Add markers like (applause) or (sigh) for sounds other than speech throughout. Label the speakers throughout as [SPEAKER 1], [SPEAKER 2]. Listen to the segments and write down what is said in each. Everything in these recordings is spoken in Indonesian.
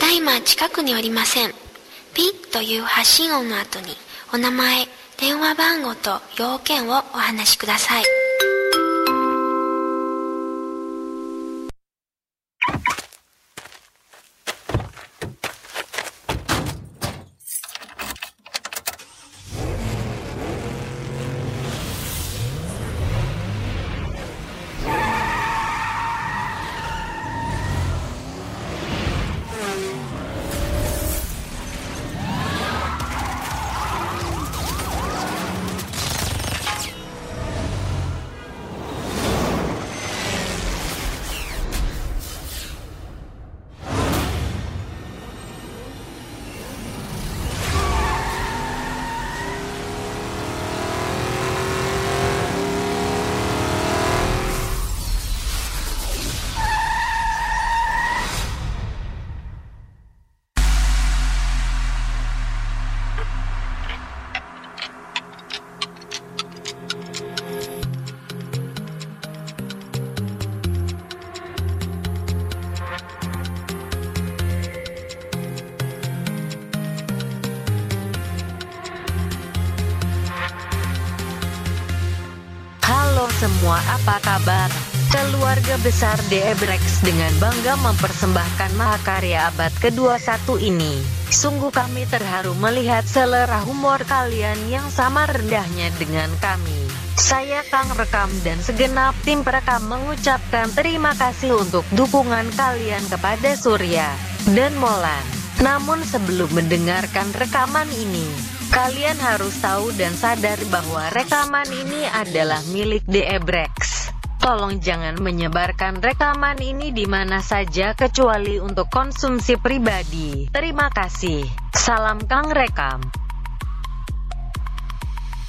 [SPEAKER 1] だいま近くにおりません。ピッという発信音の後に、お名前、電話番号と要件をお話しください。
[SPEAKER 2] Halo semua, apa kabar? Keluarga besar Debrex dengan bangga mempersembahkan mahakarya abad ke-21 ini. Sungguh kami terharu melihat selera humor kalian yang sama rendahnya dengan kami. Saya Kang Rekam dan segenap tim perekam mengucapkan terima kasih untuk dukungan kalian kepada Surya dan Molan. Namun sebelum mendengarkan rekaman ini, Kalian harus tahu dan sadar bahwa rekaman ini adalah milik Debrex. Tolong jangan menyebarkan rekaman ini di mana saja kecuali untuk konsumsi pribadi. Terima kasih. Salam Kang Rekam.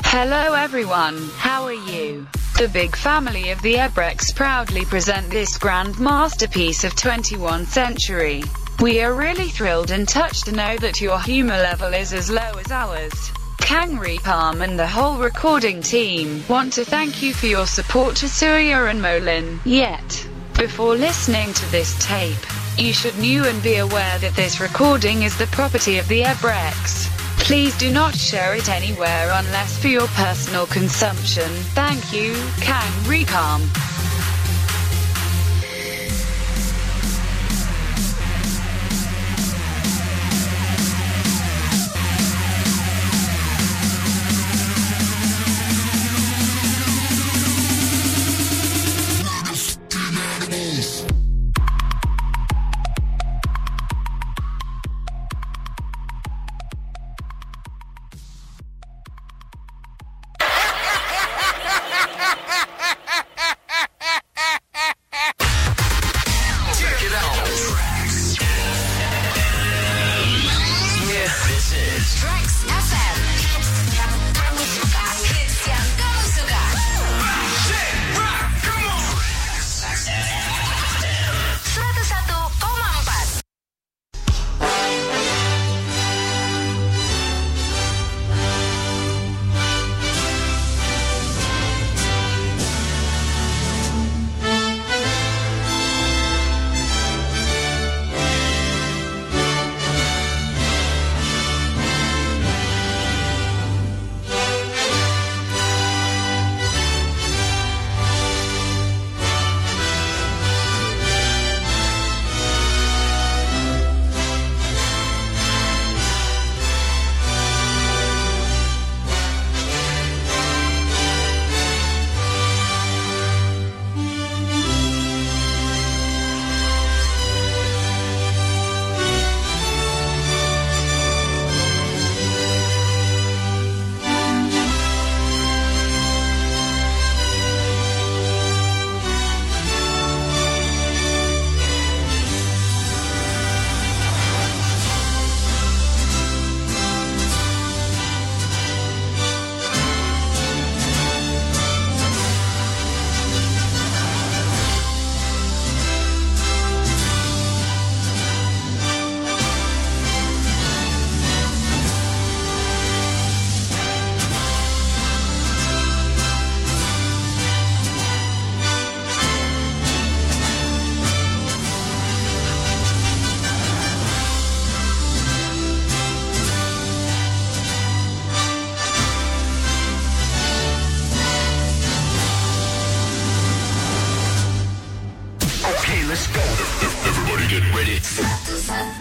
[SPEAKER 3] Hello everyone, how are you? The big family of the Ebrex proudly present this grand masterpiece of 21st century. We are really thrilled and touched to know that your humor level is as low as ours. Kang Palm and the whole recording team want to thank you for your support to Surya and Molin. Yet, before listening to this tape, you should knew and be aware that this recording is the property of the Ebrex. Please do not share it anywhere unless for your personal consumption. Thank you, Kang Recom.
[SPEAKER 4] Everybody get ready.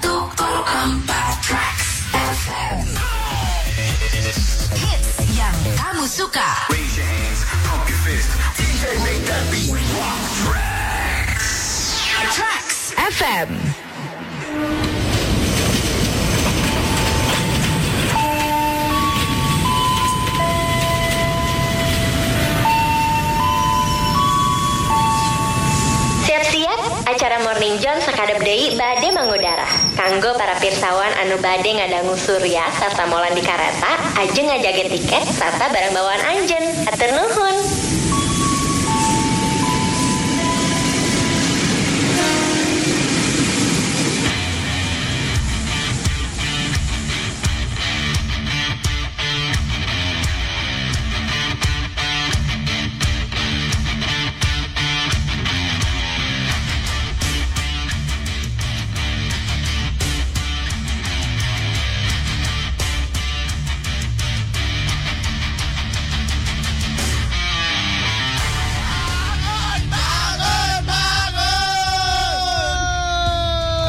[SPEAKER 5] Hits yang kamu suka.
[SPEAKER 4] Raise your hands, pump your fist. DJ, make that beat.
[SPEAKER 5] Tracks FM.
[SPEAKER 6] Siap-siap, acara Morning John Sakadep Dei badai mengudara. Kanggo para pirsawan anu badai ngadangu surya serta molan di kareta, ajeng ngajaget tiket serta barang bawaan anjen. Atur nuhun.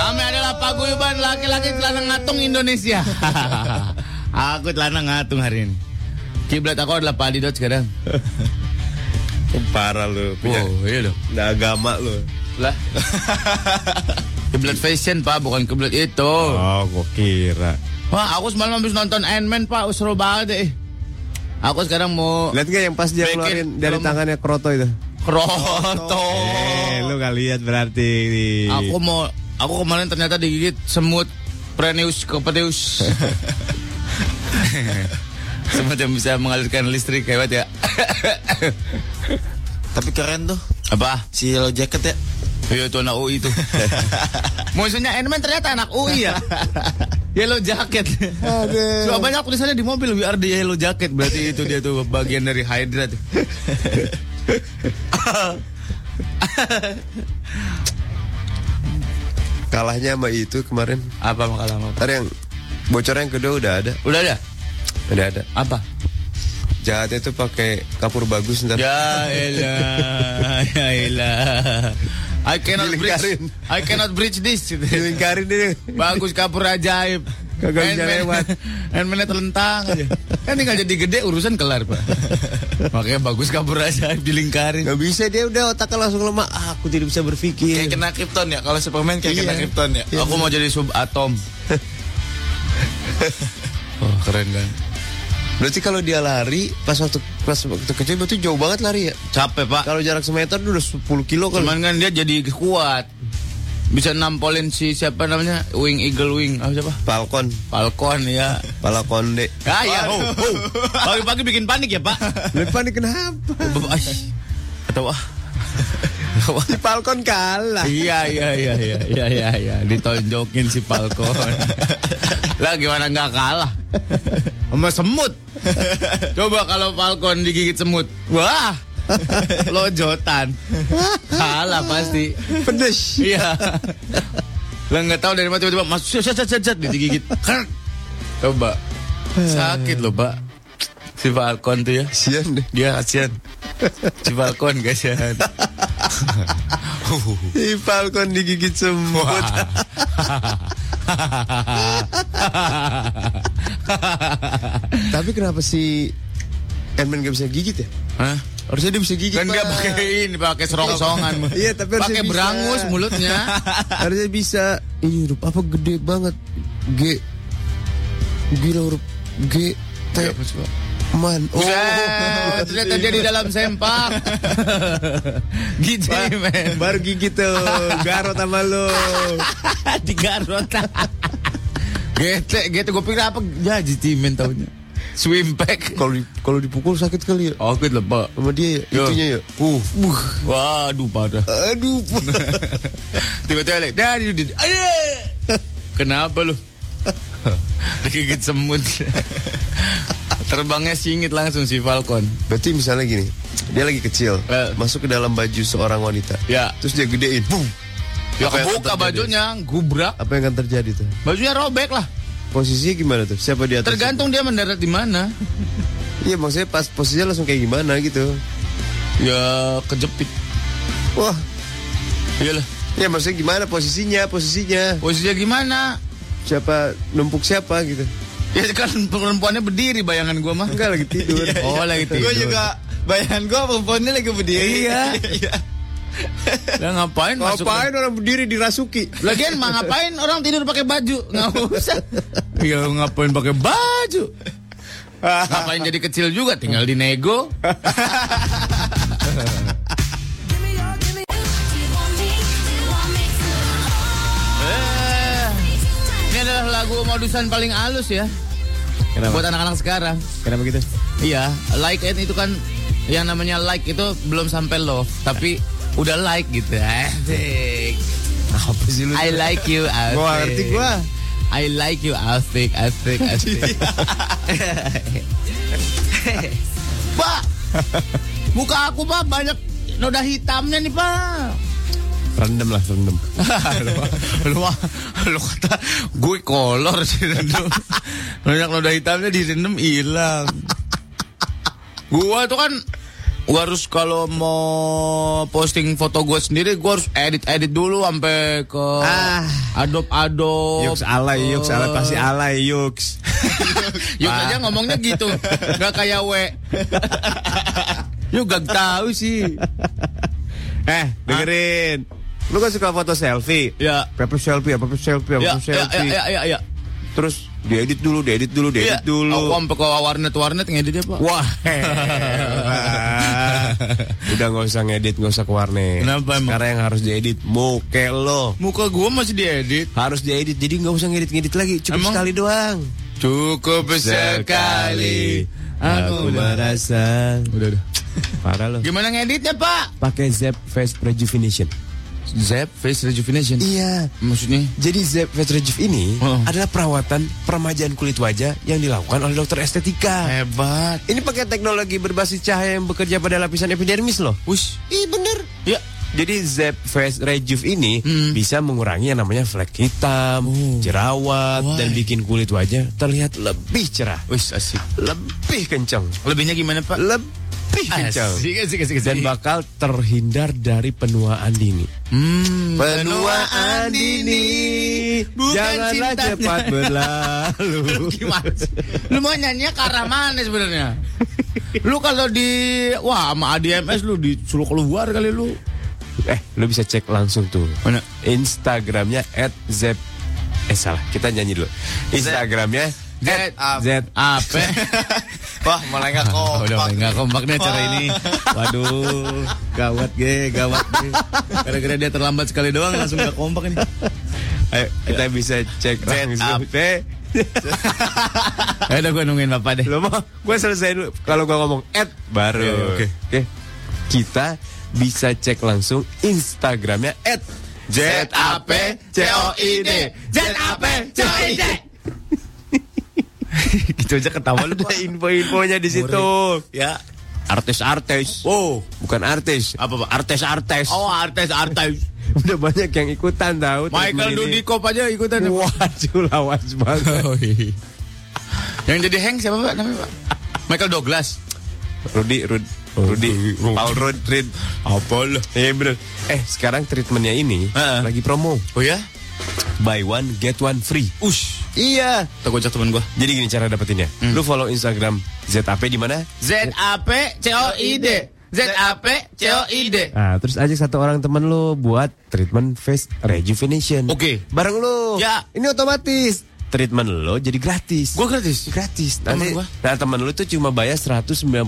[SPEAKER 7] Kami adalah paguyuban laki-laki celana ngatung
[SPEAKER 8] (laughs)
[SPEAKER 7] Indonesia. aku celana ngatung hari ini. Kiblat aku adalah Pak Didot
[SPEAKER 8] (laughs)
[SPEAKER 7] sekarang.
[SPEAKER 8] Oh, Parah lu punya Nah.
[SPEAKER 7] Wow, iya loh.
[SPEAKER 8] nggak agama lu. (laughs)
[SPEAKER 7] Lah. kiblat fashion pak, bukan kiblat itu.
[SPEAKER 8] Oh, gua kira.
[SPEAKER 7] Wah, aku semalam habis nonton Ant-Man pak, seru banget deh. Aku sekarang mau
[SPEAKER 8] Oh. Lihat nggak yang pas dia
[SPEAKER 7] Bikin
[SPEAKER 8] keluarin dari
[SPEAKER 7] belum-
[SPEAKER 8] tangannya Kroto itu? Oh,
[SPEAKER 7] kroto.
[SPEAKER 8] Eh, lu nggak lihat berarti.
[SPEAKER 7] Aku mau, aku kemarin ternyata digigit semut Preneus Copeteus. (laughs) semut yang bisa mengalirkan listrik hebat ya.
[SPEAKER 9] Tapi keren tuh
[SPEAKER 7] (laughs) Apa?
[SPEAKER 9] si yellow jacket ya.
[SPEAKER 7] Iya itu anak UI itu.
[SPEAKER 9] (laughs)
[SPEAKER 7] Musuhnya Enman ternyata anak UI ya. Yellow jacket. Aduh. banyak tulisannya di mobil we are the yellow jacket berarti itu dia tuh bagian dari
[SPEAKER 9] (laughs)
[SPEAKER 7] Hydra tuh.
[SPEAKER 8] Kalahnya sama itu kemarin.
[SPEAKER 7] Apa makalah apa?
[SPEAKER 8] Ntar yang bocor yang kedua udah ada,
[SPEAKER 7] Udah ada?
[SPEAKER 8] udah ada.
[SPEAKER 7] Apa?
[SPEAKER 8] Jahatnya tuh pakai kapur bagus ntar.
[SPEAKER 7] Ya elah, (laughs) ya elah. I cannot bridge.
[SPEAKER 8] Dilingkarin.
[SPEAKER 7] I cannot bridge this.
[SPEAKER 8] Dilingkarin dia.
[SPEAKER 7] Bagus kapur ajaib.
[SPEAKER 8] Kagak bisa
[SPEAKER 7] Handmade- (laughs)
[SPEAKER 8] lewat.
[SPEAKER 7] handmade-nya telentang
[SPEAKER 8] (laughs)
[SPEAKER 7] aja. Kan tinggal jadi gede urusan kelar, Pak. Makanya bagus kapur ajaib dilingkarin.
[SPEAKER 8] Gak bisa dia udah otaknya langsung lemah. Ah, aku tidak bisa berpikir.
[SPEAKER 9] Kayak kena krypton ya. Kalau Superman kayak
[SPEAKER 8] Iya.
[SPEAKER 9] kena krypton ya.
[SPEAKER 7] Aku mau jadi sub
[SPEAKER 8] (laughs)
[SPEAKER 7] atom. oh, keren kan.
[SPEAKER 8] Berarti kalau dia lari pas waktu pas waktu kecil berarti jauh banget lari ya.
[SPEAKER 7] Capek, Pak.
[SPEAKER 8] Kalau jarak semeter udah 10 kilo kalau.
[SPEAKER 7] Cuman kan dia jadi kuat. Bisa nampolin si siapa namanya? Wing Eagle Wing. Apa siapa?
[SPEAKER 8] Falcon,
[SPEAKER 7] Falcon ya.
[SPEAKER 8] Palakonde.
[SPEAKER 7] Ah, ya. Oh, oh. Pagi-pagi bikin panik ya, Pak.
[SPEAKER 8] Lepas nih kenapa? (laughs)
[SPEAKER 7] Ay. Atau ah.
[SPEAKER 8] Si Falcon kalah.
[SPEAKER 7] Iya iya iya iya iya iya iya ditonjokin si Falcon. lah gimana nggak kalah sama semut. Coba kalau Falcon digigit semut, wah lojotan kalah pasti.
[SPEAKER 8] Pedes.
[SPEAKER 7] Iya. (laughs) Lah nggak tahu dari mana tiba-tiba masuk cet cet cet cet digigit. Krek. Coba sakit loh pak si Falcon tuh ya.
[SPEAKER 8] Sian deh.
[SPEAKER 7] Dia kasihan. Si Falcon kasihan.
[SPEAKER 8] Si Falcon digigit semut. Tapi kenapa si Ant-Man gak bisa gigit ya?
[SPEAKER 7] Hah?
[SPEAKER 8] Harusnya dia bisa gigit.
[SPEAKER 7] Kan dia
[SPEAKER 8] Pak.
[SPEAKER 7] pakai ini, pakai serongsongan.
[SPEAKER 8] (laughs) Iya, tapi harusnya
[SPEAKER 7] pakai
[SPEAKER 8] bisa.
[SPEAKER 7] berangus
[SPEAKER 8] (laughs)
[SPEAKER 7] mulutnya.
[SPEAKER 8] Harusnya bisa. Ini huruf apa gede banget. G. Gila huruf G. T.
[SPEAKER 7] Iya,
[SPEAKER 8] Man. Oh.
[SPEAKER 7] Buset, ternyata dia di dalam sempak.
[SPEAKER 8] (laughs)
[SPEAKER 7] gitu men.
[SPEAKER 8] Baru
[SPEAKER 7] (laughs)
[SPEAKER 8] gigit tuh. Garot sama lo.
[SPEAKER 7] Tiga
[SPEAKER 8] (laughs)
[SPEAKER 7] rota. Gete, gete. Gue pikir apa? Ya, jadi men taunya. Swim pack.
[SPEAKER 8] Kalau di- kalau dipukul sakit kali ya.
[SPEAKER 7] Oh, gue lepak.
[SPEAKER 8] Sama dia ya.
[SPEAKER 7] Yo.
[SPEAKER 8] Itunya ya. Uh.
[SPEAKER 7] Waduh,
[SPEAKER 8] (laughs)
[SPEAKER 7] parah. (laughs)
[SPEAKER 8] Aduh.
[SPEAKER 7] Tiba-tiba like, dari di- Aduh. Kenapa
[SPEAKER 8] (laughs)
[SPEAKER 7] lu? Digigit semut. Terbangnya singit langsung si Falcon.
[SPEAKER 8] Berarti misalnya gini, dia lagi kecil,
[SPEAKER 7] Eh.
[SPEAKER 8] masuk ke dalam baju seorang wanita.
[SPEAKER 7] Ya.
[SPEAKER 8] Terus dia gedein. Boom.
[SPEAKER 7] Ya
[SPEAKER 8] Apa yang
[SPEAKER 7] kebuka
[SPEAKER 8] terjadi?
[SPEAKER 7] bajunya, gubrak.
[SPEAKER 8] Apa yang akan terjadi tuh?
[SPEAKER 7] Bajunya robek lah.
[SPEAKER 8] Posisinya gimana tuh? Siapa di atas?
[SPEAKER 7] Tergantung dia mendarat di mana.
[SPEAKER 8] Iya, maksudnya pas posisinya langsung kayak gimana gitu.
[SPEAKER 7] Ya kejepit.
[SPEAKER 8] Wah, iya,
[SPEAKER 7] Iyalah.
[SPEAKER 10] Ya maksudnya gimana posisinya, posisinya.
[SPEAKER 7] Posisinya gimana?
[SPEAKER 10] Siapa numpuk siapa gitu.
[SPEAKER 7] Ya kan perempuannya berdiri bayangan gua mah.
[SPEAKER 10] Enggak lagi
[SPEAKER 7] (laughs)
[SPEAKER 10] tidur.
[SPEAKER 7] Oh lagi tidur.
[SPEAKER 11] Gue juga bayangan gue perempuannya lagi berdiri.
[SPEAKER 7] Iya. Lah ngapain masuk?
[SPEAKER 10] Ngapain orang berdiri dirasuki?
[SPEAKER 7] Lagian mah ngapain orang tidur pakai baju? Nggak usah. Iya ngapain pakai (laughs) baju? Ngapain jadi kecil juga tinggal dinego. Eh, Ini adalah lagu modusan paling halus ya
[SPEAKER 8] Kenapa?
[SPEAKER 7] buat anak-anak sekarang.
[SPEAKER 8] Kenapa gitu?
[SPEAKER 7] Iya, like it itu kan yang namanya like itu belum sampai love, tapi udah like gitu. Asik.
[SPEAKER 8] Apa sih lu?
[SPEAKER 7] I like you, Afik.
[SPEAKER 8] Gua ngerti gua. Iya.
[SPEAKER 7] I like you, Afik, Afik, Afik. Pak, muka aku pak banyak noda hitamnya nih pak.
[SPEAKER 8] Rendem lah, rendem.
[SPEAKER 7] lu, lu, lu kata gue kolor sih rendem. Banyak noda hitamnya di rendem hilang. gua tuh kan gua harus kalau mau posting foto gue sendiri gua harus edit edit dulu sampai ke
[SPEAKER 8] Ah.
[SPEAKER 7] Adobe Adobe.
[SPEAKER 8] Yuks alay, yuks alay, pasti alay, yuks.
[SPEAKER 7] (laughs) Yuk aja ngomongnya gitu, nggak kayak
[SPEAKER 8] (laughs)
[SPEAKER 7] we. Yuk gak tahu sih.
[SPEAKER 8] eh, dengerin. Lu kan suka foto selfie.
[SPEAKER 7] Ya.
[SPEAKER 8] Pepper selfie, pepper selfie,
[SPEAKER 7] Ya, ya, ya,
[SPEAKER 8] pepper selfie.
[SPEAKER 7] ya, ya, ya.
[SPEAKER 8] Terus diedit dulu, diedit dulu,
[SPEAKER 7] Iya.
[SPEAKER 8] diedit
[SPEAKER 7] Aku
[SPEAKER 8] dulu.
[SPEAKER 7] sampai ke warnet-warnet ngedit dia, Pak.
[SPEAKER 8] Wah, heran. (laughs) udah nggak usah ngedit, nggak usah ke warnet.
[SPEAKER 7] Kenapa emang?
[SPEAKER 8] Sekarang yang harus diedit, muke lo
[SPEAKER 7] (laughs) Muka gue masih diedit.
[SPEAKER 8] harus diedit. Jadi nggak usah ngedit-ngedit lagi, cukup
[SPEAKER 7] Emang?
[SPEAKER 8] sekali doang.
[SPEAKER 7] Cukup sekali. Aku merasa. Udah, udah.
[SPEAKER 8] Parah lo.
[SPEAKER 7] Gimana ngeditnya, Pak?
[SPEAKER 8] Pakai Zep Face Rejuvenation.
[SPEAKER 7] Zep Face Rejuvenation.
[SPEAKER 8] Iya.
[SPEAKER 7] Maksudnya?
[SPEAKER 8] Jadi Zep Face Rejuv ini
[SPEAKER 7] Oh.
[SPEAKER 8] adalah perawatan peremajaan kulit wajah yang dilakukan oleh dokter estetika.
[SPEAKER 7] Hebat.
[SPEAKER 8] Ini pakai teknologi berbasis cahaya yang bekerja pada lapisan epidermis loh.
[SPEAKER 7] Wih,
[SPEAKER 8] Ih bener.
[SPEAKER 7] ya.
[SPEAKER 8] Jadi Zep Face Rejuve ini
[SPEAKER 7] Hmm.
[SPEAKER 8] bisa mengurangi yang namanya flek hitam, jerawat,
[SPEAKER 7] Oh. Why?
[SPEAKER 8] dan bikin kulit wajah terlihat lebih cerah,
[SPEAKER 7] Wih, asik.
[SPEAKER 8] lebih kencang,
[SPEAKER 7] Lebihnya gimana, Pak?
[SPEAKER 8] lebih kencang,
[SPEAKER 7] Asik, asik, asik, asik.
[SPEAKER 8] dan bakal terhindar dari penuaan dini.
[SPEAKER 7] Hmm, bukan
[SPEAKER 8] janganlah
[SPEAKER 7] cintanya. (laughs)
[SPEAKER 8] cepat berlalu.
[SPEAKER 7] Lu gimana sih? Lu mau nyanyinya ke arah mana sebenarnya? Lu kalau di wah sama ADMS lu disuruh keluar kali lu.
[SPEAKER 8] eh, lu bisa cek langsung tuh.
[SPEAKER 7] Mana?
[SPEAKER 8] Instagramnya @zep. Eh salah, kita nyanyi dulu. Instagramnya Ah,
[SPEAKER 7] Zep.
[SPEAKER 8] Zep.
[SPEAKER 7] Apa? (laughs)
[SPEAKER 11] Wah, mulai nggak
[SPEAKER 7] Oh, (laughs) udah
[SPEAKER 11] kompak.
[SPEAKER 7] nggak kompak nih acara (laughs) ini.
[SPEAKER 8] Waduh,
[SPEAKER 7] Gawat ge, gawat ge. Gara-gara dia terlambat sekali doang langsung nggak kompak ini.
[SPEAKER 8] Ayo, kita
[SPEAKER 7] Ya.
[SPEAKER 8] bisa cek langsung.
[SPEAKER 7] up.
[SPEAKER 8] Eh,
[SPEAKER 7] Ya udah gue nungguin bapak deh.
[SPEAKER 8] lo mau? Gue selesai dulu. Kalau gue ngomong at baru.
[SPEAKER 7] Iya, oke.
[SPEAKER 8] Oke. Kita bisa cek langsung Instagramnya at
[SPEAKER 7] D. Gitu aja ketawa lu.
[SPEAKER 8] Ada (laughs) info-infonya di situ.
[SPEAKER 7] Ya.
[SPEAKER 8] Artis-artis.
[SPEAKER 7] Oh,
[SPEAKER 8] Bukan artis.
[SPEAKER 7] Apa, Pak?
[SPEAKER 8] Artis-artis.
[SPEAKER 7] oh artis artis.
[SPEAKER 8] Udah banyak yang ikutan tahu.
[SPEAKER 7] Michael
[SPEAKER 8] Terus
[SPEAKER 7] Dudikoff aja ikutan.
[SPEAKER 8] ini- Waduh, lawas (laughs) banget.
[SPEAKER 7] Yang jadi Hank siapa Pak namanya Pak? Michael Douglas.
[SPEAKER 8] Rudi, Rudi, Rudi, Paul Rudrid.
[SPEAKER 7] Apa lah?
[SPEAKER 8] Iya bener. Eh sekarang treatmentnya ini
[SPEAKER 7] Heeh.
[SPEAKER 8] lagi promo.
[SPEAKER 7] Oh ya?
[SPEAKER 8] Buy one get one free.
[SPEAKER 7] Ush.
[SPEAKER 8] Iya. Hmm.
[SPEAKER 7] Tak gojek teman gua.
[SPEAKER 8] Jadi gini cara dapetinnya. Lu follow Instagram ZAP di mana?
[SPEAKER 7] Z A P C O I D. Z A P C O I D.
[SPEAKER 8] Nah, terus ajak satu orang temen lu buat treatment face rejuvenation.
[SPEAKER 7] Oke.
[SPEAKER 8] Bareng lu.
[SPEAKER 7] Ya.
[SPEAKER 8] Ini otomatis. Treatment lo jadi gratis.
[SPEAKER 7] Gua gratis.
[SPEAKER 8] gratis.
[SPEAKER 7] Temen
[SPEAKER 8] Nanti,
[SPEAKER 7] gua.
[SPEAKER 8] nah temen lu tuh cuma bayar 199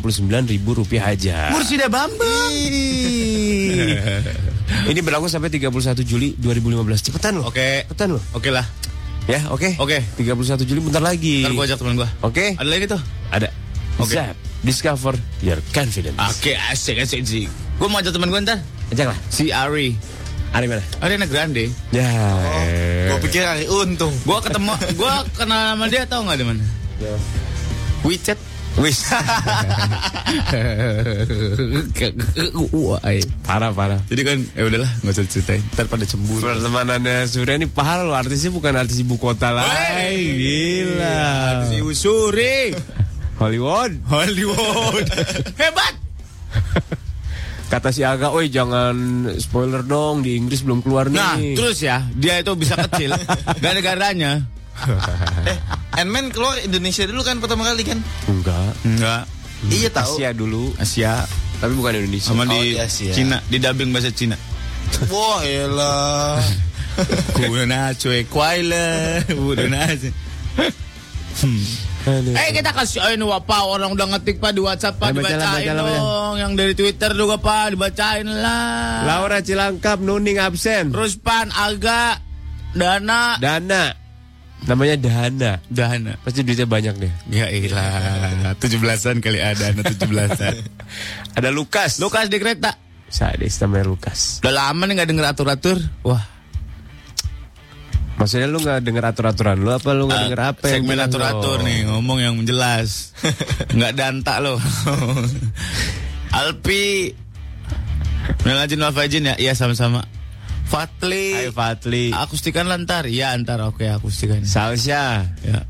[SPEAKER 8] ribu rupiah aja.
[SPEAKER 7] Mursida Bambang.
[SPEAKER 8] (laughs) Ih. Ini berlaku sampai 31 Juli 2015. Cepetan lo.
[SPEAKER 7] Oke.
[SPEAKER 8] Cepetan lo.
[SPEAKER 7] Oke lah.
[SPEAKER 8] Ya, oke.
[SPEAKER 7] Oke.
[SPEAKER 8] 31 Juli bentar lagi.
[SPEAKER 7] Ntar gua ajak teman gua.
[SPEAKER 8] Oke.
[SPEAKER 7] Ada lagi tuh.
[SPEAKER 8] Ada.
[SPEAKER 7] Oke.
[SPEAKER 8] Zap. Discover your confidence.
[SPEAKER 7] Oke, asik asik asik. Gua mau ajak teman gua ntar.
[SPEAKER 8] Ajaklah.
[SPEAKER 7] Si Ari.
[SPEAKER 8] Ada mana?
[SPEAKER 7] Ariana Grande.
[SPEAKER 8] Ya. eh.
[SPEAKER 7] Oh,
[SPEAKER 11] Gue pikir hari untung.
[SPEAKER 7] Gua ketemu, gua kenal sama dia tau nggak di mana? WeChat.
[SPEAKER 8] Wis. parah parah.
[SPEAKER 7] (laughs) Jadi kan, ya udahlah, nggak usah ceritain. Ntar pada cemburu.
[SPEAKER 8] Pertemanannya Surya ini parah loh. Artisnya bukan artis ibu kota lah.
[SPEAKER 7] Wey.
[SPEAKER 8] Gila.
[SPEAKER 7] Si Usuri.
[SPEAKER 8] Hollywood.
[SPEAKER 7] (laughs) Hollywood. Hebat.
[SPEAKER 8] kata si Aga, "Oi, jangan spoiler dong, di Inggris belum keluar nih."
[SPEAKER 7] Nah, terus ya, dia itu bisa
[SPEAKER 11] (laughs)
[SPEAKER 7] kecil. Gara-garanya.
[SPEAKER 11] eh, Ant-Man keluar Indonesia dulu kan pertama kali kan?
[SPEAKER 8] Enggak.
[SPEAKER 7] Enggak.
[SPEAKER 11] Iya tahu.
[SPEAKER 8] Asia dulu,
[SPEAKER 7] Asia
[SPEAKER 8] tapi bukan Indonesia. iya,
[SPEAKER 7] sama
[SPEAKER 11] Oh,
[SPEAKER 7] di
[SPEAKER 11] di Asia.
[SPEAKER 7] Cina, di dubbing bahasa Cina.
[SPEAKER 11] Wah,
[SPEAKER 7] (laughs)
[SPEAKER 11] elah.
[SPEAKER 7] Kuna cuy, kuaile, buruna.
[SPEAKER 8] Aduh.
[SPEAKER 7] Eh kita kasihin Wak Pak Orang udah ngetik Pak di Whatsapp Pak
[SPEAKER 8] Ayo, bacalah,
[SPEAKER 7] Dibacain
[SPEAKER 8] bacalah, bacalah.
[SPEAKER 7] dong Yang dari Twitter juga Pak Dibacain lah
[SPEAKER 8] Laura Cilangkap, Nuning absen.
[SPEAKER 7] Terus Pan Aga Dana
[SPEAKER 8] Dana. Namanya Dana.
[SPEAKER 7] Dana
[SPEAKER 8] Pasti duitnya banyak deh.
[SPEAKER 7] Ya ilah 17-an kali ada Dana (laughs) 17-an
[SPEAKER 8] Ada Lukas.
[SPEAKER 7] Lukas di kereta
[SPEAKER 8] Sadis namanya Lukas.
[SPEAKER 7] Udah lama nih gak denger atur-atur Wah
[SPEAKER 8] Maksudnya lu nggak denger atur-aturan lu apa lu nggak denger apa? yang
[SPEAKER 7] Ah, Segmen
[SPEAKER 8] bilang
[SPEAKER 7] atur-atur
[SPEAKER 8] lo?
[SPEAKER 7] nih Ngomong yang (laughs) jelas Nggak dantak (laughs) loh Alpi Minal Ajin wal Faizin ya Iya sama-sama Fatli
[SPEAKER 8] Ayo Fatli.
[SPEAKER 7] Akustikan lantar Iya antar oke akustikan
[SPEAKER 8] Salsa.
[SPEAKER 7] Ya.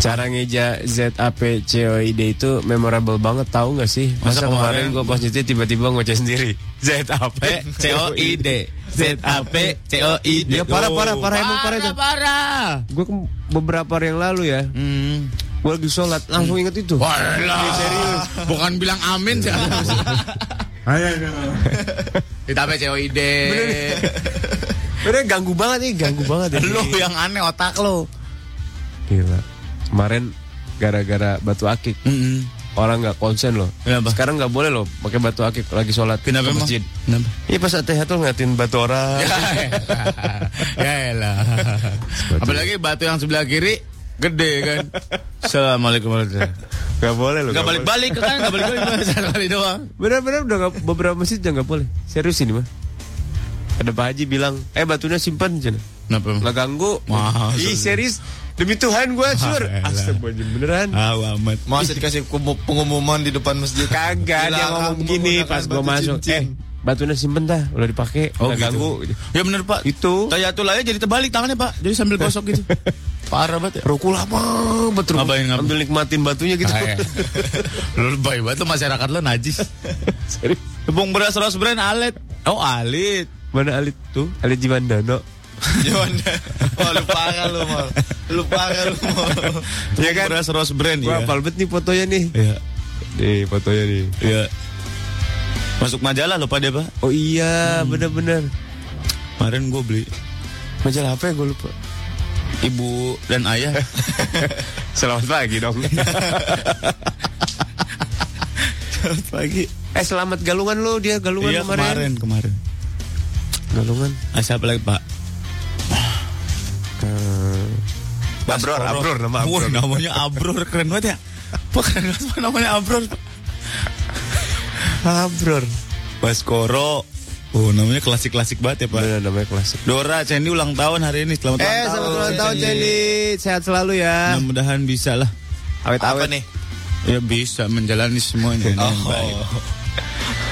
[SPEAKER 8] Cara ngeja Z A P C O I D itu memorable banget tahu nggak sih? Masa,
[SPEAKER 7] Masa
[SPEAKER 8] kemarin,
[SPEAKER 7] kemarin
[SPEAKER 8] gue pas nyetir tiba-tiba ngoceh sendiri. Z A
[SPEAKER 7] (laughs)
[SPEAKER 8] P
[SPEAKER 7] P Eh, C O I D (laughs) Z A P C O I D Oh.
[SPEAKER 8] Ya, parah, parah, parah, emang parah itu.
[SPEAKER 7] parah
[SPEAKER 8] Gue beberapa hari yang lalu ya,
[SPEAKER 7] Hmm.
[SPEAKER 8] gue lagi sholat langsung inget itu.
[SPEAKER 7] Walah. Bukan bilang amin sih. Ditambah COID.
[SPEAKER 8] Bener ganggu banget nih, ganggu banget. ya.
[SPEAKER 7] Lu yang aneh otak lu.
[SPEAKER 8] Gila. Kemarin gara-gara batu akik orang nggak konsen loh.
[SPEAKER 7] Hmm. Kenapa?
[SPEAKER 8] Sekarang nggak boleh loh pakai batu akik lagi sholat
[SPEAKER 7] Kenapa ya,
[SPEAKER 8] ke
[SPEAKER 7] emang?
[SPEAKER 8] masjid.
[SPEAKER 7] Kenapa?
[SPEAKER 8] Iya pas ATH tuh ngeliatin batu (laughs) orang.
[SPEAKER 7] ya elah. Apalagi batu yang sebelah kiri gede kan. Assalamualaikum warahmatullahi wabarakatuh.
[SPEAKER 8] Gak boleh loh.
[SPEAKER 7] Gak balik-balik kan, gak balik-balik satu kali doang.
[SPEAKER 8] Bener-bener udah nggak- beberapa masjid udah nggak boleh. Serius ini mah. Ada Pak Haji bilang, eh batunya simpan aja.
[SPEAKER 7] Kenapa? emang?
[SPEAKER 8] Nggak ganggu.
[SPEAKER 7] Wah,
[SPEAKER 8] Ih
[SPEAKER 7] sudah.
[SPEAKER 8] serius. Demi Tuhan gue sur.
[SPEAKER 7] elah.
[SPEAKER 8] Astagfirullah beneran.
[SPEAKER 7] Ah, amat.
[SPEAKER 11] Masa dikasih kumu- pengumuman di depan masjid?
[SPEAKER 8] Kagak dia
[SPEAKER 11] Dilarang
[SPEAKER 8] ngomong begini
[SPEAKER 11] menggunakan
[SPEAKER 8] pas gue
[SPEAKER 11] batu
[SPEAKER 8] masuk. Eh
[SPEAKER 11] cincin.
[SPEAKER 8] batunya simpen dah, udah dipakai.
[SPEAKER 7] Oh, gitu.
[SPEAKER 8] nggak ganggu.
[SPEAKER 7] Ya bener Pak.
[SPEAKER 8] Itu.
[SPEAKER 7] Tayatul aja jadi terbalik tangannya Pak. Jadi (laughs) sambil gosok gitu. Parah banget ya.
[SPEAKER 8] Ruku lama betul.
[SPEAKER 7] Ngapain, ngapain?
[SPEAKER 8] Ambil nikmatin batunya gitu.
[SPEAKER 7] Ah, ya. (laughs) lu lebay banget lu masyarakat lu najis.
[SPEAKER 8] (laughs) Serius.
[SPEAKER 7] Tepung beras Rose Brand (laughs) alit. Oh, alit.
[SPEAKER 8] Mana Alit tuh? Alit Jimandano.
[SPEAKER 11] Jawanda. Wah, lu parah lu mal. Lu parah lu
[SPEAKER 7] (laughs)
[SPEAKER 11] mal.
[SPEAKER 7] Iya kan? Beras Rose Brand ya.
[SPEAKER 8] Gua hafal bet nih fotonya nih.
[SPEAKER 7] Iya.
[SPEAKER 8] Nih fotonya nih.
[SPEAKER 7] Iya. Masuk majalah lupa dia, Pak.
[SPEAKER 8] Oh iya, bener-bener.
[SPEAKER 7] Kemarin gue beli
[SPEAKER 8] Majalah apa ya gue lupa.
[SPEAKER 7] ibu dan ayah.
[SPEAKER 8] (laughs) Selamat pagi dong.
[SPEAKER 7] Pagi.
[SPEAKER 8] eh selamat galungan lo dia galungan
[SPEAKER 7] Iya
[SPEAKER 8] kemarin.
[SPEAKER 7] kemarin kemarin.
[SPEAKER 8] Galungan.
[SPEAKER 7] Ah, siapa lagi, Pak?
[SPEAKER 8] Abror, Abror nama
[SPEAKER 7] Wah,
[SPEAKER 8] Abror.
[SPEAKER 7] namanya Abror keren banget ya. Pak keren banget Pak, namanya Abror. Pak.
[SPEAKER 8] Abror.
[SPEAKER 7] Baskoro. Oh, namanya klasik-klasik banget ya, Pak.
[SPEAKER 8] Bener namanya klasik.
[SPEAKER 7] Dora Cendi ulang tahun hari ini. Selamat ulang
[SPEAKER 8] Eh
[SPEAKER 7] tahun.
[SPEAKER 8] selamat ulang tahun Jenny. Sehat selalu ya.
[SPEAKER 7] Mudah-mudahan bisa lah.
[SPEAKER 11] Apa
[SPEAKER 8] Awet-awet.
[SPEAKER 11] nih?
[SPEAKER 7] Ya bisa menjalani semuanya. dengan baik.
[SPEAKER 11] Oh.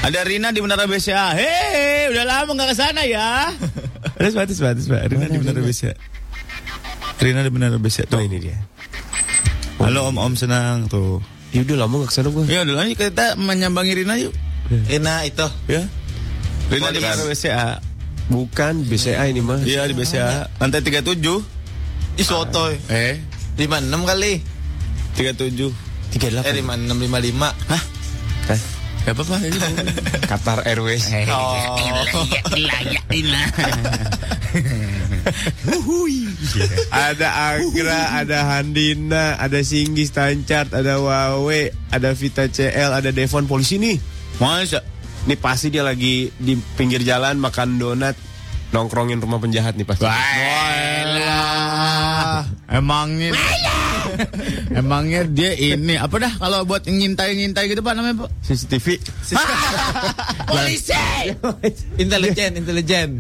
[SPEAKER 7] Ada Rina di Menara BCA. Hei, udah lama nggak ke sana ya. Terus batas batas Pak. Rina di Menara BCA. Rina di Menara BCA
[SPEAKER 8] Tuh
[SPEAKER 7] tuh.
[SPEAKER 8] ini dia.
[SPEAKER 7] Halo Om Om senang tuh.
[SPEAKER 8] Ya udah lama gak kesana gue.
[SPEAKER 7] Ya udah lanjut kita menyambangi Rina yuk.
[SPEAKER 11] Enak itu.
[SPEAKER 7] Ya. Rina di Menara BCA.
[SPEAKER 8] Bukan BCA ini mah.
[SPEAKER 7] Iya di BCA. Lantai 37.
[SPEAKER 11] Ih sotoy.
[SPEAKER 7] Eh,
[SPEAKER 11] 56 kali.
[SPEAKER 7] 37.
[SPEAKER 8] Tiga
[SPEAKER 11] Eh 56 55. Hah?
[SPEAKER 7] Gak
[SPEAKER 11] (laughs)
[SPEAKER 7] apa-apa ini mau-
[SPEAKER 8] Qatar Airways.
[SPEAKER 11] Oh.
[SPEAKER 8] ada Agra, ada Handina, ada Singgis Tanchart, ada Wawe, ada Vita CL, ada Devon polisi nih.
[SPEAKER 7] Masa?
[SPEAKER 8] Ini pasti dia lagi di pinggir jalan makan donat nongkrongin rumah penjahat nih pasti.
[SPEAKER 7] Waelah. Emangnya (laughs) Emangnya dia ini Apa dah kalau buat ngintai-ngintai gitu Pak namanya Pak
[SPEAKER 8] (laughs) CCTV.
[SPEAKER 7] (laughs) Polisi
[SPEAKER 11] Intelijen, intelijen.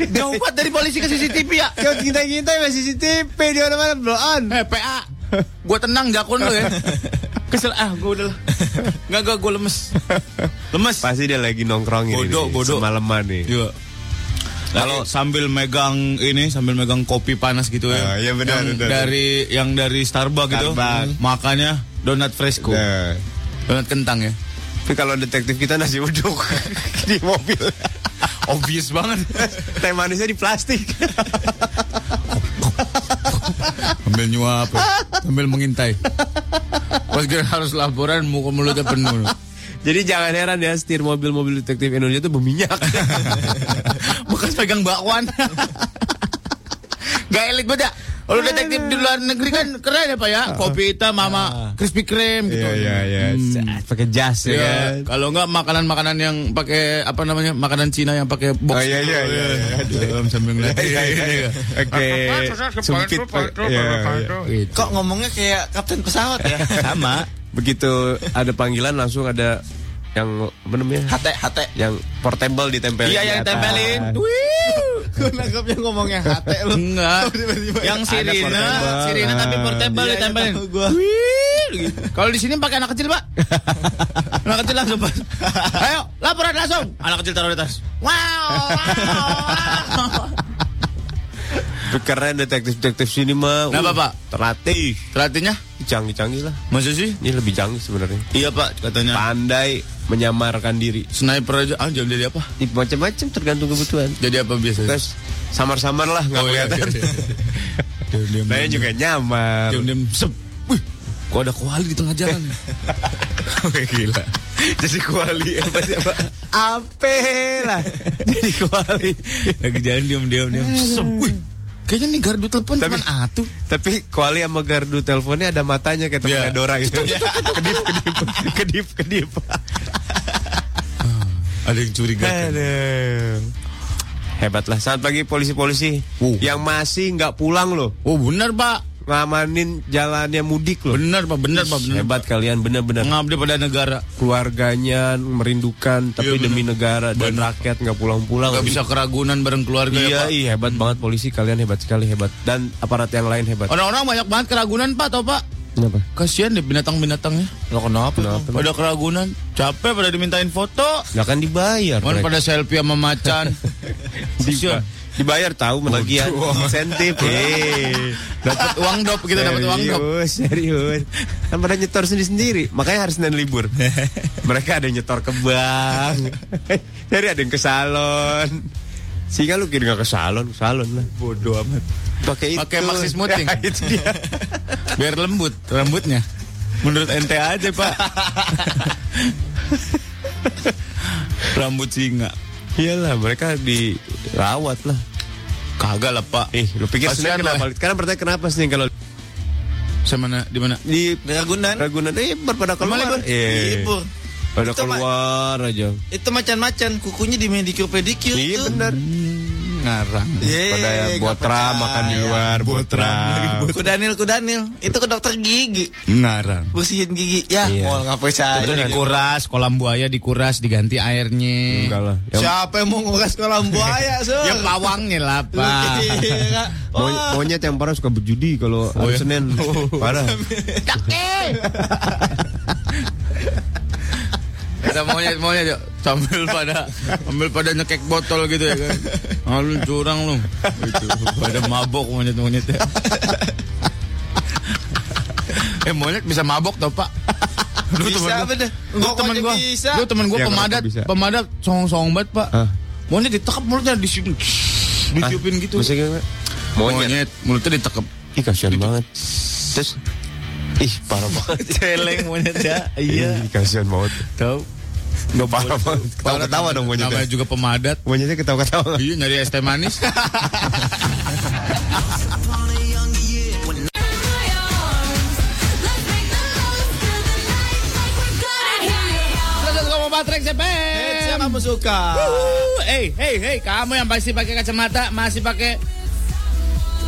[SPEAKER 7] Jauh dari polisi ke CCTV (laughs) ya
[SPEAKER 8] Kau gintai-gintai masih CCTV di mana-mana belum on.
[SPEAKER 7] Eh PA Gue tenang jakun lo ya Kesel ah gue udah lah Nggak gak gue lemes Lemes
[SPEAKER 8] Pasti dia lagi nongkrongin
[SPEAKER 7] Bodoh,
[SPEAKER 8] ini,
[SPEAKER 7] bodoh.
[SPEAKER 8] semalaman nih.
[SPEAKER 7] Iya kalau sambil megang ini sambil megang kopi panas gitu ya.
[SPEAKER 8] Ah, iya benar,
[SPEAKER 7] Yang
[SPEAKER 8] benar.
[SPEAKER 7] dari yang dari Starbucks, gitu.
[SPEAKER 8] Starbucks.
[SPEAKER 7] Makanya donat fresco.
[SPEAKER 8] Nah,
[SPEAKER 7] Donat kentang ya.
[SPEAKER 8] Tapi kalau detektif kita nasi uduk (laughs) di (laughs) mobil.
[SPEAKER 7] Obvious banget.
[SPEAKER 8] Teh manisnya di plastik. (laughs)
[SPEAKER 7] Sambil nyuap, ya. sambil mengintai. Pas kira harus laporan, muka mulutnya penuh.
[SPEAKER 8] Jadi jangan heran ya setir mobil-mobil detektif Indonesia itu berminyak.
[SPEAKER 7] Bekas pegang bakwan. Gak elit beda. Kalau detektif di luar negeri kan keren ya Pak ya. Kopi hitam mama Krispy Kreme gitu.
[SPEAKER 8] (laughs) Iya iya iya. Set, Pakai jas ya.
[SPEAKER 7] Iya.
[SPEAKER 8] kan?
[SPEAKER 7] Kalau enggak makanan-makanan yang pakai apa namanya? Makanan Cina yang pakai box.
[SPEAKER 8] Oh, iya, iya,
[SPEAKER 7] gitu.
[SPEAKER 8] iya, iya.
[SPEAKER 7] Dalam sambil ngeliat.
[SPEAKER 8] Iya, iya, iya. (laughs) Oke. Sempit. Pak. Iya, iya.
[SPEAKER 7] Gitu.
[SPEAKER 11] Kok ngomongnya kayak kapten pesawat
[SPEAKER 7] (laughs)
[SPEAKER 11] ya? Sama.
[SPEAKER 8] Begitu ada panggilan langsung ada yang apa
[SPEAKER 7] Iya.
[SPEAKER 8] namanya?
[SPEAKER 11] Hate, hate.
[SPEAKER 8] Yang portable ditempelin.
[SPEAKER 11] Iya
[SPEAKER 8] di
[SPEAKER 11] yang
[SPEAKER 8] atas.
[SPEAKER 11] tempelin. Gue nangkepnya ngomongnya hate lu.
[SPEAKER 7] Enggak.
[SPEAKER 11] Tiba-tiba
[SPEAKER 7] Yang
[SPEAKER 8] Ada
[SPEAKER 7] sirine,
[SPEAKER 8] portable.
[SPEAKER 7] sirine tapi
[SPEAKER 8] Ah.
[SPEAKER 7] portable
[SPEAKER 11] Iya,
[SPEAKER 7] ditempelin.
[SPEAKER 11] iya, tahu gua.
[SPEAKER 7] Wih, gitu. Kalau di sini pakai anak kecil, Pak. anak kecil langsung, Pak. Ayo, laporan langsung. Anak kecil taruh di tas. Wow, wow, wow.
[SPEAKER 8] Keren detektif-detektif sini mah.
[SPEAKER 7] Kenapa,
[SPEAKER 8] Uh,
[SPEAKER 7] Pak?
[SPEAKER 8] Terlatih.
[SPEAKER 7] Pelatihnya?
[SPEAKER 8] Canggih-canggih lah.
[SPEAKER 7] Masa sih?
[SPEAKER 8] Ini lebih canggih sebenarnya.
[SPEAKER 7] Iya, Pak, katanya.
[SPEAKER 8] Pandai menyamarkan diri.
[SPEAKER 7] Sniper aja, ah, jangan jadi apa?
[SPEAKER 8] Macam-macam tergantung kebutuhan.
[SPEAKER 7] Jadi apa biasanya?
[SPEAKER 8] Terus samar-samar lah nggak
[SPEAKER 7] Oh, iya,
[SPEAKER 8] kelihatan.
[SPEAKER 7] iya, iya. Diam-diam.
[SPEAKER 8] (laughs) Saya juga nyamar.
[SPEAKER 7] diam-diam. Sep. Wih, kok ada kuali di tengah jalan? (laughs) Oke, gila.
[SPEAKER 8] Jadi kuali apa sih apa? Ape
[SPEAKER 7] (laughs)
[SPEAKER 8] lah. Jadi kuali.
[SPEAKER 7] Lagi jalan diam-diam diam. Sep. Wih. Kayaknya nih gardu telepon
[SPEAKER 8] Tapi-
[SPEAKER 7] cuman atuh.
[SPEAKER 8] Tapi kuali sama gardu teleponnya ada matanya kayak temennya
[SPEAKER 7] Iya.
[SPEAKER 8] Dora gitu. kedip kedip kedip kedip.
[SPEAKER 7] Eh, Ada yang curiga.
[SPEAKER 8] Aduh. Hebatlah. Selamat pagi polisi-polisi
[SPEAKER 7] Wow.
[SPEAKER 8] yang masih nggak pulang loh,
[SPEAKER 7] Oh, benar, Pak.
[SPEAKER 8] ngamanin jalannya mudik loh.
[SPEAKER 7] Benar, Pak. Benar, Pak. Benar.
[SPEAKER 8] Hebat kalian bener-bener.
[SPEAKER 7] Mengabdi pada negara.
[SPEAKER 8] keluarganya merindukan tapi
[SPEAKER 7] Iya,
[SPEAKER 8] demi
[SPEAKER 7] bener.
[SPEAKER 8] negara dan
[SPEAKER 7] Bener.
[SPEAKER 8] rakyat nggak pulang-pulang
[SPEAKER 7] Gak bisa keragunan bareng keluarga
[SPEAKER 8] iya
[SPEAKER 7] ya, Pak.
[SPEAKER 8] iya hebat banget polisi kalian hebat sekali hebat dan aparat yang lain hebat
[SPEAKER 7] Orang-orang banyak banget keragunan, Pak, tau, Pak.
[SPEAKER 8] kenapa
[SPEAKER 7] Kasihan deh binatang-binatangnya.
[SPEAKER 8] lo kenapa kenapa
[SPEAKER 7] Pada keragunan, capek pada dimintain foto.
[SPEAKER 8] nggak akan dibayar
[SPEAKER 7] Mohon
[SPEAKER 8] mereka.
[SPEAKER 7] pada selfie sama (laughs) macan.
[SPEAKER 8] Diba-
[SPEAKER 7] Kasihan.
[SPEAKER 8] dibayar tahu lagi ya. insentif eh
[SPEAKER 7] Dapat uang dop kita dapat uang dop.
[SPEAKER 8] serius serius kan pada nyetor sendiri sendiri makanya harus dan libur mereka ada yang nyetor ke bank dari ada yang ke salon sehingga lu kira nggak ke salon ke salon lah bodoh amat pakai itu
[SPEAKER 7] Pakai maxi smoothing.
[SPEAKER 8] (laughs) Ya, itu dia
[SPEAKER 7] Biar lembut rambutnya. Menurut ente aja, Pak. (laughs) Rambut singa.
[SPEAKER 8] iyalah mereka dirawat lah
[SPEAKER 7] Kagak lah, Pak.
[SPEAKER 8] eh lu pikir
[SPEAKER 7] Kasihan,
[SPEAKER 8] sekarang kenapa
[SPEAKER 7] Pak.
[SPEAKER 8] sekarang pertanyaan kenapa sih kalau
[SPEAKER 7] Sama mana? Di mana?
[SPEAKER 8] di
[SPEAKER 11] Ragunan.
[SPEAKER 8] Ragunan eh berpada
[SPEAKER 7] Emang
[SPEAKER 8] keluar
[SPEAKER 7] libur?
[SPEAKER 8] eh
[SPEAKER 11] Libur.
[SPEAKER 8] pada
[SPEAKER 11] Itu, Pak.
[SPEAKER 8] keluar aja
[SPEAKER 11] Itu macan-macan kukunya di manicure pedicure
[SPEAKER 8] iya
[SPEAKER 11] tuh.
[SPEAKER 8] benar
[SPEAKER 7] Ngarang.
[SPEAKER 11] Yeay,
[SPEAKER 8] pada botra
[SPEAKER 11] nggak
[SPEAKER 8] makan di
[SPEAKER 11] percaya.
[SPEAKER 8] luar botra
[SPEAKER 11] Kudanil, kudanil. Itu ke dokter gigi.
[SPEAKER 7] Ngarang.
[SPEAKER 11] Bersihin gigi. Ya,
[SPEAKER 8] Iya.
[SPEAKER 11] mau ngapain saya.
[SPEAKER 7] Itu dikuras, kolam buaya dikuras, diganti airnya.
[SPEAKER 8] enggak lah Yang-
[SPEAKER 11] Siapa yang mau nguras kolam buaya, Sur?
[SPEAKER 7] (laughs) Ya pawangnya lah, Pak.
[SPEAKER 11] (laughs) Iya.
[SPEAKER 8] Mony-
[SPEAKER 11] Wah.
[SPEAKER 8] monyet yang parah suka berjudi kalau hari
[SPEAKER 7] ya?
[SPEAKER 8] Senin parah
[SPEAKER 7] Kita monyet-monyet yuk. sambil pada sambil pada nyekek botol gitu ya kan. Ah, lu curang lu. Gitu. Pada mabok monyet-monyet ya. eh monyet bisa mabok tau Pak. Lu
[SPEAKER 11] Bisa
[SPEAKER 7] temen gua-
[SPEAKER 11] apa deh?
[SPEAKER 7] Lu
[SPEAKER 11] Ngokok
[SPEAKER 7] temen
[SPEAKER 11] aja
[SPEAKER 7] gua.
[SPEAKER 11] bisa.
[SPEAKER 7] Lu temen gua
[SPEAKER 8] Ya,
[SPEAKER 7] pemadat,
[SPEAKER 8] ngokok bisa.
[SPEAKER 7] pemadat songong-songong banget Pak.
[SPEAKER 8] Hah?
[SPEAKER 7] Monyet ditekap mulutnya disium. Ditiupin gitu.
[SPEAKER 8] Maksudnya gimana? monyet.
[SPEAKER 7] Monyet mulutnya ditekap.
[SPEAKER 8] ih kasihan banget terus ih parah
[SPEAKER 7] (laughs)
[SPEAKER 8] banget
[SPEAKER 7] Celeng monyet ya.
[SPEAKER 11] Iya.
[SPEAKER 8] Ih, kasihan banget
[SPEAKER 7] Tahu.
[SPEAKER 8] nggak parah banget ketawa ketawa dong
[SPEAKER 7] Namanya
[SPEAKER 8] monyetnya
[SPEAKER 7] juga pemadat.
[SPEAKER 8] monyetnya ketawa ketawa
[SPEAKER 7] Iya nyari es teh manis.
[SPEAKER 11] Saya kamu suka.
[SPEAKER 7] Hey, hey, hey, kamu yang pasti pakai kacamata, masih pakai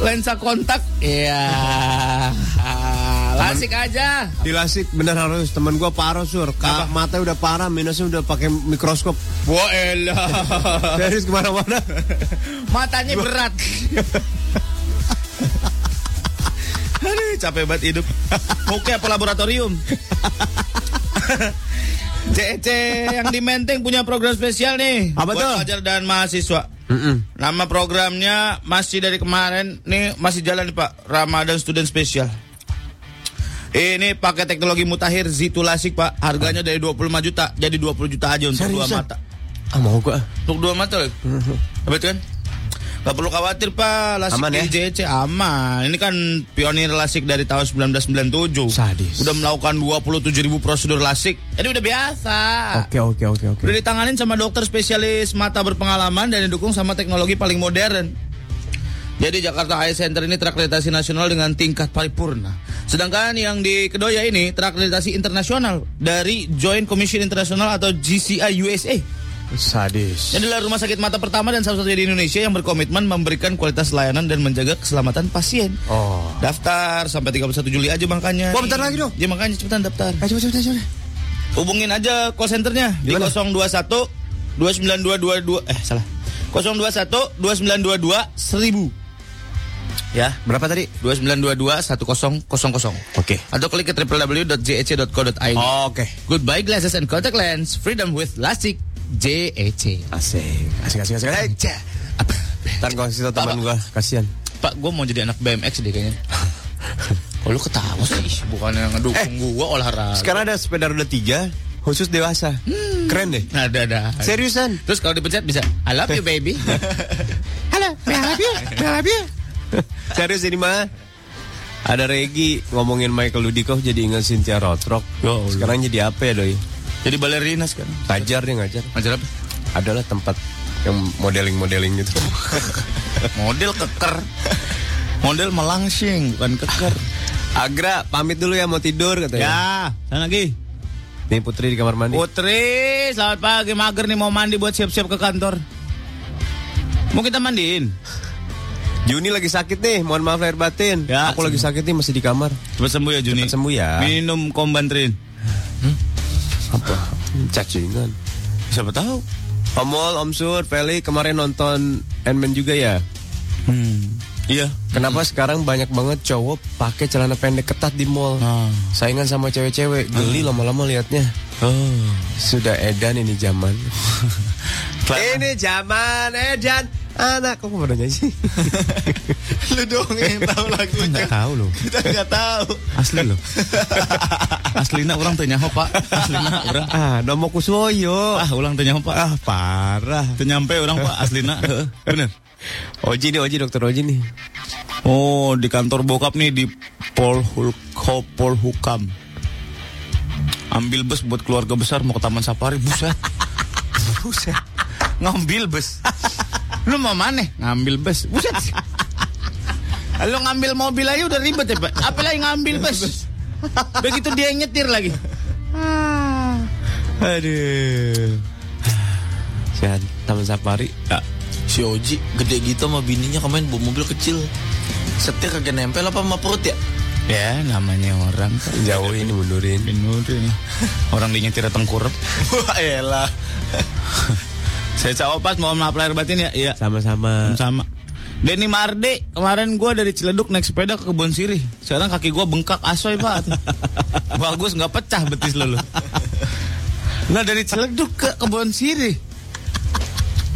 [SPEAKER 7] lensa kontak. Iya. Lasik aja.
[SPEAKER 8] dilasik bener harus teman gua parah sur Ka- mata udah parah minusnya udah pakai mikroskop
[SPEAKER 7] Wah, elah.
[SPEAKER 8] serius kemana-mana
[SPEAKER 7] Matanya berat. (laughs) Aduh, capek banget hidup. Oke, apa laboratorium? (laughs) CEC yang di Menteng punya program spesial nih.
[SPEAKER 8] Apa tuh?
[SPEAKER 7] Buat pelajar dan mahasiswa. Nama programnya masih dari kemarin nih masih jalan nih Pak Ramadan Student Special. Ini pakai teknologi mutakhir Zitulasik Pak. Harganya dari 25 juta jadi 20 juta aja untuk dua
[SPEAKER 8] Ah. Seriusan?
[SPEAKER 7] mata.
[SPEAKER 8] Ah mau gua.
[SPEAKER 7] Untuk dua mata
[SPEAKER 8] (laughs)
[SPEAKER 7] loh. Hebat kan? Gak perlu khawatir Pak, Lasik
[SPEAKER 8] Aman ya?
[SPEAKER 7] IJC aman. Ini kan pionir Lasik dari tahun 1997.
[SPEAKER 8] Sadis.
[SPEAKER 7] Udah melakukan 27 ribu prosedur Lasik. Jadi udah biasa.
[SPEAKER 8] Oke oke oke oke.
[SPEAKER 7] Udah ditanganin sama dokter spesialis mata berpengalaman dan didukung sama teknologi paling modern. Jadi Jakarta Eye Center ini terakreditasi nasional dengan tingkat paripurna. Sedangkan yang di Kedoya ini terakreditasi internasional dari Joint Commission International atau GCI USA.
[SPEAKER 8] Sadis.
[SPEAKER 7] Ini adalah rumah sakit mata pertama dan satu-satunya di Indonesia yang berkomitmen memberikan kualitas layanan dan menjaga keselamatan pasien.
[SPEAKER 8] Oh.
[SPEAKER 7] Daftar sampai 31 Juli aja makanya.
[SPEAKER 8] Wah, bentar lagi dong. Eh,
[SPEAKER 7] Ya makanya cepetan daftar.
[SPEAKER 8] Ayo coba coba coba.
[SPEAKER 7] Hubungin aja call centernya di
[SPEAKER 8] Gimana?
[SPEAKER 7] 021 29222 eh salah. 021 2922 1000. Ya,
[SPEAKER 8] Berapa tadi?
[SPEAKER 7] 2922 1000.
[SPEAKER 8] Oke. Oh.
[SPEAKER 7] Atau klik ke www.jec.co.id.
[SPEAKER 8] Oke.
[SPEAKER 7] Goodbye glasses and contact lens. Freedom with Lasik E JEC.
[SPEAKER 8] Asik. Asik asik asik. Aja. Ntar gua kasih tau teman
[SPEAKER 7] Apa?
[SPEAKER 8] gua. Kasian.
[SPEAKER 7] Pak, gue mau jadi anak BMX deh
[SPEAKER 11] (laughs)
[SPEAKER 7] kayaknya. Kalau lu ketawa sih, Eh, bukannya ngedukung gua olahraga.
[SPEAKER 8] Sekarang ada sepeda roda tiga khusus dewasa. Keren deh.
[SPEAKER 7] ada ada.
[SPEAKER 8] Seriusan.
[SPEAKER 7] Nah, Terus kalau dipencet bisa, I love you
[SPEAKER 11] (laughs)
[SPEAKER 7] baby.
[SPEAKER 8] Halo, Melabia, Melabia. (laughs) Serius ini mah. Ada Regi ngomongin Michael Dudikoff jadi ingat Cynthia Rothrock.
[SPEAKER 7] Ya Allah.
[SPEAKER 8] Sekarang jadi apa ya doi?
[SPEAKER 7] jadi balerina
[SPEAKER 11] kan?
[SPEAKER 7] sekarang.
[SPEAKER 8] Ngajar dia ngajar.
[SPEAKER 7] Ngajar apa?
[SPEAKER 8] Adalah tempat yang
[SPEAKER 7] (laughs)
[SPEAKER 8] modeling-modeling gitu.
[SPEAKER 7] Model keker. Model melangsing, bukan keker.
[SPEAKER 8] Agra pamit dulu ya mau tidur katanya.
[SPEAKER 7] ya, Oh. sana lagi.
[SPEAKER 8] Nih Putri di kamar mandi.
[SPEAKER 7] Putri, selamat pagi. Mager nih mau mandi buat siap-siap ke kantor. Mau kita mandiin?
[SPEAKER 8] Juni lagi sakit nih, mohon maaf lahir batin.
[SPEAKER 7] Ya,
[SPEAKER 8] Aku lagi sakit nih masih di kamar.
[SPEAKER 7] Cepat sembuh ya Juni.
[SPEAKER 8] Cepat sembuh ya.
[SPEAKER 7] Minum kombantrin.
[SPEAKER 8] Apa? Hmm, Cacingan.
[SPEAKER 7] Siapa tahu?
[SPEAKER 8] Om Wol, Om Sur, Feli kemarin nonton Ant-Man juga ya.
[SPEAKER 7] Hmm. Iya.
[SPEAKER 8] Kenapa sekarang banyak banget cowok pakai celana pendek ketat di mall?
[SPEAKER 7] Ah.
[SPEAKER 8] Saingan sama cewek-cewek, geli lama-lama liatnya.
[SPEAKER 7] Oh.
[SPEAKER 8] Sudah edan ini
[SPEAKER 7] (laughs)
[SPEAKER 8] zaman. ini zaman edan. Anak kok pada nyanyi?
[SPEAKER 11] Lu doang yang
[SPEAKER 7] (laughs)
[SPEAKER 11] tahu lagunya.
[SPEAKER 7] tahu loh.
[SPEAKER 11] Kita nggak tahu.
[SPEAKER 7] Asli loh. Aslina orang tanya pak. Aslina orang.
[SPEAKER 8] ah, nomo kusuoyo.
[SPEAKER 7] Ah, ulang tanya pak. Ah, parah. Ternyampe orang pak
[SPEAKER 8] (laughs)
[SPEAKER 7] Aslina. Heeh, Bener.
[SPEAKER 8] Oji nih, Oji dokter Oji nih.
[SPEAKER 7] Oh, di kantor bokap nih di Polhukam. Polhukam. Ambil bus buat keluarga besar mau ke Taman Safari, buset. buset. Ngambil bus. (laughs) Lu mau mana? Ngambil bus. Buset. (laughs) Lu ngambil mobil aja udah ribet ya, Pak. Apalagi ngambil bus. Begitu dia yang nyetir lagi.
[SPEAKER 8] Aduh. Sehat, Taman Safari.
[SPEAKER 7] Ya,
[SPEAKER 11] Si Oji gede gitu sama bininya kemarin bawa mobil kecil. Setir kagak nempel apa sama perut ya?
[SPEAKER 7] Ya, namanya orang.
[SPEAKER 8] Jauhin, mundurin.
[SPEAKER 7] Minurin. Orang di nyetir tengkurap.
[SPEAKER 11] Wah elah.
[SPEAKER 7] Saya cawapas, mohon maaf lahir batin ya. Iya.
[SPEAKER 8] Sama-sama.
[SPEAKER 7] Sama. Denny Marde, Iya. kemarin gua dari Ciledug naik sepeda ke kebun sirih. Sekarang kaki gua bengkak asoy pak.
[SPEAKER 8] (laughs)
[SPEAKER 7] Bagus nggak pecah betis lo. lo. Nah dari Ciledug ke kebun sirih.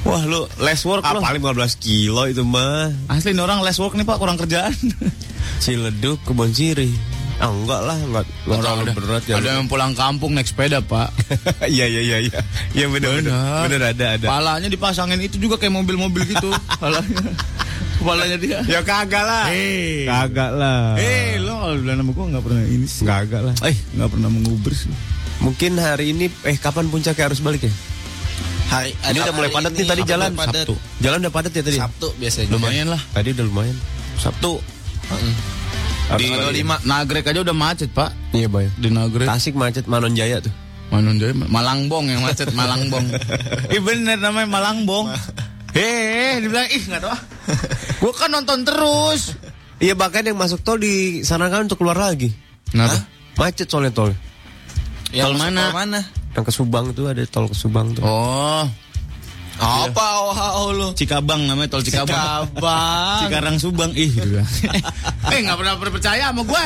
[SPEAKER 7] Wah lu less work lo.
[SPEAKER 8] Ah, paling 15 kilo itu mah.
[SPEAKER 7] Asli nih orang less work nih pak kurang kerjaan.
[SPEAKER 8] Ciledug kebun sirih. Ah, enggak lah, enggak, enggak terlalu berat ya.
[SPEAKER 7] Ada yang pulang kampung naik sepeda pak.
[SPEAKER 8] (laughs) Iya, iya, iya, iya. Iya benar benar. Benar ada ada.
[SPEAKER 7] Palanya dipasangin itu juga kayak mobil-mobil
[SPEAKER 8] (laughs)
[SPEAKER 7] gitu. Palanya. Kepalanya dia.
[SPEAKER 8] Ya kagak lah.
[SPEAKER 7] Eh.
[SPEAKER 8] Kagak lah.
[SPEAKER 7] Eh, lo kalau bilang nama gue gak pernah ini sih.
[SPEAKER 8] Kagak lah.
[SPEAKER 7] Eh, gak pernah menguber sih.
[SPEAKER 8] Mungkin hari ini eh kapan puncaknya harus balik ya?
[SPEAKER 11] Hari
[SPEAKER 8] Ini udah mulai padat nih tadi jalan.
[SPEAKER 11] Sabtu.
[SPEAKER 8] Jalan udah padat ya tadi.
[SPEAKER 11] Sabtu biasanya.
[SPEAKER 7] Lumayan lah.
[SPEAKER 8] Tadi udah lumayan.
[SPEAKER 7] Sabtu.
[SPEAKER 8] Harus
[SPEAKER 7] Di
[SPEAKER 8] balik.
[SPEAKER 7] 25 Nagrek aja udah macet, Pak.
[SPEAKER 8] Iya, Boy.
[SPEAKER 7] Di Nagrek.
[SPEAKER 8] Tasik macet Manon Jaya tuh.
[SPEAKER 7] Manunjaya, Malangbong yang macet, Malangbong. Ih bener namanya Malangbong. Eh, dibilang ih nggak tahu. ah. (laughs) Gua kan nonton terus.
[SPEAKER 8] Iya bahkan yang masuk tol disarankan untuk keluar lagi. Nah,
[SPEAKER 7] Kenapa?
[SPEAKER 8] Macet soalnya tol.
[SPEAKER 7] Tol mana?
[SPEAKER 11] mana?
[SPEAKER 8] Yang ke Subang tuh ada tol ke Subang tuh.
[SPEAKER 7] Oh,
[SPEAKER 11] Apa
[SPEAKER 12] Iya.
[SPEAKER 11] oh, oh lu?
[SPEAKER 7] Cikabang namanya tol Cikabang.
[SPEAKER 11] Cikabang.
[SPEAKER 7] Cikarang Subang ih.
[SPEAKER 12] gitu. (laughs)
[SPEAKER 7] dibilang. eh nggak pernah percaya sama gua.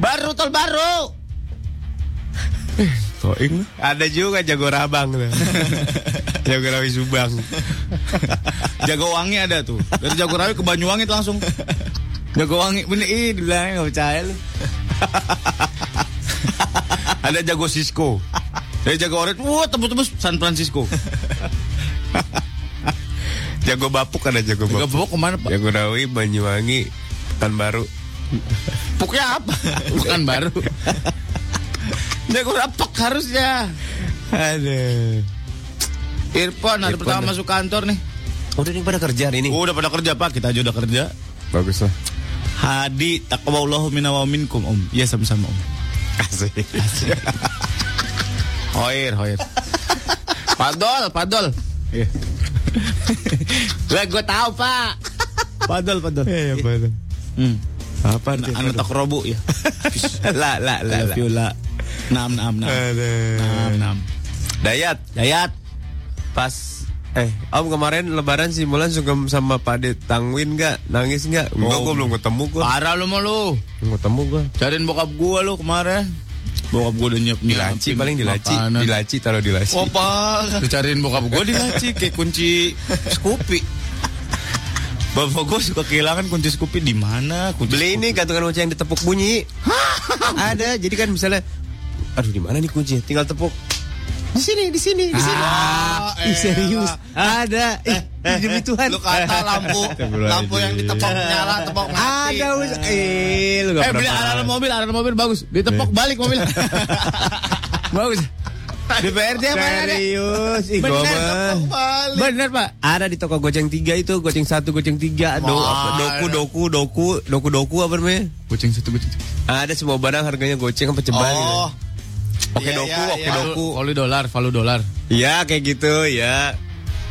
[SPEAKER 7] Baru tol baru.
[SPEAKER 8] Toing. Ada juga Jago Rabang tuh. Jago Rawi Subang.
[SPEAKER 7] Jagowangi ada tuh. Dari Jagorawi ke Banyuwangi tuh langsung. Jagowangi bener ih dibilangnya nggak percaya lu.
[SPEAKER 12] Ada jago Cisco. Ada jago orange. Wah, tebus-tebus San Francisco.
[SPEAKER 8] Jago bapuk ada jago bapuk. Jago
[SPEAKER 12] bapuk kemana Pak?
[SPEAKER 8] Jago Nawi, Banyuwangi, Pekanbaru.
[SPEAKER 12] Puknya apa? Bukan baru. jago rapek harusnya.
[SPEAKER 8] Aduh.
[SPEAKER 12] Irfan
[SPEAKER 8] Irfan
[SPEAKER 12] hari
[SPEAKER 8] dah.
[SPEAKER 12] pertama masuk kantor nih.
[SPEAKER 8] Udah nih pada kerja hari ini.
[SPEAKER 12] Oh, udah pada kerja Pak, kita aja udah kerja.
[SPEAKER 8] Bagus lah.
[SPEAKER 12] Hadi takwallahu minna wa minkum Om. Iya sama-sama Om.
[SPEAKER 8] Asik.
[SPEAKER 12] Hoir, hoir. Padol, padol. Lah gue tahu Pak. Padol, padol.
[SPEAKER 8] Iya, betul.
[SPEAKER 12] Hmm.
[SPEAKER 8] Apa dia?
[SPEAKER 12] Nah, anu tak robu ya.
[SPEAKER 8] La la la la.
[SPEAKER 12] Viola. Nam, nam, nam.
[SPEAKER 8] Eh.
[SPEAKER 12] Nam,
[SPEAKER 8] Aduh.
[SPEAKER 12] nam.
[SPEAKER 8] Dayat,
[SPEAKER 12] Dayat.
[SPEAKER 8] pas eh Om kemarin lebaran si Mulan sungkem sama Pak De Tangwin nggak? Nangis nggak? Enggak,
[SPEAKER 12] Oh.
[SPEAKER 8] gua belum ketemu gua.
[SPEAKER 12] Parah lu mau lu.
[SPEAKER 8] Belum ketemu gua.
[SPEAKER 12] Cariin bokap gua lu kemarin. Bokap gua udah nyiap
[SPEAKER 8] Di laci paling di laci, di laci taruh di laci.
[SPEAKER 12] Opa, lu cariin bokap gua di laci kayak kunci Scoopy. Bapak gua suka kehilangan kunci Scoopy di mana? Kunci
[SPEAKER 8] Beli ini gantungan kunci yang ditepuk bunyi. (laughs) Ada, jadi kan misalnya aduh di mana nih kuncinya? Tinggal tepuk. Di sini, di sini, di sini. Ah,
[SPEAKER 12] Ah,
[SPEAKER 8] Ih,
[SPEAKER 12] elah.
[SPEAKER 8] serius. Ada. Ih, demi Tuhan.
[SPEAKER 12] Lu kata
[SPEAKER 8] (laughs)
[SPEAKER 12] (laughs) lampu lampu yang ditepok nyala, tepok mati.
[SPEAKER 8] Ada us. Eh, lu nggak
[SPEAKER 12] Eh beli
[SPEAKER 8] pernah
[SPEAKER 12] alarm
[SPEAKER 8] paham. Eh.
[SPEAKER 12] mobil, alarm mobil bagus. Ditepok balik
[SPEAKER 8] (laughs)
[SPEAKER 12] mobil. bagus. DPRD apa ada?
[SPEAKER 8] Serius, ih gua
[SPEAKER 12] Bener,
[SPEAKER 8] mah.
[SPEAKER 12] tepok balik.
[SPEAKER 8] Bener pak Ada di toko goceng 3 itu Goceng 1, goceng 3 do,
[SPEAKER 12] Wah.
[SPEAKER 8] apa, Doku, doku, doku Doku, doku apa namanya
[SPEAKER 12] Kucing satu kucing.
[SPEAKER 8] Ada semua barang harganya goceng apa ceban gitu.
[SPEAKER 12] Oh.
[SPEAKER 8] Oke
[SPEAKER 12] Iya,
[SPEAKER 8] doku,
[SPEAKER 12] iya,
[SPEAKER 8] oke
[SPEAKER 12] iya.
[SPEAKER 8] doku
[SPEAKER 12] Valu dolar, valu dolar.
[SPEAKER 8] Iya kayak gitu ya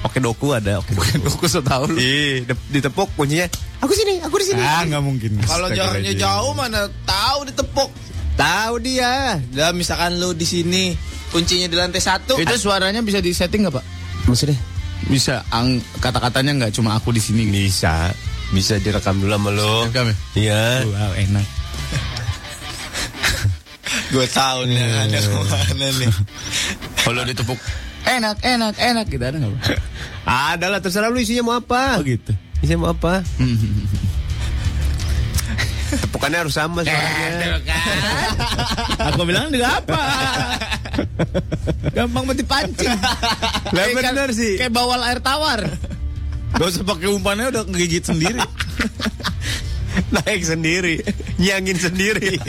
[SPEAKER 8] Oke doku ada Oke doku
[SPEAKER 12] Doku setahun.
[SPEAKER 8] Ih, de- ditepuk kuncinya Aku sini, aku di sini
[SPEAKER 12] Ah, nggak mungkin. Kalau
[SPEAKER 8] Astaga,
[SPEAKER 12] jaraknya
[SPEAKER 8] Raja.
[SPEAKER 12] jauh mana tahu ditepok.
[SPEAKER 8] Tahu dia
[SPEAKER 7] Ya misalkan lu di sini kuncinya di lantai satu.
[SPEAKER 12] Itu suaranya bisa disetting nggak pak?
[SPEAKER 8] Maksudnya
[SPEAKER 12] Bisa. Ang kata-katanya nggak cuma aku di sini.
[SPEAKER 8] Bisa Bisa direkam dulu sama lo
[SPEAKER 12] Direkam ya?
[SPEAKER 8] Iya
[SPEAKER 12] Wow enak.
[SPEAKER 7] Gue tahu nih
[SPEAKER 8] Iya.
[SPEAKER 7] ada kemana nih.
[SPEAKER 12] Kalau ditepuk enak, enak, enak gitu ada nggak pak?
[SPEAKER 8] Ada lah terserah lu isinya mau apa
[SPEAKER 12] Oh gitu.
[SPEAKER 8] Isinya mau
[SPEAKER 12] (laughs)
[SPEAKER 8] apa Tepukannya harus sama suaranya
[SPEAKER 12] (laughs) kan. Aku bilang juga apa? Gampang mati pancing.
[SPEAKER 8] Lah bener sih.
[SPEAKER 12] Kayak bawal air tawar. Gak usah pakai umpannya udah ngegigit sendiri.
[SPEAKER 8] naik sendiri, nyangin (laughs) sendiri.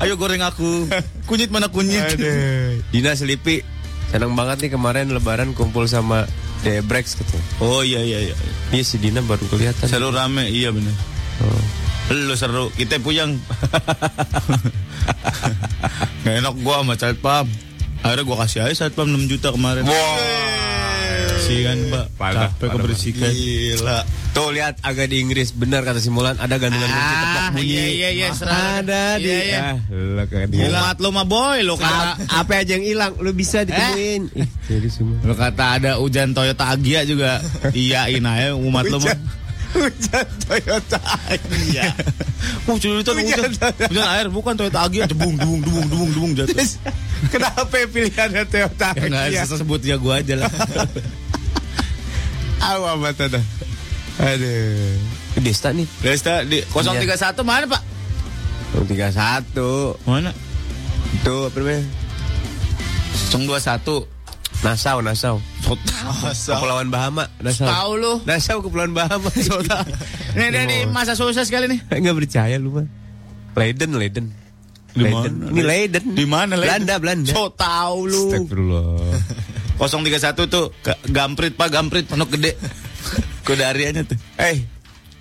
[SPEAKER 12] Ayo goreng aku. Kunyit mana kunyit? Eh.
[SPEAKER 8] Dina Selipi senang banget nih kemarin Lebaran kumpul sama Debrex gitu.
[SPEAKER 12] Oh iya iya iya.
[SPEAKER 8] Iya si Dina baru kelihatan.
[SPEAKER 12] Seru rame, iya bener.
[SPEAKER 8] Oh.
[SPEAKER 12] Lu seru, kita puyeng. (laughs) Gak enak gua sama satpam. Akhirnya gua kasih aja satpam 6 juta kemarin. Sih kan, Pak.
[SPEAKER 8] Parah,
[SPEAKER 12] Capek
[SPEAKER 8] parah,
[SPEAKER 12] kebersihan. Gila.
[SPEAKER 8] Tuh Iya. Oh, lihat agak di Inggris benar kata simulan ada gantungan kunci tebak
[SPEAKER 12] Ah,
[SPEAKER 8] bunyi.
[SPEAKER 12] iya iya iya, serah.
[SPEAKER 8] Ada di.
[SPEAKER 12] Iya, iya.
[SPEAKER 8] Ah, lu kayak dia.
[SPEAKER 12] Umat lu mah boy, lu
[SPEAKER 8] A-
[SPEAKER 12] kata.
[SPEAKER 8] apa aja yang hilang lu
[SPEAKER 12] Eh?
[SPEAKER 8] bisa ditemuin. Ih, jadi semua.
[SPEAKER 12] Lu kata ada hujan Toyota Agya juga. Iyain aja umat lu mah.
[SPEAKER 8] Hujan Toyota.
[SPEAKER 12] Iya. Wah, jadi itu
[SPEAKER 8] Iya.
[SPEAKER 12] hujan. Hujan air bukan Toyota Agya, debung debung debung debung debung jatuh.
[SPEAKER 8] Kenapa pilihannya Toyota?
[SPEAKER 12] Ya enggak
[SPEAKER 8] Iya.
[SPEAKER 12] harus sebut ya gua aja lah.
[SPEAKER 8] Awam banget dah. Aduh. Desta nih.
[SPEAKER 12] Desta di 031 mana, Pak?
[SPEAKER 8] 031.
[SPEAKER 12] Mana?
[SPEAKER 8] Itu apa namanya?
[SPEAKER 12] 021.
[SPEAKER 8] Nasau, Nasau. Kepulauan Bahama, Nasau.
[SPEAKER 12] Tahu lu.
[SPEAKER 8] Nasau Kepulauan
[SPEAKER 12] (laughs)
[SPEAKER 8] Bahama. (laughs)
[SPEAKER 12] Nih, nih, nih, masa susah sekali nih.
[SPEAKER 8] Enggak percaya lu mah. Leiden, Leiden.
[SPEAKER 12] Di
[SPEAKER 8] Leiden.
[SPEAKER 12] mana?
[SPEAKER 8] Ini Leiden.
[SPEAKER 12] Di mana, Leiden?
[SPEAKER 8] Belanda, Belanda.
[SPEAKER 12] So tahu lu.
[SPEAKER 8] Astagfirullah.
[SPEAKER 12] 031 tuh ke- Gamprit, Pak, Gamprit Pondok Gede. (laughs) Kodariannya tuh.
[SPEAKER 8] (laughs) Eh,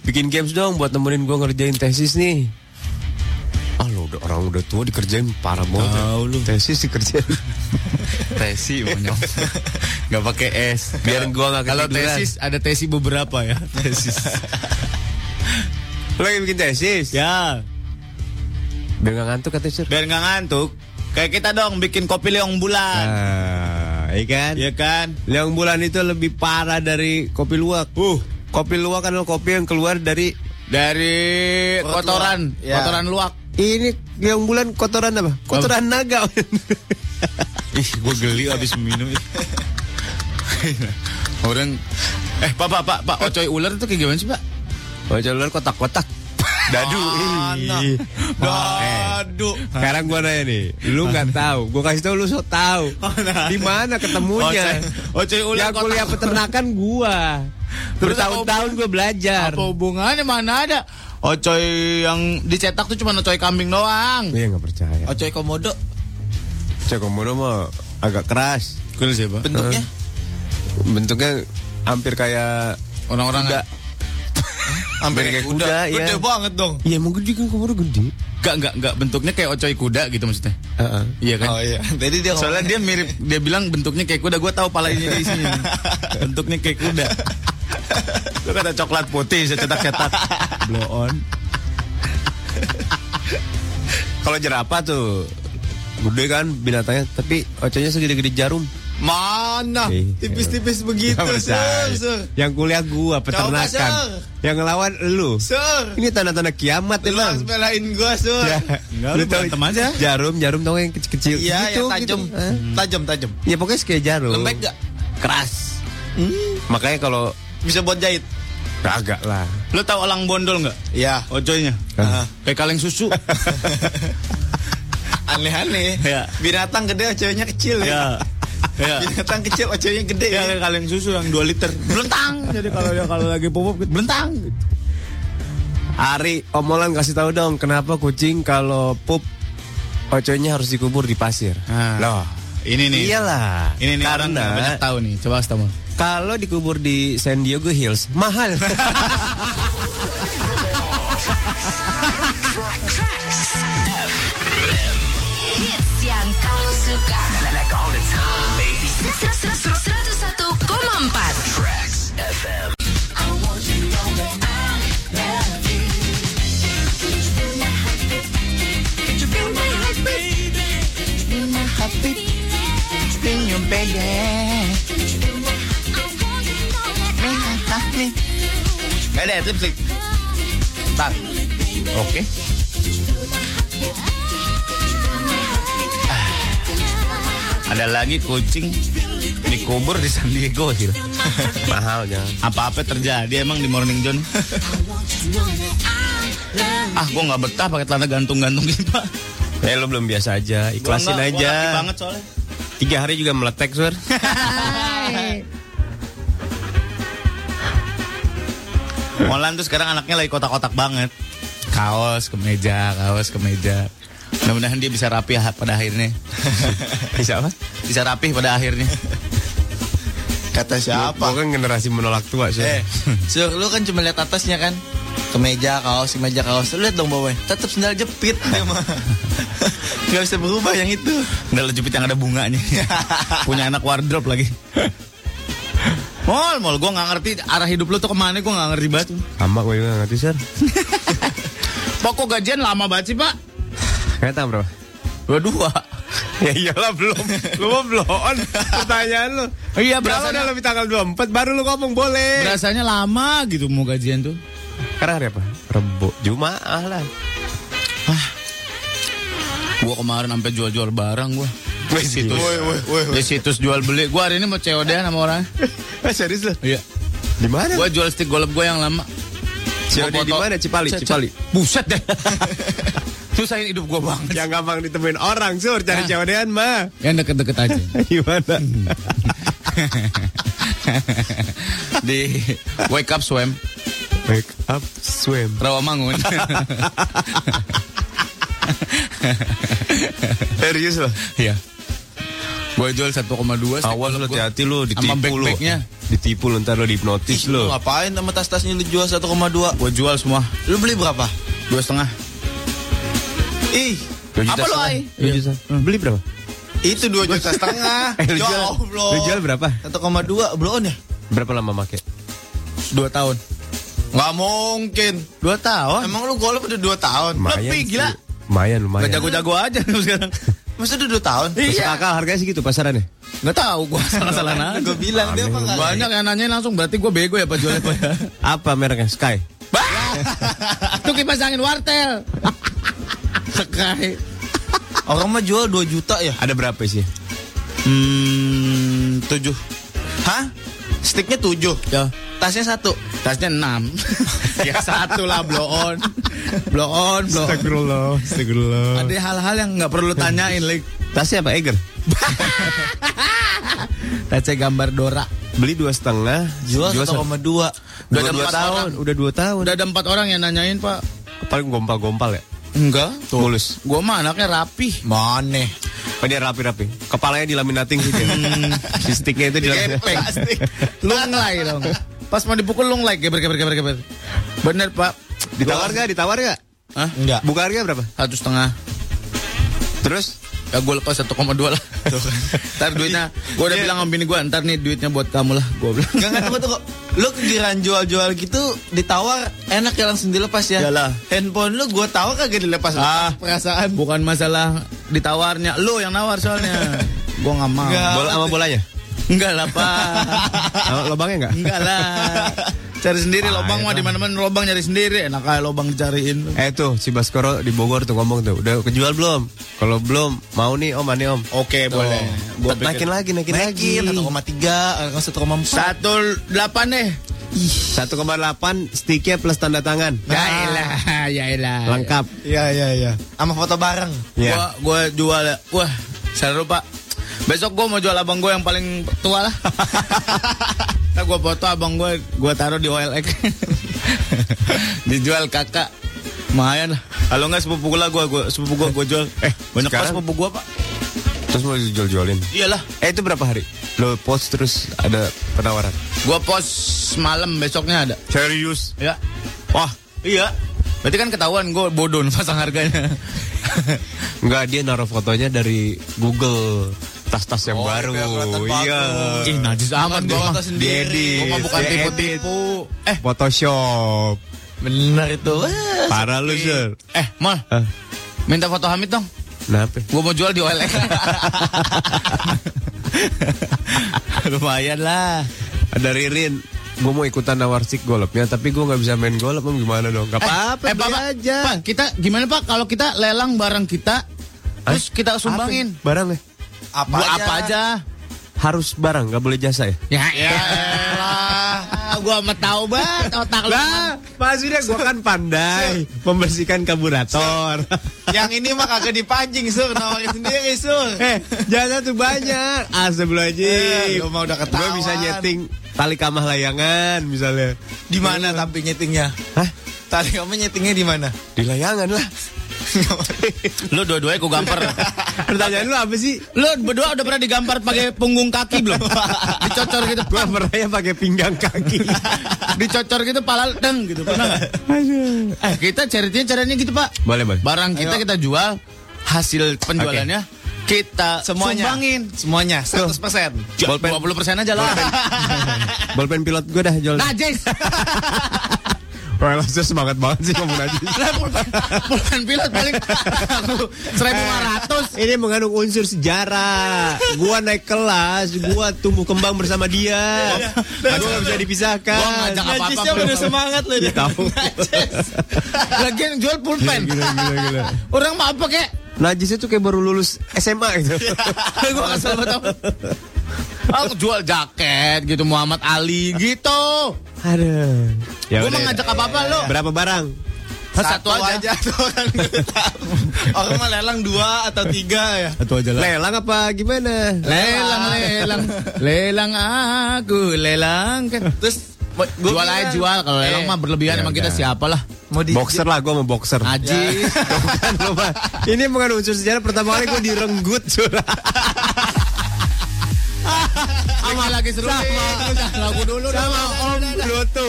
[SPEAKER 8] bikin games dong buat nemenin gua ngerjain tesis nih. Ah lu udah orang udah tua dikerjain parah banget. ya.
[SPEAKER 12] Tahu lu.
[SPEAKER 8] Tesis (laughs) dikerjain. (laughs)
[SPEAKER 12] Tesi monyong. Enggak pakai S.
[SPEAKER 8] Biar gua nggak
[SPEAKER 12] Kalau
[SPEAKER 8] ketiduran.
[SPEAKER 12] tesis ada tesi beberapa ya. Tesis.
[SPEAKER 8] Lu lagi bikin tesis?
[SPEAKER 12] ya,
[SPEAKER 8] Biar nggak ngantuk katanya, Sur.
[SPEAKER 12] biar nggak ngantuk. Kayak kita dong bikin kopi liong bulan.
[SPEAKER 8] Nah, iya kan?
[SPEAKER 12] Iya kan?
[SPEAKER 8] Yang bulan itu lebih parah dari kopi luwak. Uh, kopi luwak adalah kopi yang keluar dari
[SPEAKER 12] Dari
[SPEAKER 7] Perut
[SPEAKER 12] kotoran,
[SPEAKER 7] luak. Ya.
[SPEAKER 12] kotoran luak.
[SPEAKER 8] ini yang bulan kotoran apa? Kotoran naga.
[SPEAKER 12] Ih, gue geli abis (laughs) minum. Orang Eh, Pak, Pak, Pak, Pak, Ocoy ular itu kayak gimana sih, Pak?
[SPEAKER 8] Wajah luar Oh, kotak-kotak. Dadu. ih. Eh.
[SPEAKER 7] Dadu.
[SPEAKER 8] Sekarang gua nanya nih, lu nggak tahu. Gua kasih tahu lu so tahu.
[SPEAKER 12] Oh, nah.
[SPEAKER 8] Di mana ketemunya?
[SPEAKER 12] Oce- Oce
[SPEAKER 8] Yang
[SPEAKER 12] ular Oh, kotak.
[SPEAKER 8] kuliah peternakan gua. Bertahun-tahun gua belajar.
[SPEAKER 12] Apa hubungannya mana ada? Ocoy yang dicetak tuh cuma ocoy kambing doang.
[SPEAKER 8] Iya nggak percaya.
[SPEAKER 12] Ocoy komodo.
[SPEAKER 8] Cek komodo mah agak keras. Eh,
[SPEAKER 12] Kul sih, Pak.
[SPEAKER 7] Bentuknya?
[SPEAKER 8] Bentuknya hampir kayak
[SPEAKER 12] orang-orang
[SPEAKER 8] kuda.
[SPEAKER 12] Hampir
[SPEAKER 8] kayak kuda, ya.
[SPEAKER 12] Gede banget dong.
[SPEAKER 8] Iya, mau gede kan komodo gede.
[SPEAKER 12] Enggak, enggak, enggak. Bentuknya kayak ocoy kuda gitu maksudnya.
[SPEAKER 8] Heeh.
[SPEAKER 12] Iya kan?
[SPEAKER 7] Oh iya. Jadi dia
[SPEAKER 12] Soalnya dia mirip, dia bilang bentuknya kayak kuda. Gue tahu palanya dia isinya. nih. bentuknya kayak kuda. Lu kata coklat putih, saya cetak-cetak. Blow on.
[SPEAKER 8] Kalau jerapah tuh gede kan binatangnya, tapi oconya segede-gede jarum.
[SPEAKER 7] Mana?
[SPEAKER 8] Ih,
[SPEAKER 7] Nah, Tipis-tipis gitu, begitu,
[SPEAKER 8] Iya. Nggak percaya.
[SPEAKER 7] Sir. Sir.
[SPEAKER 8] Yang kuliah gua peternakan.
[SPEAKER 7] Sir.
[SPEAKER 8] Yang ngelawan lu.
[SPEAKER 7] Sir.
[SPEAKER 8] Ini tanda-tanda kiamat
[SPEAKER 7] Lu
[SPEAKER 8] emang.
[SPEAKER 7] harus belain gua, Sur.
[SPEAKER 8] Ya.
[SPEAKER 12] Enggak, lu Ya,
[SPEAKER 8] tahu
[SPEAKER 12] berantem aja. Eh.
[SPEAKER 8] Jarum, jarum tau nggak yang kecil-kecil.
[SPEAKER 12] ya,
[SPEAKER 7] Iya,
[SPEAKER 8] Gitu,
[SPEAKER 7] yang tajam.
[SPEAKER 8] gitu. Hah?
[SPEAKER 7] Tajam, tajam.
[SPEAKER 8] Ya pokoknya kayak jarum.
[SPEAKER 7] Lembek gak?
[SPEAKER 8] Keras. Makanya kalau
[SPEAKER 7] Bisa buat jahit.
[SPEAKER 8] kagak lah.
[SPEAKER 12] Lu tahu elang bondol nggak?
[SPEAKER 7] Ya,
[SPEAKER 12] Ocoynya.
[SPEAKER 8] Hah?
[SPEAKER 12] Kayak kaleng susu.
[SPEAKER 7] aneh-aneh.
[SPEAKER 12] Ya.
[SPEAKER 7] Binatang gede, ceweknya kecil.
[SPEAKER 12] ya. Ya.
[SPEAKER 7] Binatang kecil, ceweknya gede.
[SPEAKER 12] Ya kayak kaleng susu yang 2 liter. Belentang. Jadi kalau dia kalau lagi pupuk gitu, belentang. gitu.
[SPEAKER 8] Ari, omolan kasih tahu dong kenapa kucing kalau pup oconya harus dikubur di pasir.
[SPEAKER 12] Nah.
[SPEAKER 8] Loh.
[SPEAKER 12] Ini nih.
[SPEAKER 8] Iyalah.
[SPEAKER 12] Ini nih orang
[SPEAKER 8] karena
[SPEAKER 12] nggak banyak tahu nih. Coba kasih tahu.
[SPEAKER 8] kalau dikubur di San Diego Hills mahal. (laughs)
[SPEAKER 5] Hits yang kamu suka. 101,4
[SPEAKER 7] Ada lipstick. Tang.
[SPEAKER 12] Oke. Ah, Ada lagi kucing dikubur di San Diego Hill.
[SPEAKER 8] (laughs) mahal jangan.
[SPEAKER 12] Apa-apa terjadi emang di Morning John. ah, gua nggak betah pakai celana gantung-gantung gini, Pak.
[SPEAKER 8] Eh lu belum biasa aja,
[SPEAKER 12] Gua
[SPEAKER 8] ikhlasin
[SPEAKER 12] nggak- gua
[SPEAKER 8] aja.
[SPEAKER 12] laki banget soalnya.
[SPEAKER 8] Tiga hari juga meletek, Sur.
[SPEAKER 12] Molan tuh sekarang anaknya lagi kotak-kotak banget. Kaos ke meja, kaos ke meja. Mudah-mudahan dia bisa rapi ha- pada akhirnya.
[SPEAKER 8] Bisa apa?
[SPEAKER 12] (laughs) Bisa rapih pada akhirnya.
[SPEAKER 7] Kata
[SPEAKER 8] Gua
[SPEAKER 7] siapa?
[SPEAKER 8] kan generasi menolak tua, Sur.
[SPEAKER 7] Eh, Sur, lu kan cuma lihat atasnya kan? Kemeja, kaos, kemeja, kaos. Lu lihat dong bawahnya. Tetap sendal jepit dia
[SPEAKER 12] (laughs)
[SPEAKER 7] mah. Gak bisa berubah yang itu.
[SPEAKER 12] Dalam jepit yang ada bunganya. (laughs) Punya anak wardrobe (laughs) lagi. Mol, mol, gue nggak ngerti arah hidup lu tuh kemana, gue nggak ngerti banget.
[SPEAKER 8] Sama gue juga nggak ngerti, Sur.
[SPEAKER 12] (laughs) Pokok gajian lama banget sih, Pak.
[SPEAKER 8] Kayak tahu berapa?
[SPEAKER 12] Dua (laughs) dua.
[SPEAKER 8] Ya iyalah belum. Lu mau belum on pertanyaan lu.
[SPEAKER 12] Iya,
[SPEAKER 8] Kalau udah
[SPEAKER 12] berasanya,
[SPEAKER 8] lebih tanggal 24 baru lu ngomong boleh.
[SPEAKER 12] berasanya lama gitu mau gajian tuh.
[SPEAKER 8] Karena hari apa? Rebo. Jumaah lah.
[SPEAKER 12] Gue kemarin sampai jual-jual barang gue.
[SPEAKER 8] Wih,
[SPEAKER 12] situs.
[SPEAKER 8] gila.
[SPEAKER 12] Di situs jual beli. Gue hari ini mau COD sama orang.
[SPEAKER 8] Eh, serius lu?
[SPEAKER 12] Iya.
[SPEAKER 8] Di mana?
[SPEAKER 12] Gue jual stick golep gue yang lama.
[SPEAKER 8] COD
[SPEAKER 12] Gua foto.
[SPEAKER 8] di mana? Cipali,
[SPEAKER 12] Cet, cet.
[SPEAKER 8] Cipali.
[SPEAKER 12] Buset deh. (laughs) Susahin hidup gue banget.
[SPEAKER 8] Yang gampang ditemuin orang, Sur. Cari
[SPEAKER 12] Ah.
[SPEAKER 8] COD-an (laughs) mah.
[SPEAKER 12] Yang deket-deket aja.
[SPEAKER 8] Di mana?
[SPEAKER 12] (laughs) Di Wake Up Swim,
[SPEAKER 8] Wake up, swim.
[SPEAKER 12] Rawamangun.
[SPEAKER 8] Serius loh.
[SPEAKER 12] Iya. Gue jual 1,2 stick
[SPEAKER 8] Awas
[SPEAKER 12] golep
[SPEAKER 8] lu
[SPEAKER 12] gua.
[SPEAKER 8] hati-hati lu
[SPEAKER 12] Sama
[SPEAKER 8] ditipu lu.
[SPEAKER 12] backpacknya.
[SPEAKER 8] Ditipu lu ntar lu dihipnotis
[SPEAKER 7] Lu
[SPEAKER 8] lu.
[SPEAKER 7] ngapain sama tas-tasnya lu jual 1,2?
[SPEAKER 12] Gue jual semua.
[SPEAKER 7] Lu beli berapa?
[SPEAKER 12] Dua setengah.
[SPEAKER 7] Ih,
[SPEAKER 8] Dua juta
[SPEAKER 7] apa lu,
[SPEAKER 8] setengah.
[SPEAKER 7] Ai?
[SPEAKER 8] Dua juta. Beli berapa?
[SPEAKER 7] Itu 2
[SPEAKER 8] (laughs)
[SPEAKER 7] juta setengah.
[SPEAKER 8] Eh, lu
[SPEAKER 7] Ya
[SPEAKER 8] jual,
[SPEAKER 7] Allah.
[SPEAKER 8] lu jual berapa?
[SPEAKER 7] 1,2 blow on ya?
[SPEAKER 8] Berapa lama make?
[SPEAKER 12] Dua tahun.
[SPEAKER 7] Gak mungkin.
[SPEAKER 12] Dua tahun?
[SPEAKER 7] Emang lu golf udah 2 tahun? Lebih
[SPEAKER 8] sih.
[SPEAKER 7] gila.
[SPEAKER 8] Lumayan, lumayan.
[SPEAKER 12] Gak jago-jago aja lu sekarang. Iya.
[SPEAKER 7] Masa udah 2 tahun?
[SPEAKER 8] Masuk akal harganya segitu pasarannya.
[SPEAKER 12] Gak tahu gue (laughs) salah-salah aja.
[SPEAKER 7] Gue bilang dia apa nggak?
[SPEAKER 12] Banyak yang nanyain langsung berarti gue bego ya Pak jualnya Pak ya.
[SPEAKER 8] Apa mereknya? Sky.
[SPEAKER 12] Itu kipas angin wartel. Sekai.
[SPEAKER 7] Orang mah jual 2 juta ya?
[SPEAKER 8] Ada berapa sih?
[SPEAKER 12] Hmm, tujuh.
[SPEAKER 7] Hah? Sticknya 7
[SPEAKER 12] Ya.
[SPEAKER 7] Tasnya satu.
[SPEAKER 12] Tasnya enam. (laughs) ya satu lah blow on. Blow on, blow on. Ada hal-hal yang nggak perlu tanyain, like
[SPEAKER 8] Tasnya apa Eger?
[SPEAKER 12] (laughs) tasnya gambar Dora.
[SPEAKER 8] Beli dua setengah,
[SPEAKER 7] Jual
[SPEAKER 8] Jual
[SPEAKER 7] 1,2. Udah
[SPEAKER 8] udah dua
[SPEAKER 12] ada empat
[SPEAKER 8] tahun,
[SPEAKER 12] orang.
[SPEAKER 8] udah dua tahun.
[SPEAKER 12] Udah ada empat orang yang nanyain, Pak.
[SPEAKER 8] Paling gompal-gompal ya.
[SPEAKER 12] Enggak.
[SPEAKER 8] Mulus.
[SPEAKER 12] Gue mah anaknya rapih.
[SPEAKER 7] Mana?
[SPEAKER 8] Apa Oh, dia rapi-rapi? Kepalanya dilaminating gitu. ya? (laughs) si sticknya itu (laughs) dilaminating.
[SPEAKER 12] Gepeng. lunglai dong. Gitu Pas mau dipukul lunglai, geber, geber, geber, geber. Bener, Pak.
[SPEAKER 8] Ditawar nggak? Ditawar nggak?
[SPEAKER 12] Hah?
[SPEAKER 7] Enggak.
[SPEAKER 8] Buka harga berapa?
[SPEAKER 12] Satu setengah.
[SPEAKER 8] Terus?
[SPEAKER 12] Ya gue lepas 1,2 lah (laughs) Ntar duitnya Gue udah bilang sama bini gue Ntar nih duitnya buat kamu lah Gue bilang
[SPEAKER 7] Enggak, enggak, Iya. tunggu, tunggu. Lu kegiran jual-jual gitu ditawar enak ya langsung dilepas ya.
[SPEAKER 12] Iyalah.
[SPEAKER 7] Handphone lu gua tawar kagak dilepas.
[SPEAKER 12] Ah, perasaan bukan masalah ditawarnya. Lu yang nawar
[SPEAKER 7] (laughs)
[SPEAKER 12] soalnya. gua nggak mau.
[SPEAKER 7] Enggak.
[SPEAKER 8] Bola sama bolanya?
[SPEAKER 12] Enggak lah, Pak.
[SPEAKER 8] (laughs) Sama Lobangnya nggak?
[SPEAKER 12] Enggak lah. ya Cari sendiri
[SPEAKER 8] Ah,
[SPEAKER 12] lobang
[SPEAKER 8] iya,
[SPEAKER 12] mah
[SPEAKER 8] Bang.
[SPEAKER 12] di mana-mana lobang nyari sendiri. Enak aja lobang dicariin.
[SPEAKER 8] Eh tuh si Baskoro di Bogor tuh ngomong tuh udah kejual belum? Kalau belum mau nih om ane om.
[SPEAKER 12] Oke, boleh. Gua
[SPEAKER 8] naikin
[SPEAKER 12] pikir-
[SPEAKER 8] lagi naikin,
[SPEAKER 7] Naikin
[SPEAKER 8] lagi.
[SPEAKER 7] 1,3, 1,4.
[SPEAKER 12] Satu delapan deh.
[SPEAKER 8] 1,8 sticknya plus tanda tangan.
[SPEAKER 12] Ya elah, (laughs) ya
[SPEAKER 8] Nah.
[SPEAKER 12] elah. Ya,
[SPEAKER 8] Lengkap.
[SPEAKER 7] Iya, iya, iya. Sama foto bareng.
[SPEAKER 8] Ya.
[SPEAKER 12] Gua gua jual. Wah, seru, Pak. Besok gua mau jual abang gua yang paling tua lah. Ntar gua foto abang gua, gua taruh di OLX. (laughs) Dijual kakak. Mayan lah. Kalau enggak sepupu gua gua, gua sepupu gua gua jual. Eh, banyak pas
[SPEAKER 8] sekarang-
[SPEAKER 12] sepupu gua, Pak.
[SPEAKER 8] Terus mau dijual-jualin.
[SPEAKER 12] Iyalah,
[SPEAKER 8] Eh itu berapa hari? Lo post terus ada penawaran.
[SPEAKER 12] gua post malam besoknya ada.
[SPEAKER 8] Serius?
[SPEAKER 12] Ya.
[SPEAKER 8] Wah,
[SPEAKER 12] Iya. Berarti kan ketahuan gua bodoh (laughs) pasang harganya.
[SPEAKER 8] enggak dia naruh fotonya dari Google tas-tas yang baru.
[SPEAKER 7] Oh, biar kelihatan
[SPEAKER 8] Iya.
[SPEAKER 7] bagus.
[SPEAKER 12] Ih, najis amat
[SPEAKER 7] Gua
[SPEAKER 12] gua
[SPEAKER 7] foto
[SPEAKER 12] mah.
[SPEAKER 7] sendiri.
[SPEAKER 12] Gua mah bukan
[SPEAKER 8] Diedit.
[SPEAKER 12] tipu-tipu. Eh,
[SPEAKER 8] Photoshop.
[SPEAKER 7] Bener itu. Wah,
[SPEAKER 8] Parah lu, Sir.
[SPEAKER 12] eh, Mal.
[SPEAKER 8] Hah?
[SPEAKER 12] Minta foto Hamid dong. (laughs)
[SPEAKER 8] Kenapa?
[SPEAKER 12] Gue mau jual di OLX. Lumayan lah.
[SPEAKER 8] Ada Ririn Gue mau ikutan nawar stick golopnya Tapi gue gak bisa main golop Om gimana dong Gak apa-apa
[SPEAKER 12] eh,
[SPEAKER 8] beli
[SPEAKER 12] Pak, Pak,
[SPEAKER 8] aja
[SPEAKER 12] Pak, kita gimana Pak kalau kita lelang barang kita terus kita sumbangin?
[SPEAKER 8] Apa? Barang ya
[SPEAKER 7] apa
[SPEAKER 12] Gua apa aja?
[SPEAKER 8] Harus barang Gak boleh jasa ya
[SPEAKER 12] Ya, ya elah. (laughs) Gua mah tahu banget otak lu.
[SPEAKER 8] maksudnya gue kan pandai Membersihkan karburator
[SPEAKER 7] Yang ini mah kagak dipancing, Sur. Nawarin sendiri, Sur.
[SPEAKER 8] Eh jasa tuh banyak
[SPEAKER 7] Eh,
[SPEAKER 8] Astagfirullahaladzim
[SPEAKER 7] lu mah udah
[SPEAKER 8] Gue
[SPEAKER 7] ketahuan.
[SPEAKER 8] bisa nyeting Tali kamah layangan misalnya
[SPEAKER 7] Di mana tapi nyetingnya?
[SPEAKER 8] Hah?
[SPEAKER 7] Tali kamu nyetingnya di mana?
[SPEAKER 8] Di layangan lah
[SPEAKER 12] Lu dua-duanya gua gampar.
[SPEAKER 8] Pertanyaan lu apa sih?
[SPEAKER 12] Lu berdua udah pernah digampar pakai punggung kaki belum? Dicocor gitu.
[SPEAKER 8] Gue pernah ya pakai pinggang kaki
[SPEAKER 12] Dicocor gitu pala deng gitu. Pernah nggak?
[SPEAKER 8] Aduh
[SPEAKER 12] Eh, kita charity caranya gitu, Pak.
[SPEAKER 8] Boleh boleh
[SPEAKER 12] Barang kita
[SPEAKER 7] Ayo.
[SPEAKER 12] kita jual, hasil penjualannya kita
[SPEAKER 7] Semuanya.
[SPEAKER 12] sumbangin.
[SPEAKER 7] Semuanya 100%.
[SPEAKER 12] Ja-
[SPEAKER 8] Bolpen.
[SPEAKER 12] 20% aja lah.
[SPEAKER 8] (laughs)
[SPEAKER 12] Nah,
[SPEAKER 8] Bolpen pilot gue dah jual
[SPEAKER 12] Najis.
[SPEAKER 8] Wah, lo sih semangat banget sih kamu najis.
[SPEAKER 12] Lah, pulpen, pulpen pilot paling 1500.
[SPEAKER 8] Ini mengandung unsur sejarah. Gua naik kelas, gua tumbuh kembang bersama dia. Gua gak bisa dipisahkan.
[SPEAKER 12] Iya. Gua ngajak apa-apa,
[SPEAKER 8] Najisnya
[SPEAKER 12] bro.
[SPEAKER 8] udah semangat loh dia. Iya, Tahu.
[SPEAKER 12] Lagian jual pulpen. Orang mau apa kek?
[SPEAKER 8] Najisnya tuh kayak baru lulus SMA gitu.
[SPEAKER 12] (laughs) Gue kesel banget. tau. Iya. Aku jual jaket gitu Muhammad Ali gitu.
[SPEAKER 8] Aduh. Ya
[SPEAKER 12] Gue
[SPEAKER 8] udah.
[SPEAKER 12] mau ngajak apa-apa lo?
[SPEAKER 8] Berapa barang?
[SPEAKER 12] Satu, aja.
[SPEAKER 7] tuh
[SPEAKER 12] (laughs)
[SPEAKER 7] orang nggak tahu. Orang mah lelang dua atau tiga ya.
[SPEAKER 12] Satu aja
[SPEAKER 8] Lelang apa gimana?
[SPEAKER 12] Lelang, lelang, lelang aku, lelang kan.
[SPEAKER 7] Terus
[SPEAKER 12] Gua jual aja jual kalau lelang mah berlebihan
[SPEAKER 8] Ya
[SPEAKER 12] emang kita
[SPEAKER 8] udah.
[SPEAKER 12] siapa lah
[SPEAKER 7] mau di
[SPEAKER 12] Ya.
[SPEAKER 8] Boxer lah, gua mau boxer.
[SPEAKER 12] (laughs) Aji
[SPEAKER 8] Bukan, lo, Pak. Ini mengandung unsur sejarah pertama kali gua direnggut. Sur.
[SPEAKER 12] sama lagi seru sama lagu dulu sama Om Broto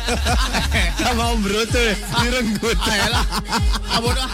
[SPEAKER 12] (laughs) sama Om Broto ya. direnggut ayolah abon ya ah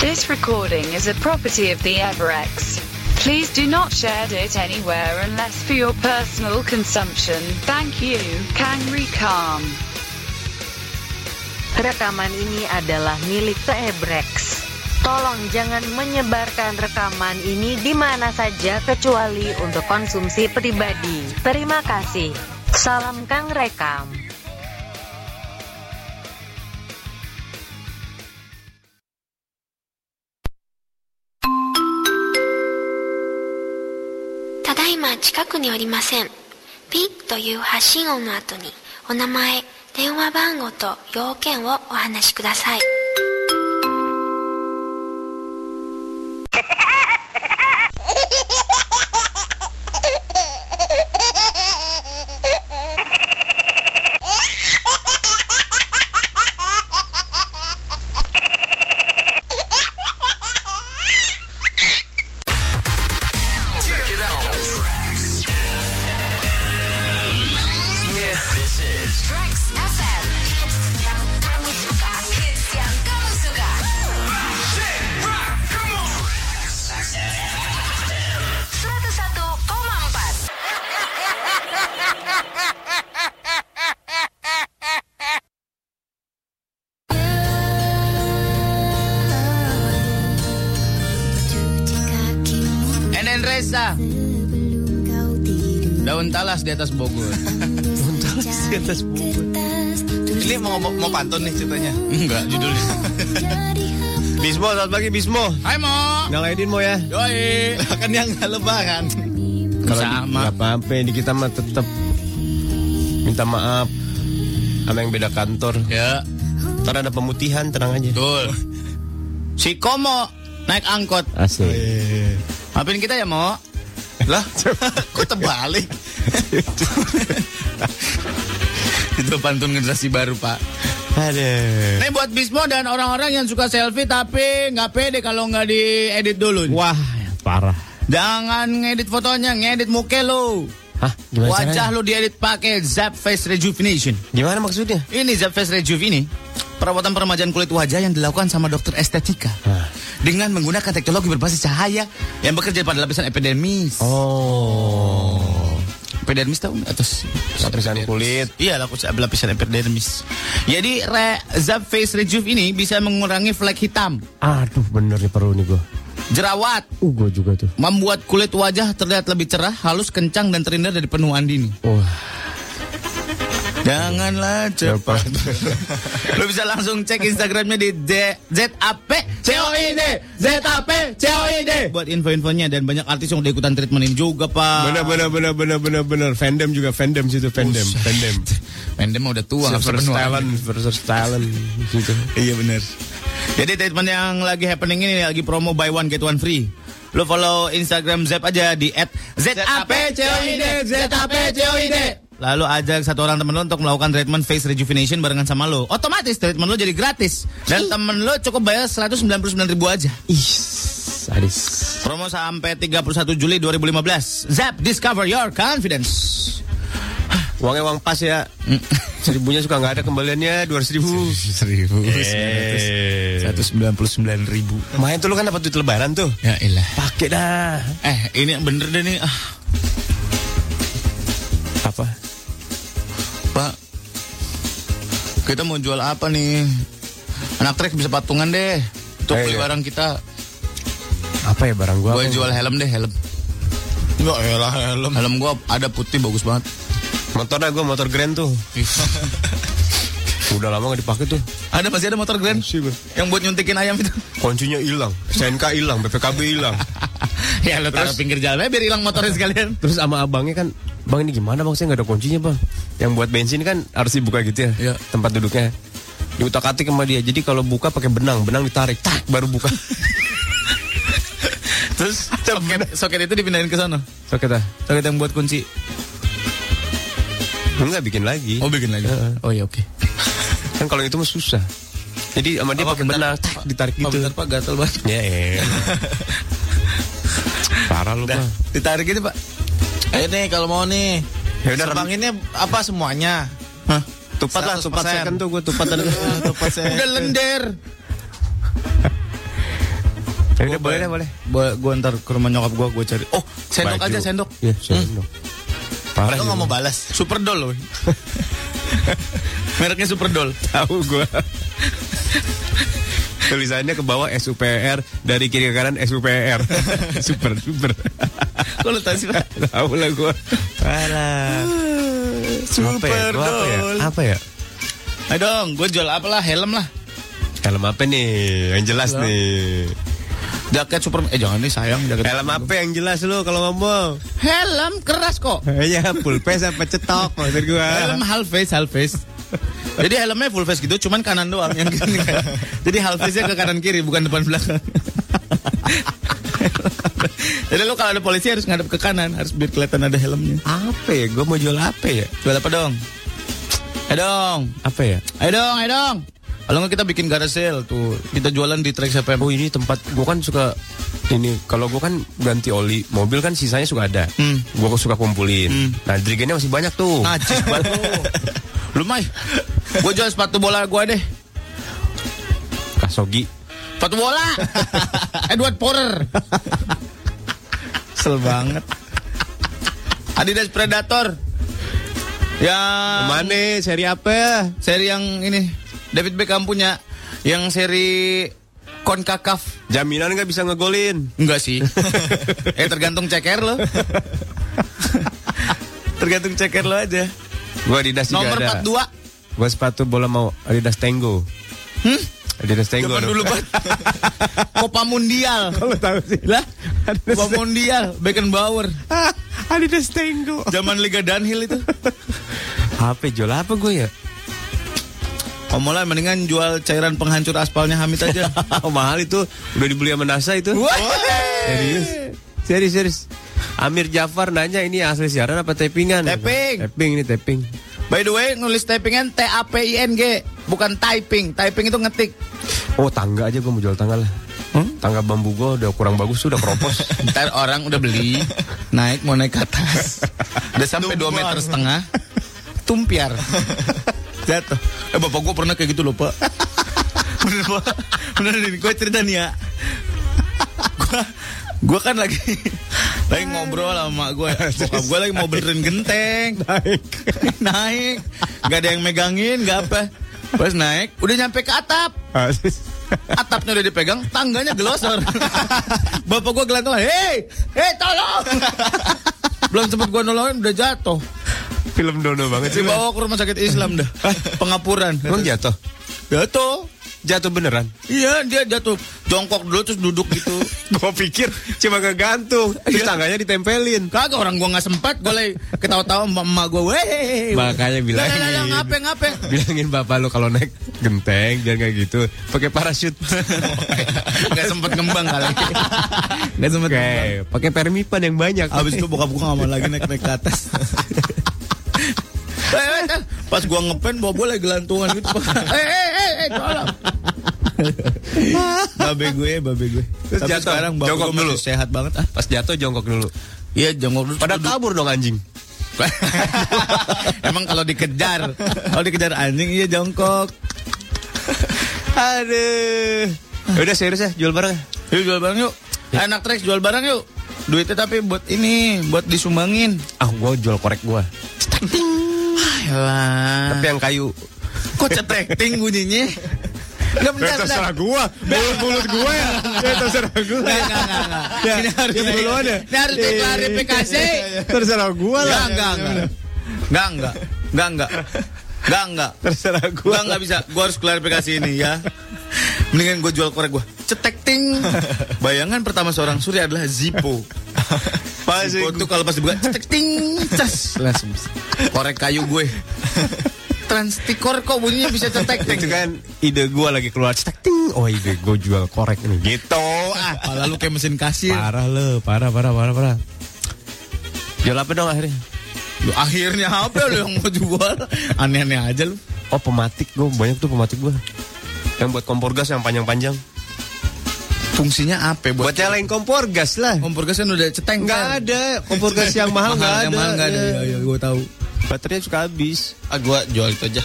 [SPEAKER 3] This recording is a property of the Everex. Please do not share it anywhere unless for your personal consumption. Thank you, Kang Rikam.
[SPEAKER 2] Rekaman ini adalah milik Tebrex. Tolong jangan menyebarkan rekaman ini di mana saja kecuali untuk konsumsi pribadi. Terima kasih. Salam Kang Rekam.
[SPEAKER 1] 「ただいま近くにおりません」「ピッ」という発信音の後にお名前電話番号と要件をお話しください
[SPEAKER 12] Enen Reza Daun talas di atas Bogor
[SPEAKER 13] Daun talas di atas Bogor Ini mau, mau, mau pantun nih ceritanya
[SPEAKER 12] Enggak (laughs) judulnya
[SPEAKER 8] Bismo, selamat pagi Bismo.
[SPEAKER 12] Hai Mo
[SPEAKER 8] Nyalain Mo ya.
[SPEAKER 12] Yoi
[SPEAKER 13] Kan yang nggak lebaran
[SPEAKER 8] Kalau di- nggak apa-apa di kita mah tetap minta maaf sama yang beda kantor.
[SPEAKER 12] Ya.
[SPEAKER 8] Ntar ada pemutihan, tenang aja.
[SPEAKER 12] Betul. Si Komo naik angkot
[SPEAKER 8] Asik.
[SPEAKER 12] Maafin kita ya Mo
[SPEAKER 8] (laughs)
[SPEAKER 13] Lah kok terbalik
[SPEAKER 12] Itu pantun generasi baru pak
[SPEAKER 8] Ada.
[SPEAKER 12] Ini buat Bismo dan orang-orang yang suka selfie tapi nggak pede kalau nggak diedit dulu.
[SPEAKER 8] Wah,
[SPEAKER 12] iya.
[SPEAKER 8] parah.
[SPEAKER 12] Jangan ngedit fotonya, ngedit muka lo.
[SPEAKER 8] Hah, gimana
[SPEAKER 12] Wajah
[SPEAKER 8] caranya?
[SPEAKER 12] lo diedit pakai Zap Face Rejuvenation.
[SPEAKER 8] Gimana maksudnya?
[SPEAKER 12] Ini Zap Face Rejuve ini perawatan peremajaan kulit wajah yang dilakukan sama dokter estetika dengan menggunakan teknologi berbasis cahaya yang bekerja pada lapisan epidermis.
[SPEAKER 8] Oh.
[SPEAKER 12] Epidermis tahu nggak? atas
[SPEAKER 8] Lapisan kulit.
[SPEAKER 12] Iya, lapis- lapisan epidermis. Jadi re, Zap Face Rejuve ini bisa mengurangi flek hitam,
[SPEAKER 8] Aduh, bener nih perlu nih gua.
[SPEAKER 12] jerawat,
[SPEAKER 8] Uh, gua juga tuh.
[SPEAKER 12] membuat kulit wajah terlihat lebih cerah, halus, kencang dan terhindar dari penuaan dini.
[SPEAKER 8] Wah.
[SPEAKER 12] Janganlah cepat. Lo bisa langsung cek Instagramnya di ZAP COID ZAP COID buat info-infonya dan banyak artis yang udah ikutan treatment ini juga pak.
[SPEAKER 8] Bener, bener, bener, bener, bener, bener. Fandom juga, fandom situ, fandom,
[SPEAKER 12] Buset.
[SPEAKER 8] fandom.
[SPEAKER 12] Pendem udah tua nggak bisa
[SPEAKER 8] Versus
[SPEAKER 12] benua.
[SPEAKER 8] talent, versus talent. Gitu.
[SPEAKER 12] Iya bener Jadi treatment yang lagi happening ini lagi promo buy one get one free. Lo follow Instagram Zep aja di @zapcoid zapcoid. Lalu ajak satu orang temen lo untuk melakukan treatment face rejuvenation barengan sama lo. Otomatis treatment lo jadi gratis. Dan temen lo cukup bayar 199 ribu aja.
[SPEAKER 8] Ih, sadis.
[SPEAKER 12] Promo sampai 31 Juli 2015. Zap, discover your confidence.
[SPEAKER 8] Uangnya uang pas ya.
[SPEAKER 12] Mm. (laughs)
[SPEAKER 8] Seribunya suka nggak ada kembaliannya dua ratus ribu.
[SPEAKER 12] Seribu.
[SPEAKER 8] Eh.
[SPEAKER 12] 199 ribu.
[SPEAKER 8] Main tuh lu kan dapat duit lebaran tuh.
[SPEAKER 12] Ya elah.
[SPEAKER 8] Pakai dah.
[SPEAKER 12] Eh, ini yang bener deh nih. Ah,
[SPEAKER 8] Apa?
[SPEAKER 12] Pak, kita mau jual apa nih? Anak trek bisa patungan deh. Untuk
[SPEAKER 8] Eh, iya.
[SPEAKER 12] beli barang kita.
[SPEAKER 8] Apa ya barang gua?
[SPEAKER 12] Gue
[SPEAKER 8] apa ya?
[SPEAKER 12] jual helm deh, helm. Enggak, Ya elah helm. Helm gue ada putih bagus banget.
[SPEAKER 8] Motor dah gua motor grand tuh. Udah lama nggak dipakai tuh.
[SPEAKER 12] (laughs) ada masih ada motor Grand
[SPEAKER 8] Masih, Bang.
[SPEAKER 12] yang buat nyuntikin ayam (laughs) itu.
[SPEAKER 8] Kuncinya hilang, SNK hilang, BPKB hilang.
[SPEAKER 12] ya lo taruh pinggir jalan aja biar hilang motornya sekalian.
[SPEAKER 8] Terus sama abangnya kan, bang ini gimana bang? Saya nggak ada kuncinya bang. Yang buat bensin kan harus dibuka gitu ya,
[SPEAKER 12] Iya.
[SPEAKER 8] tempat duduknya. Diutak atik sama dia. Jadi kalau buka pakai benang, benang ditarik, tak baru buka.
[SPEAKER 12] Terus soket, soket itu dipindahin ke sana.
[SPEAKER 8] So kita
[SPEAKER 12] Soket ah. yang buat kunci.
[SPEAKER 8] (laughs) nggak bikin lagi.
[SPEAKER 12] Oh bikin lagi.
[SPEAKER 8] Heeh.
[SPEAKER 12] Oh ya oke.
[SPEAKER 8] Kan kalau itu mah susah. Jadi sama dia
[SPEAKER 12] Apa,
[SPEAKER 8] pakai
[SPEAKER 12] bentar,
[SPEAKER 8] benang,
[SPEAKER 12] Pak?
[SPEAKER 8] tak ditarik
[SPEAKER 12] Oh,
[SPEAKER 8] gitu.
[SPEAKER 12] bentar, Pak gatel banget.
[SPEAKER 8] Ya, ya. Parah lu bang.
[SPEAKER 12] Ditarik itu pak.
[SPEAKER 13] Ayo nih kalau mau nih
[SPEAKER 8] Ya udah,
[SPEAKER 13] Bang ini apa semuanya
[SPEAKER 12] Hah?
[SPEAKER 8] Tupat lah, tupat
[SPEAKER 12] (laughs)
[SPEAKER 13] 100%.
[SPEAKER 8] second tuh gue tupat.
[SPEAKER 13] Tupat saya.
[SPEAKER 12] Udah lender.
[SPEAKER 8] Ya udah, boleh deh, boleh.
[SPEAKER 12] Boleh, gue ntar ke rumah nyokap gue, gue cari. Oh, sendok
[SPEAKER 8] Baju.
[SPEAKER 12] aja sendok.
[SPEAKER 8] Iya, sendok. Parah
[SPEAKER 12] Lo
[SPEAKER 8] sih.
[SPEAKER 12] nggak mau balas? Superdol loh. (laughs) Mereknya Superdol.
[SPEAKER 8] Tahu gue. Tulisannya ke bawah SUPR dari kiri ke kanan (laughs) SUPR. super super.
[SPEAKER 12] Kalau tahu (laughs) sih Pak?
[SPEAKER 8] Tahu lah gue. Parah. Apa ya? Gua Apa ya?
[SPEAKER 12] Superdol.
[SPEAKER 8] Apa ya?
[SPEAKER 12] Ayo dong, gue jual apalah, helm lah.
[SPEAKER 8] Helm apa nih? Yang jelas
[SPEAKER 12] Helm.
[SPEAKER 8] nih.
[SPEAKER 12] Jaket super eh jangan nih sayang jaket.
[SPEAKER 8] Helm apa yang jelas lu kalau ngomong?
[SPEAKER 12] Helm keras kok.
[SPEAKER 8] Iya, full face apa cetok maksud gua.
[SPEAKER 12] Helm half face, half face. Eh. (laughs) Jadi helmnya full face gitu, cuman kanan doang yang gini (laughs) kan. Jadi half face-nya ke kanan kiri, bukan depan (laughs) belakang. Jadi lo kalau ada polisi harus ngadep ke kanan, harus biar kelihatan ada helmnya.
[SPEAKER 8] Apa ya? Gue mau jual apa ya?
[SPEAKER 12] Jual apa dong? Ayo dong,
[SPEAKER 8] Apa ya?
[SPEAKER 12] ayo dong, ayo dong. Kalau nggak kita bikin garage sale tuh, kita jualan di Trax FM.
[SPEAKER 8] Oh ini tempat gue kan suka ini kalau gue kan ganti oli mobil kan sisanya suka ada.
[SPEAKER 12] Hmm.
[SPEAKER 8] Gue suka kumpulin. Nah jerigennya masih banyak tuh.
[SPEAKER 12] Najis (laughs) banget lu. Lumai. Gue jual sepatu bola gue deh.
[SPEAKER 8] Kasogi.
[SPEAKER 12] Sepatu (laughs) bola. Eh, Edward Porter. Sel banget. Adidas Predator. Yang
[SPEAKER 8] Mana seri apa?
[SPEAKER 12] seri yang ini David Beckham punya yang seri Konkakaf.
[SPEAKER 8] Jaminan nggak bisa ngegolin.
[SPEAKER 12] Enggak (laughs) sih. eh tergantung ceker lo. tergantung ceker lo aja.
[SPEAKER 8] Gue Adidas juga
[SPEAKER 12] Nomor
[SPEAKER 8] ada.
[SPEAKER 12] 42.
[SPEAKER 8] Gue sepatu bola mau Adidas Tango.
[SPEAKER 12] Hmm?
[SPEAKER 8] Adidas Tango.
[SPEAKER 12] Zaman
[SPEAKER 8] dong.
[SPEAKER 12] dulu banget. (laughs) Copa Mundial.
[SPEAKER 8] Kalau tahu sih lah.
[SPEAKER 12] Copa Mundial, Beckenbauer.
[SPEAKER 8] (laughs) Adidas Tango.
[SPEAKER 12] Zaman Liga Dunhill (laughs) itu.
[SPEAKER 8] Apa jual apa (laughs) gue ya?
[SPEAKER 12] Omolan mendingan jual cairan penghancur aspalnya Hamid (laughs) aja.
[SPEAKER 8] Oh, Mahal itu udah dibeli sama NASA itu.
[SPEAKER 12] Wah.
[SPEAKER 8] Serius? Serius, serius. Amir Jafar nanya ini asli siaran apa tappingan?
[SPEAKER 12] Tapping.
[SPEAKER 8] Tapping ini tapping.
[SPEAKER 12] By the way, nulis typingan T A P I N G, bukan typing. Typing itu ngetik.
[SPEAKER 8] Oh tangga aja gue mau jual tangga lah. Tangga bambu gue udah kurang bagus udah keropos.
[SPEAKER 12] Ntar orang udah beli, naik mau naik ke atas. Udah sampai 2 meter setengah. Tumpiar. Jatuh. Eh bapak gue pernah kayak gitu loh, Pak. Bener, Pak. Bener nih, gue cerita nih ya. Gue gue kan lagi lagi ngobrol sama gue bokap gue lagi mau benerin genteng naik naik nggak ada yang megangin nggak apa pas naik udah nyampe ke atap atapnya udah dipegang, tangganya
[SPEAKER 8] (laughs)
[SPEAKER 12] gelosor. Bapak gua gelantungan, hei, hei tolong. Belum sempat gua nolongin udah jatuh.
[SPEAKER 8] (laughs) Film dono banget sih.
[SPEAKER 12] Dibawa ke rumah sakit Islam dah. Pengapuran.
[SPEAKER 8] Iya. Emang jatuh?
[SPEAKER 12] Jatuh.
[SPEAKER 8] Jatuh beneran?
[SPEAKER 12] Iya, dia jatuh. Jongkok dulu terus duduk
[SPEAKER 8] (laughs)
[SPEAKER 12] gitu. Iya.
[SPEAKER 8] Gue pikir cuma kegantung. Terus tangganya ditempelin.
[SPEAKER 12] Kagak orang gua nggak sempat, gua lagi ketawa-tawa sama emak gua. Weh.
[SPEAKER 8] Makanya bilangin.
[SPEAKER 12] Lah, lah, lah, ngape ngape.
[SPEAKER 8] Bilangin bapak lu kalau naik genteng jangan kayak gitu. Pakai
[SPEAKER 12] (laughs)
[SPEAKER 8] parasut.
[SPEAKER 12] Enggak sempat ngembang kali. Enggak sempat ngembang.
[SPEAKER 8] Oke, pakai permipan yang banyak.
[SPEAKER 12] Abis itu bokap gue gak mau lagi naik-naik ke (laughs) atas Eh, eh, eh. Pas gua ngepen bawa gue lagi gelantungan gitu (laughs) Eh, eh, eh, eh, tolong (laughs) Babe gue, babe gue
[SPEAKER 8] Terus
[SPEAKER 12] Tapi
[SPEAKER 8] jatuh,
[SPEAKER 12] sekarang babe
[SPEAKER 8] jongkok
[SPEAKER 12] gue masih
[SPEAKER 8] dulu.
[SPEAKER 12] sehat banget ah.
[SPEAKER 8] Pas jatuh jongkok dulu.
[SPEAKER 12] Iya, jongkok dulu
[SPEAKER 8] Pada
[SPEAKER 12] Duduk.
[SPEAKER 8] kabur dong anjing.
[SPEAKER 12] (laughs) Emang kalau (laughs) dikejar Kalau dikejar anjing, iya jongkok
[SPEAKER 8] Aduh. Udah serius ya jual barang.
[SPEAKER 12] Yuk jual barang yuk
[SPEAKER 8] Ya.
[SPEAKER 12] Anak Trax jual barang yuk Duitnya tapi buat ini Buat disumbangin
[SPEAKER 8] Ah, gua jual korek gua.
[SPEAKER 12] Ayolah
[SPEAKER 8] Tapi yang kayu.
[SPEAKER 12] Kok cetek-ting bunyinya? Enggak bentar, bentar.
[SPEAKER 8] gua. Mulut mulut gua ya. Ya terserah gua.
[SPEAKER 12] Enggak, enggak, enggak, enggak. Ini harus
[SPEAKER 8] ya duluan ya.
[SPEAKER 12] Ini harus
[SPEAKER 8] Iya,
[SPEAKER 12] diklarifikasi.
[SPEAKER 8] Terserah gua
[SPEAKER 12] Enggak,
[SPEAKER 8] lah.
[SPEAKER 12] enggak, enggak. Enggak, enggak. Enggak, enggak. Enggak, enggak.
[SPEAKER 8] Terserah
[SPEAKER 12] Gua
[SPEAKER 8] gua.
[SPEAKER 12] enggak bisa. Gua harus klarifikasi ini ya. Mendingan gue jual korek gue Cetek ting Bayangan pertama seorang suri adalah Zippo
[SPEAKER 8] Pasti
[SPEAKER 12] Zippo tuh kalau pas dibuka Cetek ting Cas Langsung Korek kayu gue Transtikor kok bunyinya bisa cetek ting
[SPEAKER 8] Itu kan ide gua lagi keluar cetek ting. Oh ide gua jual korek nih gitu.
[SPEAKER 12] ah Lalu kayak mesin kasir
[SPEAKER 8] Parah lo, parah parah parah parah. Jual apa dong akhirnya?
[SPEAKER 12] Lu akhirnya apa lu yang mau jual? Aneh-aneh aja lu.
[SPEAKER 8] Oh pematik gua banyak tuh pematik gua. Yang buat kompor gas yang panjang-panjang.
[SPEAKER 12] Fungsinya apa
[SPEAKER 8] Buat
[SPEAKER 12] buat?
[SPEAKER 8] nyalain kompor gas lah.
[SPEAKER 12] kompor gas kan udah ceteng.
[SPEAKER 8] Nggak
[SPEAKER 12] kan?
[SPEAKER 8] ada, kompor gas yang mahal nggak
[SPEAKER 12] Yang
[SPEAKER 8] ada.
[SPEAKER 12] mahal nggak ada.
[SPEAKER 8] Iya.
[SPEAKER 12] Iya, iya, gua tahu.
[SPEAKER 8] Baterainya suka habis.
[SPEAKER 14] Ah gua
[SPEAKER 7] (laughs)
[SPEAKER 14] jual itu aja.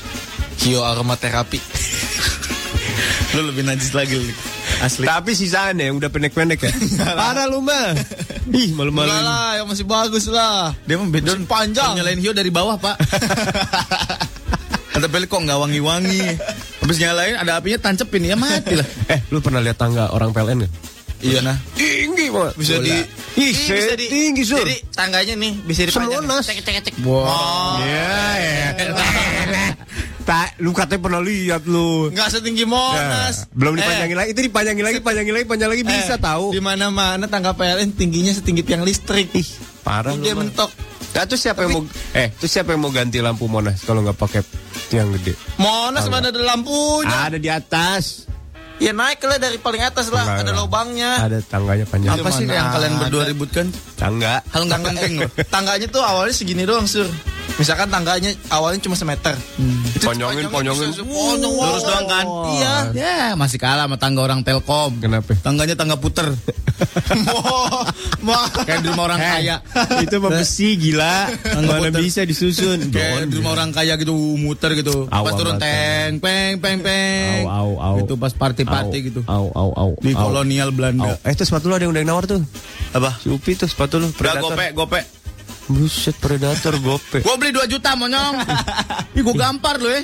[SPEAKER 14] Kio aromaterapi.
[SPEAKER 12] Lu lebih najis lagi. Lu.
[SPEAKER 8] Asli. Tapi sisaan ya yang udah pendek-pendek (laughs) ya. Parah lu mah. (laughs) Ih, malu-malu.
[SPEAKER 12] Enggak lah, yang masih bagus lah.
[SPEAKER 11] Dia mah bedon
[SPEAKER 12] panjang.
[SPEAKER 11] Nyalain Hio dari bawah,
[SPEAKER 12] (laughs)
[SPEAKER 11] Pak. Kata Pele kok nggak wangi-wangi. Habis nyalain ada apinya tancepin ya mati lah.
[SPEAKER 8] Eh, lu pernah lihat tangga orang PLN nggak?
[SPEAKER 11] Iya nah.
[SPEAKER 8] Tinggi banget.
[SPEAKER 11] Bisa di
[SPEAKER 8] Ih, set tinggi sur.
[SPEAKER 11] Jadi tangganya nih bisa dipanjang.
[SPEAKER 8] Semonas.
[SPEAKER 11] Cek cek cek.
[SPEAKER 8] Wah. Iya, (laughs) iya. Tak, lu katanya pernah lihat lu.
[SPEAKER 11] Enggak setinggi Monas.
[SPEAKER 8] Nah, belum dipanjangin lagi, itu dipanjangin lagi, panjangin lagi, panjang lagi bisa tahu.
[SPEAKER 12] Eh, Di mana-mana tangga PLN tingginya setinggi tiang listrik. Ih,
[SPEAKER 8] Parah lu.
[SPEAKER 12] dia
[SPEAKER 8] Bang.
[SPEAKER 12] mentok.
[SPEAKER 8] Nah, terus siapa yang mau eh terus siapa yang mau ganti lampu Monas kalau nggak pakai tiang gede?
[SPEAKER 12] Monas
[SPEAKER 8] Tahu
[SPEAKER 12] mana ada lampunya?
[SPEAKER 8] Ada di atas.
[SPEAKER 12] Ya naik lah dari paling atas lah,
[SPEAKER 8] Enggak,
[SPEAKER 12] ada
[SPEAKER 8] enggak.
[SPEAKER 12] lobangnya.
[SPEAKER 8] Ada tangganya panjang.
[SPEAKER 11] Apa sih
[SPEAKER 12] Mana
[SPEAKER 11] yang kalian
[SPEAKER 12] ada.
[SPEAKER 11] berdua ributkan?
[SPEAKER 8] Tangga.
[SPEAKER 11] Hal nggak
[SPEAKER 12] kan? Tangga-
[SPEAKER 11] penting loh.
[SPEAKER 12] eh, tangganya tuh awalnya segini doang, Sur. Misalkan tangganya awalnya cuma semeter. Itu
[SPEAKER 8] Ponyongin, ponyongin.
[SPEAKER 12] dipanjangin, ponyong,
[SPEAKER 11] Lurus doang kan?
[SPEAKER 12] Iya.
[SPEAKER 7] Ya, masih kalah sama tangga orang Telkom.
[SPEAKER 8] Kenapa?
[SPEAKER 11] Tangganya tangga
[SPEAKER 8] (laughs)
[SPEAKER 11] puter.
[SPEAKER 12] Mo- mo-
[SPEAKER 7] Kayak di rumah orang kaya.
[SPEAKER 8] itu mah besi gila. Mana bisa disusun?
[SPEAKER 7] Kayak di rumah orang kaya gitu muter gitu.
[SPEAKER 8] Awal
[SPEAKER 7] pas turun
[SPEAKER 8] banget.
[SPEAKER 7] teng peng peng peng.
[SPEAKER 8] Au, au, au.
[SPEAKER 7] Itu pas party-party
[SPEAKER 8] Au,
[SPEAKER 7] gitu.
[SPEAKER 8] Au au au.
[SPEAKER 7] Di
[SPEAKER 8] au.
[SPEAKER 7] kolonial
[SPEAKER 8] Au.
[SPEAKER 7] Belanda.
[SPEAKER 8] Eh, itu sepatu lu ada yang udah nawar tuh.
[SPEAKER 11] Apa?
[SPEAKER 8] Si Upi tuh sepatu lu
[SPEAKER 11] Udah
[SPEAKER 8] predator.
[SPEAKER 11] gope, gope.
[SPEAKER 8] Buset predator gope.
[SPEAKER 7] Gua beli 2 juta
[SPEAKER 8] (laughs)
[SPEAKER 7] monyong. Ih gua gampar lu eh.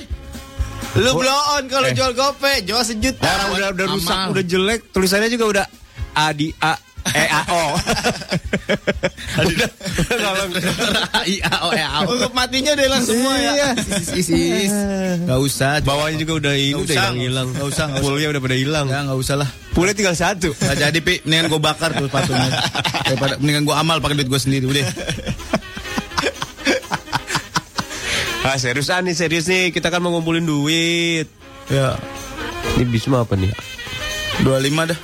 [SPEAKER 12] Lu blow on kalau jual gope, jual sejuta.
[SPEAKER 8] Orang Eh. udah udah
[SPEAKER 7] Amal.
[SPEAKER 8] rusak,
[SPEAKER 7] (laughs)
[SPEAKER 8] udah jelek, tulisannya juga udah A di A E A O. udah, udah kalau
[SPEAKER 7] Iya, oh ya.
[SPEAKER 12] Untuk matinya udah hilang semua ya.
[SPEAKER 8] Iya.
[SPEAKER 7] Is
[SPEAKER 8] (laughs)
[SPEAKER 7] is. Gak usah.
[SPEAKER 8] Bawahnya juga udah ini
[SPEAKER 11] Nggak
[SPEAKER 8] udah
[SPEAKER 11] usah,
[SPEAKER 8] hilang hilang.
[SPEAKER 11] nggak usah, nggak usah.
[SPEAKER 8] Poolnya udah pada hilang.
[SPEAKER 7] Ya gak usah lah.
[SPEAKER 8] Poolnya tinggal satu.
[SPEAKER 7] Gak jadi pi, mendingan gue bakar tuh sepatunya. Daripada mendingan gue amal pakai duit gue sendiri udah.
[SPEAKER 8] Ah serius ah nih serius nih kita kan mau ngumpulin duit. Ya. Ini Bisma apa nih?
[SPEAKER 7] 25 dah.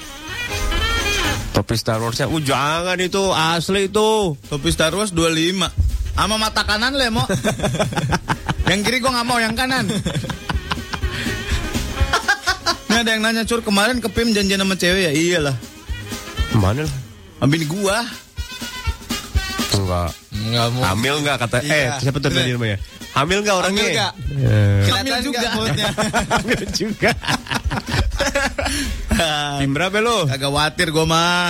[SPEAKER 8] Topi Star Warsnya. Uh jangan itu asli itu.
[SPEAKER 7] Topi Star Wars 25. Sama mata kanan le mo. yang kiri gue nggak mau, yang
[SPEAKER 12] (laughs)
[SPEAKER 7] kanan. Ini ada yang nanya cur kemarin ke Pim janjian sama cewek ya? Iyalah.
[SPEAKER 8] Mana lah?
[SPEAKER 7] Sama bini gua.
[SPEAKER 8] Enggak.
[SPEAKER 11] Enggak mau.
[SPEAKER 8] Hamil enggak kata eh
[SPEAKER 12] Iya.
[SPEAKER 8] siapa tuh tadi namanya? Hamil enggak orangnya?
[SPEAKER 12] Hamil nggak?
[SPEAKER 8] Eh.
[SPEAKER 7] kan
[SPEAKER 12] Kelihatan juga
[SPEAKER 8] (laughs)
[SPEAKER 12] mulutnya.
[SPEAKER 8] Hamil juga. Pim berapa lo?
[SPEAKER 7] Kagak khawatir gua mah.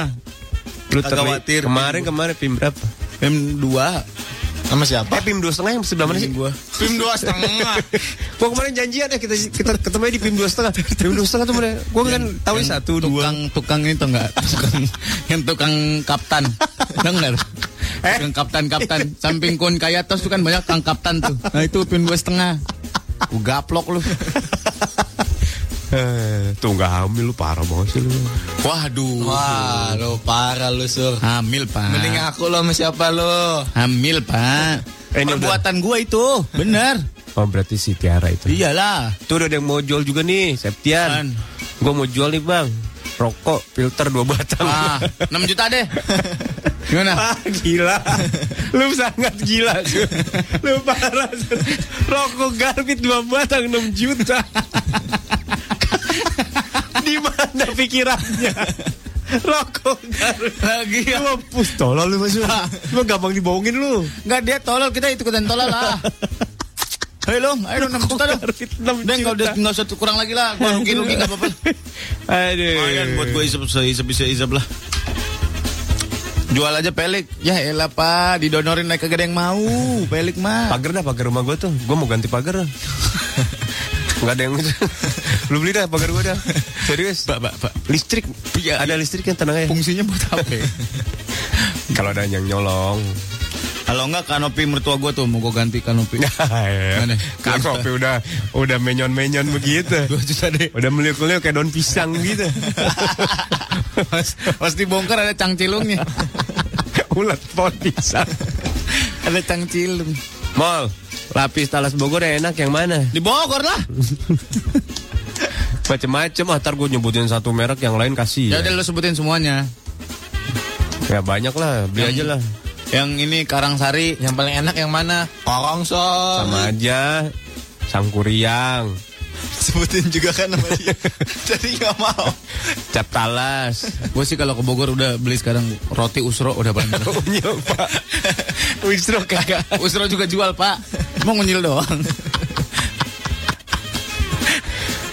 [SPEAKER 8] Lu
[SPEAKER 7] Agak khawatir.
[SPEAKER 8] Kemarin kemarin pim berapa?
[SPEAKER 7] Pim 2.
[SPEAKER 12] Sama siapa?
[SPEAKER 8] Eh pim dua setengah yang sebelah mana sih?
[SPEAKER 7] Gua.
[SPEAKER 12] Pim dua setengah.
[SPEAKER 8] Gua kemarin janjian eh kita kita ketemu di pim dua (laughs) setengah. Pim dua setengah tuh mana? Gua kan tahu
[SPEAKER 7] Yang
[SPEAKER 8] satu dua.
[SPEAKER 7] tukang, Tukang itu (laughs) enggak? Tukang, yang tukang kaptan. Dengar. Tukang kaptan-kaptan. Samping kun kaya tos tuh kan banyak tukang kaptan tuh. Nah itu pin gue setengah. Gue gaplok lu.
[SPEAKER 8] Eh, tuh nggak hamil lu parah banget sih lu.
[SPEAKER 7] Waduh.
[SPEAKER 12] Wah, lu parah lu, Sur.
[SPEAKER 7] Hamil, Pak.
[SPEAKER 12] Mending aku lo sama siapa lo?
[SPEAKER 7] Hamil, Pak.
[SPEAKER 8] Eh, ini
[SPEAKER 7] Perbuatan gue itu. Bener.
[SPEAKER 8] Oh berarti si Tiara itu.
[SPEAKER 7] Iyalah.
[SPEAKER 8] Tuh udah ada yang mau jual juga
[SPEAKER 7] Apaan?
[SPEAKER 8] nih, Septian. Gua mau jual nih bang. Rokok filter dua batang.
[SPEAKER 7] Ah, 6 juta deh.
[SPEAKER 8] (laughs)
[SPEAKER 7] Gimana?
[SPEAKER 8] Ah, gila. Lu sangat gila. Su. Lu parah. Su. Rokok garbit dua batang 6 juta. (laughs) Di mana pikirannya? Rokok garbit.
[SPEAKER 7] Lagi ya.
[SPEAKER 8] Lu pus tolol lu masuk. Lu gampang dibohongin lu.
[SPEAKER 7] Enggak dia tolol kita ikutan tolol
[SPEAKER 8] (laughs)
[SPEAKER 7] lah. Hei lo, ayo lo 6 juta dong.
[SPEAKER 8] Garbit 6
[SPEAKER 7] Dan
[SPEAKER 8] juta.
[SPEAKER 7] kalau udah nggak usah kurang lagi lah, gua rugi rugi nggak apa-apa.
[SPEAKER 8] Aduh.
[SPEAKER 11] Lumayan buat gue isep isep isep isep lah.
[SPEAKER 7] Jual aja pelik. Ya elah pak, didonorin naik kagak ada yang mau. Pelik mah.
[SPEAKER 8] Pagar dah pagar rumah gue tuh. Gue mau ganti pagar. dah. Nggak ada yang Lu beli dah pagar gue dah. Serius.
[SPEAKER 7] Pak, pak, pak.
[SPEAKER 8] Listrik. ada listrik kan tenang aja.
[SPEAKER 7] Fungsinya buat apa? (laughs) ya?
[SPEAKER 8] Kalau ada yang nyolong.
[SPEAKER 7] Kalau enggak kanopi mertua gua tuh mau gua ganti (laughs) kanopi. Mana?
[SPEAKER 8] Kak Kopi udah udah menyon-menyon (laughs) begitu.
[SPEAKER 7] Dua juta deh.
[SPEAKER 8] Udah meliuk-liuk kayak daun pisang (laughs) gitu.
[SPEAKER 7] Pas- Pas dibongkar ada cangcilungnya.
[SPEAKER 8] Ulat pohon pisang.
[SPEAKER 7] ada cangcilung.
[SPEAKER 8] Mall, lapis talas Bogor yang enak yang mana?
[SPEAKER 7] Di Bogor lah.
[SPEAKER 8] Macem-macem, ah, ntar gue nyebutin satu merek yang lain
[SPEAKER 7] Ya
[SPEAKER 8] kasih.
[SPEAKER 7] udah
[SPEAKER 8] Ya,
[SPEAKER 7] lo sebutin semuanya.
[SPEAKER 8] ya banyak lah, beli aja lah.
[SPEAKER 7] Yang ini Karangsari,
[SPEAKER 12] Yang paling enak yang mana? Orang
[SPEAKER 7] (laughs)
[SPEAKER 8] Sama aja, sangkuriang,
[SPEAKER 12] Sebutin juga kan nama
[SPEAKER 7] (laughs)
[SPEAKER 12] dia. Jadi nggak mau.
[SPEAKER 8] cap talas.
[SPEAKER 7] Gue sih kalau ke Bogor udah beli sekarang roti usro udah paling
[SPEAKER 8] (laughs)
[SPEAKER 7] enak.
[SPEAKER 8] (laughs) Unyil, Pak. Wisro kagak.
[SPEAKER 7] (laughs) Usro juga jual pak, mau ngunyil doang.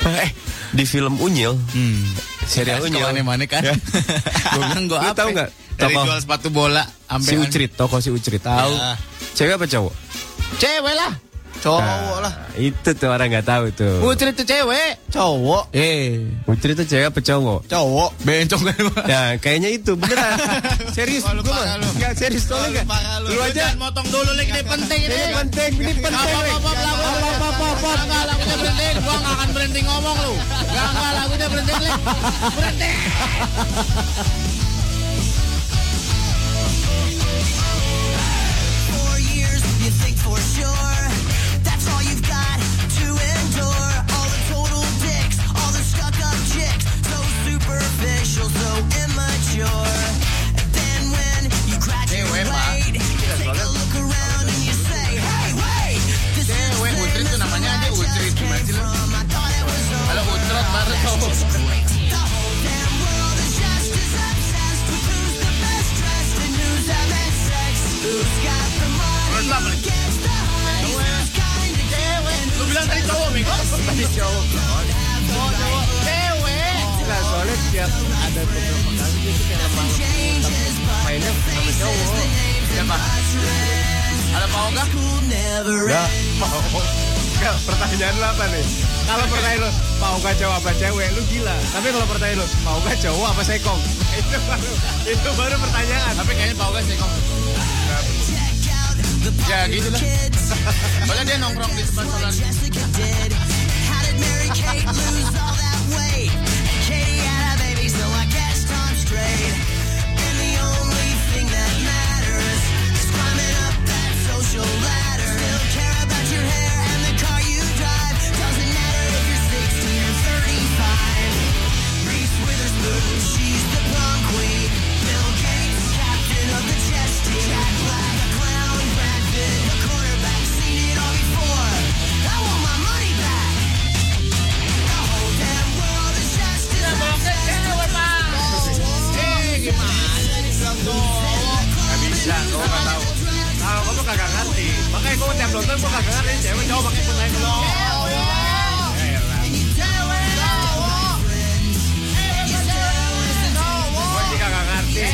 [SPEAKER 7] Hmm.
[SPEAKER 8] Eh, di film Unyil,
[SPEAKER 7] Serial
[SPEAKER 8] Serial Unyil.
[SPEAKER 7] Kalau aneh-aneh kan. (laughs)
[SPEAKER 8] (laughs)
[SPEAKER 7] Gue bilang gue
[SPEAKER 8] Ya. Lu
[SPEAKER 7] apa? ya?"
[SPEAKER 8] tahu nggak?
[SPEAKER 7] Dari
[SPEAKER 8] Tokoh.
[SPEAKER 7] jual sepatu bola. sampai
[SPEAKER 8] Si Ucrit, toko si Ucrit. Tahu.
[SPEAKER 7] Ya.
[SPEAKER 8] Cewek apa cowok?
[SPEAKER 7] Cewek lah.
[SPEAKER 8] Cowok lah. Itu tuh orang nggak tahu tuh.
[SPEAKER 7] Ucrit itu cewek. Iya.
[SPEAKER 8] Cowok. Eh, Putri itu cewek apa cowok? Cowok. Bencong kan. Nah, kayaknya itu beneran. (laughs) serius gue mah. Enggak serius tolong enggak. Lu aja
[SPEAKER 7] Jangan motong dulu, Lik. Ini penting, ini.
[SPEAKER 8] Ini penting, ini penting.
[SPEAKER 7] Apa-apa, lagu. Apa-apa, Enggak, lagunya berhenti. Gua nggak akan berhenti ngomong, lu. Enggak, enggak, lagunya berhenti, Lik. Berhenti.
[SPEAKER 5] Four years, you think for sure that's all you've got to endure. All the total dicks, all the stuck up chicks, so superficial, so immature. And then when you graduate, take a look around and you say, Hey, wait, this is
[SPEAKER 7] Cewek Ucrit itu namanya aja Ucrit. Gimana sih, lu? Halo, Ucrit baru cowok. Lu bilang tadi cowok, Miko. Tadi cowok. Cewek.
[SPEAKER 8] Nah, soalnya tiap ada beberapa kali dia tuh kayak emang mainnya sama cowok.
[SPEAKER 7] Siapa? Halo, mau nggak?
[SPEAKER 8] Enggak, mau. Enggak, pertanyaan lu apa nih? Kalau pertanyaan lu, mau gak cowok apa cewek, lu gila. Tapi kalau pertanyaan lu, mau gak cowok apa sekong? (laughs) Itu baru, itu baru pertanyaan.
[SPEAKER 7] Tapi kayaknya mau nggak sekong. Ya gitu lah. gitu Soalnya dia nongkrong di sebelah sana.
[SPEAKER 8] Gak bisa, gue gak tahu. Kalau kamu Nah, kagak ngerti, makanya gue tiap nonton gue kagak ngerti cewek cowok pakai pertanyaan lu. Gue sih kagak ngerti.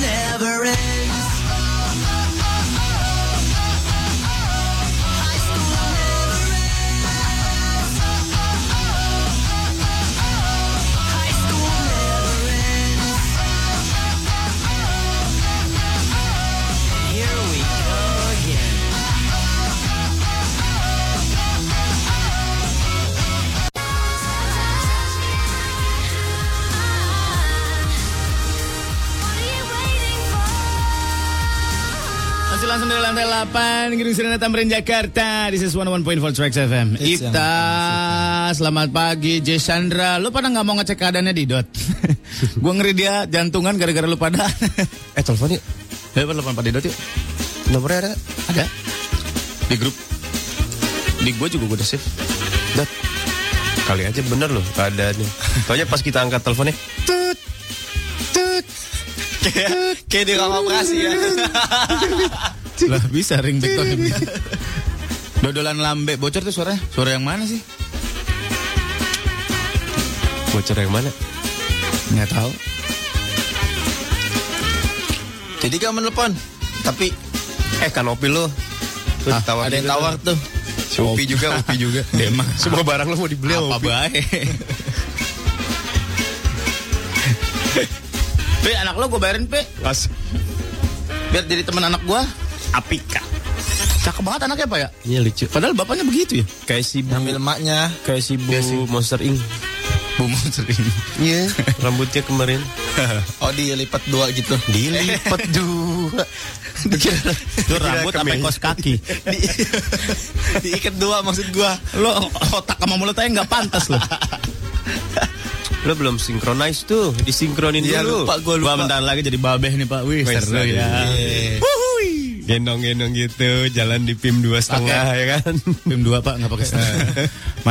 [SPEAKER 5] Never ends.
[SPEAKER 7] Masih langsung dari lantai 8 Gedung Sirena Tamrin Jakarta This is 101.4 Tracks FM
[SPEAKER 12] It's yang
[SPEAKER 7] Ipta Selamat pagi Jay Chandra Lu pada nggak mau ngecek keadaannya di
[SPEAKER 8] (laughs)
[SPEAKER 7] dot Gue ngeri dia jantungan gara-gara lu pada
[SPEAKER 8] Eh telepon yuk
[SPEAKER 7] Ayo telepon pada dot yuk
[SPEAKER 8] Nomornya ada?
[SPEAKER 7] Ada Di grup Di gue juga gue udah save
[SPEAKER 8] Dot. Kali aja bener loh keadaannya. Soalnya pas kita angkat teleponnya, tut, tut,
[SPEAKER 12] Kayak kayak di ruang operasi
[SPEAKER 8] (laughs)
[SPEAKER 12] ya.
[SPEAKER 7] Lah bisa ring tone Dodolan lambe bocor tuh suaranya Suara yang mana sih?
[SPEAKER 8] bocor yang mana?
[SPEAKER 7] Nggak tahu
[SPEAKER 12] Jadi gak menelpon. Tapi
[SPEAKER 8] Eh
[SPEAKER 7] kan
[SPEAKER 8] kanopi lo. Terus
[SPEAKER 12] ah,
[SPEAKER 8] tawar
[SPEAKER 12] ada yang
[SPEAKER 8] gitu.
[SPEAKER 12] tawar tuh.
[SPEAKER 8] Si Upi juga, Upi juga.
[SPEAKER 7] Demang
[SPEAKER 8] Semua barang lo mau dibeli
[SPEAKER 7] Apa
[SPEAKER 8] sama Upi.
[SPEAKER 7] baik Pe, anak lo gue bayarin, Pe.
[SPEAKER 8] Pas
[SPEAKER 7] biar jadi teman anak gua Apika cakep banget anaknya pak ya
[SPEAKER 8] Iya lucu.
[SPEAKER 7] padahal bapaknya begitu ya
[SPEAKER 8] Kayak si bu,
[SPEAKER 12] Ambil emaknya.
[SPEAKER 8] kayak si bu Monster Inc.
[SPEAKER 7] Bumbu sering.
[SPEAKER 8] Iya. (laughs) Rambutnya kemarin.
[SPEAKER 12] oh dilipat dua gitu.
[SPEAKER 8] Dilipat dua.
[SPEAKER 12] Itu
[SPEAKER 8] rambut sampai kos
[SPEAKER 7] kaki.
[SPEAKER 12] Di, diikat dua maksud gua.
[SPEAKER 7] Lo otak sama mulutnya nggak pantas lo.
[SPEAKER 8] (laughs) Lo belum sinkronize tuh, disinkronin
[SPEAKER 7] Iya,
[SPEAKER 8] dulu.
[SPEAKER 7] lupa, gua lupa. bentar lagi jadi babeh nih Pak. Wih,
[SPEAKER 8] Wih,
[SPEAKER 7] seru
[SPEAKER 8] seru.
[SPEAKER 7] ya.
[SPEAKER 8] Iya. Gendong-gendong gitu, jalan di PIM dua setengah ya (laughs) kan?
[SPEAKER 7] PIM dua Pak, nggak pakai setengah.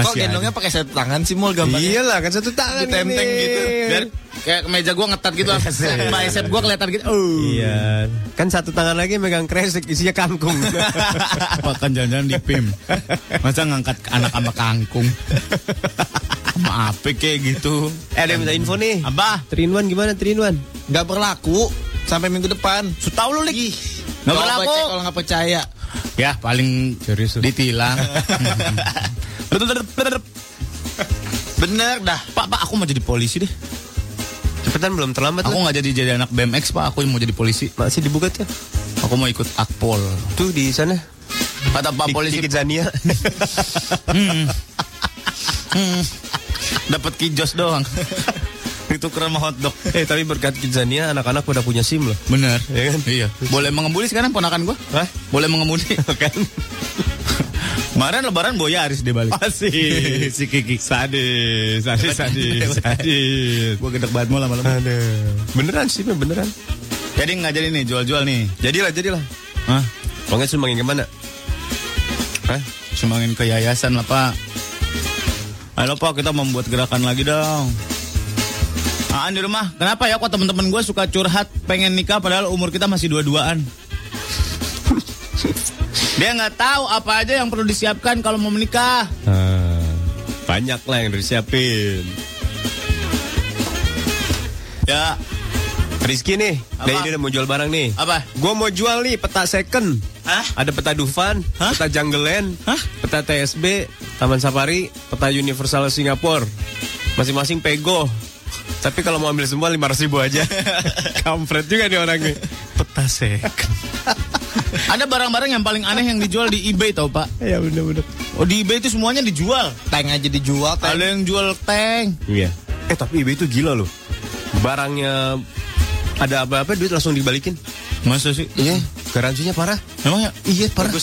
[SPEAKER 12] Kok gendongnya pakai satu tangan sih mul gambarnya?
[SPEAKER 7] Iya,
[SPEAKER 8] Iyalah kan satu tangan
[SPEAKER 12] Ditenteng
[SPEAKER 8] ini.
[SPEAKER 12] gitu.
[SPEAKER 7] Biar kayak kemeja gua ngetat gitu lah. Sama esep gua kelihatan gitu. Oh.
[SPEAKER 8] Iya, kan satu tangan lagi megang kresek isinya (laughs) kangkung.
[SPEAKER 7] Makan jangan-jangan di PIM. Masa ngangkat anak sama kangkung. Sama apa kayak gitu.
[SPEAKER 8] eh, ada yang minta info nih.
[SPEAKER 7] Apa?
[SPEAKER 8] Trinwan gimana Trinwan?
[SPEAKER 12] Gak berlaku sampai minggu depan.
[SPEAKER 7] Tahu lu lik.
[SPEAKER 12] Gak
[SPEAKER 7] Nggak berlaku.
[SPEAKER 12] Kalau nggak
[SPEAKER 7] (laughs)
[SPEAKER 12] percaya.
[SPEAKER 7] Ya paling
[SPEAKER 8] Serius.
[SPEAKER 7] ditilang.
[SPEAKER 12] Bener dah.
[SPEAKER 7] Pak, Pak, aku mau jadi polisi deh.
[SPEAKER 8] Cepetan belum terlambat
[SPEAKER 7] Aku
[SPEAKER 8] lah.
[SPEAKER 7] nggak jadi jadi anak BMX, Pak. Aku mau jadi polisi.
[SPEAKER 8] Masih dibuka tuh.
[SPEAKER 7] Aku mau ikut akpol.
[SPEAKER 8] Tuh di sana.
[SPEAKER 7] Kata Pak
[SPEAKER 8] Di-
[SPEAKER 7] polisi,
[SPEAKER 8] Dikit Zania.
[SPEAKER 7] dapat kijos
[SPEAKER 8] (laughs)
[SPEAKER 7] doang. Itu keren sama hotdog.
[SPEAKER 8] (laughs) eh tapi berkat Kidzania anak-anak udah punya SIM loh.
[SPEAKER 7] Bener.
[SPEAKER 8] Iya kan?
[SPEAKER 7] Iya. Boleh mengemudi sekarang ponakan gua?
[SPEAKER 8] Hah?
[SPEAKER 7] Boleh
[SPEAKER 8] (laughs)
[SPEAKER 7] mengemudi kan? Kemarin lebaran boya Aris dia balik.
[SPEAKER 8] Masih si Kiki sadis, sadis, sadis, sadis.
[SPEAKER 7] Gua gedek banget mau lama-lama.
[SPEAKER 8] Aduh. Beneran sih, beneran.
[SPEAKER 7] Jadi nggak jadi nih jual-jual nih.
[SPEAKER 8] Jadilah, jadilah.
[SPEAKER 7] Hah?
[SPEAKER 8] Pokoknya sumbangin kemana? Hah?
[SPEAKER 7] Sumbangin ke yayasan lah Pak. Halo Pak, kita membuat gerakan lagi dong. Aan di rumah, kenapa ya kok teman-teman gue suka curhat pengen nikah padahal umur kita masih dua-duaan? Dia nggak tahu apa aja yang perlu disiapkan kalau mau menikah.
[SPEAKER 8] Ah, banyak lah yang harus siapin.
[SPEAKER 7] Ya,
[SPEAKER 8] Rizky nih,
[SPEAKER 7] Apa?
[SPEAKER 8] dari dia mau jual barang nih.
[SPEAKER 7] apa?
[SPEAKER 8] Gue mau jual nih peta second.
[SPEAKER 7] Hah?
[SPEAKER 8] Ada peta Dufan,
[SPEAKER 7] Hah?
[SPEAKER 8] peta Jungleland,
[SPEAKER 7] Hah?
[SPEAKER 8] peta TSB, Taman Safari, peta Universal Singapura. Masing-masing pego. Tapi kalau mau ambil semua 500
[SPEAKER 7] (laughs)
[SPEAKER 8] ribu aja. Kampret juga nih orang nih. Peta second.
[SPEAKER 7] Ada barang-barang yang paling aneh yang dijual di eBay tau Pak?
[SPEAKER 8] ya bener-bener.
[SPEAKER 7] Oh di eBay itu semuanya dijual.
[SPEAKER 12] Tank aja dijual.
[SPEAKER 7] Ada
[SPEAKER 12] Tank.
[SPEAKER 7] yang jual tank.
[SPEAKER 8] Iya. Eh tapi eBay itu gila loh. Barangnya ada apa-apa duit langsung dibalikin.
[SPEAKER 7] Masa sih?
[SPEAKER 8] Iya. Garansinya parah.
[SPEAKER 7] Emang ya?
[SPEAKER 8] Iya parah.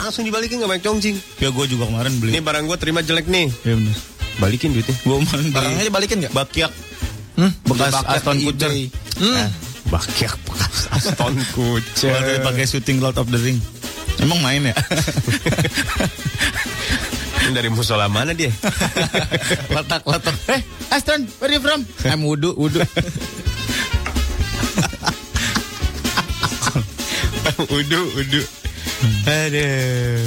[SPEAKER 8] Langsung dibalikin gak banyak congcing.
[SPEAKER 7] Ya gue juga kemarin beli.
[SPEAKER 8] Ini barang gue terima jelek nih.
[SPEAKER 7] Ya bener.
[SPEAKER 8] Balikin duitnya.
[SPEAKER 7] Gue kemarin beli
[SPEAKER 12] Barangnya dibalikin nggak?
[SPEAKER 7] bakiak
[SPEAKER 12] Hmm?
[SPEAKER 7] bekas
[SPEAKER 12] Dibakar
[SPEAKER 7] Aston
[SPEAKER 12] di
[SPEAKER 7] Kutcher.
[SPEAKER 12] eBay. Hmm.
[SPEAKER 8] Bakiak bekas Aston
[SPEAKER 7] Waktu
[SPEAKER 8] Kutcher.
[SPEAKER 7] pakai syuting Lord of the Ring. Emang main ya?
[SPEAKER 8] Ini dari musola mana dia?
[SPEAKER 7] (laughs) letak letak. Eh, Aston, where you from? I'm Wudu, Wudu.
[SPEAKER 8] udu, udu. Aduh.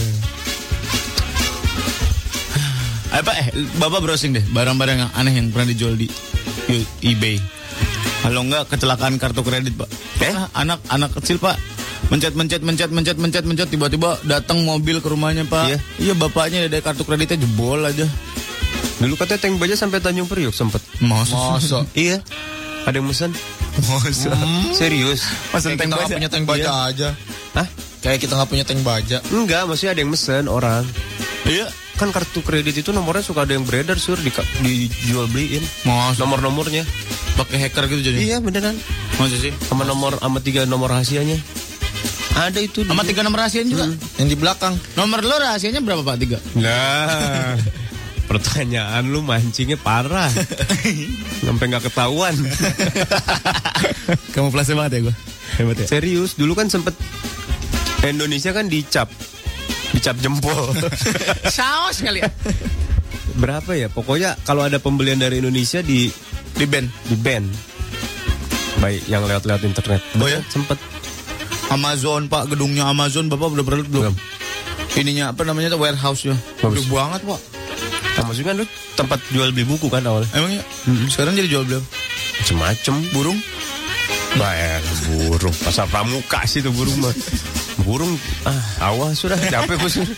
[SPEAKER 7] Apa eh Bapak browsing deh barang-barang yang aneh yang pernah dijual di di eBay. Kalau enggak kecelakaan kartu kredit, Pak. Eh, anak anak kecil, Pak. Mencet mencet mencet mencet mencet mencet tiba-tiba datang mobil ke rumahnya, Pak.
[SPEAKER 8] Iya.
[SPEAKER 7] Iya, bapaknya dari kartu kreditnya jebol aja.
[SPEAKER 8] Dulu katanya tank baja sampai Tanjung Priok sempet.
[SPEAKER 7] Masa? Masa.
[SPEAKER 8] Iya. Ada yang mesen? Hmm. Serius?
[SPEAKER 7] Masa
[SPEAKER 12] Kayak
[SPEAKER 7] tank
[SPEAKER 12] kita nggak
[SPEAKER 7] baja?
[SPEAKER 12] punya tank baja
[SPEAKER 7] Iya.
[SPEAKER 12] aja.
[SPEAKER 8] Hah?
[SPEAKER 12] Kayak kita nggak punya tank baja.
[SPEAKER 8] Enggak, masih ada yang mesen orang.
[SPEAKER 7] Iya.
[SPEAKER 8] Kan kartu kredit itu nomornya suka ada yang beredar sur di dijual beliin.
[SPEAKER 7] Masa
[SPEAKER 8] Nomor-nomornya.
[SPEAKER 7] pakai hacker gitu jadi.
[SPEAKER 8] Iya beneran.
[SPEAKER 7] Masa sih?
[SPEAKER 8] Sama nomor sama tiga nomor rahasianya. Ada itu.
[SPEAKER 7] Sama tiga nomor rahasianya juga.
[SPEAKER 12] Hmm, Yang di belakang.
[SPEAKER 7] Nomor lo rahasianya berapa Pak? Tiga.
[SPEAKER 8] Nah. Pertanyaan lu mancingnya (laughs) parah. Sampai nggak ketahuan.
[SPEAKER 7] Kamu flashnya banget ya gue. Hebat ya.
[SPEAKER 8] Serius, dulu kan sempet Indonesia kan dicap dicap (laughs) jempol.
[SPEAKER 7] Saos kali ya.
[SPEAKER 8] Berapa ya? Pokoknya kalau ada pembelian dari Indonesia di
[SPEAKER 7] Di band.
[SPEAKER 8] di ban. Baik yang lewat-lewat internet.
[SPEAKER 7] Oh ya?
[SPEAKER 8] Sempet.
[SPEAKER 7] Amazon Pak, gedungnya Amazon Bapak udah pernah lihat belum?
[SPEAKER 8] Belum.
[SPEAKER 7] Ininya apa namanya tuh warehouse-nya.
[SPEAKER 8] Bagus.
[SPEAKER 7] Gede banget Pak.
[SPEAKER 8] Nah, maksudnya kan lu tempat jual beli buku kan awalnya?
[SPEAKER 7] Emangnya? Sekarang jadi jual belum?
[SPEAKER 8] Macem-macem burung. Bayar burung pasar pramuka sih tuh burung mah. Burung ah awas sudah capek gue sudah.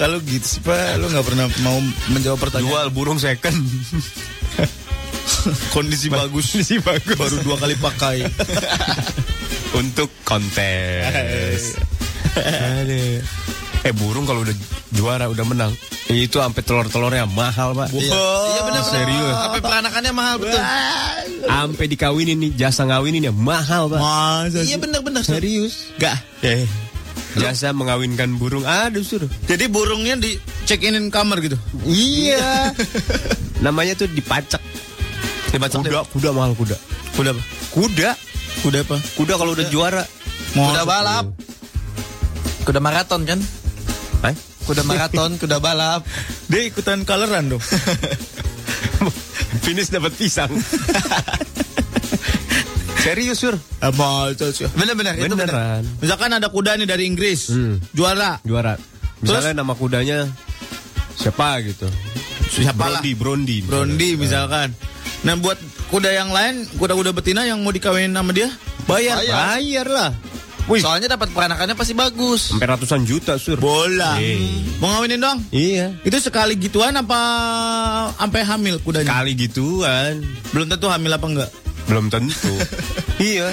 [SPEAKER 7] Kalau gitu sih Pak, lu nggak pernah mau menjawab pertanyaan.
[SPEAKER 8] Jual burung second.
[SPEAKER 7] Kondisi bagus.
[SPEAKER 8] Sih bagus
[SPEAKER 7] (laughs) Baru dua kali pakai.
[SPEAKER 8] untuk kontes. Aduh. Eh burung kalau udah juara udah menang itu sampai telur-telurnya mahal pak.
[SPEAKER 12] Iya, iya benar benar.
[SPEAKER 8] Serius.
[SPEAKER 12] Sampai peranakannya mahal betul.
[SPEAKER 8] Sampai dikawinin nih jasa ngawinin ya mahal pak.
[SPEAKER 12] Iya benar benar.
[SPEAKER 8] Serius.
[SPEAKER 12] Gak.
[SPEAKER 8] Eh. Jasa mengawinkan burung ada suruh.
[SPEAKER 7] Jadi burungnya di check inin kamar gitu.
[SPEAKER 8] Iya. Namanya tuh dipacak. Dipacak kuda, kuda mahal kuda.
[SPEAKER 12] ya? Kuda apa?
[SPEAKER 8] Kuda.
[SPEAKER 12] Kuda apa?
[SPEAKER 8] Kuda kalau udah juara.
[SPEAKER 12] kuda balap. Kuda maraton kan?
[SPEAKER 8] Hah? Iya.
[SPEAKER 12] Kuda (laughs) maraton, kuda balap.
[SPEAKER 7] Dia ikutan kaleran
[SPEAKER 12] (laughs)
[SPEAKER 7] dong.
[SPEAKER 8] (laughs) Finish dapat pisang. Serius sur.
[SPEAKER 7] Masa sih?
[SPEAKER 12] Benar-benar itu benar.
[SPEAKER 8] Beneran.
[SPEAKER 7] Misalkan ada kuda nih dari Inggris,
[SPEAKER 8] Hmm.
[SPEAKER 7] juara.
[SPEAKER 8] Juara. Misalnya
[SPEAKER 7] Terus?
[SPEAKER 8] nama kudanya siapa gitu.
[SPEAKER 7] Siapalah.
[SPEAKER 8] Brondi, Brondi. misalnya.
[SPEAKER 7] Brondi misalkan. Nah buat kuda yang lain, kuda-kuda betina yang mau dikawinin sama dia, bayar.
[SPEAKER 8] Bayar lah.
[SPEAKER 12] Soalnya dapat peranakannya pasti bagus.
[SPEAKER 8] Sampai ratusan juta sur.
[SPEAKER 7] Bola.
[SPEAKER 8] Iya.
[SPEAKER 7] Mau ngawinin dong?
[SPEAKER 8] Iya.
[SPEAKER 7] Itu sekali gituan apa sampai hamil kudanya?
[SPEAKER 8] Kali gituan.
[SPEAKER 7] Belum tentu hamil apa enggak.
[SPEAKER 8] Belum tentu. iya.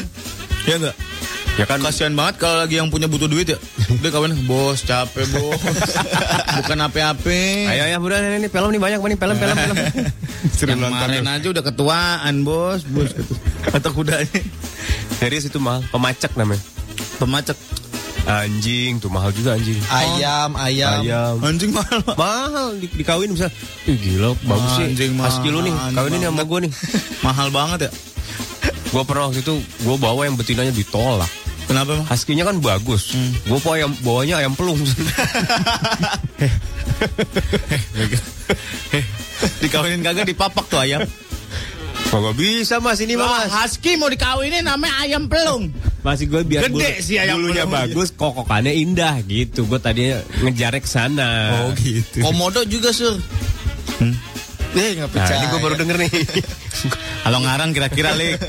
[SPEAKER 7] Ya enggak?
[SPEAKER 8] Ya kan
[SPEAKER 7] Kasihan banget kalau lagi yang punya butuh duit ya. Dia kawin, bos capek bos. Bukan apa-apa.
[SPEAKER 8] Ayo ya udah ini, ini film nih banyak banget nih, film film film. Seru
[SPEAKER 7] Yang kemarin aja udah ketuaan bos, bos atau kudanya
[SPEAKER 8] Serius itu mahal, pemacak namanya.
[SPEAKER 7] pemacet.
[SPEAKER 8] Anjing tuh mahal juga anjing.
[SPEAKER 12] Ayam, ayam.
[SPEAKER 8] Oh. Ayam.
[SPEAKER 7] Anjing mahal.
[SPEAKER 8] Mahal di, dikawin bisa. Ih gila, bagus sih.
[SPEAKER 7] Anjing
[SPEAKER 8] Pas
[SPEAKER 7] mahal,
[SPEAKER 8] kilo nih,
[SPEAKER 7] anjing
[SPEAKER 8] kawinin sama
[SPEAKER 7] banget.
[SPEAKER 8] gue nih.
[SPEAKER 7] mahal banget ya.
[SPEAKER 8] Gue pernah waktu itu gue bawa yang betinanya ditolak.
[SPEAKER 7] Kenapa
[SPEAKER 8] (laughs)
[SPEAKER 7] emang?
[SPEAKER 8] Haskinya kan bagus.
[SPEAKER 7] Hmm.
[SPEAKER 8] Gue bawa ayam, bawanya ayam (laughs) pelung. Eh,
[SPEAKER 7] Dikawinin kagak dipapak tuh ayam.
[SPEAKER 8] Kagak bisa mas ini
[SPEAKER 7] Wah,
[SPEAKER 8] Iya, mas.
[SPEAKER 7] husky mau dikawinin namanya ayam pelung.
[SPEAKER 8] Masih gue biar
[SPEAKER 7] Gede sih ayam
[SPEAKER 8] bulunya
[SPEAKER 7] pelung.
[SPEAKER 8] bagus, kokokannya indah gitu. Gue tadinya ngejarek sana.
[SPEAKER 7] Oh gitu.
[SPEAKER 12] Komodo juga, Sur.
[SPEAKER 8] Hmm?
[SPEAKER 12] Eh, nggak
[SPEAKER 8] Nah,
[SPEAKER 12] percaya.
[SPEAKER 8] ini gue baru denger
[SPEAKER 7] (laughs)
[SPEAKER 8] nih.
[SPEAKER 7] Kalau ngarang kira-kira lek.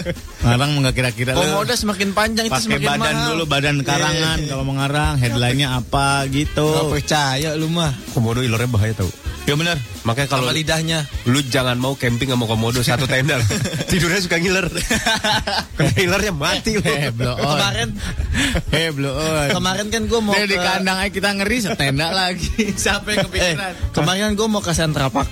[SPEAKER 7] Ngarang nggak kira-kira Lek.
[SPEAKER 12] Komodo semakin panjang itu
[SPEAKER 7] Pakai
[SPEAKER 12] semakin
[SPEAKER 7] badan
[SPEAKER 12] mahal. Iya.
[SPEAKER 7] dulu badan karangan kalau mau ngarang headline-nya apa
[SPEAKER 12] Nggak
[SPEAKER 7] gitu.
[SPEAKER 12] percaya lu mah.
[SPEAKER 8] komodo ilornya bahaya tau.
[SPEAKER 7] Ya benar.
[SPEAKER 8] Makanya kalau
[SPEAKER 12] Sama lidahnya.
[SPEAKER 8] lu jangan mau camping sama komodo
[SPEAKER 7] (laughs)
[SPEAKER 8] satu tenda. lu. Tidurnya suka ngiler. Kena ngilernya mati lu.
[SPEAKER 7] Eh, blow on.
[SPEAKER 12] Kemarin
[SPEAKER 7] Eh, blow on.
[SPEAKER 12] kemarin kan gue mau
[SPEAKER 7] Dia di
[SPEAKER 12] ke- (laughs)
[SPEAKER 7] kandang aja kita ngeri setenda lagi. Siapa yang
[SPEAKER 12] Eh,
[SPEAKER 7] kepikiran?
[SPEAKER 12] kemarin gue mau ke Central Park.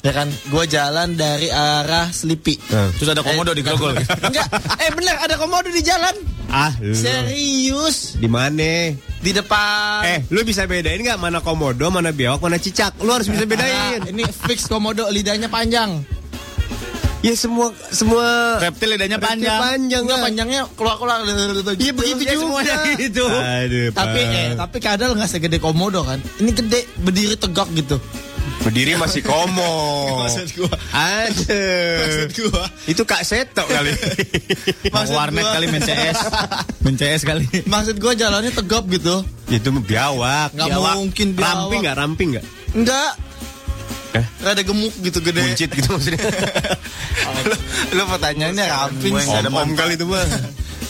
[SPEAKER 12] Ya kan, gue jalan dari arah Slipi.
[SPEAKER 8] Heeh.
[SPEAKER 7] Terus ada komodo di grogol.
[SPEAKER 8] (laughs)
[SPEAKER 12] Enggak, eh bener ada komodo di jalan.
[SPEAKER 8] Ah, lu.
[SPEAKER 12] Serius
[SPEAKER 8] Di mana?
[SPEAKER 12] di depan.
[SPEAKER 8] Eh, lu bisa bedain nggak mana komodo, mana biawak, mana cicak? Lu harus bisa
[SPEAKER 12] Ah,
[SPEAKER 8] (laughs) bedain.
[SPEAKER 12] ini fix komodo lidahnya panjang.
[SPEAKER 8] Ya semua semua
[SPEAKER 7] Reptil lidahnya
[SPEAKER 8] panjang.
[SPEAKER 7] panjang.
[SPEAKER 8] panjang kan?
[SPEAKER 12] Enggak
[SPEAKER 8] lah.
[SPEAKER 12] panjangnya keluar-keluar.
[SPEAKER 8] Iya begitu
[SPEAKER 12] Ya,
[SPEAKER 8] juga. (laughs)
[SPEAKER 12] semuanya gitu.
[SPEAKER 8] Aduh,
[SPEAKER 12] Tapi
[SPEAKER 8] Pak.
[SPEAKER 12] eh, tapi kadal nggak segede komodo kan. Ini gede berdiri tegak gitu.
[SPEAKER 8] berdiri masih (laughs) komo.
[SPEAKER 7] Oh.
[SPEAKER 12] Maksud gua.
[SPEAKER 8] Aduh.
[SPEAKER 12] Maksud gua.
[SPEAKER 8] Itu Kak Seto kali.
[SPEAKER 7] Mau
[SPEAKER 12] Maksud
[SPEAKER 7] warnet
[SPEAKER 12] gua-
[SPEAKER 7] kali main CS. main CS kali.
[SPEAKER 12] Maksud gua jalannya tegap gitu.
[SPEAKER 8] (laughs) Itu biawak.
[SPEAKER 12] Nggak
[SPEAKER 8] biawak.
[SPEAKER 12] mungkin biawak.
[SPEAKER 8] Ramping nggak? Ramping nggak?
[SPEAKER 12] Enggak.
[SPEAKER 8] Eh?
[SPEAKER 12] Rada gemuk gitu gede.
[SPEAKER 8] Buncit gitu (laughs) maksudnya.
[SPEAKER 12] lu, lu pertanyaannya ramping sih.
[SPEAKER 8] om, om kali itu mah.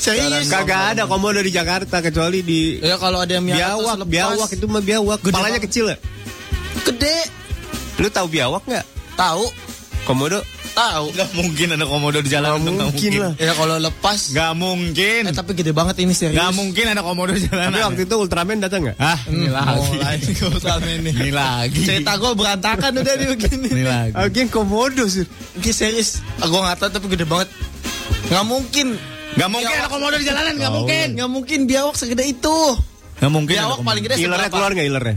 [SPEAKER 12] Serius.
[SPEAKER 8] Kagak ada komodo di Jakarta kecuali di
[SPEAKER 12] Ya kalau ada yang
[SPEAKER 8] biawak.
[SPEAKER 12] tuh selepas.
[SPEAKER 8] Biawak itu mah biawak.
[SPEAKER 12] Gede
[SPEAKER 8] Kepalanya
[SPEAKER 12] banget.
[SPEAKER 8] kecil ya?
[SPEAKER 12] gede.
[SPEAKER 8] Lu tahu biawak nggak?
[SPEAKER 12] Tahu?
[SPEAKER 8] Komodo?
[SPEAKER 12] Tahu.
[SPEAKER 7] Gak mungkin ada komodo di jalan.
[SPEAKER 8] Nggak
[SPEAKER 7] Nggak
[SPEAKER 8] mungkin lah.
[SPEAKER 12] Ya kalau lepas
[SPEAKER 7] Gak mungkin.
[SPEAKER 12] Eh, tapi gede banget ini serius. (laughs)
[SPEAKER 7] Gak mungkin ada komodo di jalan.
[SPEAKER 8] Tapi waktu itu Ultraman datang nggak? Hmm.
[SPEAKER 7] Ah, ini lagi.
[SPEAKER 12] Mulai gua sama ini.
[SPEAKER 7] Ini lagi.
[SPEAKER 12] Cerita gue berantakan udah nih begini.
[SPEAKER 7] Ini lagi.
[SPEAKER 8] Agen komodo sih.
[SPEAKER 12] Ini serius. Gue nggak tahu tapi gede banget. Nggak mungkin.
[SPEAKER 7] Gak mungkin ada komodo di jalanan, gak mungkin.
[SPEAKER 12] Nggak mungkin biawak segede itu.
[SPEAKER 7] Gak mungkin. ada
[SPEAKER 12] biawak
[SPEAKER 7] komodo.
[SPEAKER 12] paling gede
[SPEAKER 8] Ilernya
[SPEAKER 12] seberapa?
[SPEAKER 8] keluar nggak ilernya?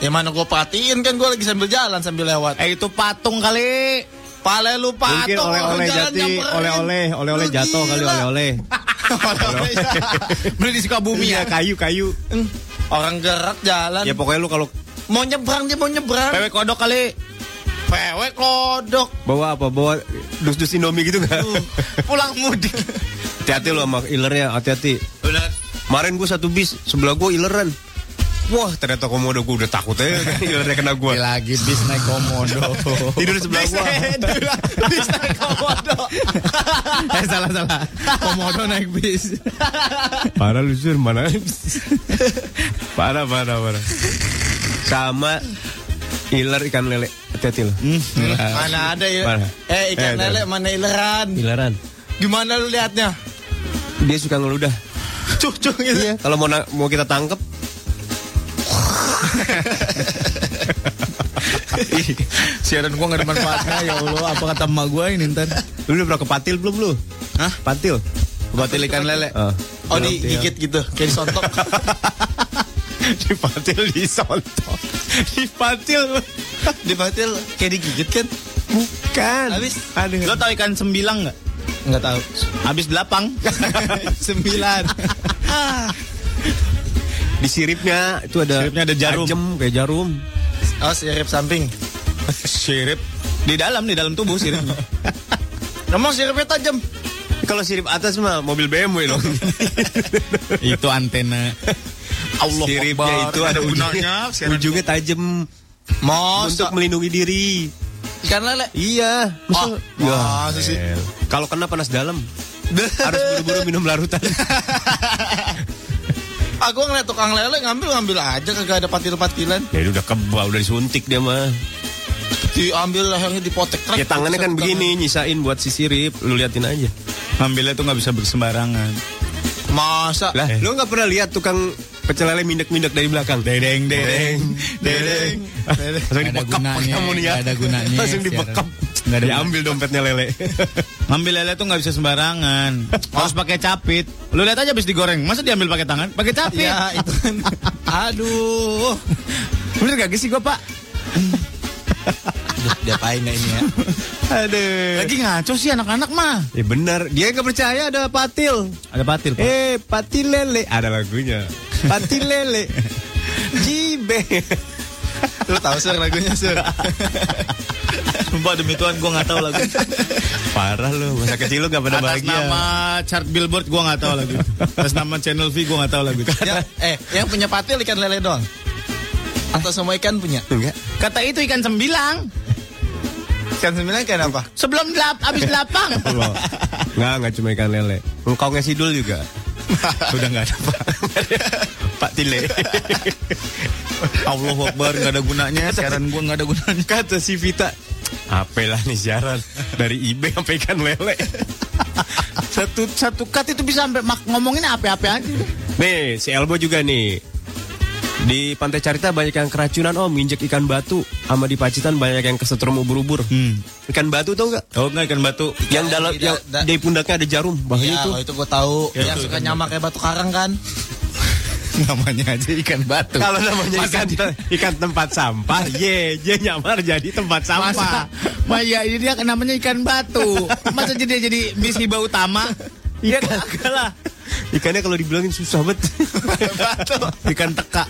[SPEAKER 12] Ya mana gue perhatiin kan gue lagi sambil jalan sambil lewat.
[SPEAKER 7] Eh itu patung kali.
[SPEAKER 12] Pale lu
[SPEAKER 8] Mungkin
[SPEAKER 12] patung
[SPEAKER 8] oleh-oleh
[SPEAKER 12] orang jalan
[SPEAKER 8] jati,
[SPEAKER 12] nyamperin.
[SPEAKER 8] oleh-oleh, oleh-oleh
[SPEAKER 12] Lu
[SPEAKER 8] jatuh kali
[SPEAKER 12] gila.
[SPEAKER 8] oleh-oleh.
[SPEAKER 12] (laughs) Oleh-oleh.
[SPEAKER 7] Beli di Sukabumi ya.
[SPEAKER 8] Iya,
[SPEAKER 12] (laughs)
[SPEAKER 8] kayu-kayu.
[SPEAKER 12] Hmm. Orang gerak jalan.
[SPEAKER 8] Ya pokoknya lu kalau
[SPEAKER 12] Mau nyebrang dia mau nyebrang.
[SPEAKER 7] Pewek Iya. kodok kali.
[SPEAKER 12] Pewek kodok.
[SPEAKER 8] bawa apa? Bawa dus-dus Indomie gitu nggak?
[SPEAKER 7] (laughs)
[SPEAKER 12] Pulang mudik.
[SPEAKER 8] Hati-hati lu sama ilernya, hati-hati. Kemarin gue satu bis, sebelah gue ileran. Wah, ternyata komodo gue udah takut aja (laughs) ilernya kena gue.
[SPEAKER 7] Lagi bis naik komodo.
[SPEAKER 12] (laughs)
[SPEAKER 8] Tidur sebelah gue.
[SPEAKER 12] Bisa komodo.
[SPEAKER 7] (laughs) eh salah salah. Komodo naik bis.
[SPEAKER 8] Parah lu Sur, mana? parah, parah, parah. Sama iler ikan lele. Hati-hati lu. iya.
[SPEAKER 12] Mana ada ya?
[SPEAKER 8] Mana?
[SPEAKER 12] (laughs) Eh ikan
[SPEAKER 8] Eh,
[SPEAKER 12] lele mana ileran?
[SPEAKER 8] Ileran.
[SPEAKER 12] Gimana lu liatnya?
[SPEAKER 8] Dia suka ngeludah.
[SPEAKER 7] cuh cuh gitu.
[SPEAKER 8] Iya. Kalau mau na- mau kita tangkep
[SPEAKER 12] Ih, Siaran gua gak ada manfaatnya ya Allah Apa kata emak gua ini ntar
[SPEAKER 8] Lu udah pernah ke patil belum lu?
[SPEAKER 12] Hah?
[SPEAKER 8] Patil
[SPEAKER 12] Batil ikan lele
[SPEAKER 8] Eh,
[SPEAKER 7] Oh
[SPEAKER 8] belum,
[SPEAKER 7] digigit gitu kayak disontok.
[SPEAKER 8] (laughs) Di patil disontok Di patil
[SPEAKER 7] Di patil kayak digigit kan?
[SPEAKER 8] Bukan
[SPEAKER 7] Habis?
[SPEAKER 8] Aduh
[SPEAKER 12] Lo tau ikan sembilang gak?
[SPEAKER 7] Enggak tahu.
[SPEAKER 12] Habis
[SPEAKER 7] (laughs)
[SPEAKER 12] belapang Sembilan
[SPEAKER 8] Di siripnya itu ada
[SPEAKER 12] Siripnya ada jarum.
[SPEAKER 8] Tajem, kayak jarum
[SPEAKER 7] Oh sirip samping.
[SPEAKER 12] Sirip Di dalam, di dalam tubuh
[SPEAKER 7] (laughs)
[SPEAKER 12] siripnya Ngomong siripnya tajam
[SPEAKER 8] Kalau sirip atas mah mobil BMW dong
[SPEAKER 12] Itu antena Allah
[SPEAKER 8] (laughs) Siripnya
[SPEAKER 12] Akbar.
[SPEAKER 8] itu ada ujungnya
[SPEAKER 12] gunanya siaran
[SPEAKER 8] Ujungnya tajem Untuk
[SPEAKER 12] Ah,
[SPEAKER 7] Masa
[SPEAKER 8] melindungi diri
[SPEAKER 7] ikan lele.
[SPEAKER 8] Iya
[SPEAKER 7] Oh,
[SPEAKER 8] Masa Ya,
[SPEAKER 7] masa sih?
[SPEAKER 8] el. Kalau kena panas dalam Harus buru-buru minum larutan
[SPEAKER 7] Aku Ah, ngeliat tukang lele ngambil-ngambil aja kagak ada patil-patilan.
[SPEAKER 8] (laughs) Ya ini udah kebal, udah disuntik dia mah
[SPEAKER 7] Diambil lehernya dipotek. trek,
[SPEAKER 8] Ya tangannya kan
[SPEAKER 7] buset,
[SPEAKER 8] begini, nyisain buat si sirip Lu liatin aja
[SPEAKER 12] Ngambilnya tuh gak bisa bersembarangan
[SPEAKER 7] tangan. Masa?
[SPEAKER 8] Lah, lu nggak pernah lihat tukang pecel lele mindek-mindek dari belakang?
[SPEAKER 12] Dedeng, dedeng Dedeng
[SPEAKER 8] Langsung
[SPEAKER 12] Nggak ada
[SPEAKER 8] dibekap
[SPEAKER 12] gunanya,
[SPEAKER 8] kamu nih ya.
[SPEAKER 12] nggak ada gunanya,
[SPEAKER 8] Langsung
[SPEAKER 12] siaran.
[SPEAKER 8] dibekap.
[SPEAKER 12] Nggak ada
[SPEAKER 8] Diambil dompetnya
[SPEAKER 12] (laughs)
[SPEAKER 8] lele.
[SPEAKER 12] Ngambil lele tuh nggak bisa sembarangan. Harus pakai capit. Lu lihat aja habis digoreng, masa diambil pakai tangan? Pakai capit.
[SPEAKER 7] Ya itu kan. Aduh.
[SPEAKER 12] Bener gak sih gua, Pak?
[SPEAKER 7] Duh, diapain ya ini ya? Eh.
[SPEAKER 8] Aduh.
[SPEAKER 12] Lagi ngaco sih anak-anak mah.
[SPEAKER 8] Ya benar, dia nggak percaya ada patil.
[SPEAKER 12] Ada patil, Pak.
[SPEAKER 8] Eh, patil lele. Ada
[SPEAKER 12] (laughs)
[SPEAKER 8] lagunya. Patil lele. Jibe.
[SPEAKER 7] Lu tahu sih lagunya sih.
[SPEAKER 12] Sumpah demi Tuhan gua nggak tahu lagi.
[SPEAKER 8] Parah lu, masa kecil lu gak pada
[SPEAKER 12] Atas
[SPEAKER 8] bahagia.
[SPEAKER 12] nama chart billboard gua nggak tahu lagi. Atas nama channel V gua nggak tahu lagi.
[SPEAKER 7] Ya, eh, yang punya patil ikan lele doang. Atau semua ikan punya?
[SPEAKER 8] Enggak.
[SPEAKER 12] Kata itu ikan sembilang.
[SPEAKER 7] Ikan sembilan ikan apa?
[SPEAKER 12] Sebelum delap, (laughs) habis delapang.
[SPEAKER 8] Wow. Enggak, enggak cuma ikan lele. Engkongnya sidul
[SPEAKER 12] (laughs)
[SPEAKER 8] juga.
[SPEAKER 12] Udah nggak ada Pak. Pak Tile. Allah Akbar nggak ada gunanya. Siaran gua nggak ada gunanya.
[SPEAKER 8] Kata si Vita, apalah nih siaran dari IB sampai ikan lele.
[SPEAKER 12] Satu satu cut itu bisa sampai mak- ngomongin apa-apa aja.
[SPEAKER 8] Nih, si Elbo juga nih. Di Pantai Carita banyak yang keracunan om, nginjek ikan batu. Sama di Pacitan banyak yang kesetrum ubur-ubur.
[SPEAKER 12] Hmm.
[SPEAKER 8] Ikan batu tau nggak?
[SPEAKER 12] Oh enggak ikan batu.
[SPEAKER 8] Yang
[SPEAKER 7] Ikan
[SPEAKER 8] dalam,
[SPEAKER 7] tidak-
[SPEAKER 8] yang
[SPEAKER 7] da-
[SPEAKER 8] di pundaknya ada jarum.
[SPEAKER 7] Ya,
[SPEAKER 8] Bahaya itu.
[SPEAKER 7] oh, itu gue tahu.
[SPEAKER 12] Ya,
[SPEAKER 7] yang
[SPEAKER 12] itu
[SPEAKER 7] suka
[SPEAKER 12] ikan
[SPEAKER 7] nyamak kayak batu karang kan?
[SPEAKER 12] (laughs) namanya aja ikan batu.
[SPEAKER 8] Kalau namanya ikan,
[SPEAKER 12] Masa dia-
[SPEAKER 8] ikan tempat (laughs) sampah, ye, ye nyamar jadi tempat
[SPEAKER 12] Masa
[SPEAKER 8] sampah.
[SPEAKER 12] Maya iya, ini dia namanya ikan batu. Masa jadi dia jadi bisiba utama?
[SPEAKER 8] Iya kagak lah. Ikannya kalau dibilangin susah banget.
[SPEAKER 12] batu.
[SPEAKER 8] (laughs)
[SPEAKER 12] Ikan teka.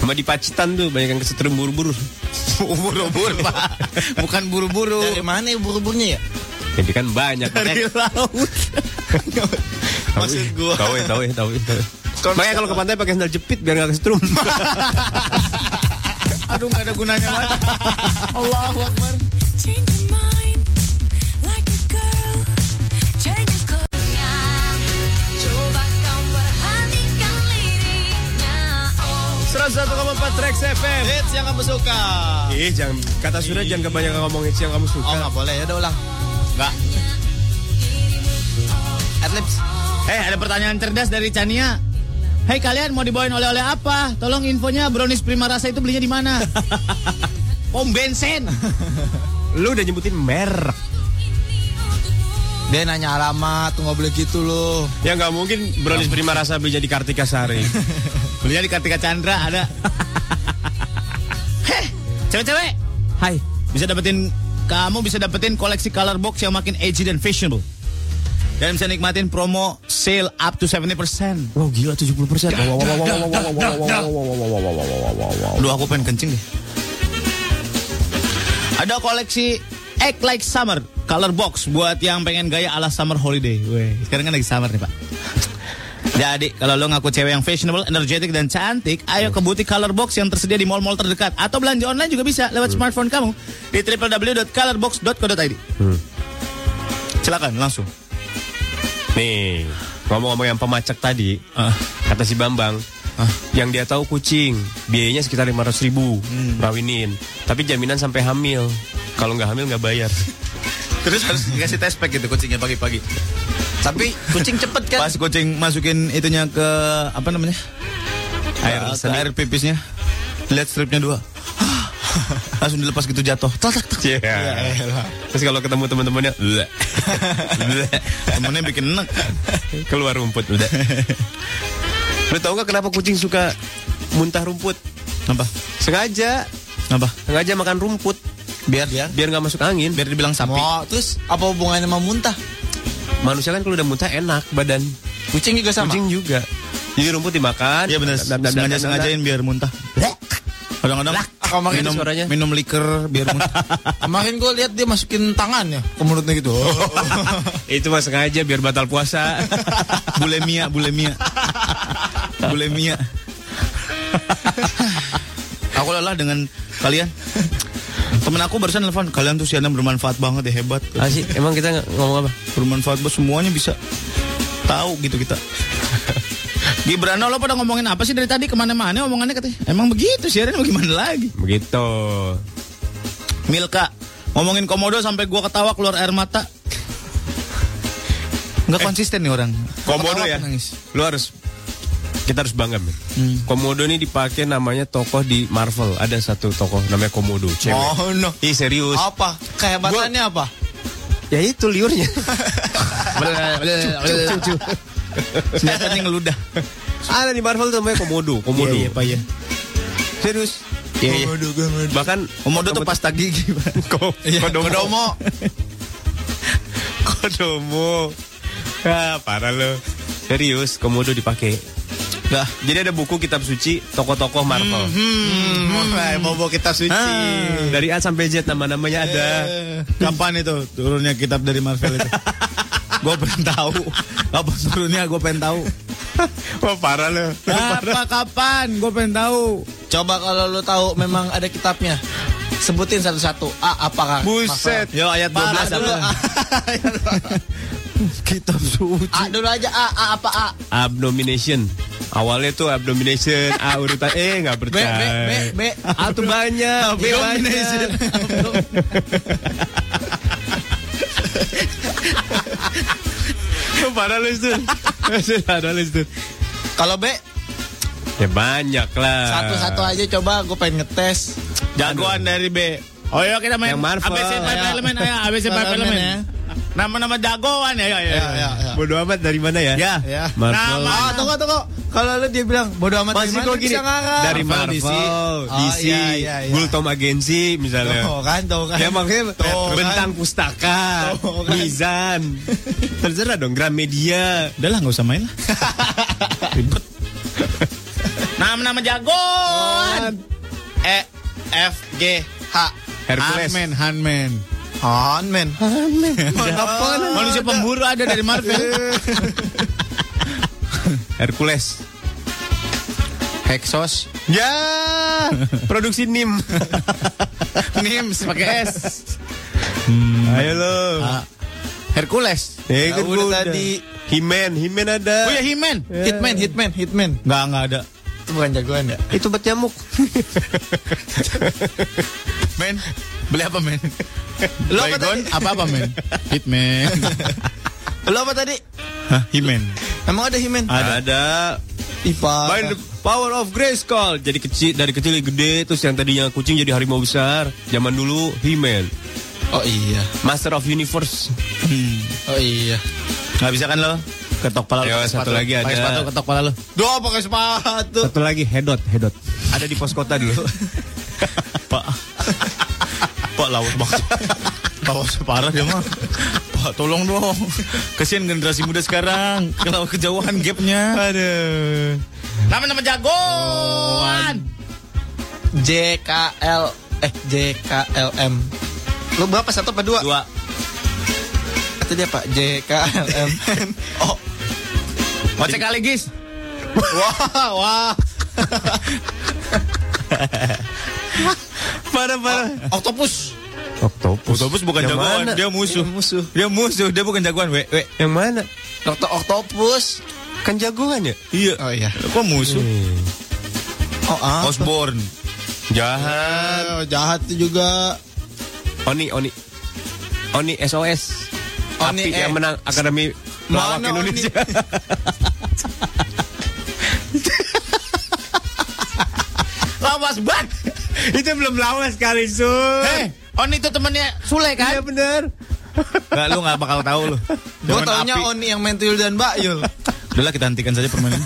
[SPEAKER 8] Sama di Pacitan tuh banyak yang kesetrum ubur-ubur.
[SPEAKER 12] Buru-buru, Pak. Bukan buru-buru.
[SPEAKER 7] Dari mana buru-burunya ya?
[SPEAKER 8] Jadi kan banyak.
[SPEAKER 12] Dari laut.
[SPEAKER 7] Maksud gua.
[SPEAKER 8] Tahu ya, tahu ya, tahu ya, tahu ya. Makanya kalau ke pantai pakai sandal jepit biar nggak (laughs) kesetrum.
[SPEAKER 12] (laughs) Aduh enggak ada gunanya banget. Allahu Akbar.
[SPEAKER 8] Trax FM.
[SPEAKER 7] Hits yang kamu suka.
[SPEAKER 8] Ih,
[SPEAKER 12] Iya,
[SPEAKER 8] jangan kata sudah jangan kebanyakan ngomongin yang kamu
[SPEAKER 7] Oh,
[SPEAKER 8] suka.
[SPEAKER 7] nggak boleh ya udah ulang.
[SPEAKER 12] Enggak.
[SPEAKER 7] Adlibs.
[SPEAKER 12] Eh, ada pertanyaan cerdas dari Chania. Hei kalian mau dibawain oleh-oleh apa? Tolong infonya brownies prima rasa itu belinya di
[SPEAKER 7] (laughs)
[SPEAKER 12] mana? Pom bensin.
[SPEAKER 8] Lu udah nyebutin merek.
[SPEAKER 7] Dia nanya alamat, tuh nggak boleh gitu loh.
[SPEAKER 8] Ya nggak mungkin brownies prima rasa beli jadi Kartika Sari.
[SPEAKER 12] Belinya di Kartika Chandra ada. Heh, cewek-cewek. Hai. Bisa dapetin kamu bisa dapetin koleksi color box yang makin edgy dan fashionable. Dan bisa nikmatin promo sale up to 70%.
[SPEAKER 8] wow gila 70 persen. Wow, wow, wow, wow, wow, wow, wow, wow, wow, wow, wow, wow, wow, wow, wow.
[SPEAKER 12] Aduh, aku pengen kencing deh. Ada koleksi Act Like Summer color box buat yang pengen gaya ala summer holiday. Weh, sekarang kan lagi summer nih, Pak. Jadi, kalau lo ngaku cewek yang fashionable, energetic, dan cantik, ayo ke butik color box yang tersedia di mall-mall terdekat. Atau belanja online juga bisa lewat
[SPEAKER 7] Hmm.
[SPEAKER 12] smartphone kamu di www.colorbox.co.id.
[SPEAKER 7] Hmm.
[SPEAKER 12] Silakan langsung.
[SPEAKER 8] Nih, ngomong-ngomong yang pemacak tadi,
[SPEAKER 12] Ah.
[SPEAKER 8] kata si Bambang, yang dia tahu kucing, biayanya sekitar 500 ribu,
[SPEAKER 12] Hmm.
[SPEAKER 8] rawinin. Tapi jaminan sampai
[SPEAKER 12] (laughs)
[SPEAKER 8] hamil. Kalau nggak hamil nggak bayar.
[SPEAKER 12] Terus harus dikasih test pack gitu kucingnya pagi-pagi.
[SPEAKER 7] Tapi kucing cepet kan?
[SPEAKER 12] Pas kucing masukin itunya ke apa namanya? Air,
[SPEAKER 7] Ke-
[SPEAKER 12] ke
[SPEAKER 7] ke-
[SPEAKER 12] air pipisnya. Lihat stripnya
[SPEAKER 8] (laughs)
[SPEAKER 12] dua. Langsung dilepas gitu jatuh. Tak tak tak.
[SPEAKER 8] Iya. Terus kalau ketemu teman-temannya, bleh. Bleh.
[SPEAKER 12] (laughs) Temennya bikin enak.
[SPEAKER 8] Keluar rumput
[SPEAKER 12] (laughs)
[SPEAKER 8] udah. Lu tau gak kenapa kucing suka muntah rumput?
[SPEAKER 12] Apa?
[SPEAKER 8] Sengaja.
[SPEAKER 12] Apa?
[SPEAKER 8] Sengaja makan rumput.
[SPEAKER 7] Biar biar.
[SPEAKER 8] Biar nggak masuk angin.
[SPEAKER 12] Biar dibilang sapi.
[SPEAKER 7] Oh, terus apa hubungannya sama muntah?
[SPEAKER 8] Manusia kan kalau udah muntah enak badan.
[SPEAKER 7] Kucing juga sama.
[SPEAKER 8] Kucing juga. Jadi rumput dimakan.
[SPEAKER 12] Iya benar.
[SPEAKER 8] Dan- dan- dan-
[SPEAKER 12] Sengaja
[SPEAKER 8] dan-
[SPEAKER 12] sengajain biar muntah. Kadang-kadang
[SPEAKER 7] Kemarin
[SPEAKER 12] minum,
[SPEAKER 8] suaranya.
[SPEAKER 12] minum liker biar
[SPEAKER 8] (laughs)
[SPEAKER 12] muntah.
[SPEAKER 7] Kemarin gue lihat dia masukin tangannya ke mulutnya gitu.
[SPEAKER 8] Itu mah sengaja biar batal puasa.
[SPEAKER 12] bulimia,
[SPEAKER 8] (laughs)
[SPEAKER 12] bulimia. bulimia. aku lelah dengan kalian. Temen aku barusan telepon, kalian tuh siaran bermanfaat banget ya, hebat.
[SPEAKER 8] Asik,
[SPEAKER 12] (laughs)
[SPEAKER 8] emang kita nggak ngomong apa?
[SPEAKER 12] bermanfaat buat semuanya bisa tahu gitu (laughs) kita. Gibran lo pada ngomongin apa sih dari tadi kemana-mana omongannya katanya emang begitu siaran mau gimana lagi
[SPEAKER 8] Begitu.
[SPEAKER 12] Milka ngomongin komodo sampai gua ketawa keluar air mata Eh, nggak konsisten nih orang
[SPEAKER 8] Komodo
[SPEAKER 12] Ketawa
[SPEAKER 8] ya.
[SPEAKER 12] apa nangis?
[SPEAKER 8] Lu harus kita harus bangga men. Komodo ini dipakai namanya tokoh di Marvel. Ada satu tokoh namanya Komodo, cewek.
[SPEAKER 7] Oh no.
[SPEAKER 8] Ih serius.
[SPEAKER 7] Apa? Kehebatannya apa?
[SPEAKER 8] Ya itu liurnya. (laughs)
[SPEAKER 12] Kelihatannya ngeludah
[SPEAKER 8] Ada di Marvel tuh namanya Komodo, Komodo.
[SPEAKER 12] Iya, iya, Pak, iya.
[SPEAKER 8] Serius.
[SPEAKER 12] Iya, iya.
[SPEAKER 8] Bahkan
[SPEAKER 12] komodo tuh pasta gigi Pak.
[SPEAKER 7] Iya, kodomo.
[SPEAKER 8] (laughs) Kodomo. Ah, parah lo. Serius, komodo dipakai. Nah, jadi ada buku kitab suci tokoh-tokoh Marvel.
[SPEAKER 7] Hmm. Mau bawa kitab suci.
[SPEAKER 8] Ah, Dari A sampai Z nama-namanya ada.
[SPEAKER 12] Eh, Kapan itu turunnya kitab dari Marvel (laughs) itu? gue pengen tahu. Apa turunnya gue pengen tahu.
[SPEAKER 8] Wah, (laughs) parah lo.
[SPEAKER 12] Apa kapan? Gue pengen tahu.
[SPEAKER 7] Coba kalau lu tahu memang ada kitabnya. Sebutin satu-satu. A apakah?
[SPEAKER 8] Buset.
[SPEAKER 12] Yo ayat 12
[SPEAKER 7] Dulu,
[SPEAKER 12] apa?
[SPEAKER 7] A. (laughs)
[SPEAKER 12] Kitab suci.
[SPEAKER 7] A dulu aja A, A apa A?
[SPEAKER 8] Abdomination. Awalnya tuh abdomination, A urutan eh nggak
[SPEAKER 7] B B
[SPEAKER 8] percaya.
[SPEAKER 7] B B.
[SPEAKER 8] A tuh banyak, B
[SPEAKER 7] (laughs)
[SPEAKER 8] banyak. Parah lu
[SPEAKER 7] (laughs)
[SPEAKER 8] itu. Parah lu itu.
[SPEAKER 7] Kalau B
[SPEAKER 8] Ya banyak lah.
[SPEAKER 7] satu-satu aja coba gue pengen ngetes.
[SPEAKER 12] Jagoan dari B. Oh iya kita main
[SPEAKER 8] Yang Marvel.
[SPEAKER 12] ABC Five
[SPEAKER 7] Ayo.
[SPEAKER 12] Element ayo ABC Five
[SPEAKER 7] Ya. Five
[SPEAKER 12] Element.
[SPEAKER 7] Element,
[SPEAKER 12] Nama-nama jagoan ya ya ya.
[SPEAKER 7] Ya, ya, ya.
[SPEAKER 8] Bodoh amat dari mana ya?
[SPEAKER 12] Ya.
[SPEAKER 7] Ya.
[SPEAKER 8] Marvel.
[SPEAKER 12] Nama-
[SPEAKER 7] Ah, tunggu tunggu. Kalau lu dia bilang bodo amat
[SPEAKER 8] Masih kok gini. Dari Marvel, DC,
[SPEAKER 7] DC, oh, iya, iya, iya.
[SPEAKER 8] Gultom Agensi misalnya.
[SPEAKER 7] Tuh kan, tuh kan.
[SPEAKER 8] Ya maksudnya
[SPEAKER 7] Tuh,
[SPEAKER 8] bentang pustaka,
[SPEAKER 7] Tuh, kan.
[SPEAKER 8] mizan, terserah dong Gramedia.
[SPEAKER 12] Udah lah nggak usah main lah. Ribet. Nama-nama jagoan. E F G H
[SPEAKER 8] Hercules.
[SPEAKER 12] Hanman, Hanman.
[SPEAKER 7] On man. (laughs)
[SPEAKER 12] Manusia pemburu ada dari Marvel.
[SPEAKER 8] Hercules.
[SPEAKER 7] Hexos.
[SPEAKER 8] Ya,
[SPEAKER 7] Ah.
[SPEAKER 8] produksi NIM.
[SPEAKER 12] Nims pakai S.
[SPEAKER 8] Ayo lo.
[SPEAKER 12] Ah. Hercules.
[SPEAKER 7] Hmm. Ah.
[SPEAKER 8] Eh,
[SPEAKER 7] Ya
[SPEAKER 8] kan
[SPEAKER 7] udah
[SPEAKER 8] gua
[SPEAKER 7] tadi.
[SPEAKER 8] Himen, Himen ada.
[SPEAKER 12] Oh ya Himen.
[SPEAKER 7] Hitman, hitman, hitman.
[SPEAKER 12] Nggak nggak ada.
[SPEAKER 7] Itu bukan jagoan ya.
[SPEAKER 8] Itu bat nyamuk.
[SPEAKER 12] (laughs) Men, beli apa men? Lo
[SPEAKER 7] apa
[SPEAKER 12] Baygon, apa apa men? Hitman.
[SPEAKER 7] Lo apa tadi?
[SPEAKER 12] Hah, Himen.
[SPEAKER 7] Emang ada hitman?
[SPEAKER 8] Ada.
[SPEAKER 7] IPA.
[SPEAKER 8] By the power of Grayskull. Jadi kecil dari kecil jadi gede terus yang tadinya kucing jadi harimau besar. Zaman dulu Himen.
[SPEAKER 7] Oh iya.
[SPEAKER 8] Master of Universe.
[SPEAKER 7] Oh iya.
[SPEAKER 12] Nggak bisa kan lo? Ketok pala lo.
[SPEAKER 8] Ayo,
[SPEAKER 12] pakai
[SPEAKER 8] satu
[SPEAKER 12] sepatu.
[SPEAKER 8] lagi
[SPEAKER 12] Pakai
[SPEAKER 8] ada.
[SPEAKER 12] sepatu ketok pala lo.
[SPEAKER 7] Doa pakai sepatu.
[SPEAKER 8] Satu lagi Hedot, Hedot. Ada di pos kota (laughs) dulu.
[SPEAKER 12] Pak. Pak laut banget. Laut separah dia mah. Pak tolong dong. Kasihan generasi muda sekarang. Kalau kejauhan gapnya.
[SPEAKER 8] Aduh.
[SPEAKER 12] Nama-nama jagoan.
[SPEAKER 7] JKL eh JKLM. Lu berapa satu apa dua?
[SPEAKER 12] Dua.
[SPEAKER 7] Itu dia Pak JKLM. oh.
[SPEAKER 12] Kocek kali
[SPEAKER 8] (laughs)
[SPEAKER 12] guys.
[SPEAKER 7] Wah, wah.
[SPEAKER 8] Parah, parah.
[SPEAKER 7] Octopus.
[SPEAKER 8] Octopus.
[SPEAKER 12] Octopus bukan
[SPEAKER 8] Yang
[SPEAKER 12] jagoan,
[SPEAKER 8] mana?
[SPEAKER 12] dia musuh.
[SPEAKER 7] Iya, musuh.
[SPEAKER 12] Dia musuh, dia bukan jagoan, we. we.
[SPEAKER 8] Yang mana?
[SPEAKER 7] Dokter Octopus.
[SPEAKER 8] Kan jagoan ya?
[SPEAKER 12] Iya.
[SPEAKER 7] Oh iya.
[SPEAKER 12] Kok musuh?
[SPEAKER 7] Oh, ah.
[SPEAKER 12] Osborne.
[SPEAKER 8] Jahat.
[SPEAKER 7] Eh, jahat juga.
[SPEAKER 8] Oni, Oni. Oni SOS.
[SPEAKER 7] Oni, eh.
[SPEAKER 8] Api Oh, eh, yang menang Akademi Lawak
[SPEAKER 12] Mana
[SPEAKER 8] Indonesia. (laughs)
[SPEAKER 7] Lawas banget.
[SPEAKER 8] itu belum lawas kali, Sun.
[SPEAKER 7] Eh,
[SPEAKER 8] oh,
[SPEAKER 7] On itu temennya Sule kan?
[SPEAKER 8] Iya bener.
[SPEAKER 7] Enggak, lu gak bakal tahu lu.
[SPEAKER 12] Gue
[SPEAKER 7] Cuman
[SPEAKER 12] taunya
[SPEAKER 7] api.
[SPEAKER 12] Oni yang main tuyul dan Mbak Yul.
[SPEAKER 7] Udah lah, kita hentikan saja permainan.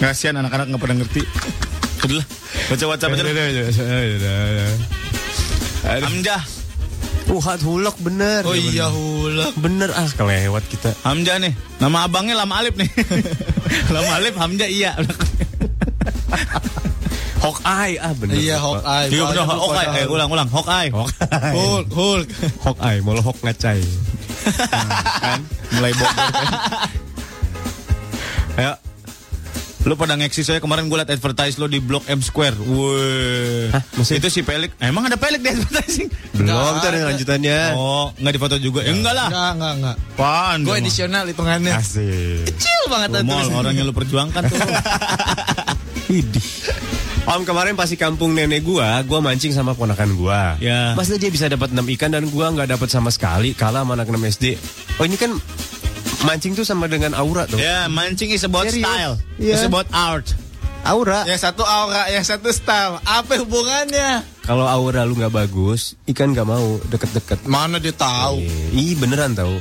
[SPEAKER 7] Kasihan anak-anak gak pernah ngerti. Udah lah, baca WhatsApp aja. lah. Hamzah.
[SPEAKER 8] Uhat hulok bener.
[SPEAKER 12] Oh
[SPEAKER 8] Iya,
[SPEAKER 12] iya
[SPEAKER 8] bener.
[SPEAKER 12] hulak.
[SPEAKER 8] Bener ah kelewat kita.
[SPEAKER 7] Hamzah nih. Nama abangnya Lama Alip
[SPEAKER 8] (laughs)
[SPEAKER 7] nih. Lama Alip, Hamzah iya.
[SPEAKER 8] Hawkeye ah bener.
[SPEAKER 12] Iya Hawkeye.
[SPEAKER 7] Juga bener,
[SPEAKER 12] Banyak
[SPEAKER 7] Hawkeye.
[SPEAKER 12] Hawkeye.
[SPEAKER 7] Eh, ulang-ulang, Hawkeye.
[SPEAKER 12] Hulk, Hulk.
[SPEAKER 8] Hawkeye, mau lo Hawk ngacai. Nah,
[SPEAKER 7] Kan? Mulai bobot.
[SPEAKER 8] Ya,
[SPEAKER 7] Ayo. Lu pada ngeksi saya kemarin gue liat advertise lo di Blok M Square. Wih.
[SPEAKER 8] Hah, masih?
[SPEAKER 7] Itu si Pelik. Eh, Emang ada Pelik di advertising?
[SPEAKER 8] Belum,
[SPEAKER 12] Nggak
[SPEAKER 8] itu ada
[SPEAKER 12] ada.
[SPEAKER 8] lanjutannya.
[SPEAKER 7] Oh, nggak difoto juga. Ya, enggak lah.
[SPEAKER 12] Enggak, enggak, enggak.
[SPEAKER 7] Apaan? dia
[SPEAKER 12] Gue
[SPEAKER 7] mah?
[SPEAKER 12] edisional hitungannya.
[SPEAKER 8] Asik.
[SPEAKER 12] Kecil banget
[SPEAKER 7] Lu Mall, orang yang lu perjuangkan
[SPEAKER 12] (laughs)
[SPEAKER 7] tuh.
[SPEAKER 8] Om kemarin pas di kampung nenek gua, gua mancing sama ponakan gua.
[SPEAKER 7] Ya.
[SPEAKER 8] Pas dia bisa dapat 6 ikan dan gua nggak dapat sama sekali, kalah sama anak 6 SD. Oh ini kan mancing tuh sama dengan aura tuh.
[SPEAKER 7] Ya, mancing is about
[SPEAKER 8] Serius?
[SPEAKER 7] style.
[SPEAKER 8] Iya.
[SPEAKER 7] It's about art.
[SPEAKER 8] Aura.
[SPEAKER 12] Ya, Yang satu aura, yang satu style. Apa hubungannya?
[SPEAKER 8] Kalau aura lu nggak bagus, ikan nggak mau deket-deket.
[SPEAKER 12] Mana dia tahu?
[SPEAKER 8] Eh, Ih beneran tau.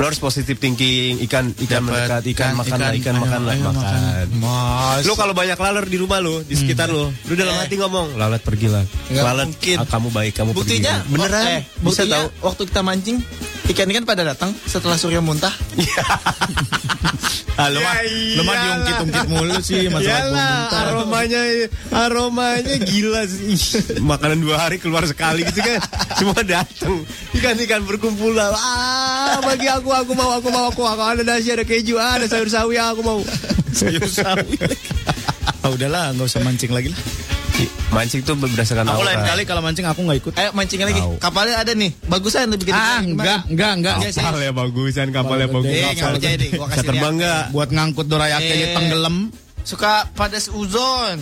[SPEAKER 8] Lo harus positive thinking, ikan ikan mendekat, ikan, makanlah, ikan, makanlah,
[SPEAKER 12] ayo,
[SPEAKER 8] makan.
[SPEAKER 12] Mas.
[SPEAKER 8] Lu kalau banyak laler di rumah lu, di sekitar lu, lu dalam
[SPEAKER 12] Eh.
[SPEAKER 8] hati ngomong, lalat pergilah.
[SPEAKER 12] Nggak
[SPEAKER 8] lalat,
[SPEAKER 12] mungkin.
[SPEAKER 8] ah, kamu baik, kamu
[SPEAKER 12] buktinya
[SPEAKER 8] pergi. Beneran,
[SPEAKER 12] eh,
[SPEAKER 8] bisa
[SPEAKER 12] buktinya
[SPEAKER 8] tahu.
[SPEAKER 12] Waktu kita mancing, ikan-ikan pada datang setelah surya muntah.
[SPEAKER 8] Iya.
[SPEAKER 7] Ah, lu
[SPEAKER 8] Ya
[SPEAKER 7] mah, lu mah
[SPEAKER 8] iyalah.
[SPEAKER 7] diungkit-ungkit mulu sih masalah pemerintah. (laughs)
[SPEAKER 8] aromanya aromanya gila sih. Ih, Makanan dua hari keluar sekali gitu kan. Semua datang. Ikan-ikan berkumpul lah. Ah, bagi aku aku mau aku mau aku aku ada nasi ada keju ah, ada sayur sawi ah, aku mau.
[SPEAKER 7] Sayur sawi. Ah, udahlah, nggak usah mancing lagi lah.
[SPEAKER 8] Mancing tuh berdasarkan
[SPEAKER 7] Aku lain
[SPEAKER 8] aura.
[SPEAKER 7] kali kalau mancing aku nggak ikut.
[SPEAKER 12] Ayo mancing lagi.
[SPEAKER 8] Tahu.
[SPEAKER 12] Kapalnya ada nih. Bagusan lebih gede.
[SPEAKER 7] Ah, enggak, enggak, enggak.
[SPEAKER 12] Ah, Enggak sih.
[SPEAKER 8] Kapalnya ya, bagusan, kapalnya
[SPEAKER 7] Kapal gede,
[SPEAKER 8] bagus.
[SPEAKER 12] Eh,
[SPEAKER 7] kapal
[SPEAKER 12] nggak
[SPEAKER 8] kapal-
[SPEAKER 12] percaya deh. Gua
[SPEAKER 8] Bisa
[SPEAKER 12] kasih
[SPEAKER 8] terbang
[SPEAKER 12] lihat.
[SPEAKER 8] nggak?
[SPEAKER 7] Buat ngangkut dorayaki aja
[SPEAKER 12] Eh.
[SPEAKER 7] tenggelam.
[SPEAKER 12] Suka pada seuzon.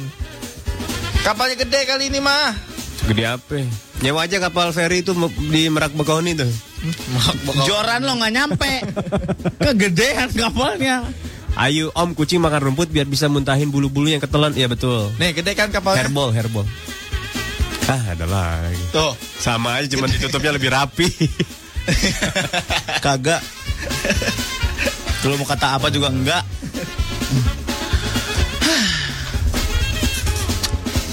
[SPEAKER 12] Kapalnya gede kali ini mah.
[SPEAKER 8] Gede apa? Nyewa aja kapal feri itu me- di Merak Bekahuni tuh.
[SPEAKER 7] Joran lo nggak nyampe. (laughs) Kegedean kapalnya.
[SPEAKER 8] Ayo om kucing makan rumput biar bisa muntahin bulu-bulu yang ketelan. Iya betul.
[SPEAKER 12] Nih gede kan kapalnya.
[SPEAKER 8] Herbal, herbal. ya? Ah, ada lagi.
[SPEAKER 12] Tuh.
[SPEAKER 8] Sama aja, cuman ditutupnya lebih rapi.
[SPEAKER 7] Kagak. Lu mau kata apa juga enggak.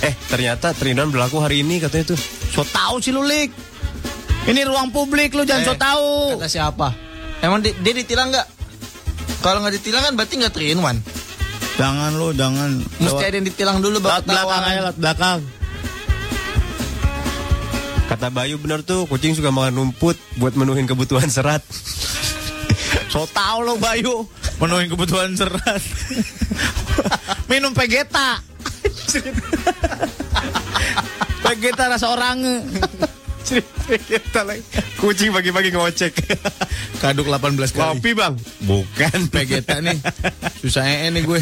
[SPEAKER 8] eh, ternyata Trinon berlaku hari ini katanya tuh.
[SPEAKER 7] So tau sih lu, Lik. Ini ruang publik lu jangan
[SPEAKER 12] Eh,
[SPEAKER 7] so tau.
[SPEAKER 12] Kata siapa? Emang di- dia ditilang nggak? Kalau nggak ditilang kan berarti nggak three in one.
[SPEAKER 7] Jangan lu, jangan.
[SPEAKER 12] Mesti ada yang ditilang dulu baru
[SPEAKER 7] Lewat belakang
[SPEAKER 12] ketahuan.
[SPEAKER 7] aja, lewat belakang.
[SPEAKER 8] Kata Bayu bener tuh, kucing suka makan rumput buat menuhin kebutuhan serat.
[SPEAKER 7] So tau lo Bayu Menuhin kebutuhan
[SPEAKER 8] (laughs)
[SPEAKER 7] serat Minum Vegeta Vegeta rasa orange
[SPEAKER 8] Kita lagi. Kucing pagi-pagi ngocek.
[SPEAKER 7] Kaduk 18 kali
[SPEAKER 8] Kopi bang? Bukan.
[SPEAKER 7] Vegeta nih Susah ee nih
[SPEAKER 8] (laughs)
[SPEAKER 7] gue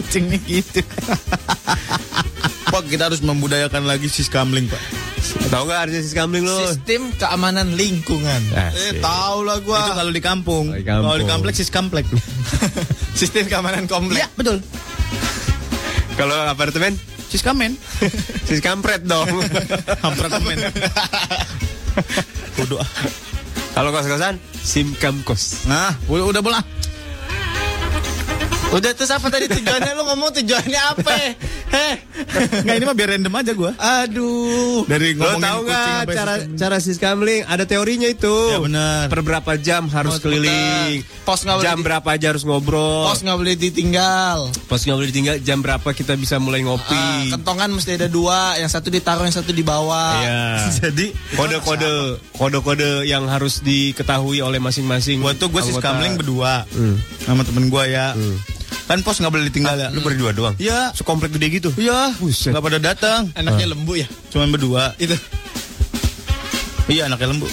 [SPEAKER 7] Kucing nih gitu Pak kita harus membudayakan lagi sis kamling pak
[SPEAKER 8] Tahu nggak harusnya sis kambing lo?
[SPEAKER 12] Sistem keamanan lingkungan.
[SPEAKER 8] Asik.
[SPEAKER 12] Eh, tahu lah
[SPEAKER 7] Itu
[SPEAKER 12] gua.
[SPEAKER 7] kalau di kampung
[SPEAKER 8] Di kampung.
[SPEAKER 7] Ah, Kalau di kompleks sis (laughs) komplek
[SPEAKER 12] Sistem keamanan kompleks.
[SPEAKER 7] Iya betul
[SPEAKER 8] Kalau apartemen,
[SPEAKER 7] Sis kamen
[SPEAKER 8] sis kampret dong.
[SPEAKER 7] Hampir kamen Bodoh ah.
[SPEAKER 8] Kalau kos-kosan, sim kamkos.
[SPEAKER 7] Nah udah udah bola
[SPEAKER 12] Udah terus apa tadi tujuannya lu ngomong tujuannya apa?
[SPEAKER 7] (laughs)
[SPEAKER 12] Heh.
[SPEAKER 7] Nggak ini mah biar random aja gue
[SPEAKER 8] Aduh.
[SPEAKER 7] Dari
[SPEAKER 8] Lo
[SPEAKER 7] ngomongin
[SPEAKER 8] tahu
[SPEAKER 7] kucing
[SPEAKER 8] nggak
[SPEAKER 7] sampai
[SPEAKER 8] cara
[SPEAKER 7] sistem.
[SPEAKER 8] cara sis kamling? Ada teorinya itu.
[SPEAKER 7] Ya, benar.
[SPEAKER 8] Per berapa jam harus
[SPEAKER 12] Oh,
[SPEAKER 8] keliling?
[SPEAKER 12] benar. Pos nggak boleh
[SPEAKER 8] Jam
[SPEAKER 12] di-
[SPEAKER 8] berapa aja harus ngobrol?
[SPEAKER 12] Pos nggak boleh ditinggal.
[SPEAKER 8] Pos nggak boleh ditinggal. Jam berapa kita bisa mulai ngopi?
[SPEAKER 12] Ah, kentongan mesti ada dua, yang satu ditaruh, yang satu dibawa.
[SPEAKER 8] Iya.
[SPEAKER 7] (laughs) Jadi
[SPEAKER 8] Kode-kode kode-kode yang harus diketahui oleh masing-masing.
[SPEAKER 7] Buat tuh gue sis
[SPEAKER 8] anggota.
[SPEAKER 7] kamling berdua
[SPEAKER 8] Hmm. Ah,
[SPEAKER 7] Sama temen gue ya Kan pos gak boleh ditinggal ya
[SPEAKER 8] Lu berdua doang.
[SPEAKER 7] Iya
[SPEAKER 8] Sekomplek gede gitu.
[SPEAKER 7] Iya Gak pada datang Ah.
[SPEAKER 12] Anaknya lembu ya.
[SPEAKER 7] Cuman berdua
[SPEAKER 12] Itu.
[SPEAKER 7] Iya anaknya lembu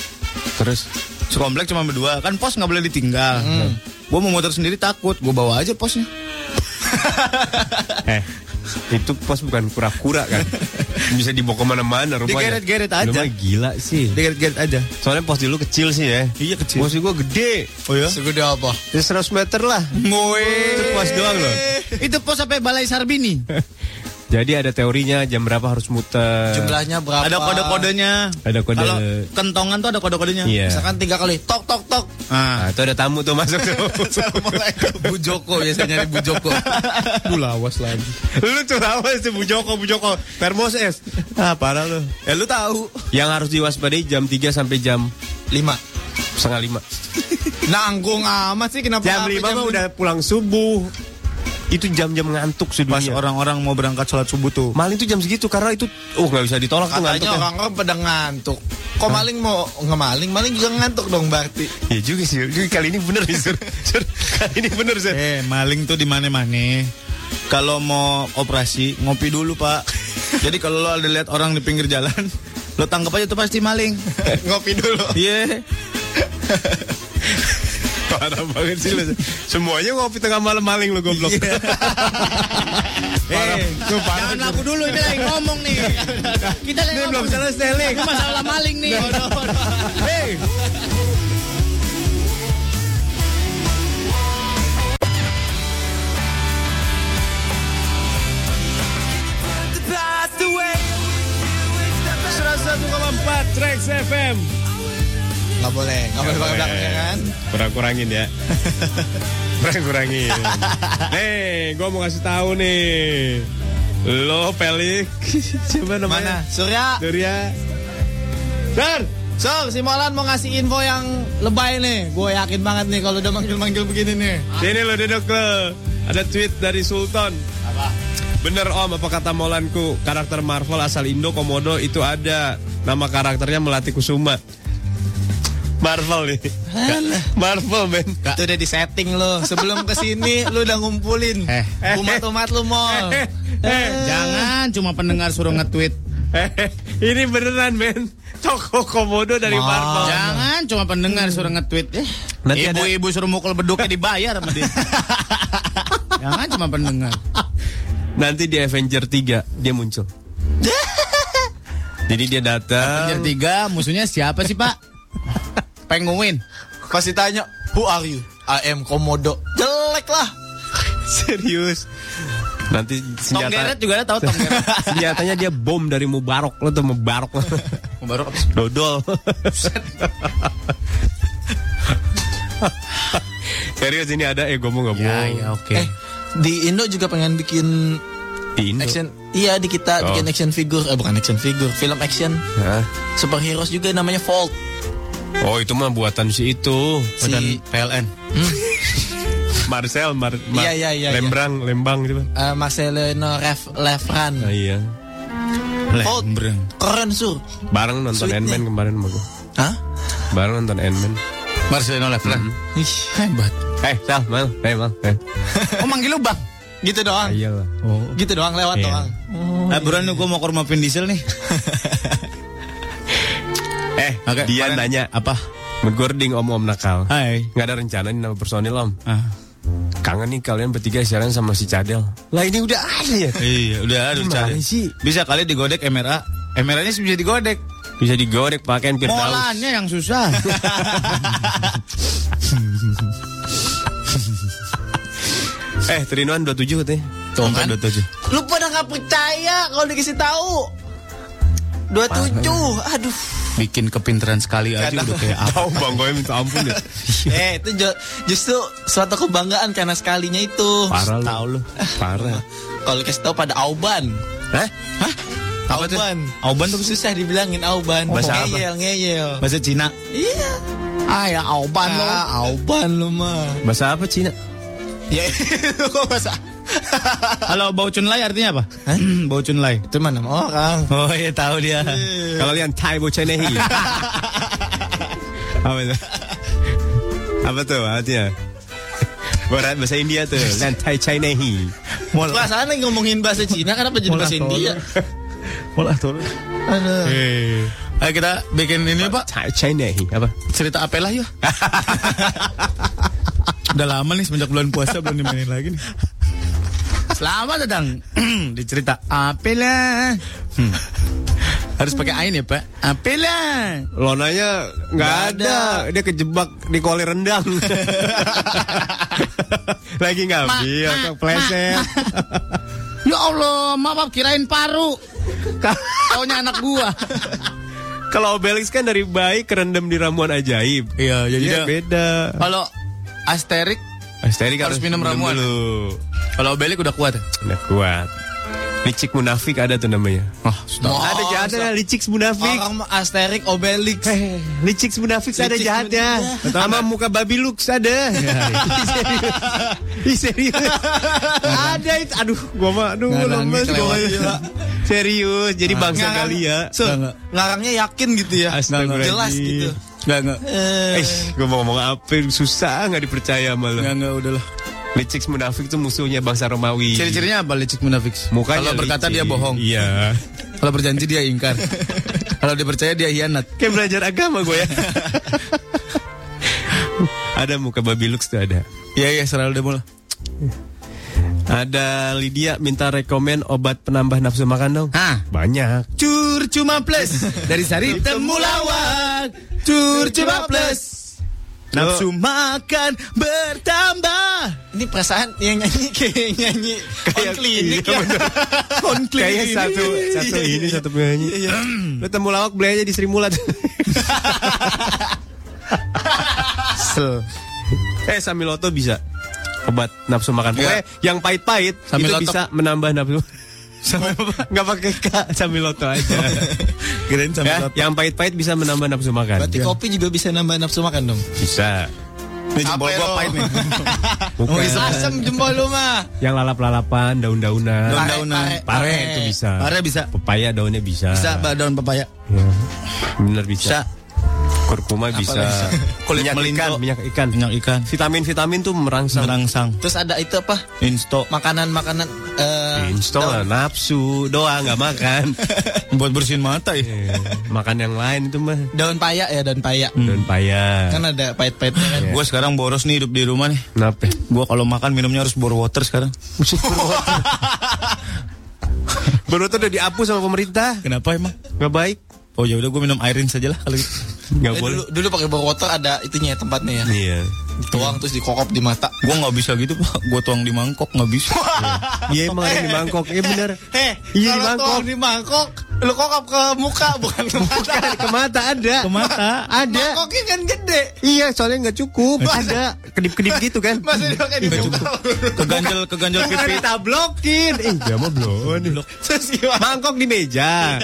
[SPEAKER 8] Terus
[SPEAKER 7] Sekomplek cuma berdua Kan pos gak boleh ditinggal
[SPEAKER 8] Hmm.
[SPEAKER 7] Gue mau motor sendiri takut Gue bawa aja posnya
[SPEAKER 8] eh itu pos bukan kura-kura kan? bisa dibawa kemana-mana rumahnya.
[SPEAKER 7] Digeret-geret
[SPEAKER 8] Lu
[SPEAKER 7] aja.
[SPEAKER 8] mah gila sih.
[SPEAKER 7] Digeret-geret aja.
[SPEAKER 8] Soalnya pos dulu kecil sih ya. Iya kecil. Pos gua gede. Oh ya?
[SPEAKER 12] Segede apa?
[SPEAKER 8] Ya 100 meter lah.
[SPEAKER 7] Moe.
[SPEAKER 8] Itu pos doang loh.
[SPEAKER 7] Itu pos sampai Balai Sarbini.
[SPEAKER 8] Jadi ada teorinya jam berapa harus muter.
[SPEAKER 12] Jumlahnya berapa?
[SPEAKER 7] Ada kode-kodenya.
[SPEAKER 8] Ada kode.
[SPEAKER 7] Kalau kentongan tuh ada Ah. kode-kodenya.
[SPEAKER 8] Iya.
[SPEAKER 12] Misalkan tiga kali tok tok tok.
[SPEAKER 8] Nah, itu ada tamu tuh masuk tuh.
[SPEAKER 12] Assalamualaikum.
[SPEAKER 7] Bu Joko biasanya nyari Bu Joko. Bu (laughs) lawas lagi.
[SPEAKER 8] lu tuh apa sih Bu Joko, Bu Joko. Termos es. Ah, parah lu.
[SPEAKER 7] Eh lu tahu.
[SPEAKER 8] Yang harus diwaspadai jam 3 sampai jam
[SPEAKER 12] Lima.
[SPEAKER 8] setengah lima.
[SPEAKER 7] Nanggung amat sih kenapa apa
[SPEAKER 8] Jam lima mah udah pulang subuh. Itu jam-jam ngantuk sih
[SPEAKER 7] pas
[SPEAKER 8] dunia.
[SPEAKER 7] orang-orang mau berangkat sholat subuh tuh.
[SPEAKER 8] Maling itu jam segitu karena itu oh nggak bisa ditolak tuh ya.
[SPEAKER 12] Katanya
[SPEAKER 8] ngantuknya.
[SPEAKER 12] orang orang pada ngantuk. Kok maling mau nggak maling? Maling juga ngantuk dong berarti.
[SPEAKER 8] Iya juga sih. Juga kali ini bener nih, Sur. (laughs) Sur, Kali ini bener, Sur.
[SPEAKER 7] Eh, maling tuh di mana-mana. Kalau mau operasi, ngopi dulu, Pak. Jadi kalau lo ada lihat orang di pinggir jalan, lo tangkap aja tuh pasti maling.
[SPEAKER 12] Ngopi dulu.
[SPEAKER 7] Iya.
[SPEAKER 8] (laughs) Parah banget sih lu. Semuanya ngopi tengah malam maling lu goblok. (laughs)
[SPEAKER 7] Eh, jangan laku dulu ini lagi ngomong nih. Kita lagi
[SPEAKER 8] Ini belum
[SPEAKER 7] ngomong.
[SPEAKER 8] selesai, Lik.
[SPEAKER 7] Ini masalah maling nih. Eh,
[SPEAKER 8] Hey. Trax FM
[SPEAKER 12] Nggak boleh. Nggak boleh pakai belakang ya kan?
[SPEAKER 8] Kurang-kurangin (laughs) ya Kurang-kurangin Nih, gue mau kasih tahu nih Lo Pelik (laughs) Siapa
[SPEAKER 12] Mana?
[SPEAKER 8] namanya?
[SPEAKER 12] Surya.
[SPEAKER 8] Surya Sur
[SPEAKER 12] Sor, si Molan mau ngasih info yang lebay nih. Gue yakin banget nih kalau udah manggil-manggil begini nih.
[SPEAKER 8] Sini lo duduk lo. Ada tweet dari Sultan. Apa? Bener om, apa kata Molanku? Karakter Marvel asal Indo Komodo itu ada. Nama karakternya Melati Kusuma. Marvel nih. Marvel men.
[SPEAKER 12] Itu udah di setting lo. Sebelum kesini lu udah ngumpulin
[SPEAKER 7] Eh.
[SPEAKER 12] umat-umat lu mall.
[SPEAKER 8] Eh,
[SPEAKER 7] Jangan cuma pendengar suruh nge-tweet.
[SPEAKER 8] eh, (laughs) ini beneran men. Toko Komodo dari Marvel.
[SPEAKER 7] Jangan cuma pendengar suruh nge-tweet. Eh,
[SPEAKER 8] Nanti ada-
[SPEAKER 7] ibu-ibu suruh mukul beduknya dibayar sama dia. (laughs) Jangan cuma pendengar.
[SPEAKER 8] Nanti di Avenger 3 dia
[SPEAKER 12] (laughs)
[SPEAKER 8] muncul. Jadi dia
[SPEAKER 7] Yang
[SPEAKER 8] datang.
[SPEAKER 7] tiga musuhnya siapa sih, Pak? Penguin.
[SPEAKER 12] Pasti tanya, who are you? I am Komodo. Jelek lah.
[SPEAKER 8] Serius. Nanti
[SPEAKER 7] Tom
[SPEAKER 8] senjata
[SPEAKER 12] (laughs)
[SPEAKER 7] Gerret juga ada tahu Tom (laughs) Gerret.
[SPEAKER 8] senjatanya dia bom dari Mubarok lo tuh
[SPEAKER 12] (laughs)
[SPEAKER 8] Mubarok lo.
[SPEAKER 7] Baru apa
[SPEAKER 8] Dodol. (laughs) Serius ini ada eh gue mau nggak
[SPEAKER 7] Ya,
[SPEAKER 8] bohong.
[SPEAKER 7] ya, oke.
[SPEAKER 12] Eh, di Indo juga pengen bikin
[SPEAKER 8] Di Indo.
[SPEAKER 12] action. Iya, di kita bikin
[SPEAKER 8] Oh.
[SPEAKER 12] action figure. Eh, bukan action figure. Film action.
[SPEAKER 8] Hah?
[SPEAKER 12] Superheroes juga namanya Volt.
[SPEAKER 8] Oh itu mah buatan si itu Hmm.
[SPEAKER 12] Si
[SPEAKER 7] PLN.
[SPEAKER 12] (laughs)
[SPEAKER 8] Marcel Mar, Mar-
[SPEAKER 12] Iya, iya, iya, iya.
[SPEAKER 8] Lembrang Lembang gitu. Pak.
[SPEAKER 12] eh, Marcelino Ref
[SPEAKER 7] Oh,
[SPEAKER 8] Ah,
[SPEAKER 12] Lefran.
[SPEAKER 7] iya.
[SPEAKER 8] iya.
[SPEAKER 12] Volt.
[SPEAKER 7] Lembrang.
[SPEAKER 12] Keren, Sur.
[SPEAKER 8] Bareng nonton
[SPEAKER 12] Sweet
[SPEAKER 8] Ant-Man
[SPEAKER 12] nih.
[SPEAKER 8] kemarin sama gua.
[SPEAKER 12] Hah?
[SPEAKER 8] Bareng nonton Ant-Man.
[SPEAKER 7] Marcelino Lefran.
[SPEAKER 8] Mm-hmm.
[SPEAKER 12] Ih,
[SPEAKER 7] Hebat.
[SPEAKER 8] Eh, Sal, Mal, eh, Mal, eh.
[SPEAKER 7] Oh manggil lu bang.
[SPEAKER 12] Gitu doang.
[SPEAKER 8] Ah, iyalah.
[SPEAKER 12] Gitu doang lewat
[SPEAKER 8] Iya.
[SPEAKER 12] doang.
[SPEAKER 7] Nah, buruan nih, gua mau ke rumah Vin Diesel nih.
[SPEAKER 8] Eh,
[SPEAKER 7] Oke,
[SPEAKER 8] dia
[SPEAKER 7] kemarin-
[SPEAKER 8] nanya apa? Menggording om-om nakal.
[SPEAKER 7] Hai.
[SPEAKER 8] Nggak ada rencana nih nama personil om.
[SPEAKER 7] Ah.
[SPEAKER 8] Kangen nih kalian bertiga siaran sama si Cadel. Lah ini udah ada ya.
[SPEAKER 7] Iya, udah aduh
[SPEAKER 8] Gimana
[SPEAKER 7] cari.
[SPEAKER 8] sih?
[SPEAKER 7] Bisa kali digodek MRA. MRA-nya sih bisa digodek.
[SPEAKER 8] Bisa digorek pakaian pirdaus.
[SPEAKER 7] Molannya yang
[SPEAKER 8] (laughs)
[SPEAKER 7] susah.
[SPEAKER 8] Eh, Trinuan 27 katanya. Eh,
[SPEAKER 7] Tuh, kan?
[SPEAKER 8] (laughs)
[SPEAKER 7] 27.
[SPEAKER 12] Lu pada nggak percaya kalau dikasih tahu. 27. Aduh.
[SPEAKER 7] Bikin kepintaran sekali aja udah kayak apa.
[SPEAKER 8] Tahu Bang Goy minta ampun (laughs) ya.
[SPEAKER 12] (laughs) eh, itu ju- justru suatu kebanggaan karena sekalinya itu.
[SPEAKER 8] Parah lu. Tahu lu. Parah. Eh,
[SPEAKER 12] Kalau dikasih tahu pada Auban.
[SPEAKER 8] Hah?
[SPEAKER 7] Apa tuh?
[SPEAKER 12] Auban.
[SPEAKER 7] Auban tuh
[SPEAKER 12] Susah dibilangin Auban.
[SPEAKER 8] Bahasa apa?
[SPEAKER 12] ngeyel, ngeyel.
[SPEAKER 7] bahasa Cina.
[SPEAKER 12] Iya. Ah, ya Auban lo. Auban lo mah.
[SPEAKER 8] Bahasa apa Cina?
[SPEAKER 12] Ya, (laughs) lu kok bahasa?
[SPEAKER 7] Kalau bau cunlai artinya apa? (clears throat) bau cunlai.
[SPEAKER 12] Itu mana orang?
[SPEAKER 7] Oh iya tahu dia.
[SPEAKER 8] Kalau lihat Thai (laughs) bocenehi. apa tuh? Apa tuh artinya? Barat bahasa India tuh, lihat Thai Chinehi.
[SPEAKER 12] Perasaan lagi ngomongin bahasa Cina kenapa jadi bahasa India?
[SPEAKER 7] Pola tuh.
[SPEAKER 12] Aduh.
[SPEAKER 8] Eh.
[SPEAKER 7] Ayo kita bikin ini Pak.
[SPEAKER 8] Thai Chinehi apa?
[SPEAKER 7] cerita apelah yuk (laughs) Udah lama nih semenjak bulan puasa belum dimainin lagi nih (clears throat) Selamat datang di cerita apelah hmm. Harus pakai ain ya, Pak? Apilan.
[SPEAKER 8] Lonanya nggak ada. Dia kejebak di koli (laughs) rendang. Lagi ngambil,
[SPEAKER 7] Ma, ma,
[SPEAKER 8] kepleset.
[SPEAKER 7] Ya Allah, maaf kirain paru. Taunya anak gua.
[SPEAKER 8] Kalau Obelix kan dari bayi kerendam di ramuan ajaib.
[SPEAKER 7] Iya, jadi
[SPEAKER 8] Dia
[SPEAKER 7] dia-
[SPEAKER 8] beda.
[SPEAKER 7] Kalau Asterik
[SPEAKER 8] Asterik
[SPEAKER 7] harus minum ramuan.
[SPEAKER 8] dulu.
[SPEAKER 7] Kalau Belik udah kuat. ya?
[SPEAKER 8] Udah kuat. Licik munafik ada tuh namanya.
[SPEAKER 7] Oh,
[SPEAKER 8] ada jahatnya licik munafik. Eh,
[SPEAKER 12] Orang Asterix Obelix.
[SPEAKER 8] Licik munafik ada
[SPEAKER 12] Licik
[SPEAKER 8] jahatnya.
[SPEAKER 7] ya.
[SPEAKER 8] Sama muka babi lux ada. Ih, serius. ada itu. Aduh, gua mah aduh
[SPEAKER 7] Ngarangnya
[SPEAKER 8] lemes gua.
[SPEAKER 7] kelewat.
[SPEAKER 8] Gila. Serius, jadi bangsa
[SPEAKER 12] Ngarang-
[SPEAKER 8] kali ya.
[SPEAKER 12] So,
[SPEAKER 7] Nggak, nggak.
[SPEAKER 12] ngarangnya yakin gitu ya.
[SPEAKER 8] Astagfirullahaladzim.
[SPEAKER 12] Jelas gitu.
[SPEAKER 7] Enggak, enggak.
[SPEAKER 12] Eh,
[SPEAKER 8] Eh, gue mau ngomong apa? Susah nggak dipercaya malu.
[SPEAKER 7] Enggak, enggak udahlah.
[SPEAKER 8] Iya. Licik munafik itu musuhnya bangsa Romawi.
[SPEAKER 7] Ciri-cirinya apa licik munafik?
[SPEAKER 8] Mukanya
[SPEAKER 7] Kalau berkata
[SPEAKER 8] licik.
[SPEAKER 7] dia bohong.
[SPEAKER 8] Iya.
[SPEAKER 7] Kalau berjanji dia ingkar. Kalau dipercaya dia hianat.
[SPEAKER 8] Kayak belajar
[SPEAKER 7] (laughs)
[SPEAKER 8] agama gue ya. ada muka babi lux tuh ada.
[SPEAKER 7] Iya, iya, selalu dia mulai.
[SPEAKER 8] Ada Lydia minta rekomen obat penambah nafsu makan dong.
[SPEAKER 7] Hah?
[SPEAKER 8] Banyak.
[SPEAKER 7] Cur cuma plus dari Sari Temulawak. Cur cuma plus. Nafsu makan bertambah.
[SPEAKER 12] ini perasaan yang nyanyi (laughs) kayak nyanyi kayak klinik ya.
[SPEAKER 7] Konkli.
[SPEAKER 8] Iya. Kayaknya satu satu
[SPEAKER 7] Iya,
[SPEAKER 8] ini satu penyanyi. Lu temu lawak beli aja di Sri
[SPEAKER 7] (laughs)
[SPEAKER 8] Mulat. eh Samiloto bisa obat nafsu
[SPEAKER 7] Iya.
[SPEAKER 8] makan. Pokoknya yang pahit-pahit itu
[SPEAKER 7] Samiloto.
[SPEAKER 8] bisa menambah nafsu. (laughs) Nggak pakai K, Samiloto aja.
[SPEAKER 7] (laughs) Kirain
[SPEAKER 8] Ya,
[SPEAKER 7] sama
[SPEAKER 8] yang pahit-pahit bisa menambah nafsu makan.
[SPEAKER 12] Berarti kopi juga bisa nambah nafsu makan
[SPEAKER 7] (laughs)
[SPEAKER 12] dong.
[SPEAKER 8] Bisa.
[SPEAKER 7] Ini jempol
[SPEAKER 12] Apa
[SPEAKER 7] gua
[SPEAKER 12] lo?
[SPEAKER 7] pahit nih.
[SPEAKER 8] Bukan.
[SPEAKER 12] Asem (laughs) jempol lu mah.
[SPEAKER 8] Yang lalap-lalapan, daun-daunan.
[SPEAKER 12] Pare,
[SPEAKER 7] Daun-daunan.
[SPEAKER 12] pare,
[SPEAKER 8] Pare
[SPEAKER 12] pare.
[SPEAKER 8] itu bisa.
[SPEAKER 7] Pare bisa.
[SPEAKER 8] Pepaya daunnya bisa.
[SPEAKER 7] Bisa Pak, daun pepaya.
[SPEAKER 8] Ya, Bener bisa.
[SPEAKER 7] Bisa.
[SPEAKER 8] Kurkuma bisa.
[SPEAKER 7] Kulit
[SPEAKER 8] minyak
[SPEAKER 7] melinjo.
[SPEAKER 8] ikan, minyak ikan.
[SPEAKER 7] Minyak ikan.
[SPEAKER 8] Vitamin-vitamin tuh merangsang.
[SPEAKER 7] Merangsang.
[SPEAKER 12] Terus ada itu apa?
[SPEAKER 7] Insto.
[SPEAKER 12] Makanan-makanan eh
[SPEAKER 8] Install nafsu doang nggak makan.
[SPEAKER 7] Buat bersihin mata ya.
[SPEAKER 8] Iya. makan yang lain itu mah.
[SPEAKER 12] daun paya ya daun paya.
[SPEAKER 8] Daun paya.
[SPEAKER 12] Kan ada pahit-pahitnya kan.
[SPEAKER 7] Gua sekarang boros nih hidup di rumah nih.
[SPEAKER 8] Kenapa?
[SPEAKER 7] Gua kalau makan minumnya harus bor water sekarang.
[SPEAKER 8] Baru tuh udah dihapus sama pemerintah.
[SPEAKER 7] Kenapa emang?
[SPEAKER 8] Nggak baik.
[SPEAKER 7] Oh ya udah gue minum airin saja lah kalau gitu.
[SPEAKER 8] Nggak
[SPEAKER 12] Eh,
[SPEAKER 8] boleh.
[SPEAKER 12] dulu dulu pakai botol water ada itunya ya, tempatnya ya.
[SPEAKER 8] Iya.
[SPEAKER 12] Tuang terus dikokop di mata.
[SPEAKER 7] Gue nggak bisa gitu pak. Gue tuang di mangkok nggak bisa.
[SPEAKER 8] (laughs) Iya emang ada di Bangkok. Iya bener.
[SPEAKER 12] Eh,
[SPEAKER 8] Iya, di
[SPEAKER 12] kalau
[SPEAKER 8] mangkok.
[SPEAKER 12] tuang di mangkok, lu kokop ke muka bukan ke mata.
[SPEAKER 8] Ke
[SPEAKER 12] (laughs)
[SPEAKER 8] mata ada.
[SPEAKER 7] Ke mata.
[SPEAKER 8] Ada.
[SPEAKER 12] Mangkoknya kan gede.
[SPEAKER 8] Iya, soalnya nggak cukup. Ada kedip-kedip gitu kan. (laughs)
[SPEAKER 12] Masa dia pakai di muka.
[SPEAKER 7] Keganjel keganjel
[SPEAKER 8] Bukan
[SPEAKER 7] pipi.
[SPEAKER 8] ditablokin. Eh, dia mah belum.
[SPEAKER 12] Terus gimana?
[SPEAKER 8] Mangkok di (laughs) meja.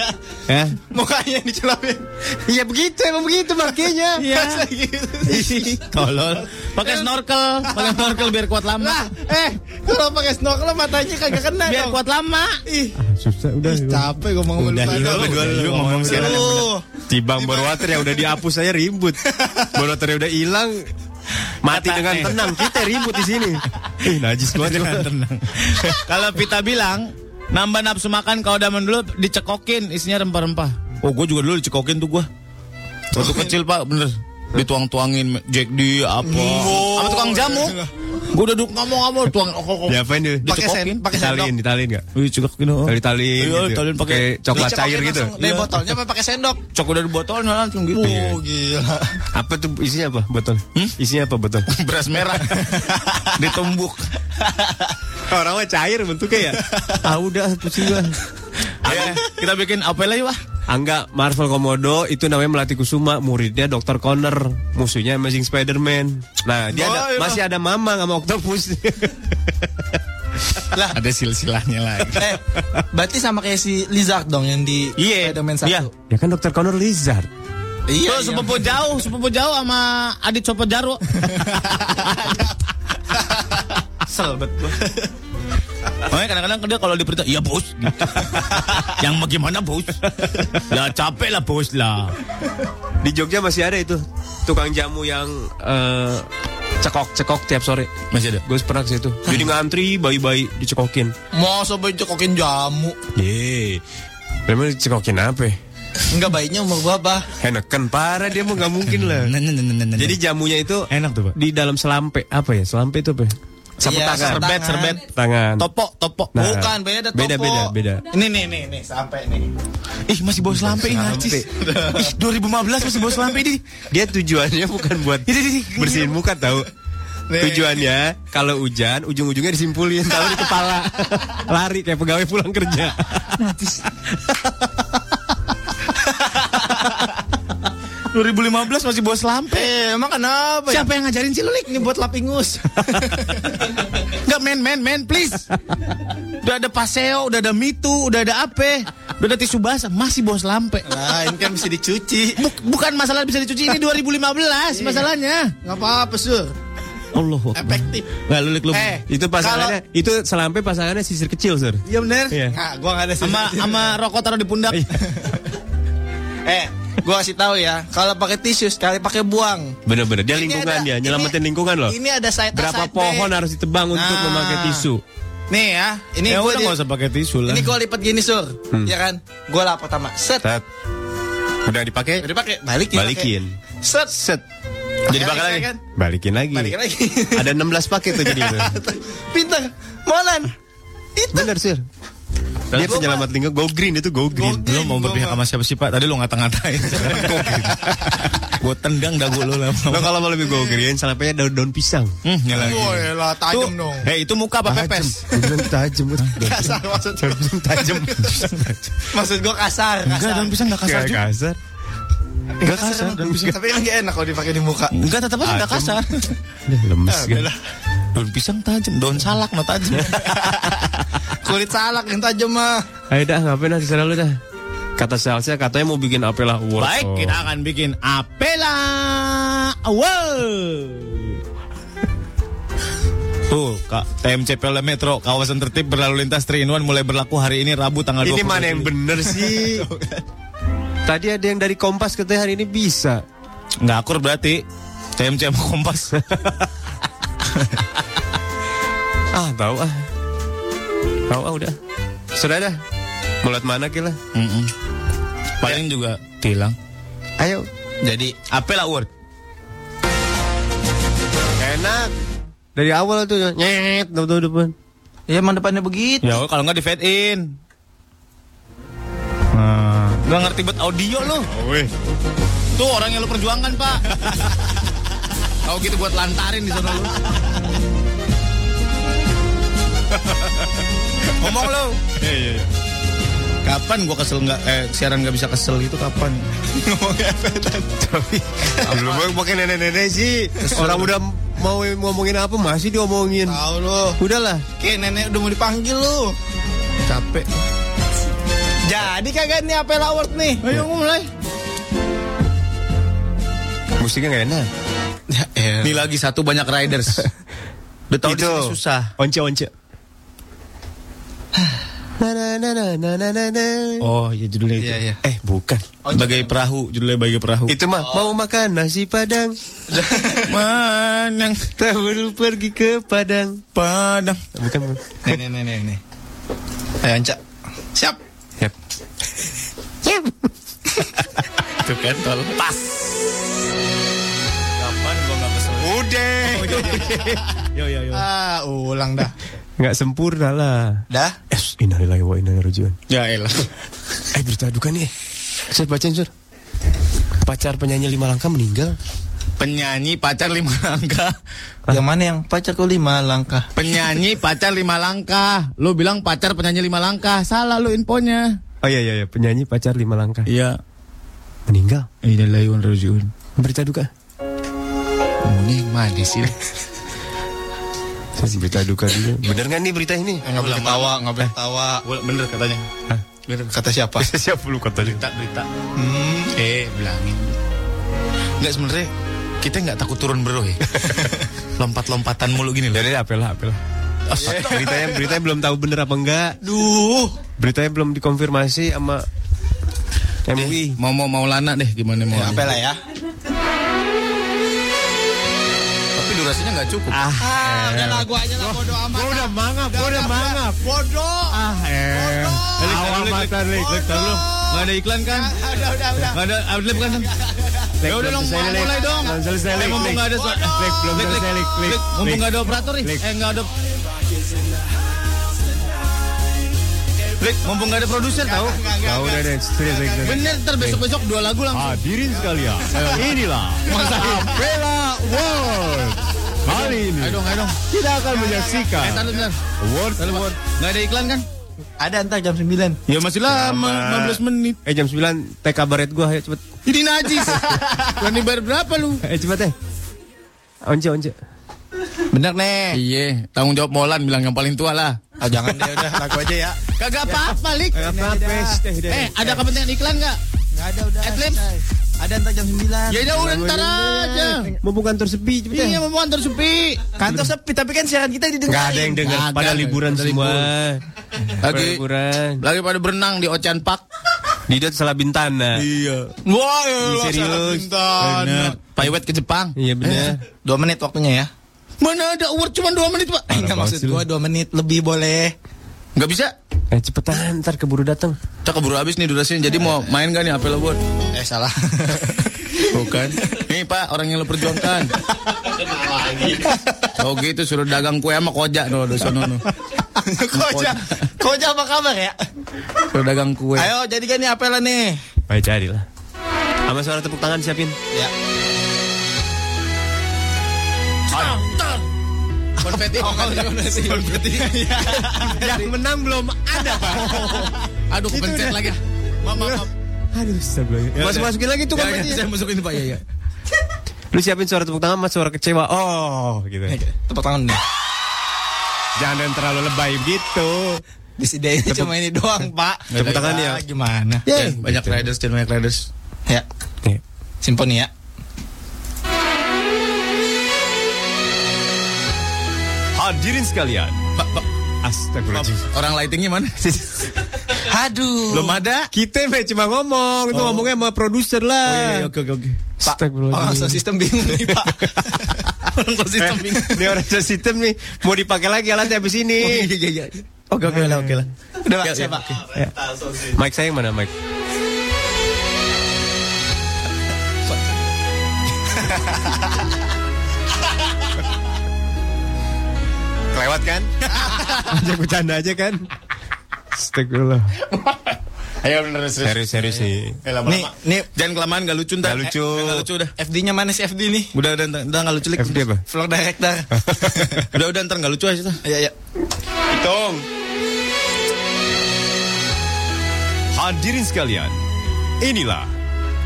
[SPEAKER 8] ya.
[SPEAKER 12] Mukanya dicelapin.
[SPEAKER 8] Iya begitu, emang begitu makanya. Iya.
[SPEAKER 12] Masa gitu.
[SPEAKER 7] Iya. Tolol. Pakai snorkel. Pakai snorkel biar kuat lama.
[SPEAKER 12] Eh, kalau pakai snorkel matanya kagak kena
[SPEAKER 7] Biar
[SPEAKER 12] dong.
[SPEAKER 7] kuat lama.
[SPEAKER 12] (laughs) Ih,
[SPEAKER 8] Iya. Susah udah.
[SPEAKER 12] capek ngomong sama lu.
[SPEAKER 7] Udah,
[SPEAKER 12] pada.
[SPEAKER 7] lu, udah, lu, ngomong sekarang.
[SPEAKER 12] Aduh.
[SPEAKER 8] Tibang Borwater yang udah dihapus saya (laughs) ribut. Borwater yang udah hilang mati dengan tenang. Kita ribut di (laughs) sini. Ih, najis banget.
[SPEAKER 7] Tenang, tenang. Kalau Pita bilang nambah nafsu makan kalau zaman dulu dicekokin isinya rempah-rempah. Oh, gue juga dulu dicekokin tuh gue. Waktu kecil Pak, bener. Dituang-tuangin Jack D apa? Sama tukang jamu. Gue udah duduk ngomong-ngomong tuang okok.
[SPEAKER 8] Diapain dulu?
[SPEAKER 12] Pakai sen, pakai
[SPEAKER 8] Ditalin,
[SPEAKER 12] sendok.
[SPEAKER 8] ditalin enggak?
[SPEAKER 7] Wih, cekok gitu.
[SPEAKER 12] oh.
[SPEAKER 8] Ditalin.
[SPEAKER 7] Iya,
[SPEAKER 8] gitu.
[SPEAKER 7] ditalin pakai-
[SPEAKER 8] Kayak coklat
[SPEAKER 12] Dicekokin
[SPEAKER 8] cair gitu.
[SPEAKER 7] eh,
[SPEAKER 12] langsung Dari botolnya apa pakai sendok?
[SPEAKER 7] Cok udah di botol langsung gitu.
[SPEAKER 12] Oh, (laughs) gila.
[SPEAKER 8] Apa tuh isinya apa? Botol. Isinya apa botol?
[SPEAKER 7] Beras (laughs) merah. (laughs) Ditumbuk.
[SPEAKER 8] Orang mah cair bentuknya ya. (laughs) ah udah pusing gua.
[SPEAKER 7] Apa? Kita bikin apa lagi, Pak?
[SPEAKER 8] Angga Marvel Komodo itu namanya Melati Kusuma, muridnya Dr. Connor, musuhnya Amazing Spider-Man. Nah, dia ada,
[SPEAKER 12] Oh, iya.
[SPEAKER 8] masih ada Mamang sama (laughs) Octopus.
[SPEAKER 12] Lah,
[SPEAKER 7] Ada silsilahnya lagi.
[SPEAKER 12] (laughs) eh, berarti sama kayak si Lizard dong yang di
[SPEAKER 7] Iya.
[SPEAKER 12] Spider-Man 1.
[SPEAKER 7] Iya.
[SPEAKER 8] ya kan Dr. Connor Lizard.
[SPEAKER 12] Iya.
[SPEAKER 7] Tuh, sepupu jauh, sepupu jauh sama adik copo jaru.
[SPEAKER 12] (laughs) Kesel bet gua.
[SPEAKER 7] Makanya kadang-kadang dia kalau diperintah, iya bos. Gitu. Yang bagaimana bos? Ya capek lah bos lah.
[SPEAKER 8] Di Jogja masih ada itu tukang jamu yang eh, cekok-cekok tiap sore.
[SPEAKER 7] Masih ada?
[SPEAKER 8] Gue pernah ke situ. Jadi ngantri bayi-bayi dicekokin.
[SPEAKER 12] Mau sampai cekokin jamu.
[SPEAKER 8] Ye. Memang dicekokin apa?
[SPEAKER 12] Enggak baiknya umur berapa?
[SPEAKER 8] Heneken parah dia mau
[SPEAKER 12] Nah,
[SPEAKER 8] nggak mungkin lah.
[SPEAKER 7] Jadi
[SPEAKER 8] Jadi jamunya itu
[SPEAKER 7] Enak tuh, Pak.
[SPEAKER 8] di dalam selampe apa ya? Selampe itu apa? ya? Sapu
[SPEAKER 12] Iya,
[SPEAKER 8] tangan.
[SPEAKER 12] serbet, serbet.
[SPEAKER 8] Tangan.
[SPEAKER 12] Topok, topok.
[SPEAKER 8] Nah,
[SPEAKER 12] Bukan, beda topok.
[SPEAKER 8] beda, beda, beda.
[SPEAKER 12] Ini nih, nih, nih, sampai nih. Ih, masih bawa selampe ini Narcis. Ih, 2015 masih bawa selampe ini.
[SPEAKER 8] Dia (laughs) tujuannya bukan buat bersihin muka tahu. Tujuannya kalau hujan ujung-ujungnya disimpulin tahu di kepala. (laughs) Lari kayak pegawai pulang kerja.
[SPEAKER 12] Narcis. 2015 masih bawa selampe.
[SPEAKER 11] Eh, emang kenapa?
[SPEAKER 12] Siapa yang ngajarin sih Lulik nih buat
[SPEAKER 11] (laughs)
[SPEAKER 12] lapingus? Enggak men men men please. Udah ada paseo, udah ada mitu, udah ada ape, udah ada tisu basah, masih bawa selampe.
[SPEAKER 11] Nah, ini kan bisa dicuci. Iya.
[SPEAKER 12] Buk- bukan masalah bisa dicuci ini 2015 masalahnya.
[SPEAKER 11] Nggak apa-apa, Sur.
[SPEAKER 8] (laughs) Allah.
[SPEAKER 11] Efektif.
[SPEAKER 8] Nah, lu, lu,
[SPEAKER 12] Eh,
[SPEAKER 8] itu pasangannya itu selampe pasangannya sisir kecil, Sur.
[SPEAKER 12] Iya bener.
[SPEAKER 8] Iya.
[SPEAKER 11] Nah, gua nggak ada sih.
[SPEAKER 12] Sama sama rokok taruh di pundak.
[SPEAKER 11] (laughs) eh, gua kasih tahu ya, kalau pakai tisu sekali pakai buang.
[SPEAKER 8] Bener-bener dia
[SPEAKER 11] Ini
[SPEAKER 8] lingkungan
[SPEAKER 11] ada-
[SPEAKER 8] dia,
[SPEAKER 11] ini-
[SPEAKER 8] nyelamatin lingkungan loh.
[SPEAKER 11] Ini ada side A,
[SPEAKER 8] Berapa
[SPEAKER 11] side B.
[SPEAKER 8] pohon harus ditebang untuk
[SPEAKER 11] Nah.
[SPEAKER 8] memakai tisu?
[SPEAKER 11] Nih ya, ini
[SPEAKER 7] ya
[SPEAKER 11] gua
[SPEAKER 7] udah
[SPEAKER 11] di-
[SPEAKER 7] nggak usah pakai tisu lah. Hmm.
[SPEAKER 11] ini gua lipat gini, Sur. Ya kan? Gua lah pertama. Set.
[SPEAKER 8] Tet. Udah dipakai?
[SPEAKER 11] Udah pakai, balikin.
[SPEAKER 8] Balikin.
[SPEAKER 11] pakai. Set.
[SPEAKER 8] Set. Jadi
[SPEAKER 11] Pakai
[SPEAKER 8] bakal
[SPEAKER 11] lagi,
[SPEAKER 8] lagi.
[SPEAKER 11] kan?
[SPEAKER 8] Balikin lagi.
[SPEAKER 11] Balikin lagi.
[SPEAKER 8] (laughs) Ada 16 paket tuh jadi itu.
[SPEAKER 12] (laughs)
[SPEAKER 11] Pintar. Molan. Itu.
[SPEAKER 8] Bener sir. Dia
[SPEAKER 11] Gua
[SPEAKER 8] penyelamat lingkungan go green itu go green.
[SPEAKER 7] Lo mau berpihak sama siapa sih Pak? Tadi lo
[SPEAKER 11] (laughs)
[SPEAKER 7] ngata-ngatain. Gue tendang dagu lo lah.
[SPEAKER 8] Lo kalau mau lebih go green, salamnya daun daun pisang.
[SPEAKER 7] Hmm, ya lagi.
[SPEAKER 11] Woi, lah Oh, tajam dong.
[SPEAKER 7] Eh itu muka apa
[SPEAKER 8] Tajem.
[SPEAKER 7] pepes?
[SPEAKER 8] Gua bilang tajem. gua.
[SPEAKER 11] Kasar maksud gua.
[SPEAKER 8] Tajem.
[SPEAKER 11] (laughs) Maksud gua kasar,
[SPEAKER 7] Enggak,
[SPEAKER 11] kasar.
[SPEAKER 7] daun pisang nggak kasar
[SPEAKER 8] Nggak
[SPEAKER 7] juga.
[SPEAKER 8] kasar.
[SPEAKER 11] Enggak kasar, daun pisang. Tapi lagi enak kalau dipakai di muka.
[SPEAKER 7] Enggak, tetap aja nggak kasar.
[SPEAKER 8] Udah Lemes kan.
[SPEAKER 7] Daun pisang tajam, daun salak no tajam.
[SPEAKER 11] Kulit salak yang tajam mah.
[SPEAKER 8] Ayo dah ngapain lah terserah lu dah. Kata salesnya katanya mau bikin apelah award.
[SPEAKER 7] Baik,
[SPEAKER 8] Oh.
[SPEAKER 7] kita akan bikin Apela Award. Tuh, Kak, TMC Pela Metro, kawasan tertib berlalu lintas 3 in 1 mulai berlaku hari ini Rabu tanggal 20.
[SPEAKER 8] Ini mana yang
[SPEAKER 7] Juli.
[SPEAKER 8] bener sih? (laughs) Tadi ada yang dari Kompas katanya hari ini bisa.
[SPEAKER 7] Nggak akur berarti. TMC sama Kompas.
[SPEAKER 8] (laughs) Ah, tahu ah. Tahu ah udah. Sudah dah. Mulut mana kira?
[SPEAKER 7] Mm-mm.
[SPEAKER 11] Ya.
[SPEAKER 7] Paling juga tilang.
[SPEAKER 8] Ayo.
[SPEAKER 7] Jadi Apela Award.
[SPEAKER 8] Enak. Dari awal tuh nyet tuh depan.
[SPEAKER 11] Ya emang depannya begitu.
[SPEAKER 7] Ya kalau nggak di fade in. Nah, nggak ngerti buat audio lo.
[SPEAKER 8] Oh,
[SPEAKER 7] Tuh orang yang lo perjuangkan
[SPEAKER 11] (laughs)
[SPEAKER 7] pak. Kalau gitu buat lantarin di sana lo. Ngomong lo.
[SPEAKER 11] Iya,
[SPEAKER 7] Kapan gua kesel nggak eh, siaran nggak bisa kesel itu
[SPEAKER 11] (laughs)
[SPEAKER 7] kapan? Ngomongnya apa tadi?
[SPEAKER 8] Belum pakai nenek-nenek sih. Orang udah mau ngomongin apa masih diomongin.
[SPEAKER 11] Tahu lu.
[SPEAKER 8] Udahlah.
[SPEAKER 11] Oke, nenek udah mau dipanggil lu.
[SPEAKER 8] Capek.
[SPEAKER 11] Jadi kagak nih apel award nih. Ayo mulai.
[SPEAKER 8] Musiknya nggak enak.
[SPEAKER 11] Ya,
[SPEAKER 7] Ini lagi satu banyak
[SPEAKER 11] (laughs)
[SPEAKER 7] riders. Udah tahu
[SPEAKER 11] Gitu.
[SPEAKER 7] di
[SPEAKER 8] Itu.
[SPEAKER 7] sini susah.
[SPEAKER 8] Gitu. Once-once. (sighs) Na na na na na na na na.
[SPEAKER 7] Oh, ya judulnya itu.
[SPEAKER 11] Iya, iya.
[SPEAKER 8] Eh bukan. Oh.
[SPEAKER 7] Bagai perahu, judulnya bagai perahu.
[SPEAKER 8] Itu mah mau makan nasi padang.
[SPEAKER 7] (laughs) Manang
[SPEAKER 8] Tahu pergi ke padang.
[SPEAKER 7] Padang.
[SPEAKER 8] Bukan. bukan.
[SPEAKER 11] Nih, nih, nih, nih. Ayo, Anca. Siap.
[SPEAKER 8] Yap.
[SPEAKER 7] Tuh kan tol. Pas. Kapan gua gak kesel?
[SPEAKER 11] Udah.
[SPEAKER 7] Oh, iya, Yo yo yo.
[SPEAKER 11] Ah, ulang dah.
[SPEAKER 8] Nggak sempurna lah.
[SPEAKER 11] Dah.
[SPEAKER 8] Eh, innalillahi wa inna ilaihi rajiun.
[SPEAKER 7] Ya elah.
[SPEAKER 8] Eh, berita duka nih. Saya bacain, Sur. Pacar penyanyi lima langkah meninggal.
[SPEAKER 7] Penyanyi pacar lima langkah.
[SPEAKER 11] Yang mana yang pacar kau lima langkah?
[SPEAKER 7] Penyanyi pacar lima langkah. Lu bilang pacar penyanyi lima langkah. Salah lu infonya.
[SPEAKER 8] Oh iya, iya, iya. Penyanyi pacar lima langkah.
[SPEAKER 7] Iya.
[SPEAKER 8] Meninggal.
[SPEAKER 7] Innalillahi wa inna ilaihi rajiun.
[SPEAKER 8] Berita duka.
[SPEAKER 7] Ini mana sih?
[SPEAKER 8] Saya berita duka dulu. Bener nggak nih berita ini?
[SPEAKER 11] Enggak boleh ketawa, enggak boleh ketawa.
[SPEAKER 7] Bener katanya.
[SPEAKER 11] Bener, Kata Eh, siapa?
[SPEAKER 8] (laughs) Siapa lu kata
[SPEAKER 7] Berita berita.
[SPEAKER 11] Hmm.
[SPEAKER 7] Eh, bilangin. Enggak sebenarnya kita nggak takut turun bro
[SPEAKER 11] (laughs)
[SPEAKER 7] ya. Lompat-lompatan mulu gini loh.
[SPEAKER 8] Jadi Ya apel lah, apel lah. beritanya, beritanya belum tahu bener apa enggak.
[SPEAKER 11] Duh.
[SPEAKER 8] Beritanya belum dikonfirmasi sama MUI.
[SPEAKER 7] Mau mau mau lana deh gimana
[SPEAKER 12] Eh,
[SPEAKER 7] mau.
[SPEAKER 11] Apel lah ya.
[SPEAKER 7] Tapi durasinya nggak cukup.
[SPEAKER 11] Ah, udah lah gua aja lah bodo amat. Gua udah mangap, gua udah mangap. Bodo. Ah, eh.
[SPEAKER 7] Awal mata Lik, Lik, tahu belum? Nggak ada iklan kan?
[SPEAKER 11] Udah, udah, udah.
[SPEAKER 7] Nggak ada outlet kan?
[SPEAKER 12] (laughs) Ya udah dong,
[SPEAKER 8] selesai, Lek.
[SPEAKER 12] mulai dong.
[SPEAKER 8] Belum selesai,
[SPEAKER 12] Eh,
[SPEAKER 8] Lek,
[SPEAKER 12] mumpung
[SPEAKER 8] Lek.
[SPEAKER 12] nggak ada suara.
[SPEAKER 8] Lek, belum
[SPEAKER 12] Lek,
[SPEAKER 8] selesai,
[SPEAKER 12] Lek.
[SPEAKER 8] Lek, Lek,
[SPEAKER 12] Lek, Mumpung
[SPEAKER 8] Lek.
[SPEAKER 12] nggak ada operator nih.
[SPEAKER 8] Lek.
[SPEAKER 12] Eh, nggak ada. Lek, mumpung nggak ada produser tahu.
[SPEAKER 8] Tahu udah deh, serius, serius, serius.
[SPEAKER 12] Bener, ntar besok-besok dua lagu langsung.
[SPEAKER 8] Hadirin sekalian, inilah
[SPEAKER 12] Masa?
[SPEAKER 8] Bella World. Kali ini
[SPEAKER 12] Ayo dong, ayo dong.
[SPEAKER 8] kita akan menyaksikan
[SPEAKER 12] Eh, taruh bentar.
[SPEAKER 8] World
[SPEAKER 12] Taruh, Pak. Nggak ada iklan kan?
[SPEAKER 11] Ada ntar jam 9.
[SPEAKER 12] Ya masih lama,
[SPEAKER 8] Lama.
[SPEAKER 12] 15 menit.
[SPEAKER 8] Eh jam 9 TK baret gua ayo cepet.
[SPEAKER 12] Ini najis. Berani bayar berapa lu?
[SPEAKER 8] Eh cepet deh. Once once.
[SPEAKER 12] Bener nih.
[SPEAKER 7] Iya, tanggung jawab Molan bilang yang paling tua lah.
[SPEAKER 11] Ah, jangan deh udah lagu aja ya.
[SPEAKER 12] Kagak apa-apa, Lik. Eh, ada kepentingan iklan nggak?
[SPEAKER 11] Enggak ada udah.
[SPEAKER 12] Adlibs?
[SPEAKER 11] selesai. Ada ntar jam 9.
[SPEAKER 12] Ya udah, udah ntar aja.
[SPEAKER 8] Mumpung kantor sepi cepet deh.
[SPEAKER 12] Iya, mau antar sepi.
[SPEAKER 11] Kantor sepi tapi kan siaran kita didengar.
[SPEAKER 8] Gak ada yang dengar.
[SPEAKER 7] Kagak,
[SPEAKER 8] Pada
[SPEAKER 7] kagak,
[SPEAKER 8] liburan
[SPEAKER 7] pada
[SPEAKER 8] semua. Pada
[SPEAKER 7] Lagi
[SPEAKER 8] liburan.
[SPEAKER 7] lagi pada berenang di Ocean Park.
[SPEAKER 8] Didot salah eh. bintana.
[SPEAKER 7] Iya. Wah,
[SPEAKER 8] Ini serius. Bener.
[SPEAKER 7] Paiwet ke Jepang.
[SPEAKER 8] Iya bener.
[SPEAKER 11] Dua menit waktunya ya.
[SPEAKER 12] Mana ada award cuma 2 menit, Pak?
[SPEAKER 7] Eh,
[SPEAKER 11] Enggak maksud
[SPEAKER 8] banget
[SPEAKER 11] gua dua menit lebih boleh.
[SPEAKER 7] Nggak bisa.
[SPEAKER 8] Eh cepetan ntar keburu datang.
[SPEAKER 7] Cak keburu habis nih durasinya. Jadi mau main gak nih HP lo buat?
[SPEAKER 11] Eh salah.
[SPEAKER 7] (laughs) Bukan. Nih Pak, orang yang lo
[SPEAKER 11] (laughs)
[SPEAKER 7] perjuangkan. Oh gitu suruh dagang
[SPEAKER 11] (laughs)
[SPEAKER 7] kue sama koja no, di sono, no.
[SPEAKER 11] Koja. Koja apa kabar ya?
[SPEAKER 7] Suruh dagang kue.
[SPEAKER 11] Ayo jadikan nih apelnya nih.
[SPEAKER 8] Ayo carilah. Sama suara tepuk tangan siapin.
[SPEAKER 11] Ya.
[SPEAKER 7] Konfeti.
[SPEAKER 11] Oh,
[SPEAKER 7] Konfeti.
[SPEAKER 11] Ya.
[SPEAKER 8] Yang menang belum
[SPEAKER 11] (laughs)
[SPEAKER 8] ada pak.
[SPEAKER 7] Aduh, kepencet lagi. Maaf, maaf. maaf.
[SPEAKER 8] Aduh sebelahnya. Mas masukin lagi tuh
[SPEAKER 7] Ya,
[SPEAKER 8] kan
[SPEAKER 7] ya, saya masukin Pak. Ya, ya.
[SPEAKER 8] Lu siapin suara tepuk tangan sama suara kecewa. Oh gitu.
[SPEAKER 11] Tepuk tangan nih.
[SPEAKER 8] Jangan terlalu lebay gitu.
[SPEAKER 11] Disidainya cuma ini doang, Pak.
[SPEAKER 8] Tepuk tangan ya.
[SPEAKER 11] Gimana? Gitu.
[SPEAKER 7] Ya, banyak riders, dan banyak riders.
[SPEAKER 11] Ya.
[SPEAKER 8] Nih.
[SPEAKER 11] Simponi ya.
[SPEAKER 8] Hadirin sekalian.
[SPEAKER 7] Pak, Pak,
[SPEAKER 8] Astagfirullahaladzim.
[SPEAKER 7] Orang lightingnya (laughs) mana?
[SPEAKER 11] Aduh.
[SPEAKER 7] Belum ada. Oh.
[SPEAKER 8] Kita mah cuma ngomong, itu ngomongnya sama produser lah.
[SPEAKER 7] iya, oke, oke, oke.
[SPEAKER 11] Pak, oh, orang sound
[SPEAKER 8] Astagfirullahaladzim.
[SPEAKER 11] system bingung nih, Pak.
[SPEAKER 7] Orang kok
[SPEAKER 8] Eh,
[SPEAKER 7] sistem bingung.
[SPEAKER 8] Ini orang sound system nih, mau dipakai lagi alatnya habis ini.
[SPEAKER 7] Oke, oke lah, oke lah.
[SPEAKER 11] Udah, Pak,
[SPEAKER 7] Ya,
[SPEAKER 11] siap,
[SPEAKER 7] ya,
[SPEAKER 11] Pak.
[SPEAKER 8] Mike saya yang mana Mike? Kelewat kan? Ajak bercanda aja kan? Astagfirullah.
[SPEAKER 7] (laughs) Ayo bener Eh, serius.
[SPEAKER 8] Serius serius sih.
[SPEAKER 7] Nih, nih jangan kelamaan gak lucu ntar.
[SPEAKER 8] Nggak lucu.
[SPEAKER 7] Eh, nggak lucu udah.
[SPEAKER 11] FD-nya mana sih FD nih?
[SPEAKER 7] Udah udah ntar ntar nggak lucu lik.
[SPEAKER 8] FD apa?
[SPEAKER 11] Vlog director.
[SPEAKER 7] Udah udah ntar nggak lucu aja. tuh.
[SPEAKER 11] Iya, iya.
[SPEAKER 8] Hitung. Hadirin sekalian, inilah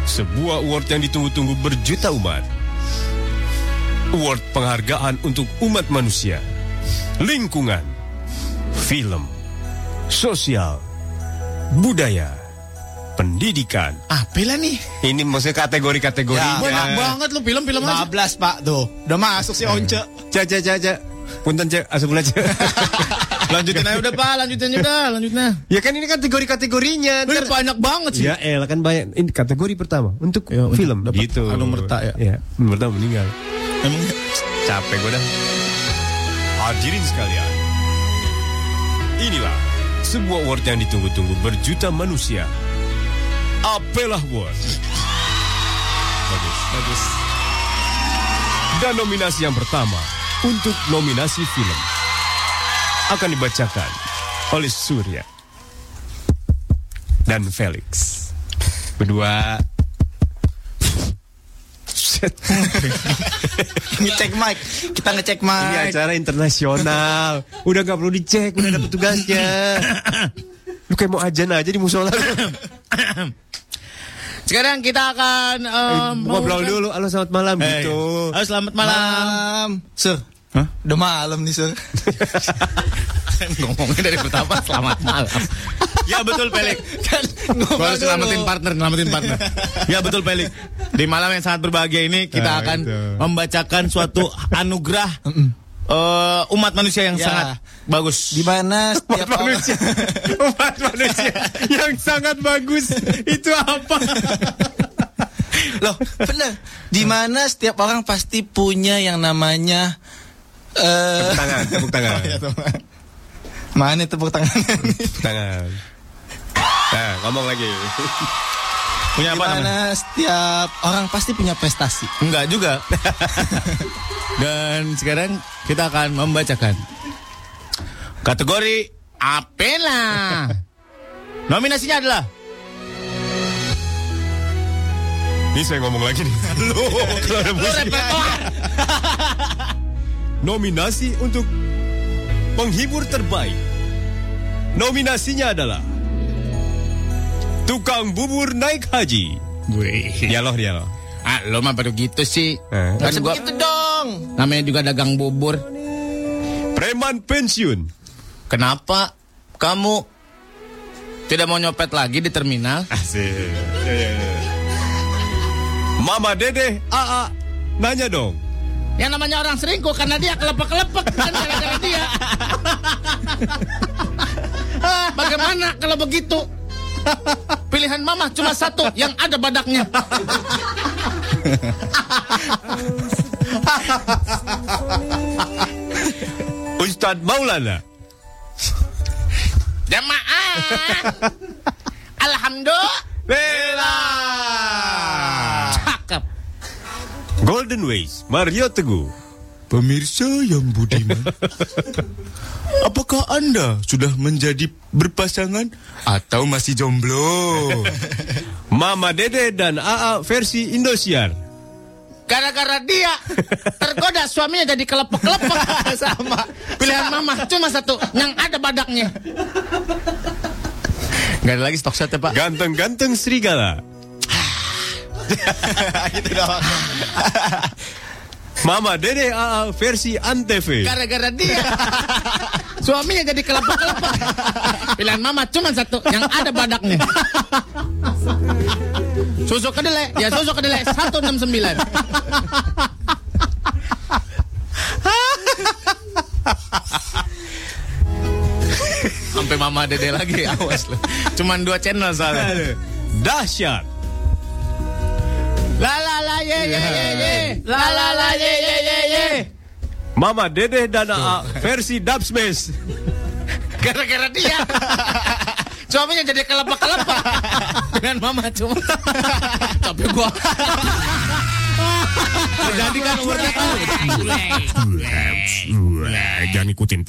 [SPEAKER 8] sebuah award yang ditunggu-tunggu berjuta umat. Award penghargaan untuk umat manusia, lingkungan, film, sosial, budaya, pendidikan. Ya,
[SPEAKER 12] Ah, pila nih.
[SPEAKER 8] Ini maksudnya kategori-kategorinya.
[SPEAKER 12] Banyak banget lu film-film aja.
[SPEAKER 11] 15, Pak, tuh. Udah masuk sih Once.
[SPEAKER 8] Cak, cak, cak, cak. Punten cak, asup aja.
[SPEAKER 12] (laughs) Lanjutin aja udah, Pak. Lanjutin aja udah, lanjutin aja.
[SPEAKER 8] ya kan ini kategori-kategorinya.
[SPEAKER 12] Lu banyak banget sih.
[SPEAKER 8] Ya elah kan banyak ini kategori pertama Iya, untuk
[SPEAKER 12] Ya, untuk-
[SPEAKER 8] film dapat
[SPEAKER 12] gitu.
[SPEAKER 8] anu merta ya. Iya, merta meninggal.
[SPEAKER 12] Emang
[SPEAKER 8] Capek gue dah. Hadirin sekalian. Inilah sebuah award yang ditunggu-tunggu berjuta manusia. Apelah Award. Bagus, bagus. Dan nominasi yang pertama untuk nominasi film akan dibacakan oleh Surya dan Felix. Berdua (laughs)
[SPEAKER 11] Ngecek mic. Kita ngecek mic.
[SPEAKER 7] Iya.
[SPEAKER 8] Ini Iya, acara internasional. Udah gak perlu dicek, udah ada petugasnya. Lu kayak mau ajan aja di (laughs) musola.
[SPEAKER 12] sekarang kita akan eh, mau-
[SPEAKER 8] Ngobrol dulu, halo selamat malam
[SPEAKER 12] Eh,
[SPEAKER 8] gitu.
[SPEAKER 12] Halo, selamat malam.
[SPEAKER 11] Malam. Sur.
[SPEAKER 12] Hah?
[SPEAKER 11] Udah malam nih,
[SPEAKER 12] (laughs)
[SPEAKER 11] Sur.
[SPEAKER 7] Ngomongnya dari pertama selamat malam.
[SPEAKER 12] Ya betul, Pelik.
[SPEAKER 11] kan
[SPEAKER 12] Gua
[SPEAKER 11] ngomong
[SPEAKER 12] harus selamatin
[SPEAKER 11] dulu.
[SPEAKER 12] partner, selamatin partner. ya betul Pelik. Di malam yang sangat berbahagia ini kita
[SPEAKER 8] Nah,
[SPEAKER 12] akan
[SPEAKER 8] itu.
[SPEAKER 12] membacakan suatu anugerah eh, umat manusia yang
[SPEAKER 11] Ya.
[SPEAKER 12] sangat bagus.
[SPEAKER 11] Di mana setiap orang
[SPEAKER 8] Manusia, umat manusia (laughs) yang sangat bagus itu apa?
[SPEAKER 11] Loh, bener. Di mana setiap orang pasti punya yang namanya eh
[SPEAKER 8] Tangan, tepuk (laughs) tangan,
[SPEAKER 11] (laughs) mana tepuk tangan
[SPEAKER 8] tepuk tangan. Nah, ngomong lagi.
[SPEAKER 7] Punya apa
[SPEAKER 15] Dimana setiap orang pasti punya prestasi.
[SPEAKER 12] Enggak (laughs) juga. Dan sekarang kita akan membacakan kategori Apela. Nominasinya adalah
[SPEAKER 8] (laughs) Ini saya ngomong lagi nih. (laughs) Lu, ada musik. (laughs) Nominasi untuk penghibur terbaik. Nominasinya adalah tukang bubur naik haji. Dialog dialog.
[SPEAKER 12] Ya, Ah, lo mah baru gitu sih. Kan
[SPEAKER 15] Masa
[SPEAKER 12] gua-
[SPEAKER 15] begitu dong.
[SPEAKER 12] namanya juga dagang bubur.
[SPEAKER 8] Preman pensiun.
[SPEAKER 12] Kenapa kamu tidak mau nyopet lagi di terminal?
[SPEAKER 8] Asik. Mama Dede AA nanya dong.
[SPEAKER 12] Yang namanya orang selingkuh karena dia kelepek-kelepek kan gara-gara (laughs) dia. Bagaimana kalau begitu? Pilihan mama cuma satu yang ada badaknya.
[SPEAKER 8] Ustadz Maulana.
[SPEAKER 12] Jamaah.
[SPEAKER 8] Alhamdulillah.
[SPEAKER 12] Cakep.
[SPEAKER 8] Golden Ways Mario (laughs) Teguh.
[SPEAKER 12] Pemirsa yang budiman, apakah Anda sudah menjadi berpasangan atau masih jomblo?
[SPEAKER 8] Mama Dede dan AA versi Indosiar.
[SPEAKER 12] Gara-gara dia tergoda suaminya jadi kelepek-kelepek sama. Pilihan mama cuma satu yang ada badaknya. Gak ada lagi stok shotnya pak
[SPEAKER 8] Ganteng-ganteng (laughs) serigala
[SPEAKER 15] gitu doang.
[SPEAKER 8] (laughs) Mama Dede AA versi Antv
[SPEAKER 12] Gara-gara dia (laughs) suaminya jadi kelepek-kelepek. Pilihan mama cuma satu yang ada badaknya. Susu kedelai, ya susu kedelai 169. (laughs) Sampai mama dede lagi, awas lu. Cuman dua channel soalnya.
[SPEAKER 8] Dahsyat
[SPEAKER 12] La la la ye ye ye ye. La la la ye ye ye ye.
[SPEAKER 8] Mama Dede dan AA versi Dubsmash
[SPEAKER 12] Gara-gara dia. Suaminya jadi kelepek-kelepek. Dengan mama cuma. (laughs) Tapi gua. Jadi kan umurnya kan.
[SPEAKER 8] Jangan ikutin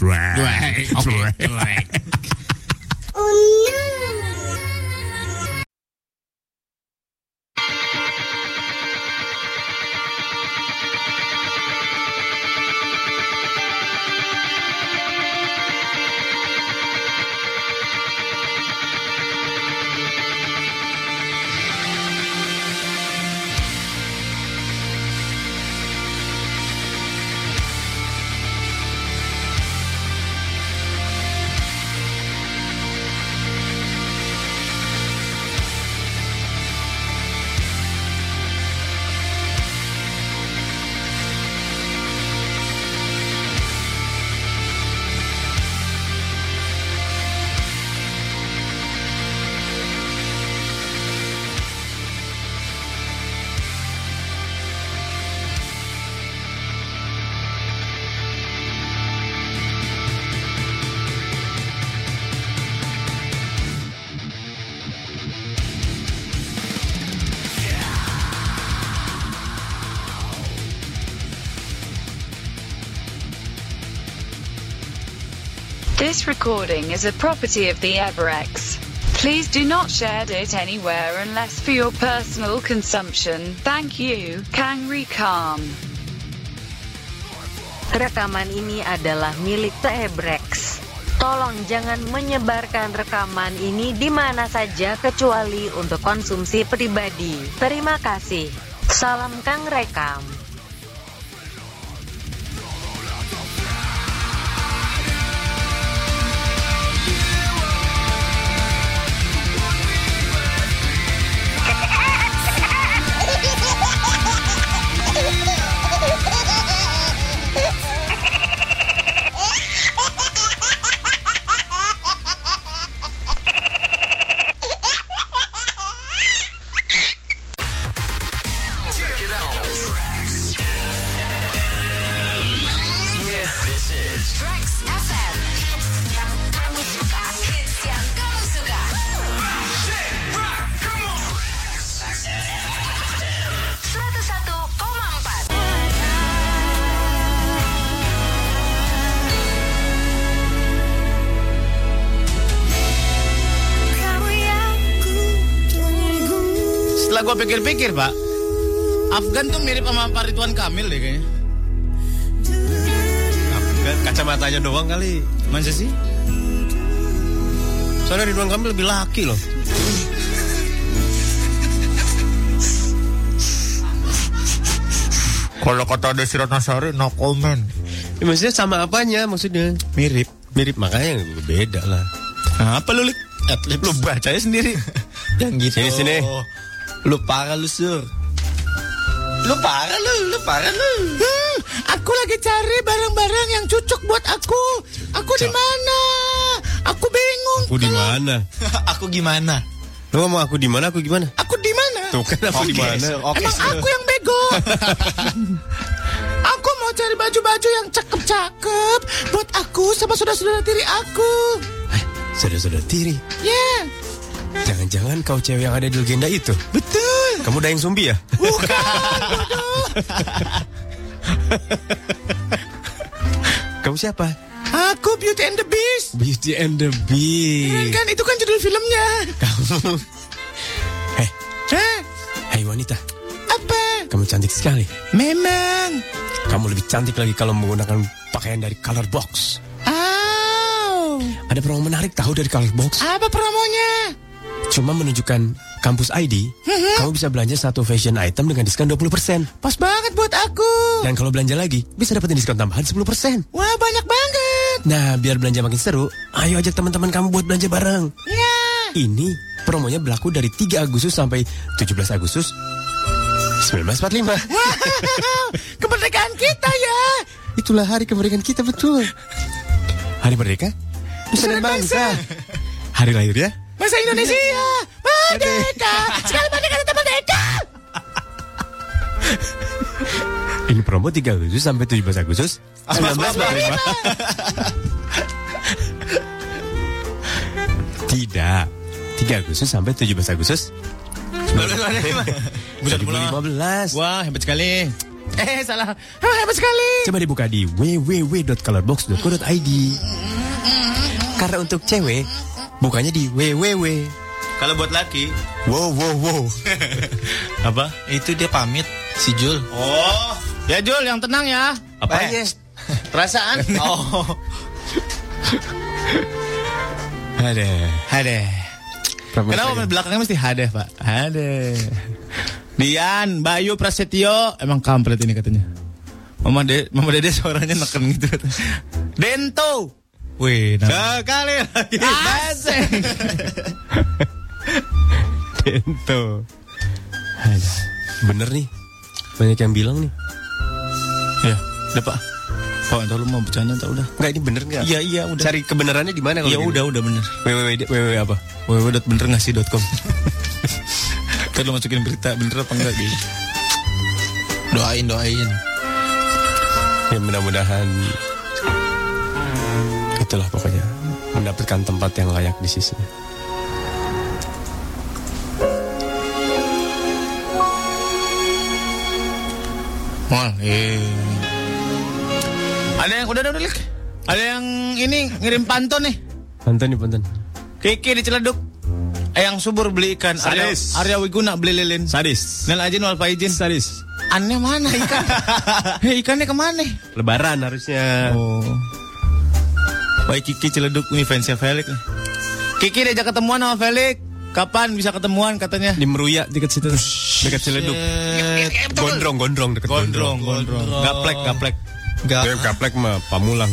[SPEAKER 3] This recording is a property of the Everex. Please do not share it anywhere unless for your personal consumption. Thank you, Kang Rikam.
[SPEAKER 2] Rekaman ini adalah milik Tebrex. Tolong jangan menyebarkan rekaman ini di mana saja kecuali untuk konsumsi pribadi. Terima kasih. Salam Kang Rekam.
[SPEAKER 12] Setelah gue pikir-pikir, Pak, Afgan tuh mirip sama Pak Ridwan Kamil deh kayaknya.
[SPEAKER 8] Nggak, Kacamatanya doang kali.
[SPEAKER 12] Masa sih?
[SPEAKER 8] Soalnya Ridwan Kamil lebih laki loh.
[SPEAKER 16] Kalau kata ada Sirat Nasari, no comment.
[SPEAKER 12] (laughs)
[SPEAKER 8] Ya, maksudnya sama apanya maksudnya? Mirip. Mirip makanya beda lah.
[SPEAKER 16] Apa lu lik? Lu bacanya sendiri.
[SPEAKER 17] (laughs) Yang gitu.
[SPEAKER 8] Sini, sini.
[SPEAKER 17] Lu parah lu sur. Lu parah lu, lu parah lu.
[SPEAKER 18] Hmm, aku lagi cari barang-barang yang cocok buat aku. Aku di mana? Aku bingung.
[SPEAKER 8] Aku di mana?
[SPEAKER 17] aku gimana?
[SPEAKER 8] Lu ngomong aku di mana? Aku gimana?
[SPEAKER 18] Aku di mana?
[SPEAKER 8] Tuh kan aku di
[SPEAKER 17] Oke,
[SPEAKER 8] mana?
[SPEAKER 17] Sur,
[SPEAKER 18] Emang aku yang
[SPEAKER 17] (laughs)
[SPEAKER 18] bego. aku mau cari baju-baju yang cakep-cakep buat aku sama saudara-saudara tiri aku.
[SPEAKER 8] Saudara-saudara tiri.
[SPEAKER 18] Ya,
[SPEAKER 8] Jangan-jangan kau cewek yang ada di legenda itu. Betul. Kamu Dayang Sumbi ya? (laughs)
[SPEAKER 18] bukan.
[SPEAKER 8] Kamu siapa?
[SPEAKER 18] aku Beauty and the Beast.
[SPEAKER 8] Beauty and the Beast.
[SPEAKER 18] Kan itu kan judul filmnya.
[SPEAKER 8] (laughs) Kamu. Hei,
[SPEAKER 18] Hah?
[SPEAKER 8] hai wanita.
[SPEAKER 18] Apa?
[SPEAKER 8] Kamu cantik sekali.
[SPEAKER 18] Memang.
[SPEAKER 8] Kamu lebih cantik lagi kalau menggunakan pakaian dari color box.
[SPEAKER 18] Au.
[SPEAKER 8] Ada promo menarik tahu dari color box.
[SPEAKER 18] Apa promonya?
[SPEAKER 8] Cuma menunjukkan kampus ID,
[SPEAKER 18] Mhm.
[SPEAKER 8] kamu bisa belanja satu fashion item dengan diskon 20%.
[SPEAKER 18] Pas banget buat aku.
[SPEAKER 8] Dan kalau belanja lagi, bisa dapetin diskon tambahan 10%.
[SPEAKER 18] Wah, banyak banget.
[SPEAKER 8] Nah, biar belanja makin seru, ayo ajak teman-teman kamu buat belanja bareng.
[SPEAKER 18] Iya.
[SPEAKER 8] Ini promonya berlaku dari 3 Agustus sampai 17 Agustus 1945.
[SPEAKER 18] Wow, kemerdekaan kita ya.
[SPEAKER 8] Itulah hari kemerdekaan kita betul. Hari merdeka?
[SPEAKER 18] Besar bangsa.
[SPEAKER 8] Hari ya? Iya. lahirnya?
[SPEAKER 18] Masa Indonesia. Merdeka. Sekali merdeka tetap merdeka.
[SPEAKER 8] Ini promo 3 Agustus sampai 17 Agustus 1945. Tidak. 3 Agustus sampai 17 Agustus 2015.
[SPEAKER 12] Wah, hebat sekali.
[SPEAKER 18] Eh, salah. Ah, Hebat sekali.
[SPEAKER 8] Coba dibuka di www.colorbox.co.id. Karena untuk cewek bukannya di www.
[SPEAKER 11] Kalau buat laki,
[SPEAKER 8] Wow wow wow.
[SPEAKER 11] (laughs) apa? Itu dia pamit si Jul.
[SPEAKER 12] Oh, ya Jul yang tenang ya.
[SPEAKER 11] Apanya?
[SPEAKER 12] (laughs) Perasaan.
[SPEAKER 11] Oh.
[SPEAKER 8] Ada.
[SPEAKER 12] Ada.
[SPEAKER 8] Pramuka
[SPEAKER 12] Kenapa
[SPEAKER 8] ya.
[SPEAKER 12] belakangnya mesti hadeh, Pak? Hadeh. Dian, Bayu Prasetyo, emang kampret ini katanya. Mama De, Mama Dede suaranya neken gitu. Dento. Wih, nah.
[SPEAKER 18] Sekali lagi.
[SPEAKER 8] Dento. Aduh, Bener nih. Banyak yang bilang nih.
[SPEAKER 12] Ya, udah Pak. Pak, entar lu mau bercanda entar udah.
[SPEAKER 8] Enggak ini bener nggak?
[SPEAKER 12] Iya, iya, udah.
[SPEAKER 8] Ya. Cari kebenarannya di mana kalau gitu?
[SPEAKER 12] Ya
[SPEAKER 8] gini?
[SPEAKER 12] udah, udah bener.
[SPEAKER 8] www www apa?
[SPEAKER 12] www.benerngasih.com (laughs) Ntar lu masukin berita bener apa enggak gitu.
[SPEAKER 11] Doain doain.
[SPEAKER 8] Ya mudah-mudahan itulah pokoknya mendapatkan tempat yang layak di sisinya.
[SPEAKER 12] Mal, eh. Ada yang udah udah, udah Lik. Ada yang ini ngirim pantun nih.
[SPEAKER 8] Pantun nih pantun.
[SPEAKER 12] Kiki di Ciledug. Eyang subur beli ikan. Arya,
[SPEAKER 8] Sadis.
[SPEAKER 12] Arya Wiguna beli lilin.
[SPEAKER 8] Sadis.
[SPEAKER 12] Nel Ajin wal faizin.
[SPEAKER 8] Sadis.
[SPEAKER 12] Aneh mana ikan?
[SPEAKER 8] (laughs)
[SPEAKER 12] Hei, ikannya kemana?
[SPEAKER 8] Lebaran harusnya.
[SPEAKER 12] Oh. Baik Kiki Ciledug nih fansnya Felix. nih. Kiki diajak ketemuan sama Felix. Kapan bisa ketemuan katanya?
[SPEAKER 8] Di Meruya dekat situ. Dekat Ciledug. Gondrong, gondrong dekat gondrong.
[SPEAKER 12] Gondrong, gondrong.
[SPEAKER 8] Gaplek, gaplek. Gaplek, gaplek mah pamulang.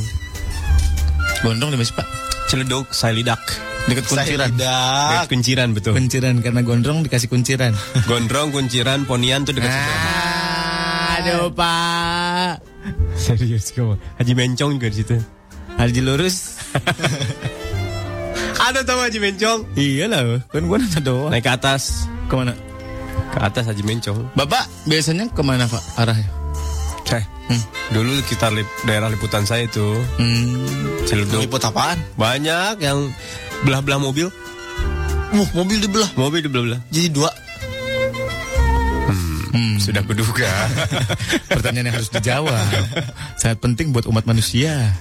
[SPEAKER 12] Gondrong di Mesir, Pak.
[SPEAKER 8] Ciledug, Salidak.
[SPEAKER 12] Dekat kunciran.
[SPEAKER 8] Dekat kunciran betul.
[SPEAKER 12] Kunciran karena gondrong dikasih
[SPEAKER 8] (laughs)
[SPEAKER 12] kunciran.
[SPEAKER 8] Gondrong, kunciran, ponian tuh dekat situ.
[SPEAKER 12] Aduh, Pak.
[SPEAKER 8] Serius kamu. Haji Mencong juga di situ.
[SPEAKER 12] Haji
[SPEAKER 8] (laughs)
[SPEAKER 12] lurus.
[SPEAKER 8] Ada tahu Haji Mencong?
[SPEAKER 12] iya lah, kan gua nanya doang.
[SPEAKER 8] Naik ke atas.
[SPEAKER 12] Kemana?
[SPEAKER 8] Ke atas Haji Mencong.
[SPEAKER 12] Bapak biasanya kemana Pak arahnya?
[SPEAKER 8] Saya. Eh, Dulu sekitar lip- daerah liputan saya itu
[SPEAKER 12] Hmm.
[SPEAKER 8] Ciledug.
[SPEAKER 11] Liput apaan?
[SPEAKER 8] Banyak yang belah-belah mobil.
[SPEAKER 11] Wah, mobil dibelah.
[SPEAKER 8] Mobil dibelah-belah.
[SPEAKER 11] Jadi dua. Hmm,
[SPEAKER 8] Sudah
[SPEAKER 12] (laughs)
[SPEAKER 8] kuduga.
[SPEAKER 12] Pertanyaan yang harus dijawab. Sangat penting buat umat manusia.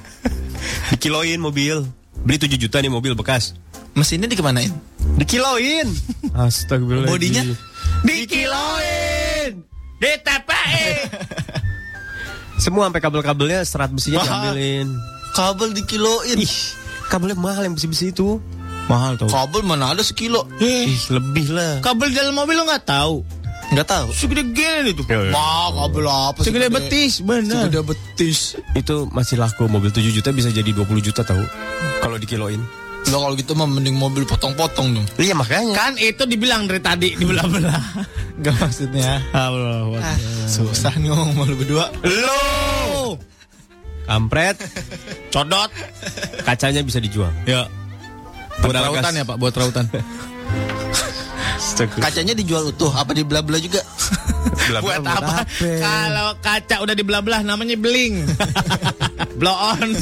[SPEAKER 8] Dikiloin mobil. Beli 7 juta nih mobil bekas.
[SPEAKER 11] Mesinnya dikemanain?
[SPEAKER 8] Dikiloin. Astagfirullah.
[SPEAKER 11] Bodinya?
[SPEAKER 12] Dikiloin. Ditapain.
[SPEAKER 8] (laughs) Semua sampai kabel-kabelnya serat besinya
[SPEAKER 11] Mahal.
[SPEAKER 8] diambilin.
[SPEAKER 11] Kabel dikiloin.
[SPEAKER 8] Ih, kabelnya mahal yang besi-besi itu. Mahal tuh.
[SPEAKER 11] Kabel mana ada sekilo?
[SPEAKER 8] Ih, lebih lah.
[SPEAKER 12] Kabel dalam mobil lo Eh. nggak tahu? Iya,
[SPEAKER 11] Nggak tahu.
[SPEAKER 12] Segede-gede itu.
[SPEAKER 11] Ma, kabel apa? sih?
[SPEAKER 12] Segede betis, benar.
[SPEAKER 11] Segede betis.
[SPEAKER 8] Itu masih laku mobil 7 juta bisa jadi 20 juta tahu. Kalau dikiloin.
[SPEAKER 11] Lah kalau gitu mah mending mobil potong-potong dong.
[SPEAKER 8] Iya makanya.
[SPEAKER 12] Kan itu dibilang dari tadi dibelah-belah.
[SPEAKER 11] (laughs)
[SPEAKER 12] Gak maksudnya. Allah.
[SPEAKER 11] Ah, susah nih ngomong sama lu berdua.
[SPEAKER 12] Lo.
[SPEAKER 8] Kampret,
[SPEAKER 12] Codot.
[SPEAKER 8] kacanya bisa dijual.
[SPEAKER 12] Ya. Buat rautan ya, Pak, buat rautan.
[SPEAKER 11] Kacanya dijual utuh apa dibelah-belah juga?
[SPEAKER 12] buat apa? Kalau kaca udah dibelah-belah namanya (laughs) beling. Blow on.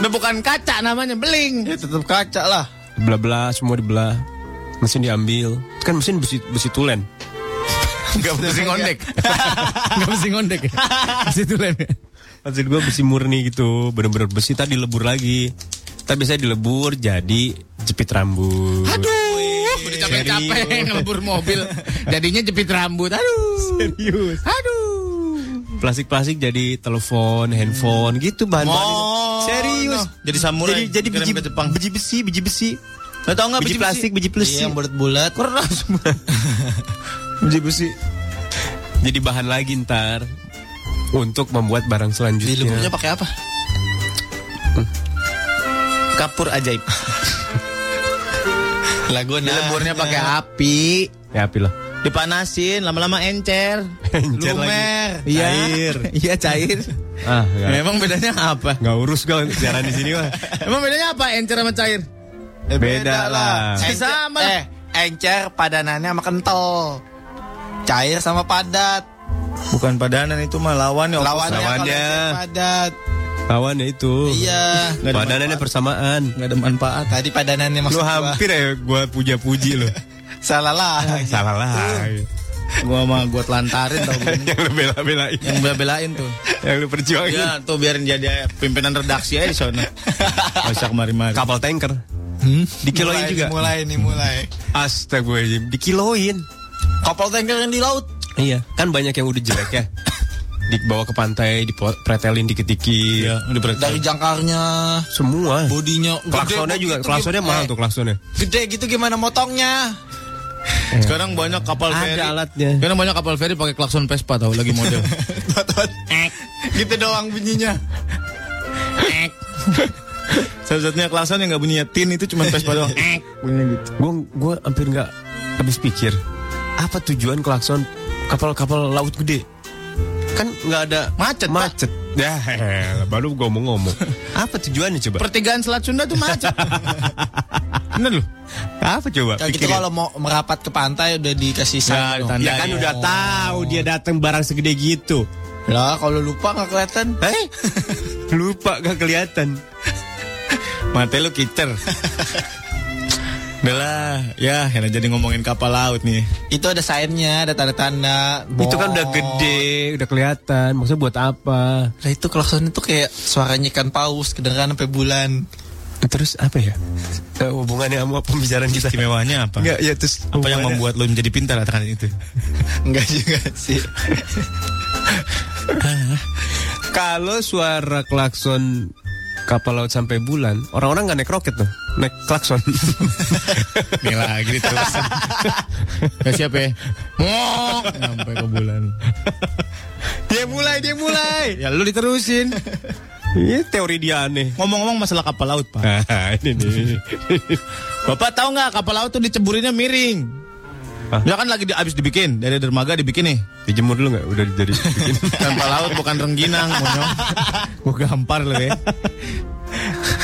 [SPEAKER 12] Udah bukan kaca namanya beling.
[SPEAKER 11] Ya tetap kaca lah.
[SPEAKER 8] Belah-belah semua dibelah. Mesin diambil. Kan mesin besi besi tulen.
[SPEAKER 12] Enggak mesti (laughs) ngondek. Enggak mesti ngondek. (laughs) ya? Mesti tulen. ya?
[SPEAKER 8] Maksud gue besi murni gitu Bener-bener besi tadi lebur lagi Tapi saya dilebur jadi jepit rambut
[SPEAKER 12] Aduh, udah capek-capek ngelebur mobil. Jadinya jepit rambut. Aduh.
[SPEAKER 8] Serius
[SPEAKER 12] Aduh.
[SPEAKER 8] Plastik-plastik jadi telepon, handphone gitu bahan-bahan
[SPEAKER 12] Oh,
[SPEAKER 8] Serius
[SPEAKER 12] Jadi
[SPEAKER 8] Jadi,
[SPEAKER 12] samurai.
[SPEAKER 8] jadi
[SPEAKER 12] dikirim
[SPEAKER 8] biji,
[SPEAKER 12] ke Jepang. Ah,
[SPEAKER 8] biji besi, biji besi
[SPEAKER 12] Lo tau nggak
[SPEAKER 8] Biji plastik, biji
[SPEAKER 11] Iya,
[SPEAKER 8] besi
[SPEAKER 11] yang bulat-bulat.
[SPEAKER 12] Keras.
[SPEAKER 8] Biji besi Jadi bahan lagi ntar Untuk membuat barang
[SPEAKER 12] Iya.
[SPEAKER 11] Dileburnya
[SPEAKER 8] selanjutnya
[SPEAKER 11] pakai apa?
[SPEAKER 12] Kapur (laughs) ajaib.
[SPEAKER 11] Lah gua nanya.
[SPEAKER 12] Dileburnya pakai api.
[SPEAKER 8] Ya api lah
[SPEAKER 12] Dipanasin, lama-lama encer.
[SPEAKER 8] Encer lagi.
[SPEAKER 12] Lumer. Iya.
[SPEAKER 8] Cair.
[SPEAKER 12] (laughs) Iya, cair.
[SPEAKER 8] Ah, gak,
[SPEAKER 12] Memang bedanya apa?
[SPEAKER 8] gak urus gue siaran di sini mah
[SPEAKER 12] (laughs) Emang bedanya apa encer sama cair?
[SPEAKER 11] Eh,
[SPEAKER 8] Beda lah.
[SPEAKER 11] Encer-
[SPEAKER 12] Sama lah.
[SPEAKER 11] Eh, encer padanannya sama kental. Cair sama padat.
[SPEAKER 12] Bukan padanan itu mah lawannya.
[SPEAKER 11] Lawannya, kalau
[SPEAKER 8] lawannya.
[SPEAKER 11] encer padat.
[SPEAKER 8] Lawannya itu
[SPEAKER 11] Iya.
[SPEAKER 12] Nggak ada
[SPEAKER 8] Badanannya persamaan
[SPEAKER 12] Gak ada manfaat.
[SPEAKER 11] Ah, Tadi padanannya maksud
[SPEAKER 8] Lu
[SPEAKER 11] gua.
[SPEAKER 8] hampir ya gue puja-puji lu
[SPEAKER 11] Salah lah.
[SPEAKER 8] (laughs) Salah lah
[SPEAKER 12] Gua mah gua telantarin tau. gua.
[SPEAKER 8] (laughs) Yang lu bela-belain
[SPEAKER 12] Yang bela-belain tuh.
[SPEAKER 8] Yang lu perjuangin
[SPEAKER 12] Ya, tuh biarin jadi pimpinan redaksi aja di sana.
[SPEAKER 8] Iya.
[SPEAKER 12] Masa kemari-mari.
[SPEAKER 8] Kapal tanker Dikiloin
[SPEAKER 11] Mulai
[SPEAKER 8] juga
[SPEAKER 11] nih, Mulai nih, mulai.
[SPEAKER 8] Astagfirullahaladzim Dikiloin
[SPEAKER 11] Kapal tanker yang di laut.
[SPEAKER 8] Iya Kan banyak yang udah jelek (coughs) ya Dibawa ke pantai Dipretelin dikit-dikit
[SPEAKER 12] Iya, udah berat.
[SPEAKER 11] Dari jangkarnya,
[SPEAKER 8] Semua
[SPEAKER 11] bodinya, gede
[SPEAKER 8] Klaksonnya
[SPEAKER 11] begitu
[SPEAKER 8] juga
[SPEAKER 11] gim-
[SPEAKER 8] Klaksonnya mahal
[SPEAKER 11] eh,
[SPEAKER 8] tuh klaksonnya
[SPEAKER 11] Gede gitu gimana motongnya?
[SPEAKER 12] Sekarang banyak kapal
[SPEAKER 8] Ada
[SPEAKER 12] feri.
[SPEAKER 8] alatnya.
[SPEAKER 12] Sekarang banyak kapal feri pakai klakson Vespa tau
[SPEAKER 11] (laughs)
[SPEAKER 12] lagi model. Eh.
[SPEAKER 11] gitu doang bunyinya.
[SPEAKER 12] Satu-satunya klakson yang nggak bunyinya tin itu cuma Vespa doang.
[SPEAKER 8] Gue gua hampir nggak habis pikir Apa tujuan klakson Kapal-kapal laut gede Kan nggak ada
[SPEAKER 12] Macet, Pak.
[SPEAKER 8] (laughs) Macet Ya elah, baru gue mau ngomong Apa tujuannya coba
[SPEAKER 12] Pertigaan Selat Sunda tuh macet. Bener loh.
[SPEAKER 8] Apa coba?
[SPEAKER 11] Kalau gitu
[SPEAKER 8] Pikirin.
[SPEAKER 11] kalau mau merapat ke pantai udah dikasih
[SPEAKER 12] Ya,
[SPEAKER 11] sign. dong.
[SPEAKER 12] ditandai.
[SPEAKER 8] Ya kan udah tahu dia datang barang segede gitu.
[SPEAKER 11] Lah kalau lupa nggak kelihatan.
[SPEAKER 8] Eh? (laughs) Lupa gak kelihatan.
[SPEAKER 12] Mata lu kicer. Udah lah, ya Hena jadi ngomongin kapal laut nih.
[SPEAKER 11] Itu ada signnya, ada tanda-tanda.
[SPEAKER 8] Itu kan udah
[SPEAKER 11] Bot.
[SPEAKER 8] gede, udah kelihatan. Maksudnya buat apa?
[SPEAKER 11] Lah itu klakson itu kayak suaranya ikan paus kedengeran sampai bulan.
[SPEAKER 8] Terus apa ya? Eh, hubungannya sama pembicaraan kita.
[SPEAKER 12] Istimewanya apa?
[SPEAKER 8] Enggak, ya terus
[SPEAKER 12] apa yang
[SPEAKER 8] hubungannya-
[SPEAKER 12] membuat lu menjadi pintar akan itu?
[SPEAKER 11] Enggak juga sih.
[SPEAKER 8] kalau suara klakson kapal laut sampai bulan, orang-orang nggak naik roket tuh, naik klakson.
[SPEAKER 12] Nih lagi
[SPEAKER 11] (laughs)
[SPEAKER 12] terus. ya siapa ya? Mok sampai ke bulan.
[SPEAKER 8] dia mulai, dia mulai.
[SPEAKER 12] Ya lu diterusin.
[SPEAKER 8] Ini Iya, teori dia aneh.
[SPEAKER 12] Ngomong-ngomong masalah kapal laut, Pak.
[SPEAKER 8] Nah, ini nih.
[SPEAKER 12] Bapak tahu nggak kapal laut tuh diceburinnya miring.
[SPEAKER 8] Hah?
[SPEAKER 12] Ya kan lagi di, abis dibikin dari dermaga dibikin nih.
[SPEAKER 8] Dijemur dulu nggak? Udah jadi bikin.
[SPEAKER 12] Kapal laut bukan rengginang, monyong. Gua gampar lu ya.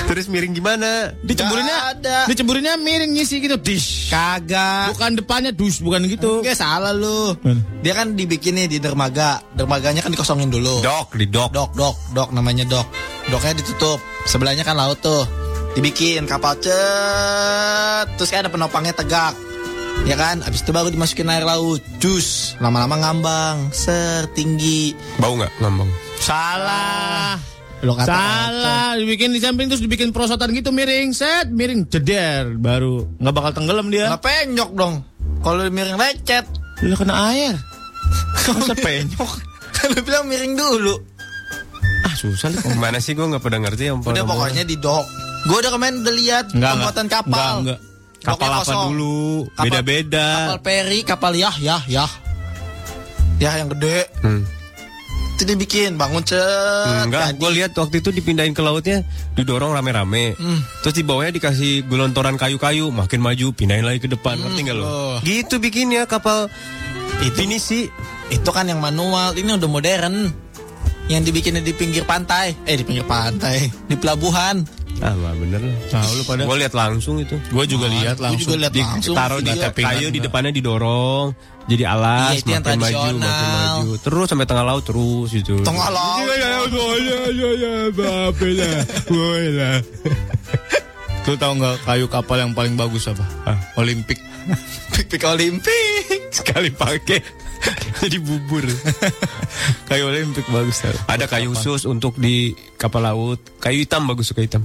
[SPEAKER 8] Terus miring gimana?
[SPEAKER 12] Diceburinnya
[SPEAKER 11] Nggak ada.
[SPEAKER 12] Diceburinnya miring ngisi gitu. Dish.
[SPEAKER 11] Kagak.
[SPEAKER 12] Bukan depannya dus, bukan gitu.
[SPEAKER 11] Enggak salah lu.
[SPEAKER 12] Mana?
[SPEAKER 11] Dia kan dibikin nih di dermaga. Dermaganya kan dikosongin dulu.
[SPEAKER 8] Dok, di dok.
[SPEAKER 11] Dok, dok, dok namanya dok. Doknya ditutup. Sebelahnya kan laut tuh. Dibikin kapal cet. Terus kan ada penopangnya tegak. Ya kan? Abis itu baru dimasukin air laut. Jus. Lama-lama ngambang. Ser tinggi.
[SPEAKER 8] Bau nggak ngambang?
[SPEAKER 12] Salah.
[SPEAKER 11] Lo kata
[SPEAKER 12] Salah, dibikin di samping terus dibikin perosotan gitu miring, set, miring, jeder, baru nggak bakal tenggelam dia.
[SPEAKER 11] Nggak penyok dong.
[SPEAKER 12] Kalau miring lecet. Lu kena air. Masa (laughs) penyok? Kalau bilang miring dulu.
[SPEAKER 8] Ah susah lu. Mana sih gue nggak pernah ngerti yang
[SPEAKER 12] Udah pokoknya di dok. Gue udah kemarin udah lihat
[SPEAKER 8] Enggak,
[SPEAKER 12] pembuatan
[SPEAKER 8] enggak.
[SPEAKER 12] kapal.
[SPEAKER 8] Enggak, enggak.
[SPEAKER 12] Kapal
[SPEAKER 8] apa dulu? Beda-beda.
[SPEAKER 12] Kapal peri, kapal yah, yah, yah. Yah yang gede.
[SPEAKER 8] Hmm.
[SPEAKER 12] Itu dibikin bangun cet.
[SPEAKER 8] Enggak, gue lihat waktu itu dipindahin ke lautnya, didorong rame-rame.
[SPEAKER 12] Hmm.
[SPEAKER 8] Terus di bawahnya dikasih gelontoran kayu-kayu, makin maju, pindahin lagi ke depan. Ngerti nggak lo?
[SPEAKER 12] Gitu bikinnya kapal itu, sih Itu kan yang manual, ini udah modern. Yang dibikinnya di pinggir pantai. Eh di pinggir pantai, di pelabuhan.
[SPEAKER 8] Ah, nggak bener lah.
[SPEAKER 12] Tahu lu pada.
[SPEAKER 8] Gue lihat langsung itu.
[SPEAKER 7] Gue juga
[SPEAKER 12] lihat
[SPEAKER 8] Gue juga
[SPEAKER 12] langsung.
[SPEAKER 8] lihat
[SPEAKER 12] Di-
[SPEAKER 8] langsung.
[SPEAKER 12] taruh di
[SPEAKER 8] Video.
[SPEAKER 12] tepingan.
[SPEAKER 8] kayu di depannya didorong jadi alas,
[SPEAKER 12] Ah. Iya, itu yang
[SPEAKER 8] makin maju,
[SPEAKER 12] tradisional.
[SPEAKER 8] makin maju. Terus sampai tengah laut terus gitu. itu.
[SPEAKER 12] Tengah laut.
[SPEAKER 7] Lu tahu nggak kayu kapal yang paling bagus apa? Olimpik.
[SPEAKER 12] Pik-pik Olimpik.
[SPEAKER 8] Sekali pakai jadi bubur.
[SPEAKER 7] kayu Olimpik bagus tau.
[SPEAKER 8] Ada kayu khusus untuk di kapal laut. Kayu hitam bagus suka hitam.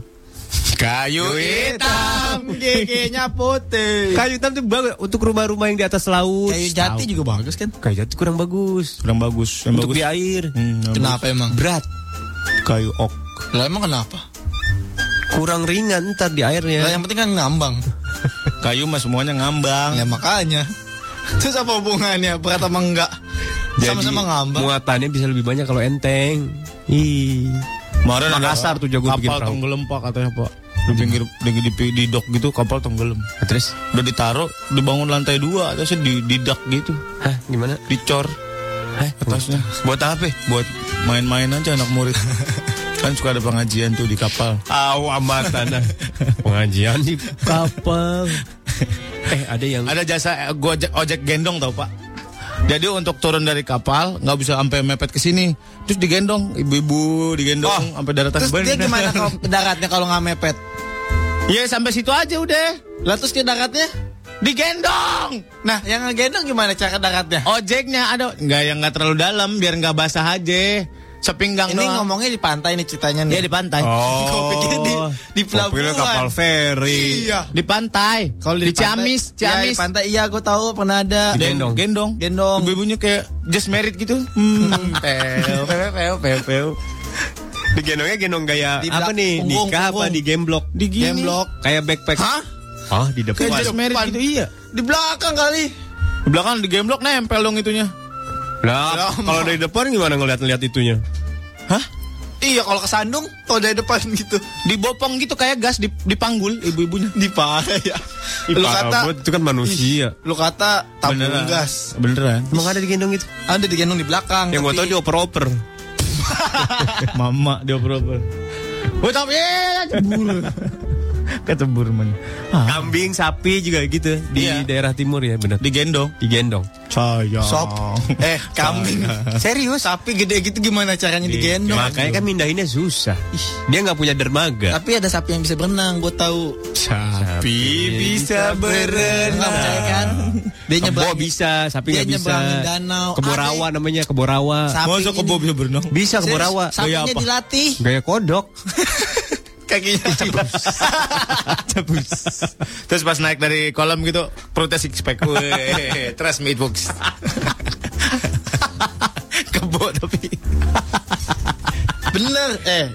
[SPEAKER 7] Kayu
[SPEAKER 12] hitam, (laughs) giginya putih.
[SPEAKER 8] Kayu hitam tuh bagus untuk rumah-rumah yang di atas laut.
[SPEAKER 12] Kayu jati juga bagus kan?
[SPEAKER 8] Kayu jati kurang bagus.
[SPEAKER 7] Kurang bagus. Yang
[SPEAKER 8] Untuk
[SPEAKER 7] bagus.
[SPEAKER 8] di air.
[SPEAKER 12] Kenapa emang?
[SPEAKER 8] Berat.
[SPEAKER 7] Kayu ok.
[SPEAKER 12] Lah emang kenapa?
[SPEAKER 8] Kurang ringan ntar di
[SPEAKER 7] Ya.
[SPEAKER 8] airnya.
[SPEAKER 12] Lah yang penting kan ngambang.
[SPEAKER 7] Kayu mah semuanya ngambang.
[SPEAKER 12] Ya makanya. Terus apa hubungannya? Berat sama enggak? Sama-sama ngambang.
[SPEAKER 8] Muatannya bisa lebih banyak kalau enteng. Ih.
[SPEAKER 7] Kemarin ada
[SPEAKER 8] Makassar tuh jago bikin
[SPEAKER 7] kapal
[SPEAKER 8] perahu.
[SPEAKER 7] tenggelam pak katanya pak di pinggir di, di, di dok gitu kapal tenggelam.
[SPEAKER 8] Nah, Terus
[SPEAKER 7] udah ditaruh dibangun lantai dua atasnya di, di dak gitu.
[SPEAKER 8] Hah gimana?
[SPEAKER 7] Dicor. atasnya.
[SPEAKER 8] Eh, Buat apa?
[SPEAKER 7] Buat main-main aja anak
[SPEAKER 8] (laughs)
[SPEAKER 7] murid. kan suka ada pengajian tuh di kapal.
[SPEAKER 8] Aw amatan. Pengajian di (laughs) kapal. eh ada yang
[SPEAKER 7] (laughs) Ada jasa eh, gojek ojek gendong tau pak. Jadi untuk turun dari kapal nggak bisa sampai mepet ke sini, terus digendong ibu-ibu digendong sampai daratan.
[SPEAKER 12] Terus dia
[SPEAKER 7] Bener. (laughs)
[SPEAKER 12] gimana kalau daratnya kalau nggak mepet?
[SPEAKER 7] Ya sampai situ aja udah.
[SPEAKER 12] Lah terus dia daratnya?
[SPEAKER 7] Digendong.
[SPEAKER 12] Nah, yang ngegendong gimana cara daratnya?
[SPEAKER 7] Oh, Ojeknya ada nggak yang nggak terlalu dalam biar nggak basah aja. Sepinggang
[SPEAKER 12] Ini
[SPEAKER 7] doang.
[SPEAKER 12] ngomongnya di pantai nih ceritanya nih.
[SPEAKER 7] Iya, di pantai.
[SPEAKER 12] (laughs)
[SPEAKER 7] Oh.
[SPEAKER 12] Gua pikir di di pelabuhan.
[SPEAKER 8] ferry.
[SPEAKER 12] Iya.
[SPEAKER 7] Di pantai.
[SPEAKER 12] Kalau
[SPEAKER 7] di, Ciamis,
[SPEAKER 12] pantai- Iya,
[SPEAKER 7] Ciamis.
[SPEAKER 12] di pantai iya gue tahu pernah ada.
[SPEAKER 7] Ada yang gendong.
[SPEAKER 12] Gendong.
[SPEAKER 7] Ibu-ibunya kayak just married gitu. Hmm, peo, peo, peo, peo, peo.
[SPEAKER 8] Digendongnya gendong gaya
[SPEAKER 12] Di
[SPEAKER 8] apa
[SPEAKER 12] belak-
[SPEAKER 8] nih?
[SPEAKER 12] punggung,
[SPEAKER 8] Nikah apa
[SPEAKER 12] punggung.
[SPEAKER 8] di gemblok?
[SPEAKER 7] Di gini.
[SPEAKER 12] Gemblok.
[SPEAKER 8] Kayak backpack.
[SPEAKER 12] Hah?
[SPEAKER 8] Hah, di depan.
[SPEAKER 7] Kayak just married gitu, iya.
[SPEAKER 12] Di belakang kali.
[SPEAKER 7] Di belakang di gemblok nempel dong itunya.
[SPEAKER 8] Lah, kalau dari depan gimana ngeliat-ngeliat itunya?
[SPEAKER 12] Iya, kalau kesandung tau dari depan gitu.
[SPEAKER 7] Dibopong gitu kayak gas di- dipanggul
[SPEAKER 12] (laughs)
[SPEAKER 7] ibu-ibunya.
[SPEAKER 12] Di parah ya.
[SPEAKER 8] Ih,
[SPEAKER 12] Lu
[SPEAKER 8] parah
[SPEAKER 12] kata
[SPEAKER 8] banget, itu kan manusia.
[SPEAKER 12] lu kata tabung
[SPEAKER 7] Beneran.
[SPEAKER 12] gas.
[SPEAKER 7] Beneran.
[SPEAKER 8] Emang ada digendong itu?
[SPEAKER 12] Ada digendong di belakang.
[SPEAKER 8] Yang gue tau
[SPEAKER 12] tapi-
[SPEAKER 8] dia oper-oper.
[SPEAKER 7] Mama dia oper-oper. Woi, tapi
[SPEAKER 12] eh,
[SPEAKER 7] cebur. (laughs) Kecebur man. Ah,
[SPEAKER 8] Kambing, sapi juga gitu di
[SPEAKER 7] Iya.
[SPEAKER 8] daerah timur ya, benar.
[SPEAKER 7] digendong.
[SPEAKER 8] Digendong.
[SPEAKER 7] Sayang.
[SPEAKER 12] Sop. Eh, kambing. Serius, sapi gede gitu gimana caranya digendong?
[SPEAKER 8] Makanya kan mindahinnya susah. Dia nggak punya dermaga.
[SPEAKER 12] Tapi ada sapi yang bisa berenang, gue tahu.
[SPEAKER 7] Sapi.
[SPEAKER 12] bisa berenang. Percaya kan? Dia
[SPEAKER 8] Kebo
[SPEAKER 12] nyebrang.
[SPEAKER 8] bisa, sapi
[SPEAKER 12] Dia
[SPEAKER 8] nggak bisa.
[SPEAKER 12] nyebrangin danau.
[SPEAKER 8] Keborawa namanya, keborawa.
[SPEAKER 12] Sapi
[SPEAKER 7] Masa
[SPEAKER 12] ini-
[SPEAKER 7] kebo bisa berenang?
[SPEAKER 8] Bisa
[SPEAKER 12] Serius,
[SPEAKER 8] keborawa.
[SPEAKER 7] Gaya
[SPEAKER 12] Sapinya
[SPEAKER 7] apa?
[SPEAKER 12] dilatih.
[SPEAKER 8] Gaya
[SPEAKER 12] (laughs)
[SPEAKER 8] kodok.
[SPEAKER 12] Kakinya
[SPEAKER 7] (laughs)
[SPEAKER 12] cebus.
[SPEAKER 7] Terus pas naik dari kolam gitu perutnya six pack. Weh, trust me it works. (laughs) Kebo tapi
[SPEAKER 12] Bener, eh.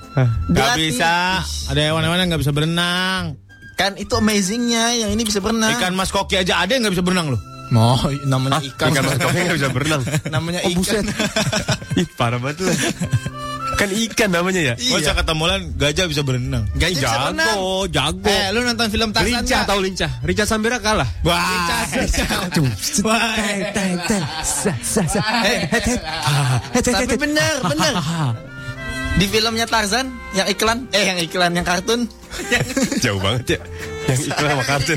[SPEAKER 7] nggak
[SPEAKER 12] dilatih.
[SPEAKER 7] bisa. Ada hewan-hewan yang nggak bisa berenang.
[SPEAKER 12] Kan itu amazingnya, yang ini bisa berenang.
[SPEAKER 7] Ikan mas koki aja ada yang nggak bisa berenang loh.
[SPEAKER 12] Mau, namanya ikan.
[SPEAKER 8] Ikan mas kopi nggak bisa berenang.
[SPEAKER 12] (laughs)
[SPEAKER 8] Oh,
[SPEAKER 12] namanya ikan.
[SPEAKER 8] (laughs) Ih, parah banget lu. (laughs) Kan ikan namanya ya?
[SPEAKER 7] Gua
[SPEAKER 12] Iya.
[SPEAKER 7] kata Molan gajah bisa berenang.
[SPEAKER 12] Gajah bisa berenang.
[SPEAKER 8] Jago, jago.
[SPEAKER 12] Eh, lu nonton film Tarzan
[SPEAKER 8] lincah
[SPEAKER 12] nggak?
[SPEAKER 8] tahu lincah. Rica Sambera kalah.
[SPEAKER 7] Wah,
[SPEAKER 8] (laughs) Eh,
[SPEAKER 12] Tapi bener, bener. (laughs) Di filmnya Tarzan, yang iklan, eh yang iklan, yang
[SPEAKER 8] (laughs)
[SPEAKER 12] kartun.
[SPEAKER 8] Jauh banget ya. Yang iklan sama kartun.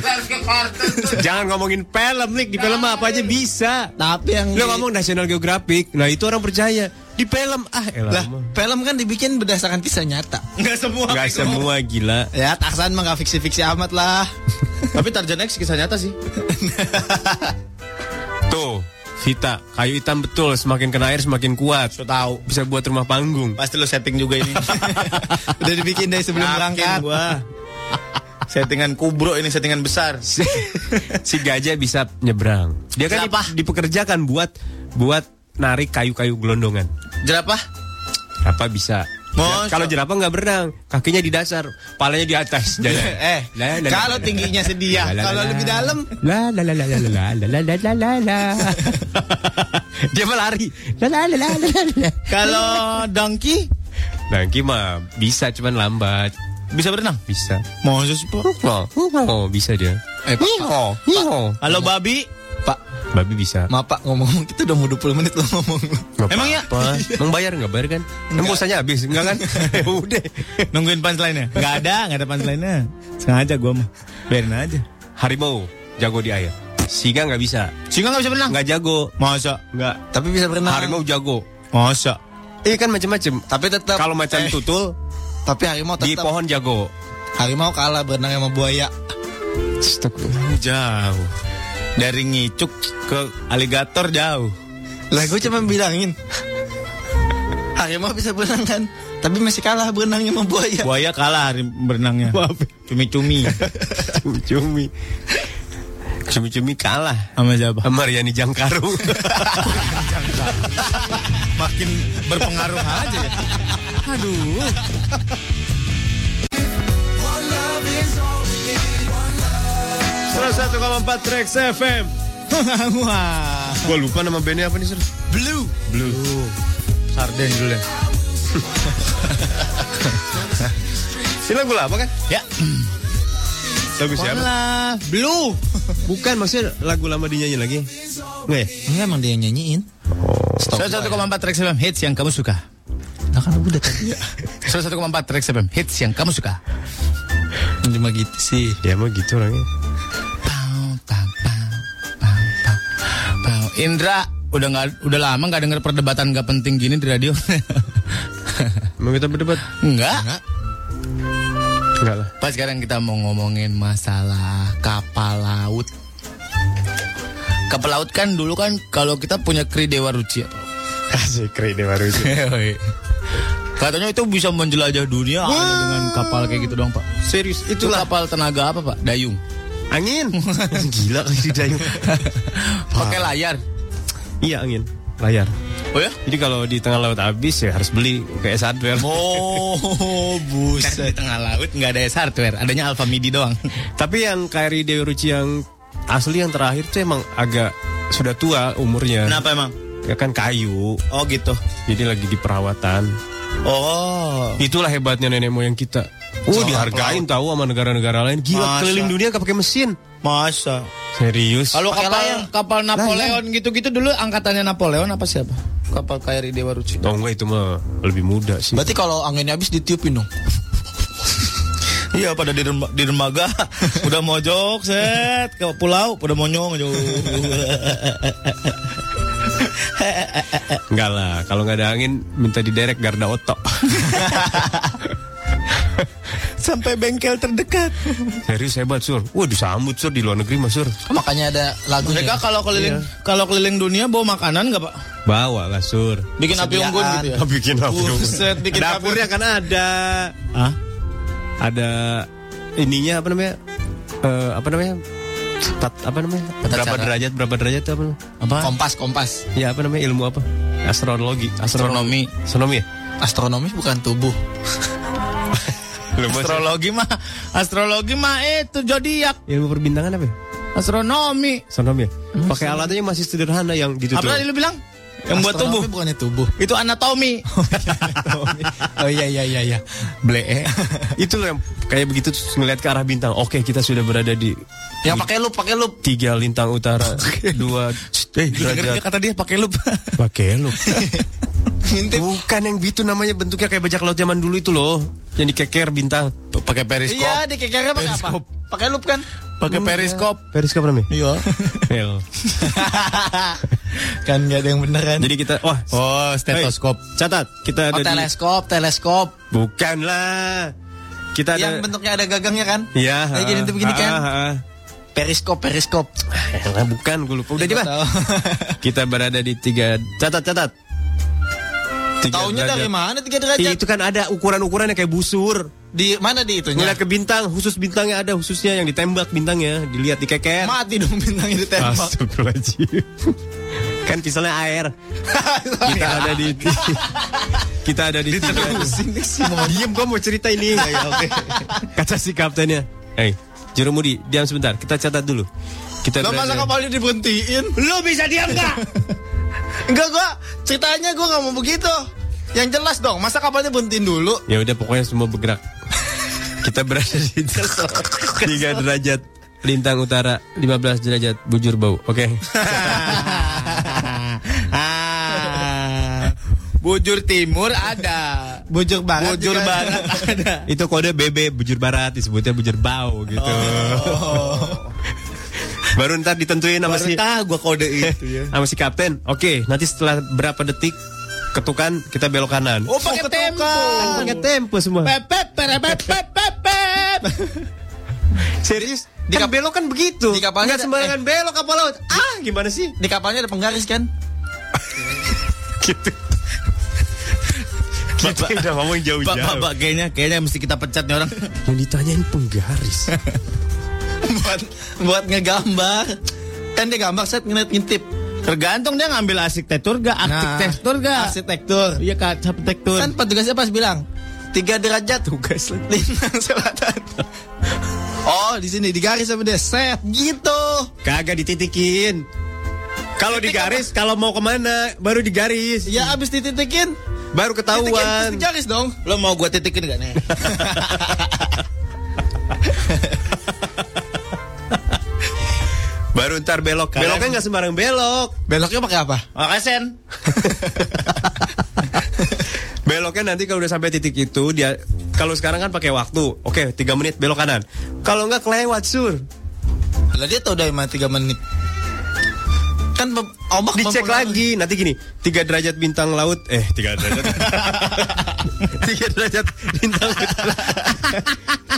[SPEAKER 8] Jangan ngomongin film nih, di film apa aja bisa.
[SPEAKER 12] Tapi
[SPEAKER 8] Lu
[SPEAKER 12] yang di-
[SPEAKER 8] ngomong National Geographic, nah itu orang percaya. Di film ah elah.
[SPEAKER 12] lah, film kan dibikin berdasarkan kisah nyata.
[SPEAKER 7] nggak semua.
[SPEAKER 8] Gak semua gila.
[SPEAKER 12] Ya, Tarzan mah gak fiksi-fiksi amat lah.
[SPEAKER 7] Tapi Tarzan X kisah nyata sih.
[SPEAKER 8] Tuh, Vita, kayu hitam betul, semakin kena air semakin kuat.
[SPEAKER 7] Lo tahu.
[SPEAKER 8] Bisa buat rumah panggung.
[SPEAKER 7] (laughs) Pasti lo setting juga ini.
[SPEAKER 12] Udah dibikin dari sebelum
[SPEAKER 7] Yakin
[SPEAKER 12] berangkat.
[SPEAKER 7] gua. Settingan kubro ini settingan (laughs) besar.
[SPEAKER 8] si gajah bisa nyebrang. Dia kan
[SPEAKER 7] Kenapa?
[SPEAKER 8] dip- dipekerjakan buat buat narik kayu-kayu gelondongan.
[SPEAKER 7] Jerapah?
[SPEAKER 8] Jerapah bisa.
[SPEAKER 7] Masa?
[SPEAKER 8] Kalau jerapah nggak berenang, kakinya di dasar, palanya di
[SPEAKER 7] (laughs)
[SPEAKER 8] atas.
[SPEAKER 7] Eh, kalau tingginya sedia, kalau lebih dalam
[SPEAKER 8] La la la la la la la la la la la la. Dia malah lari. La la la la la la, la.
[SPEAKER 7] (laughs) Kalau donkey
[SPEAKER 8] Nangki mah bisa cuman lambat.
[SPEAKER 7] Bisa berenang?
[SPEAKER 8] Bisa.
[SPEAKER 7] Mau sus
[SPEAKER 8] Oh, bisa dia.
[SPEAKER 7] Eh, Pak,
[SPEAKER 8] Hiho, hiho.
[SPEAKER 7] Halo babi.
[SPEAKER 8] Pak, babi bisa.
[SPEAKER 12] Maaf pak ngomong-ngomong kita udah mau 20 menit lo ngomong
[SPEAKER 7] Emang ya?
[SPEAKER 8] (laughs) Emang bayar nggak bayar kan? Emang bosannya habis enggak (laughs) kan? Udah.
[SPEAKER 7] Nungguin punchline-nya? Enggak ada, enggak ada punchline-nya. Sengaja gua mah. Biarin aja.
[SPEAKER 8] Harimau jago di air. Singa nggak bisa.
[SPEAKER 7] Singa nggak bisa berenang?
[SPEAKER 8] Nggak jago.
[SPEAKER 7] Masa?
[SPEAKER 8] Nggak.
[SPEAKER 12] Tapi bisa berenang.
[SPEAKER 8] Harimau jago.
[SPEAKER 7] Masa?
[SPEAKER 8] Iya kan macam-macam.
[SPEAKER 12] Tapi tetap
[SPEAKER 8] Kalau macan
[SPEAKER 12] eh,
[SPEAKER 8] tutul
[SPEAKER 12] Tapi harimau
[SPEAKER 8] di
[SPEAKER 12] tetap
[SPEAKER 8] pohon jago.
[SPEAKER 12] Harimau kalah berenang sama buaya
[SPEAKER 7] Jauh. Dari ngicuk ke aligator jauh.
[SPEAKER 12] Lah gue cuma bilangin Harimau bisa berenang kan Tapi masih kalah berenangnya sama buaya
[SPEAKER 7] Buaya kalah hari berenangnya.
[SPEAKER 8] (laughs)
[SPEAKER 7] Cumi-cumi.
[SPEAKER 8] Cumi-cumi. Cumi-cumi kalah
[SPEAKER 7] Sama siapa?
[SPEAKER 8] sama Riani Jangkaru. (laughs)
[SPEAKER 7] Makin berpengaruh aja ya. Aduh.
[SPEAKER 8] Salah satu Trax FM.
[SPEAKER 7] Wah.
[SPEAKER 8] Gua lupa nama bandnya apa nih, Sir?
[SPEAKER 7] Blue.
[SPEAKER 8] Blue.
[SPEAKER 7] Sarden dulu ya.
[SPEAKER 8] Ini lagu lama kan?
[SPEAKER 7] Ya.
[SPEAKER 8] Lagu siapa?
[SPEAKER 7] Lah, blue.
[SPEAKER 8] Bukan, maksudnya lagu lama dinyanyi lagi. Nggak ya?
[SPEAKER 12] Enggak emang dia yang nyanyiin
[SPEAKER 7] Salah satu Trax FM hits yang kamu suka.
[SPEAKER 12] Nah kan udah tadi
[SPEAKER 7] Salah satu Trax FM hits yang kamu suka.
[SPEAKER 12] Cuma gitu sih
[SPEAKER 8] Ya emang gitu orangnya.
[SPEAKER 7] Pau, pau, pau, pau, pau, pau. Indra udah nggak udah lama nggak denger perdebatan nggak penting gini di radio (laughs)
[SPEAKER 8] Emang kita berdebat?
[SPEAKER 7] nggak
[SPEAKER 8] Enggak lah. (laughs)
[SPEAKER 7] pas sekarang kita mau ngomongin masalah kapal laut kapal laut kan dulu kan kalau kita punya kri dewa ruci ya.
[SPEAKER 8] Asik, keren deh baru itu.
[SPEAKER 7] katanya itu bisa menjelajah dunia hanya dengan kapal kayak gitu dong pak
[SPEAKER 8] Serius,
[SPEAKER 7] itu kapal tenaga apa pak dayung
[SPEAKER 8] Angin. Gila kali (laughs) di dayung.
[SPEAKER 7] (laughs) pakai layar
[SPEAKER 8] Iya, angin. Layar.
[SPEAKER 7] oh ya
[SPEAKER 8] Jadi kalau di tengah laut habis ya harus beli kayak hardware.
[SPEAKER 7] Oh, buset. Di tengah laut nggak ada hardware, adanya Alpha MIDI doang.
[SPEAKER 8] Tapi yang Kairi Dewi Ruci yang asli yang terakhir tuh emang agak sudah tua umurnya.
[SPEAKER 7] Kenapa emang?
[SPEAKER 8] Ya kan kayu.
[SPEAKER 7] Oh gitu.
[SPEAKER 8] Jadi lagi di perawatan.
[SPEAKER 7] Oh.
[SPEAKER 8] Itulah hebatnya nenek moyang kita. Oh,
[SPEAKER 7] Soal
[SPEAKER 8] dihargain tahu sama negara-negara lain. Gila
[SPEAKER 7] Masa.
[SPEAKER 8] keliling dunia gak pakai mesin.
[SPEAKER 7] Masa?
[SPEAKER 8] Serius.
[SPEAKER 7] Kalau kapal kapal Napoleon gitu-gitu dulu angkatannya Napoleon apa siapa? Kapal KRI Dewa Ruci.
[SPEAKER 8] Oh enggak itu mah lebih muda sih.
[SPEAKER 12] Berarti kalau anginnya habis ditiupin dong
[SPEAKER 7] Iya pada di, derma- di (laughs) dermaga udah mojok set ke pulau udah monyong jauh.
[SPEAKER 8] Enggak lah, kalau nggak ada angin minta diderek garda otak. (laughs)
[SPEAKER 7] Sampai bengkel terdekat.
[SPEAKER 8] Serius hebat sur. Wah disambut sur di luar negeri mas sur.
[SPEAKER 12] Makanya ada lagunya
[SPEAKER 7] Mereka kalau keliling kalau keliling dunia bawa makanan nggak pak?
[SPEAKER 8] Bawa lah sur.
[SPEAKER 7] Bikin api
[SPEAKER 12] Persediaan.
[SPEAKER 7] unggun gitu ya?
[SPEAKER 8] Bikin api unggun.
[SPEAKER 7] Buset, bikin api
[SPEAKER 8] Dapurnya kan ada.
[SPEAKER 7] Hah?
[SPEAKER 8] Ada ininya apa namanya? Eh, apa namanya? Tat- apa namanya? berapa
[SPEAKER 12] cara.
[SPEAKER 8] derajat? Berapa derajat itu apa? namanya?
[SPEAKER 7] Apa?
[SPEAKER 12] Kompas kompas
[SPEAKER 8] Ya apa namanya ilmu apa? Astrologi. Astronomi.
[SPEAKER 7] Astronomi.
[SPEAKER 8] Astronomi ya?
[SPEAKER 12] Astronomi bukan tubuh
[SPEAKER 8] Belum, Mas.
[SPEAKER 7] Astrologi mah astrologi mah itu zodiak
[SPEAKER 8] Ilmu perbintangan apa? ya?
[SPEAKER 7] astronomi.
[SPEAKER 8] Astronomi ya? Pakai alatnya masih sederhana yang ditutup.
[SPEAKER 7] Apa tadi lu bilang? Yang buat Gitu. tubuh.
[SPEAKER 12] Astronomi bukannya tubuh
[SPEAKER 7] Itu anatomi. (laughs)
[SPEAKER 12] Oh iya iya iya iya
[SPEAKER 7] Ble.
[SPEAKER 8] (laughs) itu loh yang kayak begitu terus ngeliat ke arah bintang. Oke, kita sudah berada di
[SPEAKER 12] Yang pakai lup pakai lup
[SPEAKER 8] tiga lintang utara, dua eh,
[SPEAKER 7] Dengar
[SPEAKER 8] derajat.
[SPEAKER 7] kata dia pakai lup.
[SPEAKER 8] Pakai lu.
[SPEAKER 12] Ngintip
[SPEAKER 8] Bukan yang gitu namanya bentuknya kayak bajak laut zaman dulu itu loh. Yang dikeker bintang.
[SPEAKER 7] pakai periskop.
[SPEAKER 12] Iya dikekernya pakai apa? Pakai lup kan
[SPEAKER 7] Pakai (laughs) periskop.
[SPEAKER 8] Periskop namanya? (laughs)
[SPEAKER 12] Iya
[SPEAKER 8] El.
[SPEAKER 12] Kan gak ada yang bener kan
[SPEAKER 8] Jadi kita wah.
[SPEAKER 7] Oh, stetoskop.
[SPEAKER 8] Hey, catat, kita
[SPEAKER 12] Oh
[SPEAKER 8] ada di
[SPEAKER 12] teleskop teleskop
[SPEAKER 8] Bukan lah. Kita ada
[SPEAKER 12] Yang bentuknya ada gagangnya kan
[SPEAKER 8] Iya.
[SPEAKER 12] Kayak gini tuh begini kan
[SPEAKER 8] ah, ah, ah.
[SPEAKER 12] Periskop periskop
[SPEAKER 8] Elah, bukan gue lupa. Udah deh, Pak.
[SPEAKER 12] Tahu. (laughs)
[SPEAKER 8] Kita berada di tiga catat catat. Tiga
[SPEAKER 12] Taunya
[SPEAKER 8] derajat.
[SPEAKER 12] dari mana tiga
[SPEAKER 8] Ih,
[SPEAKER 12] derajat
[SPEAKER 8] Itu kan ada ukuran-ukurannya kayak busur.
[SPEAKER 19] Di mana di
[SPEAKER 12] Iya.
[SPEAKER 19] itunya?
[SPEAKER 8] Ngeliat ke bintang, khusus bintangnya ada khususnya yang ditembak bintangnya, dilihat
[SPEAKER 12] Eh,
[SPEAKER 8] dikeket.
[SPEAKER 19] Mati dong bintangnya ditembak.
[SPEAKER 8] Astagfirullahaladzim. kan pisalnya air. (laughs) kita ada di kita ada di sini sih. Diam gua mau cerita (laughs) ini. Ya, ya, oke. Kata si kaptennya. Hei, jurumudi, diam sebentar. Kita catat dulu. Kita
[SPEAKER 12] Lo masa
[SPEAKER 8] berada-
[SPEAKER 12] kapalnya diberhentiin? Lo bisa diam (laughs) gak? Enggak gua ceritanya gua nggak mau begitu. Yang jelas dong, masa kapalnya berhentiin dulu? (laughs)
[SPEAKER 8] Ya udah pokoknya semua bergerak. Kita berada (laughs) di 3 derajat lintang utara, 15 derajat bujur bau. Oke. (laughs)
[SPEAKER 20] Bujur timur ada.
[SPEAKER 12] Bujur barat.
[SPEAKER 20] Bujur
[SPEAKER 12] juga. (laughs)
[SPEAKER 20] barat ada.
[SPEAKER 8] Itu kode BB bujur barat disebutnya bujur bau gitu. Baru ntar ditentuin sama
[SPEAKER 12] Oh. Baru
[SPEAKER 8] si
[SPEAKER 12] tahu gua kode itu ya.
[SPEAKER 8] sama si kapten. Oke, nanti setelah berapa detik ketukan kita belok kanan.
[SPEAKER 12] Oh, pakai tempo.
[SPEAKER 8] Pakai tempo semua.
[SPEAKER 12] Pepep, perepep, pepep, pep.
[SPEAKER 8] Serius? Di kan belok kan begitu.
[SPEAKER 12] Di
[SPEAKER 8] Nggak
[SPEAKER 12] kapalnya ada- eh.
[SPEAKER 8] sembarangan belok kapal laut. Ah, gimana sih?
[SPEAKER 12] Di kapalnya ada penggaris (laughs) kan?
[SPEAKER 8] gitu. Kita udah ngomong
[SPEAKER 7] Pak, Pak, Pak, kayaknya kayaknya mesti kita pecat nih
[SPEAKER 12] (laughs)
[SPEAKER 7] orang.
[SPEAKER 8] Yang ditanyain
[SPEAKER 7] (laughs)
[SPEAKER 8] penggaris.
[SPEAKER 12] buat buat ngegambar. Kan dia gambar set ngintip-ngintip.
[SPEAKER 7] Tergantung dia ngambil arsitektur gak, arsitektur gak.
[SPEAKER 12] Nah, Arsitektur.
[SPEAKER 7] Iya kak, arsitektur.
[SPEAKER 12] Kan petugasnya pas bilang tiga derajat tugas (laughs) lintang
[SPEAKER 7] (laughs)
[SPEAKER 12] selatan. Oh, di sini di garis sama dia set gitu.
[SPEAKER 8] Kagak dititikin. Kalau di garis, kalau mau kemana baru di garis.
[SPEAKER 12] Ya abis dititikin,
[SPEAKER 8] Baru
[SPEAKER 12] titikin terus
[SPEAKER 8] ketahuan.
[SPEAKER 12] di garis dong.
[SPEAKER 7] Lo mau gue titikin gak nih?
[SPEAKER 8] Baru ntar belok kan? kanan. Beloknya nggak sembarang belok.
[SPEAKER 12] (laughs) Beloknya pakai apa?
[SPEAKER 7] Makasih Sen.
[SPEAKER 8] (laughs) Beloknya nanti kalau udah sampai titik itu dia kalau sekarang kan pakai waktu. Oke, tiga menit belok kanan. Kalau nggak kelewat sur.
[SPEAKER 12] Lah dia tau dari mana 3 menit. Kan mem- ombak
[SPEAKER 8] Dicek lagi
[SPEAKER 12] mempengaruhi.
[SPEAKER 8] nanti gini tiga derajat bintang laut eh tiga derajat tiga derajat bintang utara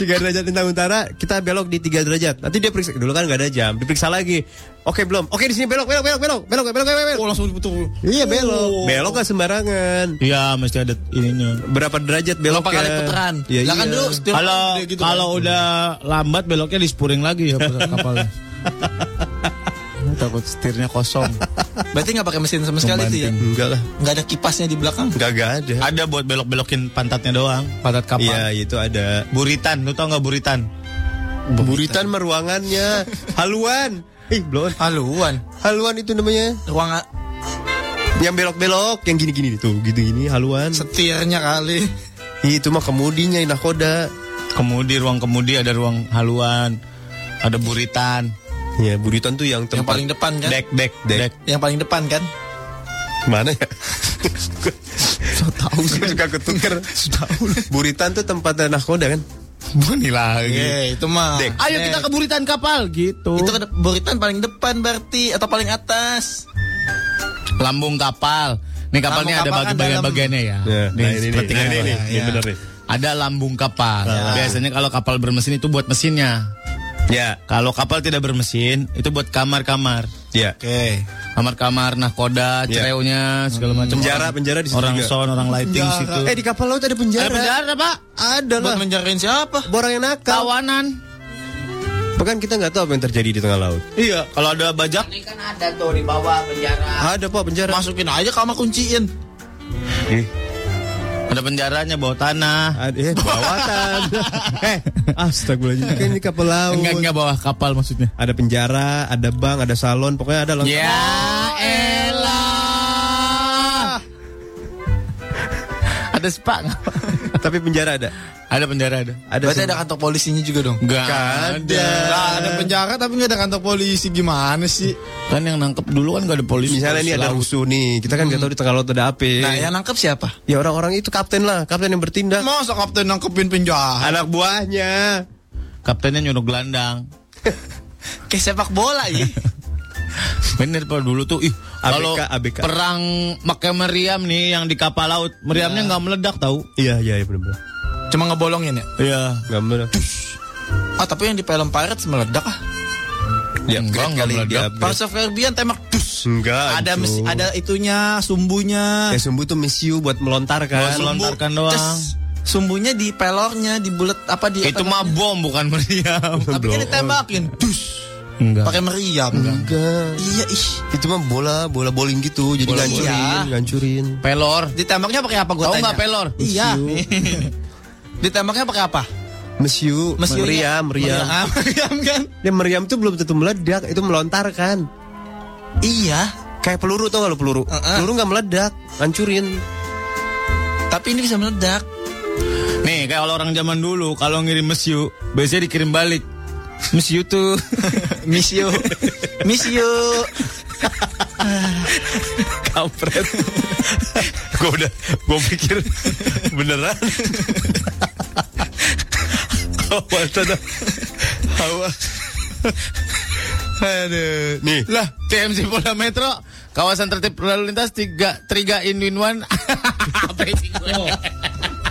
[SPEAKER 8] tiga derajat bintang utara kita belok di tiga derajat nanti dia periksa dulu kan nggak ada jam diperiksa lagi oke belum oke di sini belok belok belok belok belok belok belok belok
[SPEAKER 12] Oh, langsung Oh. betul.
[SPEAKER 8] iya belok belok nggak sembarangan
[SPEAKER 7] Iya, mesti ada ininya.
[SPEAKER 8] berapa derajat belok
[SPEAKER 12] Berapa kali putaran?
[SPEAKER 8] Iya,
[SPEAKER 12] Lah kan
[SPEAKER 8] iya.
[SPEAKER 12] dulu setiap
[SPEAKER 7] Kalau
[SPEAKER 12] udah gitu kan.
[SPEAKER 7] kalau udah lambat beloknya dispuring lagi ya
[SPEAKER 8] (laughs)
[SPEAKER 7] kapalnya. takut setirnya kosong.
[SPEAKER 12] Berarti nggak pakai mesin sama sekali itu ya?
[SPEAKER 7] Membanting.
[SPEAKER 8] enggak lah
[SPEAKER 12] Nggak ada kipasnya di belakang.
[SPEAKER 8] enggak enggak ada
[SPEAKER 7] Ada buat belok-belokin pantatnya doang, pantat kapal.
[SPEAKER 8] iya itu ada
[SPEAKER 7] Buritan, lu tau nggak buritan?
[SPEAKER 8] buritan (laughs) meruangannya haluan ih belum
[SPEAKER 12] Haluan.
[SPEAKER 8] haluan itu namanya
[SPEAKER 12] Ruang
[SPEAKER 8] yang belok-belok yang gini-gini tuh gitu gini haluan
[SPEAKER 12] setirnya kali.
[SPEAKER 8] itu mah kemudinya yang nakoda
[SPEAKER 7] Kemudi ruang kemudi ada ruang haluan, ada buritan,
[SPEAKER 8] ya buritan tuh yang
[SPEAKER 12] Yang
[SPEAKER 8] tempat
[SPEAKER 12] paling depan kan?
[SPEAKER 7] dek dek
[SPEAKER 8] Dek.
[SPEAKER 7] dek.
[SPEAKER 12] Yang paling depan kan?
[SPEAKER 8] mana ya
[SPEAKER 12] (laughs)
[SPEAKER 8] so tahu sih suka ketuker tahu buritan tuh tempatnya nakoda kan
[SPEAKER 7] Bunyi lagi.
[SPEAKER 12] Iya, itu mah.
[SPEAKER 8] Dek.
[SPEAKER 7] Ayo kita ke buritan kapal gitu.
[SPEAKER 12] Itu kan buritan paling depan berarti atau paling atas.
[SPEAKER 7] lambung kapal. Nih kapalnya
[SPEAKER 12] Lambung
[SPEAKER 7] ada
[SPEAKER 12] kapal kan
[SPEAKER 7] bagian-bagian-bagiannya ya.
[SPEAKER 8] Ya,
[SPEAKER 7] Nih,
[SPEAKER 8] nah ini nih,
[SPEAKER 7] sepertiga
[SPEAKER 8] nah ini
[SPEAKER 7] kapal.
[SPEAKER 8] nih, ini
[SPEAKER 7] Ya.
[SPEAKER 8] bener nih. Nah.
[SPEAKER 7] Ada lambung kapal. Biasanya kalau kapal bermesin itu buat mesinnya.
[SPEAKER 8] ya
[SPEAKER 7] Kalau kapal tidak bermesin itu buat kamar-kamar.
[SPEAKER 8] ya
[SPEAKER 12] Oke.
[SPEAKER 7] Kamar-kamar nahkoda,
[SPEAKER 8] Ya.
[SPEAKER 7] cerewnya segala macam.
[SPEAKER 8] Penjara,
[SPEAKER 7] Orang-
[SPEAKER 8] penjara di situ
[SPEAKER 7] Orang
[SPEAKER 8] juga.
[SPEAKER 7] sound, orang lighting situ.
[SPEAKER 8] eh di kapal laut ada penjara
[SPEAKER 7] Ada penjara, Pak.
[SPEAKER 8] ada lah
[SPEAKER 12] Buat menjarain siapa?
[SPEAKER 8] orang yang nakal
[SPEAKER 7] Kawanan.
[SPEAKER 8] bahkan kita nggak tahu apa yang terjadi di tengah laut
[SPEAKER 7] Iya, kalau ada bajak
[SPEAKER 8] ada pak penjara
[SPEAKER 12] Masukin aja kamar kunciin.
[SPEAKER 8] eh,
[SPEAKER 7] ada penjaranya bawah tanah.
[SPEAKER 8] ada- eh bawatan eh astagfirullahaladzim kan ini kapal laut
[SPEAKER 7] Enggak enggak bawah kapal maksudnya.
[SPEAKER 8] ada penjara, ada bank, ada salon, pokoknya ada lengkap.
[SPEAKER 7] Ya elah. ada spa nggak?
[SPEAKER 8] Tapi penjara ada.
[SPEAKER 7] Ada penjara ada.
[SPEAKER 8] Ada
[SPEAKER 12] Berarti
[SPEAKER 8] semua.
[SPEAKER 12] ada kantor polisinya juga dong.
[SPEAKER 7] Enggak ada.
[SPEAKER 12] Lah, ada penjara tapi nggak ada kantor polisi gimana sih?
[SPEAKER 7] Kan yang nangkep dulu kan gak ada polisi.
[SPEAKER 8] Misalnya ini
[SPEAKER 7] Polisi
[SPEAKER 8] ada
[SPEAKER 7] laut.
[SPEAKER 8] rusuh nih, kita kan nggak tahu di tengah laut ada apa.
[SPEAKER 12] Nah, yang nangkep siapa?
[SPEAKER 8] Ya orang-orang itu kapten lah, kapten yang bertindak.
[SPEAKER 12] Masa kapten nangkepin penjahat?
[SPEAKER 8] Anak buahnya.
[SPEAKER 7] Kaptennya nyuruh gelandang.
[SPEAKER 12] Kayak sepak bola
[SPEAKER 7] (laughs)
[SPEAKER 12] ya.
[SPEAKER 7] Bener kalau dulu tuh ih
[SPEAKER 8] ABK,
[SPEAKER 7] kalau
[SPEAKER 8] ABK.
[SPEAKER 7] perang pakai meriam nih yang di kapal laut meriamnya nggak meledak tahu?
[SPEAKER 8] Iya iya iya benar-benar.
[SPEAKER 12] Cuma ngebolongin ya.
[SPEAKER 7] Iya.
[SPEAKER 8] Nggak benar.
[SPEAKER 12] Ah, tapi yang di film Pirates meledak ah.
[SPEAKER 8] Dia
[SPEAKER 7] Enggak,
[SPEAKER 8] upgrade
[SPEAKER 7] enggak
[SPEAKER 8] kali, dia
[SPEAKER 7] meledak.
[SPEAKER 8] upgrade.
[SPEAKER 12] Pirates of Caribbean tembak dus.
[SPEAKER 8] Enggak.
[SPEAKER 12] Ada
[SPEAKER 8] Cuk.
[SPEAKER 12] mes- ada itunya, sumbunya.
[SPEAKER 8] Ya sumbu tuh misiu buat melontarkan.
[SPEAKER 7] Buat melontarkan doang.
[SPEAKER 12] Ces. sumbunya di pelornya, di bulat apa di
[SPEAKER 7] Itu mah bom bukan (laughs) meriam.
[SPEAKER 12] Tapi kan ditembakin, dus.
[SPEAKER 7] Enggak.
[SPEAKER 12] Pakai meriam. Enggak. Iya, ih.
[SPEAKER 21] Itu mah bola, bola bowling gitu. Jadi
[SPEAKER 12] Bola Iya.
[SPEAKER 21] ngancurin,
[SPEAKER 12] bola.
[SPEAKER 21] ngancurin.
[SPEAKER 7] Pelor.
[SPEAKER 12] Ditembaknya pakai apa gua
[SPEAKER 21] Tahu
[SPEAKER 12] tanya?
[SPEAKER 21] nggak pelor?
[SPEAKER 12] Iya. (laughs) Ditembaknya pakai apa?
[SPEAKER 21] Mesiu,
[SPEAKER 12] Mesiunya-
[SPEAKER 21] meriam, meriam.
[SPEAKER 12] Meriam, iya. meriam kan?
[SPEAKER 21] Ya meriam tuh belum tentu meledak, itu melontar kan.
[SPEAKER 12] Iya.
[SPEAKER 21] Kayak peluru tau gak lu peluru? Peluru nggak meledak,
[SPEAKER 12] (laughs)
[SPEAKER 21] ngancurin.
[SPEAKER 12] Tapi ini bisa meledak.
[SPEAKER 7] Nih, kayak kalau orang zaman dulu kalau ngirim mesiu, biasanya dikirim balik. Mesiu (laughs) tuh.
[SPEAKER 12] mesiu. Mesiu.
[SPEAKER 7] Kampret. gue udah gue pikir beneran. (laughs) Awas ada. Awas. Aduh. Nih. Lah, TMC Polda Metro kawasan tertib lalu lintas tiga triga in win one. Apa ini gue?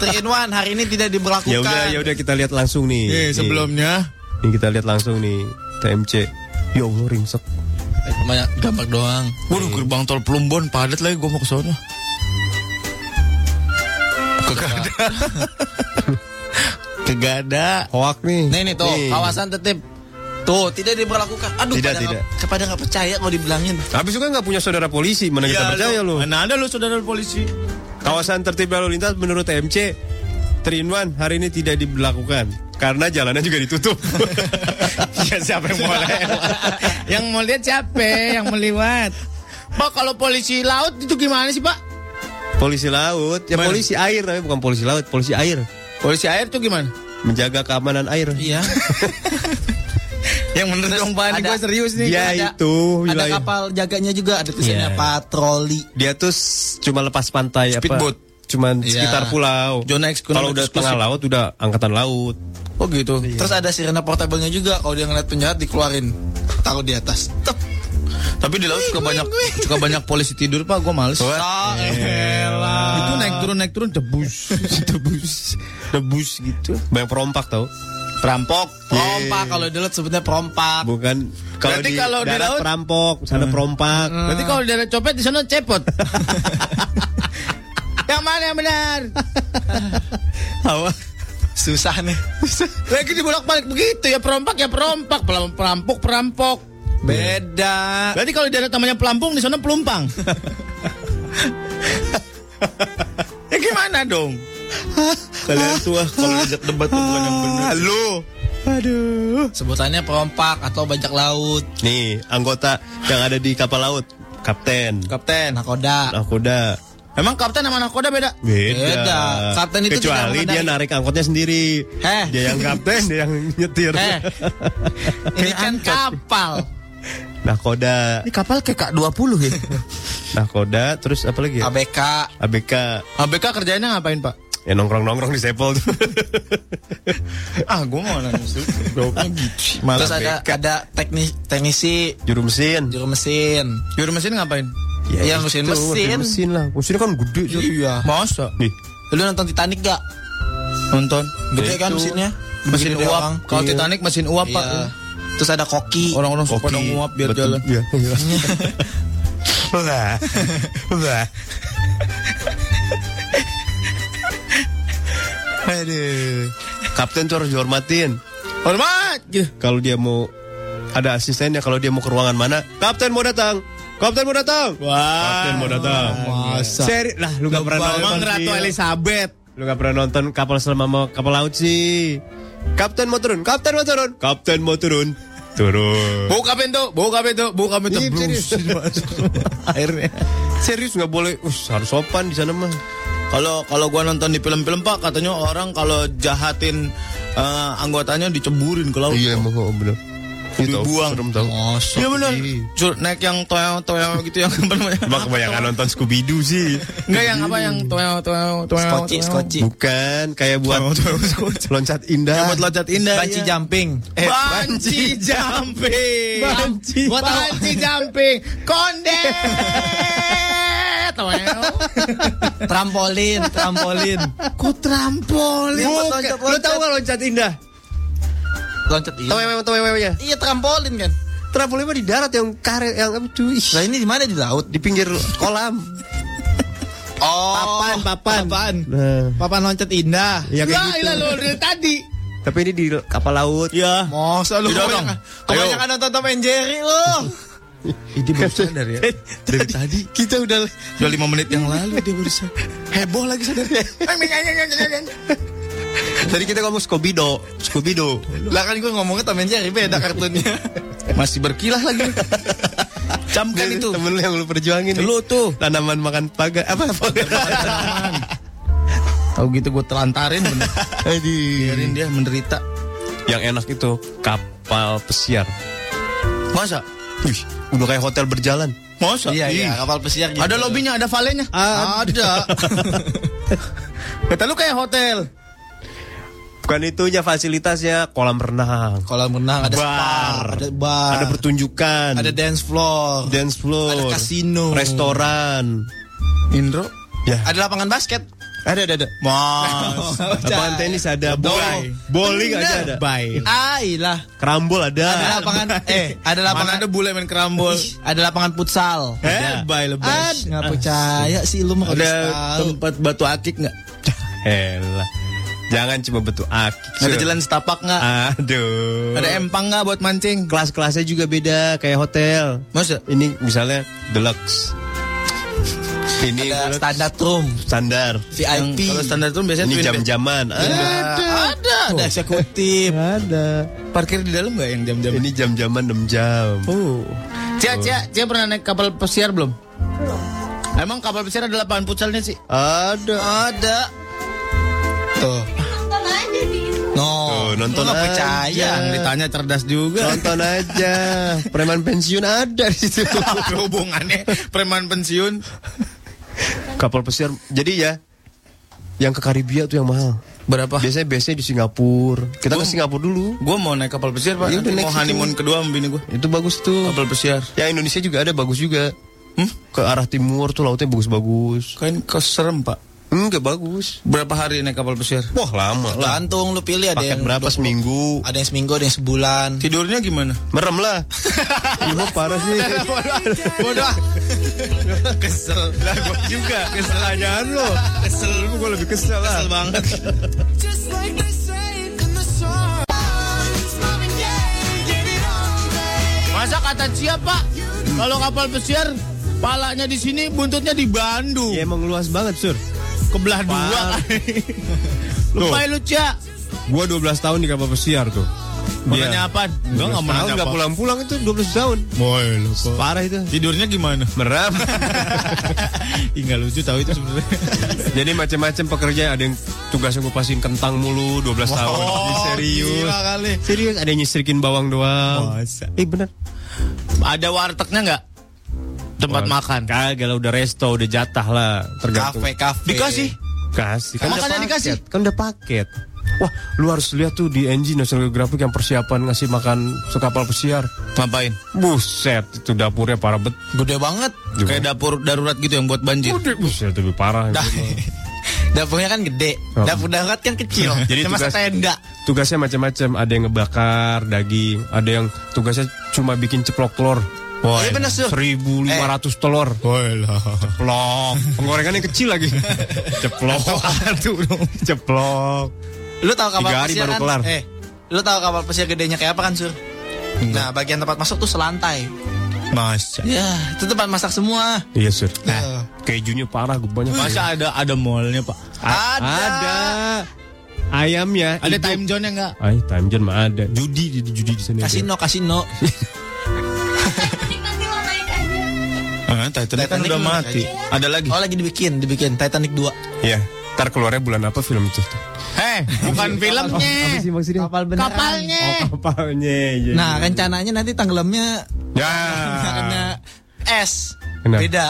[SPEAKER 12] Three Oh. in one hari ini tidak diberlakukan.
[SPEAKER 8] Ya udah, ya udah kita lihat langsung nih.
[SPEAKER 7] Iya,
[SPEAKER 8] Nih.
[SPEAKER 7] sebelumnya.
[SPEAKER 8] Ini kita lihat langsung nih TMC. Ya Allah ringsek.
[SPEAKER 7] Banyak gambar doang. Waduh, gerbang tol Plumbon padat lagi gue mau ke sana. Kagak ada. Kagak ada.
[SPEAKER 8] Hoak nih.
[SPEAKER 12] Nih nih tuh,
[SPEAKER 8] Nih.
[SPEAKER 12] kawasan tertib. Tuh, tidak diberlakukan. Aduh,
[SPEAKER 8] Tidak,
[SPEAKER 12] pada
[SPEAKER 8] tidak.
[SPEAKER 12] nggak- kepada nggak percaya mau dibilangin.
[SPEAKER 8] Habis itu kan nggak punya saudara polisi, mana kita
[SPEAKER 7] Iya,
[SPEAKER 8] percaya lu?
[SPEAKER 7] Mana ada lu saudara polisi?
[SPEAKER 8] Kawasan tertib lalu lintas menurut TMC Trinwan hari ini tidak diberlakukan karena jalannya juga ditutup.
[SPEAKER 7] (laughs) ya siapa yang mau (laughs) yang mau lihat siapa? Yang meliwat. Pak kalau polisi laut itu gimana sih pak?
[SPEAKER 8] polisi laut, ya
[SPEAKER 7] Mana?
[SPEAKER 8] polisi air tapi bukan polisi laut, polisi air.
[SPEAKER 7] Polisi air tuh gimana?
[SPEAKER 8] Menjaga keamanan air.
[SPEAKER 12] Iya.
[SPEAKER 7] (laughs) Yang bener dong pak, ini
[SPEAKER 12] ada-
[SPEAKER 7] gue serius nih.
[SPEAKER 8] Dia
[SPEAKER 12] Ada-
[SPEAKER 8] Ya, itu
[SPEAKER 12] Ada
[SPEAKER 8] wilayah.
[SPEAKER 12] kapal jaganya juga, ada tulisannya
[SPEAKER 8] Iya.
[SPEAKER 12] patroli.
[SPEAKER 8] Dia tuh s- cuma lepas pantai
[SPEAKER 7] Speedboat.
[SPEAKER 8] apa? Cuman
[SPEAKER 12] Iya.
[SPEAKER 8] sekitar pulau.
[SPEAKER 7] Zona ekonomi
[SPEAKER 8] Kalau udah
[SPEAKER 7] eksklusif.
[SPEAKER 8] tengah laut udah angkatan laut.
[SPEAKER 7] Oh gitu.
[SPEAKER 12] Terus ada sirena portablenya juga kalau dia ngeliat penjahat dikeluarin, taruh di atas. Tep.
[SPEAKER 7] Tapi di laut suka banyak suka banyak polisi tidur pak, gue males.
[SPEAKER 12] Ah, elah.
[SPEAKER 7] Itu naik turun naik turun debus (laughs) debus debus gitu.
[SPEAKER 8] Banyak perompak tau.
[SPEAKER 7] Perampok.
[SPEAKER 8] Iya.
[SPEAKER 12] Perompak kalau di laut sebetulnya perompak.
[SPEAKER 8] Bukan kalau
[SPEAKER 7] Berarti
[SPEAKER 8] di,
[SPEAKER 7] kalau di
[SPEAKER 8] darat
[SPEAKER 7] laut- Hmm.
[SPEAKER 8] perampok, sana perompak.
[SPEAKER 7] Berarti kalau dari copet di sana
[SPEAKER 12] (laughs)
[SPEAKER 7] cepot. yang mana yang benar?
[SPEAKER 12] Apa? Susah nih.
[SPEAKER 7] Lagi dibolak balik begitu ya perompak ya perompak, Pelam- perampok perampok.
[SPEAKER 12] Beda.
[SPEAKER 7] Berarti kalau di daerah namanya pelampung di sana
[SPEAKER 12] (laughs)
[SPEAKER 7] pelumpang. ya gimana dong? Kalian (laughs) tua kalau diajak debat tuh bukan yang benar. Ah, Lu
[SPEAKER 12] Sebutannya perompak atau bajak laut.
[SPEAKER 8] Nih, anggota yang ada di kapal laut, kapten.
[SPEAKER 12] Kapten, nakoda.
[SPEAKER 8] Nakoda.
[SPEAKER 7] Emang kapten sama nakoda beda?
[SPEAKER 8] Beda.
[SPEAKER 12] Beda. Kapten itu
[SPEAKER 8] kecuali
[SPEAKER 12] tidak
[SPEAKER 8] dia
[SPEAKER 12] mengenai-
[SPEAKER 8] narik angkotnya sendiri.
[SPEAKER 12] Heh.
[SPEAKER 8] Dia yang kapten, dia yang nyetir. (laughs)
[SPEAKER 12] Eh, ini
[SPEAKER 7] Kayak
[SPEAKER 12] kan
[SPEAKER 7] angkot.
[SPEAKER 12] kapal.
[SPEAKER 8] Nah, Nakoda,
[SPEAKER 7] Ini kapal kayak 20
[SPEAKER 8] (laughs)
[SPEAKER 7] ya.
[SPEAKER 8] nakoda, Nah, terus apa lagi? Ya?
[SPEAKER 12] ABK.
[SPEAKER 8] ABK.
[SPEAKER 7] ABK kerjanya ngapain, Pak?
[SPEAKER 8] Ya nongkrong-nongkrong di sepel tuh. (laughs)
[SPEAKER 7] Ah, gue mau nanya Jawabnya gitu. Malah
[SPEAKER 12] Terus ada ada teknis teknisi
[SPEAKER 8] Juru mesin.
[SPEAKER 12] juru mesin.
[SPEAKER 7] Juru mesin ngapain?
[SPEAKER 8] itu,
[SPEAKER 12] Ya, mesin
[SPEAKER 8] juru
[SPEAKER 12] mesin.
[SPEAKER 8] Iya, mesin lah. Mesin kan gede. Jur.
[SPEAKER 12] Iya.
[SPEAKER 7] Masa?
[SPEAKER 8] Nih,
[SPEAKER 12] Lu nonton Titanic gak?
[SPEAKER 7] Nonton.
[SPEAKER 12] Gede kan mesinnya?
[SPEAKER 7] Mesin
[SPEAKER 12] Gede
[SPEAKER 7] uap.
[SPEAKER 12] orang.
[SPEAKER 7] Kalau
[SPEAKER 12] Iya.
[SPEAKER 7] Titanic mesin uap, Pak.
[SPEAKER 12] Iya. Terus ada koki.
[SPEAKER 7] Orang-orang suka pada nguap biar jalan.
[SPEAKER 8] Iya,
[SPEAKER 7] (laughs)
[SPEAKER 8] iya.
[SPEAKER 22] Wah. Wah.
[SPEAKER 8] Aduh. Kapten tuh harus dihormatin.
[SPEAKER 7] Hormat. Gitu.
[SPEAKER 8] Kalau dia mau ada asistennya, kalau dia mau ke ruangan mana, kapten mau datang. Kapten mau datang. Kapten mau datang.
[SPEAKER 12] Masa.
[SPEAKER 8] Seri lah, lu gak pernah nonton.
[SPEAKER 7] Emang Ratu
[SPEAKER 8] Sil.
[SPEAKER 7] Elizabeth.
[SPEAKER 8] Lu gak pernah nonton kapal selam sama kapal laut sih. Kapten mau turun, kapten mau turun, kapten mau turun. Turun.
[SPEAKER 7] Buka pintu, buka pintu, buka pintu.
[SPEAKER 8] Iya,
[SPEAKER 7] Blus.
[SPEAKER 8] (laughs)
[SPEAKER 7] Akhirnya.
[SPEAKER 8] Serius nggak boleh. Us, harus sopan di sana mah.
[SPEAKER 7] Kalau kalau gua nonton di film-film Pak katanya orang kalau jahatin eh, anggotanya diceburin ke laut.
[SPEAKER 8] emang oh, bener.
[SPEAKER 7] Dibuang.
[SPEAKER 8] Serem tau.
[SPEAKER 7] Iya benar. Sur- Naik yang toyo toyo gitu yang (laughs) apa namanya?
[SPEAKER 8] Emang kebanyakan nonton Scooby Doo sih.
[SPEAKER 7] Enggak yang apa yang toyo toyo toyo.
[SPEAKER 12] Skoci,
[SPEAKER 7] toyo.
[SPEAKER 12] skoci.
[SPEAKER 8] Bukan kayak buat (laughs) loncat indah.
[SPEAKER 7] Yang buat loncat indah.
[SPEAKER 12] Eh, Banci
[SPEAKER 7] iya.
[SPEAKER 12] jumping.
[SPEAKER 7] Eh, banci jumping.
[SPEAKER 8] Banci.
[SPEAKER 7] Gua tahu. Banci jumping. Konde.
[SPEAKER 12] ya? Trampolin, trampolin.
[SPEAKER 7] Ku trampolin.
[SPEAKER 8] Bukan. Lu tahu nggak loncat indah?
[SPEAKER 12] Loncat
[SPEAKER 8] Tahu
[SPEAKER 12] iya.
[SPEAKER 8] memang tahu memangnya.
[SPEAKER 12] Iya trampolin kan.
[SPEAKER 8] Trampolin mah di darat yang karet yang aduh. ih.
[SPEAKER 12] Lah ini di mana di laut?
[SPEAKER 8] Di pinggir kolam.
[SPEAKER 12] Oh, papan, papan. Papan. Papan loncat indah.
[SPEAKER 8] Ya, kayak gitu.
[SPEAKER 12] ilah, lu dari tadi.
[SPEAKER 8] Tapi ini di kapal laut.
[SPEAKER 12] Ya. Masa lu
[SPEAKER 8] Tidak,
[SPEAKER 12] kebanyakan,
[SPEAKER 8] dong.
[SPEAKER 12] kebanyakan nonton Tom and Jerry lu.
[SPEAKER 7] Ini
[SPEAKER 8] (laughs)
[SPEAKER 7] barusan dari ya. Dari tadi
[SPEAKER 12] kita udah
[SPEAKER 7] udah 5 menit yang lalu dia barusan. Heboh lagi sadar.
[SPEAKER 12] Tadi kita ngomong Scooby Doo, Scooby Doo. Lah kan gue ngomongnya Tom and Jerry beda kartunnya. Masih berkilah lagi. Camkan itu.
[SPEAKER 8] Temen lu yang lu perjuangin. Lu tuh tanaman makan pagar. (laughs) Apa?
[SPEAKER 7] Tahu gitu gue telantarin bener. Biarin dia menderita.
[SPEAKER 8] Yang enak itu kapal pesiar.
[SPEAKER 7] Masa?
[SPEAKER 8] Wih, udah kayak hotel berjalan.
[SPEAKER 7] Masa?
[SPEAKER 12] Iya, iya,
[SPEAKER 7] Ih.
[SPEAKER 12] kapal pesiar gitu.
[SPEAKER 7] Ada lobinya, ada valenya.
[SPEAKER 12] Ada.
[SPEAKER 7] Kata lu kayak hotel.
[SPEAKER 8] Bukan itunya fasilitasnya kolam renang.
[SPEAKER 12] Kolam renang ada spa, (laughs) ada bar.
[SPEAKER 8] Ada pertunjukan.
[SPEAKER 12] Ada dance floor.
[SPEAKER 8] dance floor.
[SPEAKER 12] Ada kasino.
[SPEAKER 8] Restoran.
[SPEAKER 7] Indro.
[SPEAKER 8] Ya.
[SPEAKER 12] Ada lapangan basket.
[SPEAKER 8] Ada ada ada.
[SPEAKER 12] Mas.
[SPEAKER 8] Lapangan tenis (laughs) ada. Bowling. Bowling aja ada.
[SPEAKER 7] Bye.
[SPEAKER 12] Ailah.
[SPEAKER 8] Kerambol ada.
[SPEAKER 12] Ada
[SPEAKER 8] (laughs)
[SPEAKER 12] lapangan eh ada lapangan
[SPEAKER 7] Mana ada bule main (laughs) kerambol.
[SPEAKER 12] Ih, ada lapangan futsal.
[SPEAKER 7] Eh, bye
[SPEAKER 12] Ad,
[SPEAKER 7] lebay.
[SPEAKER 12] nggak percaya sih lu mau
[SPEAKER 7] Ada
[SPEAKER 12] tahu.
[SPEAKER 7] tempat batu akik nggak?
[SPEAKER 8] Elah. Jangan cuma betul akik.
[SPEAKER 7] Ada jalan setapak nggak?
[SPEAKER 8] Aduh.
[SPEAKER 7] Ada empang nggak buat mancing?
[SPEAKER 8] Ah, kelas-kelasnya juga beda kayak hotel.
[SPEAKER 7] Masa?
[SPEAKER 8] Ini misalnya deluxe. Ini
[SPEAKER 12] Ada
[SPEAKER 8] deluxe,
[SPEAKER 12] standar room,
[SPEAKER 8] standar.
[SPEAKER 12] VIP.
[SPEAKER 7] Kalau standar itu biasanya
[SPEAKER 8] Ini
[SPEAKER 7] twin bed.
[SPEAKER 8] jam-jaman.
[SPEAKER 12] Iya.
[SPEAKER 8] Ah,
[SPEAKER 12] ada, ada, ada eksekutif.
[SPEAKER 8] ada.
[SPEAKER 7] Parkir di dalam nggak yang jam-jam?
[SPEAKER 8] Ini jam-jaman 6 jam.
[SPEAKER 7] Oh. Cia, Cia, Cia pernah naik kapal pesiar belum? Emang kapal pesiar ada lapangan futsalnya sih?
[SPEAKER 8] Ada.
[SPEAKER 12] Ada. Tuh.
[SPEAKER 8] Tuh,
[SPEAKER 12] No,
[SPEAKER 8] nonton
[SPEAKER 12] lu nggak
[SPEAKER 8] aja.
[SPEAKER 12] percaya.
[SPEAKER 7] Yang ditanya cerdas juga.
[SPEAKER 8] Nonton aja. Preman pensiun ada di situ.
[SPEAKER 7] Apa (laughs) hubungannya preman pensiun?
[SPEAKER 8] Kapal pesiar. Jadi ya yang ke Karibia tuh yang mahal.
[SPEAKER 7] Berapa?
[SPEAKER 8] Biasanya biasanya di Singapura. Kita ke
[SPEAKER 7] Gua-
[SPEAKER 8] Singapura dulu.
[SPEAKER 7] Gue mau naik kapal pesiar pak.
[SPEAKER 8] Iya,
[SPEAKER 7] Nanti
[SPEAKER 8] udah
[SPEAKER 7] mau
[SPEAKER 8] next
[SPEAKER 7] honeymoon
[SPEAKER 8] itu.
[SPEAKER 7] kedua sama bini gue.
[SPEAKER 8] Itu bagus tuh.
[SPEAKER 7] Kapal pesiar. Hmm?
[SPEAKER 8] Ya Indonesia juga ada bagus juga. Ke arah timur tuh lautnya bagus-bagus.
[SPEAKER 7] Kain keserem pak.
[SPEAKER 8] Enggak bagus.
[SPEAKER 7] Berapa hari naik kapal pesiar?
[SPEAKER 8] Wah lama lah.
[SPEAKER 12] Gantung lu pilih ada
[SPEAKER 8] Paket
[SPEAKER 12] yang
[SPEAKER 8] berapa seminggu?
[SPEAKER 12] ada yang seminggu, ada yang sebulan.
[SPEAKER 7] Tidurnya gimana?
[SPEAKER 8] Merem (laughs) lah. Ibu parah sih.
[SPEAKER 12] (laughs)
[SPEAKER 7] Bodoh. kesel. Lah gue juga kesel aja lo. Kesel gue lebih kesel lah. Kesel banget.
[SPEAKER 23] Just like they say it in the song. It's Marvin Gaye, get it on, babe.
[SPEAKER 7] Masa kata siapa? Kalau kapal pesiar palanya di sini, buntutnya di Bandung.
[SPEAKER 8] Ya emang luas banget sur.
[SPEAKER 7] Kebelah
[SPEAKER 12] (laughs)
[SPEAKER 7] dua. ya,
[SPEAKER 8] Parah. Tuh.
[SPEAKER 7] Lebay lu,
[SPEAKER 12] Iya.
[SPEAKER 7] Cia.
[SPEAKER 8] Gua 12 tahun di kapal pesiar tuh.
[SPEAKER 7] Makanya apa? Enggak enggak
[SPEAKER 8] Tahun
[SPEAKER 7] menanya
[SPEAKER 8] nggak
[SPEAKER 7] apa.
[SPEAKER 8] pulang-pulang itu 12 tahun.
[SPEAKER 7] Boy, lu kok.
[SPEAKER 8] Parah itu.
[SPEAKER 7] Tidurnya gimana? (laughs)
[SPEAKER 8] Merem.
[SPEAKER 7] Hingga lucu tahu itu
[SPEAKER 12] (laughs)
[SPEAKER 7] sebenarnya.
[SPEAKER 8] Jadi macam-macam pekerja ada yang tugas ngupasin kentang mulu 12 tahun. Ih, serius.
[SPEAKER 7] Oh, gila kali.
[SPEAKER 8] Serius ada yang nyisrikin bawang doang.
[SPEAKER 7] Masa?
[SPEAKER 8] Eh bener.
[SPEAKER 7] Ada wartegnya nggak? Tempat
[SPEAKER 8] Wah,
[SPEAKER 7] makan.
[SPEAKER 8] Kagak lah udah resto udah jatah lah tergantung.
[SPEAKER 12] Kafe, kafe.
[SPEAKER 7] Dikasih.
[SPEAKER 8] Kasih. Kan
[SPEAKER 7] Makanya
[SPEAKER 8] udah
[SPEAKER 7] dikasih.
[SPEAKER 8] paket, Kan udah paket. Wah, lu harus lihat tuh di NG National Geographic yang persiapan ngasih makan sekapal pesiar.
[SPEAKER 7] Ngapain?
[SPEAKER 8] Buset, itu dapurnya parah
[SPEAKER 7] (laughs)
[SPEAKER 8] bet.
[SPEAKER 12] Gede banget.
[SPEAKER 8] Juga.
[SPEAKER 7] Kayak dapur darurat gitu yang buat banjir.
[SPEAKER 8] Udah, buset lebih parah. Gitu.
[SPEAKER 12] Dah.
[SPEAKER 8] itu.
[SPEAKER 12] (laughs) Dapurnya kan gede.
[SPEAKER 7] Oh.
[SPEAKER 8] Apa?
[SPEAKER 12] Dapur darurat kan
[SPEAKER 7] (laughs)
[SPEAKER 12] kecil.
[SPEAKER 8] (laughs) Jadi
[SPEAKER 12] Cuma
[SPEAKER 8] tugas-
[SPEAKER 12] tenda.
[SPEAKER 8] Tugasnya macam-macam, ada yang ngebakar daging, ada yang tugasnya cuma bikin ceplok telur.
[SPEAKER 12] Iya bener, Sur. Eh.
[SPEAKER 8] 1500 telur.
[SPEAKER 12] (laughs)
[SPEAKER 8] Ceplok. (laughs) Penggorengannya kecil lagi. ceplok. (laughs) ceplok.
[SPEAKER 12] Lu tahu kapal
[SPEAKER 8] Tiga hari
[SPEAKER 12] pesiar
[SPEAKER 8] baru
[SPEAKER 12] kan?
[SPEAKER 8] kelar.
[SPEAKER 12] Eh, lu tahu kapal pesiar gedenya kayak apa kan, Sur? Nah, bagian tempat masuk tuh selantai.
[SPEAKER 7] Masa.
[SPEAKER 12] Ya, itu tempat masak semua.
[SPEAKER 8] Iya, Sur.
[SPEAKER 12] Nah.
[SPEAKER 8] Kejunya parah, gue banyak.
[SPEAKER 7] Masa ada ada mallnya pak?
[SPEAKER 12] Ada.
[SPEAKER 8] Ada. Ayamnya.
[SPEAKER 7] Ada time zone nya nggak?
[SPEAKER 8] Ay, time zone mah ada. Judi di judi di sana.
[SPEAKER 12] Kasino, kasino.
[SPEAKER 7] Eh, Titanic, kan
[SPEAKER 12] Titanic
[SPEAKER 7] udah
[SPEAKER 12] belum
[SPEAKER 7] mati. Ada lagi.
[SPEAKER 12] Oh, lagi dibikin, dibikin Titanic 2.
[SPEAKER 8] Iya. Ntar keluarnya bulan apa film itu?
[SPEAKER 7] Heh, bukan filmnya.
[SPEAKER 8] maksudnya?
[SPEAKER 12] Kapal beneran.
[SPEAKER 7] Kapalnya.
[SPEAKER 8] Oh, kapalnya. iya,
[SPEAKER 12] Eh. Nah,
[SPEAKER 8] iya.
[SPEAKER 12] rencananya nanti tenggelamnya
[SPEAKER 8] Ya.
[SPEAKER 12] kena es.
[SPEAKER 8] Kenapa?
[SPEAKER 12] Beda.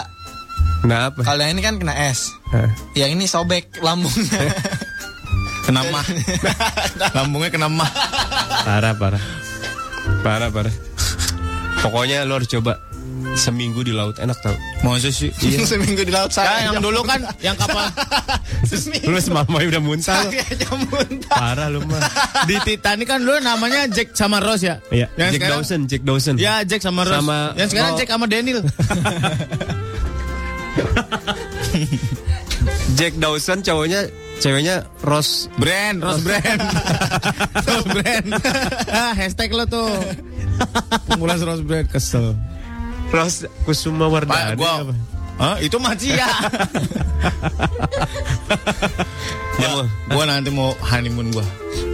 [SPEAKER 8] Kenapa?
[SPEAKER 12] Kalau yang ini kan kena es.
[SPEAKER 8] Hah?
[SPEAKER 12] Yang ini sobek
[SPEAKER 7] (laughs)
[SPEAKER 12] lambungnya.
[SPEAKER 7] Kena mah. Lambungnya kena mah.
[SPEAKER 8] Parah, parah. Parah, parah. Pokoknya lo harus coba seminggu di laut enak tau.
[SPEAKER 7] Masa sih?
[SPEAKER 12] (laughs) Seminggu di laut
[SPEAKER 7] Ya,
[SPEAKER 12] saya.
[SPEAKER 7] yang dulu
[SPEAKER 12] (laughs)
[SPEAKER 7] kan yang kapal
[SPEAKER 8] Lu semamai udah muntah. lo. Parah lu mah.
[SPEAKER 7] di Titanic kan dulu namanya Jack sama Rose ya.
[SPEAKER 8] Iya,
[SPEAKER 7] Yang
[SPEAKER 8] Jack
[SPEAKER 7] sekarang-
[SPEAKER 8] Dawson, Jack Dawson.
[SPEAKER 7] Ya Jack sama Rose.
[SPEAKER 8] Sama-
[SPEAKER 7] (laughs) yang sekarang
[SPEAKER 8] oh.
[SPEAKER 7] Jack sama Daniel.
[SPEAKER 8] Jack Dawson cowoknya ceweknya Rose
[SPEAKER 7] Brand,
[SPEAKER 12] (laughs)
[SPEAKER 7] Rose (laughs) Brand. Rose (laughs) Brand. ah, hashtag lo tuh. Pemula Rose Brand kesel.
[SPEAKER 8] Rose Kusuma Wardani.
[SPEAKER 7] Pak, Ah, gua Hah? itu masih ya. gua, (laughs) gua nanti mau honeymoon gua.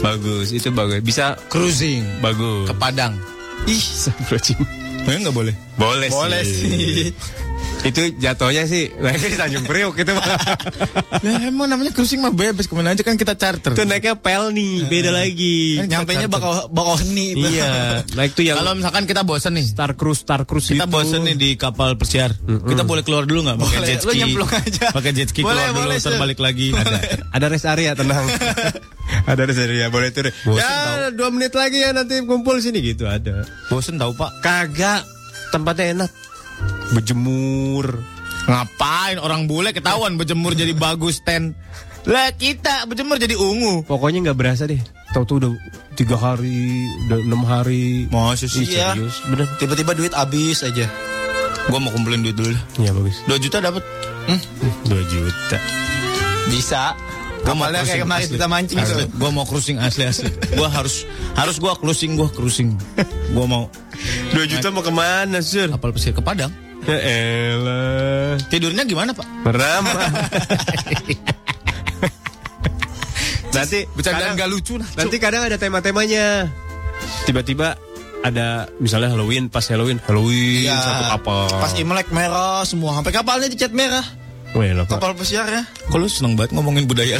[SPEAKER 8] Bagus, itu bagus. Bisa
[SPEAKER 7] Cruising
[SPEAKER 8] bagus.
[SPEAKER 7] ke Padang.
[SPEAKER 8] Ih, sambrojing.
[SPEAKER 7] Eh, nggak boleh.
[SPEAKER 8] Boleh,
[SPEAKER 7] Boleh sih.
[SPEAKER 8] itu jatuhnya sih naiknya di Tanjung Priok gitu
[SPEAKER 7] (laughs)
[SPEAKER 8] Pak.
[SPEAKER 7] Lah emang namanya Ya, cruising mah bebas kemana aja kan kita charter.
[SPEAKER 8] Itu naiknya Pelni, beda lagi.
[SPEAKER 7] Kan nyampe nya bakal bakal nih.
[SPEAKER 8] Iya, naik tuh yang
[SPEAKER 7] Kalau misalkan kita bosen nih,
[SPEAKER 8] Star Cruise, Star Cruise
[SPEAKER 7] (laughs) kita
[SPEAKER 8] gitu.
[SPEAKER 7] bosen nih di kapal persiar. Kita boleh keluar dulu nggak pakai
[SPEAKER 8] Boleh,
[SPEAKER 7] jet
[SPEAKER 8] lu
[SPEAKER 7] ski?
[SPEAKER 8] nyemplung aja.
[SPEAKER 7] Pakai jet ski
[SPEAKER 8] Boleh,
[SPEAKER 7] keluar dulu,
[SPEAKER 8] boleh,
[SPEAKER 7] ntar
[SPEAKER 8] Sir.
[SPEAKER 7] balik lagi. Ada.
[SPEAKER 8] Ada rest area tenang. (laughs) ada rest area, boleh turun.
[SPEAKER 7] Bosen
[SPEAKER 8] Ya, dua menit lagi ya nanti kumpul sini gitu ada.
[SPEAKER 7] Bosen tahu pak?
[SPEAKER 8] Kagak tempatnya enak. Berjemur.
[SPEAKER 7] Ngapain orang bule ketahuan berjemur jadi bagus ten? Lah kita berjemur jadi ungu.
[SPEAKER 8] Pokoknya nggak berasa deh. Tahu-tahu udah tiga hari, udah enam hari.
[SPEAKER 7] Masa sih
[SPEAKER 12] Iya.
[SPEAKER 7] serius?
[SPEAKER 8] Bener.
[SPEAKER 12] Tiba-tiba duit habis aja.
[SPEAKER 7] Gua mau kumpulin duit dulu.
[SPEAKER 8] Iya bagus.
[SPEAKER 7] 2 juta dapat.
[SPEAKER 8] Dua juta.
[SPEAKER 12] Bisa. Kamalnya kayak kemarin kita mancing
[SPEAKER 7] asli.
[SPEAKER 12] tuh.
[SPEAKER 7] Gua mau cruising asli asli. Gua harus harus gua cruising, gua (laughs) cruising. Gua mau
[SPEAKER 8] Dua juta mau kemana sur?
[SPEAKER 7] kapal pesir ke Padang.
[SPEAKER 8] Ya elah.
[SPEAKER 7] Tidurnya gimana pak?
[SPEAKER 8] Meram. nanti
[SPEAKER 7] Bercandaan
[SPEAKER 8] kadang,
[SPEAKER 7] gak lucu lah.
[SPEAKER 8] nanti kadang ada tema-temanya. Tiba-tiba ada misalnya Halloween pas Halloween Halloween
[SPEAKER 12] Iya.
[SPEAKER 8] satu kapal.
[SPEAKER 12] Pas Imlek merah semua, sampai kapalnya dicat merah.
[SPEAKER 8] Weh, lah, Pak.
[SPEAKER 12] Kapal ya. pesiarnya.
[SPEAKER 7] Iya. Kok lu seneng banget ngomongin budaya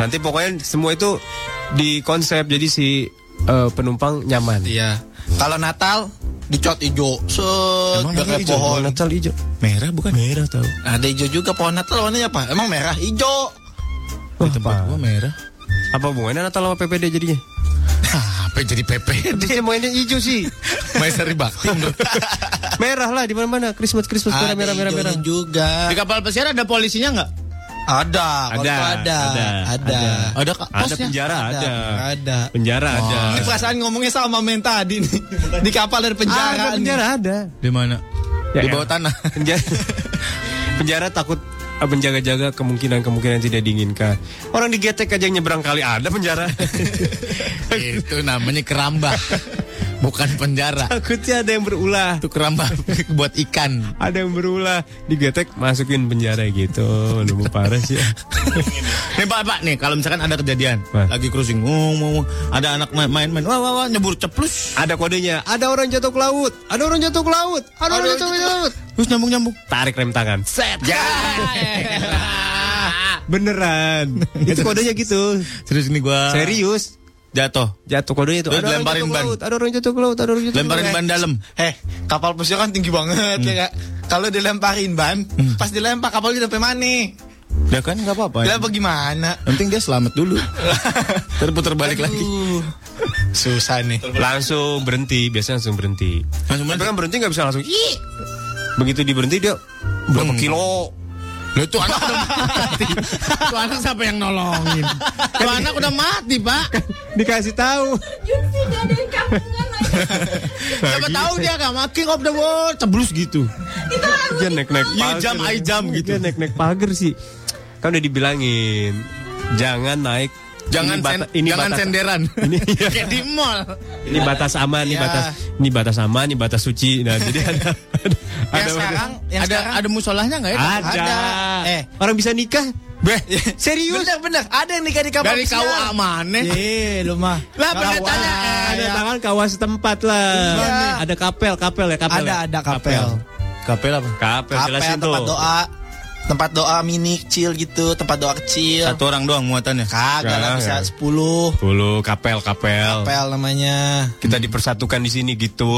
[SPEAKER 8] Nanti pokoknya semua itu di konsep jadi si eh, penumpang nyaman.
[SPEAKER 12] (laughs) Iya. Kalau Natal dicat hijau. Set,
[SPEAKER 7] Emang
[SPEAKER 12] pakai
[SPEAKER 7] namanya hijau?
[SPEAKER 12] pohon.
[SPEAKER 8] Natal hijau.
[SPEAKER 7] Merah bukan? Merah tau
[SPEAKER 12] Ada hijau juga pohon Natal warnanya apa? Emang merah, hijau.
[SPEAKER 7] Di tempat gua merah
[SPEAKER 8] Apa hubungannya Natal sama PPD jadinya?
[SPEAKER 7] Apa jadi (laughs) PP?
[SPEAKER 8] (laughs) Dia semuanya hijau sih.
[SPEAKER 7] Maestri Bakti menurut
[SPEAKER 8] merah lah di mana-mana. Christmas Christmas merah
[SPEAKER 12] Ada
[SPEAKER 8] merah merah merah.
[SPEAKER 12] hijaunya juga.
[SPEAKER 7] Di kapal pesir ada polisinya nggak?
[SPEAKER 12] Ada, kalau
[SPEAKER 8] Ada,
[SPEAKER 12] itu ada,
[SPEAKER 8] ada,
[SPEAKER 12] ada,
[SPEAKER 7] Ada kak
[SPEAKER 8] Ada
[SPEAKER 7] posnya?
[SPEAKER 8] penjara ada.
[SPEAKER 12] ada.
[SPEAKER 8] Penjara ada.
[SPEAKER 12] Ini perasaan ngomongnya sama men tadi
[SPEAKER 7] (laughs)
[SPEAKER 12] nih. Di kapal dari penjara.
[SPEAKER 8] Ada
[SPEAKER 12] nih.
[SPEAKER 8] penjara ada.
[SPEAKER 7] Di mana?
[SPEAKER 8] Ya,
[SPEAKER 7] Di bawah
[SPEAKER 8] elah.
[SPEAKER 7] tanah
[SPEAKER 8] penjara (laughs) penjara takut eh, menjaga-jaga kemungkinan-kemungkinan yang tidak diinginkan. Orang digetek aja yang nyebrang kali ada
[SPEAKER 7] (laughs)
[SPEAKER 8] penjara.
[SPEAKER 7] (laughs) Itu namanya keramba Bukan penjara
[SPEAKER 8] Takutnya ada yang berulah.
[SPEAKER 7] Itu keramba (laughs) buat ikan
[SPEAKER 12] (laughs)
[SPEAKER 8] Ada yang berulah digetek masukin penjara gitu. Lu mau parah sih.
[SPEAKER 7] Nih pak, pak nih kalau misalkan ada kejadian
[SPEAKER 8] Wah.
[SPEAKER 7] Lagi cruising wung, wung, wung. Ada anak ma- main-main Wah wah wah nyebur ceplus
[SPEAKER 8] Ada kodenya. Ada orang jatuh ke laut. Ada orang jatuh ke laut. Ada orang jatuh ke laut.
[SPEAKER 7] Terus nyambung-nyambung
[SPEAKER 8] Tarik rem tangan.
[SPEAKER 7] Set
[SPEAKER 12] Ya.
[SPEAKER 8] Beneran. (laughs) Itu kodenya gitu.
[SPEAKER 7] Serius ini gua
[SPEAKER 8] Serius.
[SPEAKER 7] Jatuh
[SPEAKER 8] Jatuh kodenya itu.
[SPEAKER 7] Terus
[SPEAKER 8] Ada orang
[SPEAKER 7] dilemparin
[SPEAKER 8] jatuh ke
[SPEAKER 7] ban.
[SPEAKER 8] laut. Ada orang jatuh ke laut. Ada orang jatuh ke laut.
[SPEAKER 7] (laughs) Lemparin ban dalam Hmm.
[SPEAKER 12] Eh, kapal pesiar kan tinggi banget ya Kak. Kalau dilemparin ban, pas dilempar kapalnya sampai mana?
[SPEAKER 7] Ya kan nggak apa-apa
[SPEAKER 12] Dilempar
[SPEAKER 7] (laughs)
[SPEAKER 12] gimana?
[SPEAKER 7] Yang penting dia selamat dulu Terputar balik lagi
[SPEAKER 12] Aduh. Susah nih.
[SPEAKER 8] langsung berhenti biasanya langsung berhenti
[SPEAKER 7] Langsung
[SPEAKER 8] tapi
[SPEAKER 7] berhenti?
[SPEAKER 8] kan berhenti nggak bisa langsung "Ih!" begitu diberhenti dia berapa
[SPEAKER 7] Hmm.
[SPEAKER 8] kilo
[SPEAKER 7] Loh tuh anak udah mati Tuh anak siapa yang nolongin Tuh anak udah mati pak
[SPEAKER 8] dikasih tahu
[SPEAKER 7] Siapa tahu dia gak mati King of the world Ceblus gitu
[SPEAKER 8] dia naik naik
[SPEAKER 7] You jump, I jump gitu.
[SPEAKER 8] Iya, dia naik naik pagar sih kan udah dibilangin jangan naik
[SPEAKER 7] Jangan
[SPEAKER 8] ini, bata-
[SPEAKER 7] sen-
[SPEAKER 8] ini
[SPEAKER 7] jangan
[SPEAKER 8] batas
[SPEAKER 7] senderan
[SPEAKER 8] (laughs) ini, iya.
[SPEAKER 7] Kayak di mall
[SPEAKER 8] ini batas aman ini
[SPEAKER 12] Iya.
[SPEAKER 8] batas ini batas aman ini batas suci nah jadi ada ada,
[SPEAKER 12] Yang
[SPEAKER 8] ada-
[SPEAKER 12] sekarang, yang
[SPEAKER 7] Ada
[SPEAKER 12] sekarang
[SPEAKER 7] ada musolahnya gak ya Iya.
[SPEAKER 8] ada.
[SPEAKER 12] Ada. Eh.
[SPEAKER 8] orang bisa nikah
[SPEAKER 7] Beh
[SPEAKER 12] serius. Bener, bener. Ada yang nikah di kapal
[SPEAKER 7] Dari
[SPEAKER 12] pesiar.
[SPEAKER 7] KUA mana
[SPEAKER 12] eh? Ye, lu mah.
[SPEAKER 7] Lah,
[SPEAKER 12] KUA.
[SPEAKER 7] pendetanya, eh,
[SPEAKER 8] ada
[SPEAKER 12] Ada,
[SPEAKER 8] tangan kawas setempat lah
[SPEAKER 12] Iya.
[SPEAKER 8] ada kapel kapel ya kapel
[SPEAKER 12] ada
[SPEAKER 8] ya?
[SPEAKER 12] ada kapel.
[SPEAKER 7] Kapel apa
[SPEAKER 8] kapel
[SPEAKER 12] Kapel,
[SPEAKER 8] jelasin
[SPEAKER 12] tempat
[SPEAKER 8] tuh
[SPEAKER 12] doa. Tempat doa mini kecil gitu, tempat doa kecil.
[SPEAKER 7] Satu ya? orang doang muatannya
[SPEAKER 12] Kagak lah bisa
[SPEAKER 8] Kagak.
[SPEAKER 12] 10
[SPEAKER 8] Dulu kapel kapel.
[SPEAKER 12] kapel namanya.
[SPEAKER 8] Kita dipersatukan di sini gitu.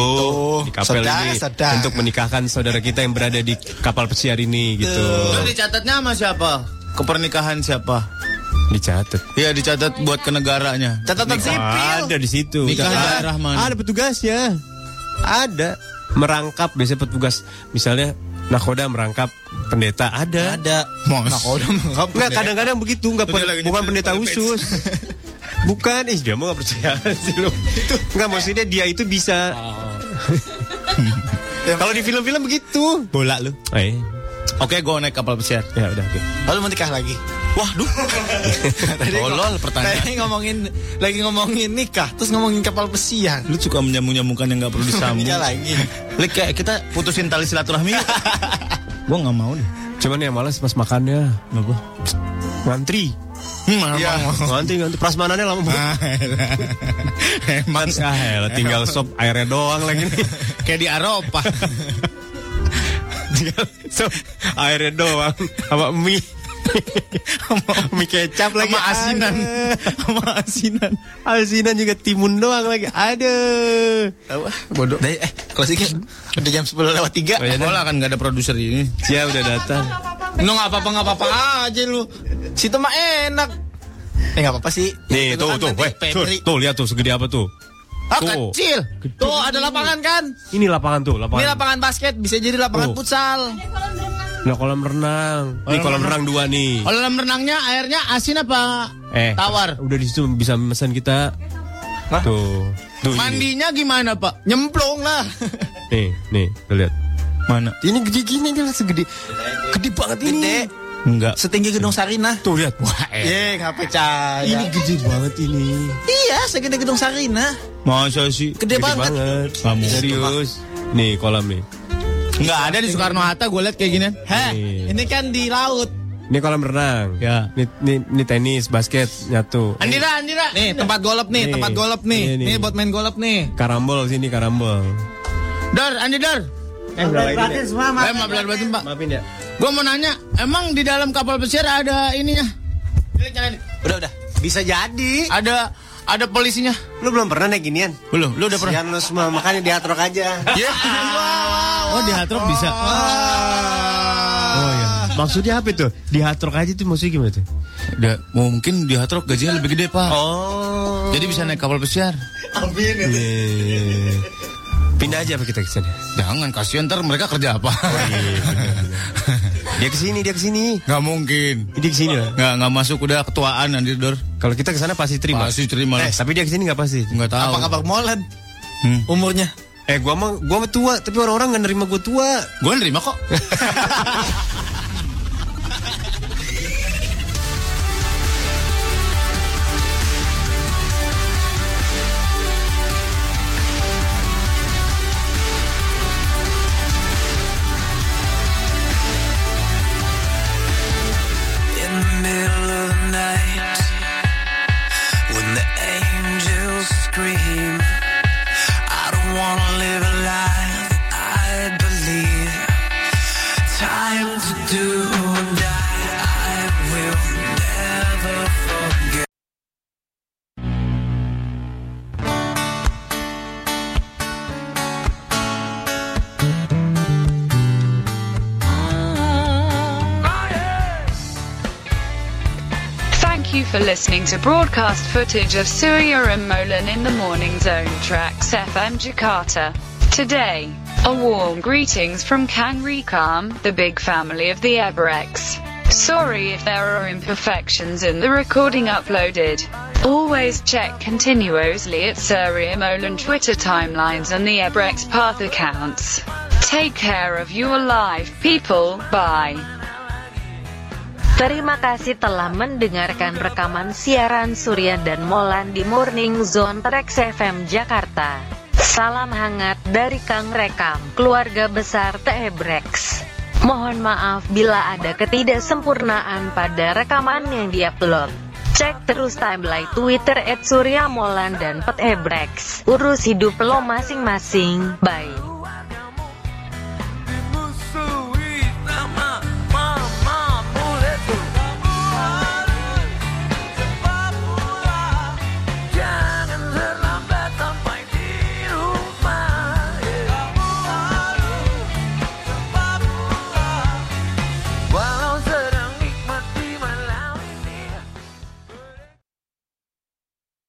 [SPEAKER 8] Di kapel
[SPEAKER 12] Saudara,
[SPEAKER 8] ini
[SPEAKER 12] saudara.
[SPEAKER 8] untuk menikahkan saudara kita yang berada di kapal pesiar ini gitu.
[SPEAKER 7] Itu dicatatnya sama siapa Kepernikahan siapa
[SPEAKER 8] Dicatat.
[SPEAKER 7] Iya dicatat buat ke negaranya
[SPEAKER 12] Catatan sipil.
[SPEAKER 8] Ada di situ.
[SPEAKER 7] Nikah
[SPEAKER 8] Ada.
[SPEAKER 7] daerah mana?
[SPEAKER 8] Ada petugasnya. Ada merangkap biasanya petugas misalnya nakoda merangkap pendeta ada.
[SPEAKER 12] Ada.
[SPEAKER 7] Mos.
[SPEAKER 12] Nah, kalau udah mengungkap,
[SPEAKER 8] Enggak kadang-kadang begitu enggak
[SPEAKER 7] Itu dia
[SPEAKER 8] pen-
[SPEAKER 7] lagi
[SPEAKER 8] bukan
[SPEAKER 7] nyetir
[SPEAKER 8] pendeta
[SPEAKER 7] Holy Page. (laughs)
[SPEAKER 8] khusus. Bukan, ih dia mau gak percaya sih lu. Enggak maksudnya dia itu bisa. Kalau di film-film begitu.
[SPEAKER 7] Bola lu
[SPEAKER 8] Eh,
[SPEAKER 12] Oke, gue naik kapal pesiar. Ya udah, oke.
[SPEAKER 11] Lalu menikah lagi. (laughs)
[SPEAKER 12] Waduh. Tolol pertanyaan.
[SPEAKER 11] Tadi ngomongin lagi ngomongin nikah, terus ngomongin kapal pesiar.
[SPEAKER 12] Lu suka menyambung-nyambungkan yang gak
[SPEAKER 11] (laughs)
[SPEAKER 12] perlu disambung.
[SPEAKER 11] Menikah lagi.
[SPEAKER 12] Lek kayak kita putusin tali silaturahmi.
[SPEAKER 11] (laughs)
[SPEAKER 12] gue nggak mau deh.
[SPEAKER 8] Cuman ya malas pas makannya.
[SPEAKER 12] Apa?
[SPEAKER 8] Ngantri.
[SPEAKER 11] Hmm,
[SPEAKER 12] Iya,
[SPEAKER 11] (laughs)
[SPEAKER 8] ngantri ngantri prasmanannya lama banget.
[SPEAKER 12] Hemat
[SPEAKER 8] ah, elah, (laughs) tinggal sop airnya doang lagi nih.
[SPEAKER 12] Kayak di Eropa.
[SPEAKER 8] Tinggal sop airnya doang sama mie. Sama mie kecap lagi
[SPEAKER 12] Sama asinan.
[SPEAKER 8] Sama asinan Asinan juga timun doang lagi Aduh
[SPEAKER 12] Bodoh. eh, klasiknya udah jam 10 lewat 3. Oh, Bola kan gak ada produser ini.
[SPEAKER 8] Dia udah datang.
[SPEAKER 11] Lu nggak apa-apa nggak apa-apa aja Ah, lu. Situ mah enak. Eh nggak apa-apa sih.
[SPEAKER 8] Nih tuh tuh, weh, tuh, tuh lihat tuh segede apa tuh.
[SPEAKER 11] Ah
[SPEAKER 8] Tuh.
[SPEAKER 11] kecil. Tuh ada lapangan kan?
[SPEAKER 8] Ini lapangan tuh,
[SPEAKER 11] Ini
[SPEAKER 8] lapangan.
[SPEAKER 11] lapangan basket bisa jadi lapangan
[SPEAKER 8] Tuh.
[SPEAKER 11] futsal.
[SPEAKER 8] Nah, kolam renang. Nih kolam renang dua nih.
[SPEAKER 12] Kolam renangnya airnya asin apa?
[SPEAKER 8] Eh,
[SPEAKER 12] Tawar.
[SPEAKER 8] Udah di situ bisa memesan kita. Tuh. Tuh ini.
[SPEAKER 12] Mandinya gimana, Pak? Nyemplung
[SPEAKER 11] (laughs)
[SPEAKER 12] lah.
[SPEAKER 8] Nih, nih, tuh lihat.
[SPEAKER 12] Mana?
[SPEAKER 8] Ini gede gini aja lah segede. Gede banget ini.
[SPEAKER 12] Enggak.
[SPEAKER 11] Setinggi gedung Sarinah.
[SPEAKER 8] Tuh lihat. Wah,
[SPEAKER 17] eh.
[SPEAKER 11] Ye, nggak percaya.
[SPEAKER 8] ini gede banget ini.
[SPEAKER 11] Iya, segede gedung Sarinah.
[SPEAKER 12] Masa sih?
[SPEAKER 11] Gede banget.
[SPEAKER 12] Kamu.
[SPEAKER 8] Serius. Nih kolam nih.
[SPEAKER 12] Enggak ada di Soekarno Hatta gue liat kayak gini.
[SPEAKER 11] Heh, ini kan di laut.
[SPEAKER 8] Ini kolam renang. Ya. Ini, ini, ini tenis, basket nyatu.
[SPEAKER 11] Andira, Andira. Nih, tempat golop nih,
[SPEAKER 8] Nih.
[SPEAKER 11] tempat golop nih.
[SPEAKER 8] Ini,
[SPEAKER 11] Nih,
[SPEAKER 8] nih.
[SPEAKER 11] buat main golop nih.
[SPEAKER 8] Karambol sini karambol.
[SPEAKER 12] Dar, Andi Dar.
[SPEAKER 8] Eh, berapa ini, Dek?
[SPEAKER 12] semua, maafin. Eh, maaf lahir batin, Pak.
[SPEAKER 8] Maafin ya.
[SPEAKER 12] Gue mau nanya, emang di dalam kapal pesiar ada ininya?
[SPEAKER 11] Udah, udah. Bisa jadi.
[SPEAKER 12] Ada ada polisinya.
[SPEAKER 17] Lu belum pernah naik ginian?
[SPEAKER 12] Belum, lu udah pernah.
[SPEAKER 17] Sian lu semua, makanya diatrok aja. (laughs)
[SPEAKER 12] Ya. Oh, di hatrok bisa.
[SPEAKER 8] Oh ya. Maksudnya apa itu? Di hatrok aja tuh maksudnya gimana tuh?
[SPEAKER 12] Udah, mau mungkin di hatrok gajinya lebih gede, Pak.
[SPEAKER 8] Oh.
[SPEAKER 12] Jadi bisa naik kapal pesiar.
[SPEAKER 17] Amin.
[SPEAKER 8] Eh, Pindah aja apa kita ke sana?
[SPEAKER 12] Jangan kasihan ntar mereka kerja apa? iya,
[SPEAKER 8] Dia
[SPEAKER 12] (laughs)
[SPEAKER 8] ke sini, dia ke sini.
[SPEAKER 12] Gak mungkin.
[SPEAKER 8] Dia ke sini lah.
[SPEAKER 12] Nggak nggak masuk udah ketuaan nanti Dor.
[SPEAKER 8] Kalau kita ke sana pasti terima.
[SPEAKER 12] Pasti terima
[SPEAKER 8] Eh,
[SPEAKER 12] lah.
[SPEAKER 8] tapi dia ke sini nggak pasti.
[SPEAKER 12] Nggak tahu.
[SPEAKER 11] Apa kabar Molan?
[SPEAKER 12] Hmm.
[SPEAKER 11] Umurnya?
[SPEAKER 8] Eh, gua mah gua mah tua, tapi orang-orang nggak nerima gua tua.
[SPEAKER 12] Gue nerima kok.
[SPEAKER 5] In the middle of the night, when the angels scream, I don't wanna live a life that I believe. Time to do and die, I will never forget.
[SPEAKER 3] Thank you for listening to broadcast footage of Surya and Molan in the Morning Zone Tracks FM Jakarta. Today, a warm greetings from Kang Rikam, the big family of the Everex. Sorry if there are imperfections in the recording uploaded. Always check continuously at Surya Molan Twitter timelines and the Ebrex Path accounts. Take care of your life, people. Bye.
[SPEAKER 2] Terima kasih telah mendengarkan rekaman siaran Surya dan Molan di Morning Zone Trax FM Jakarta. Salam hangat dari Kang Rekam, keluarga besar Tebrex. Mohon maaf bila ada ketidaksempurnaan pada rekaman yang diupload. Cek terus timeline Twitter @suryamolan dan Petebrex. Urus hidup lo masing-masing. Bye.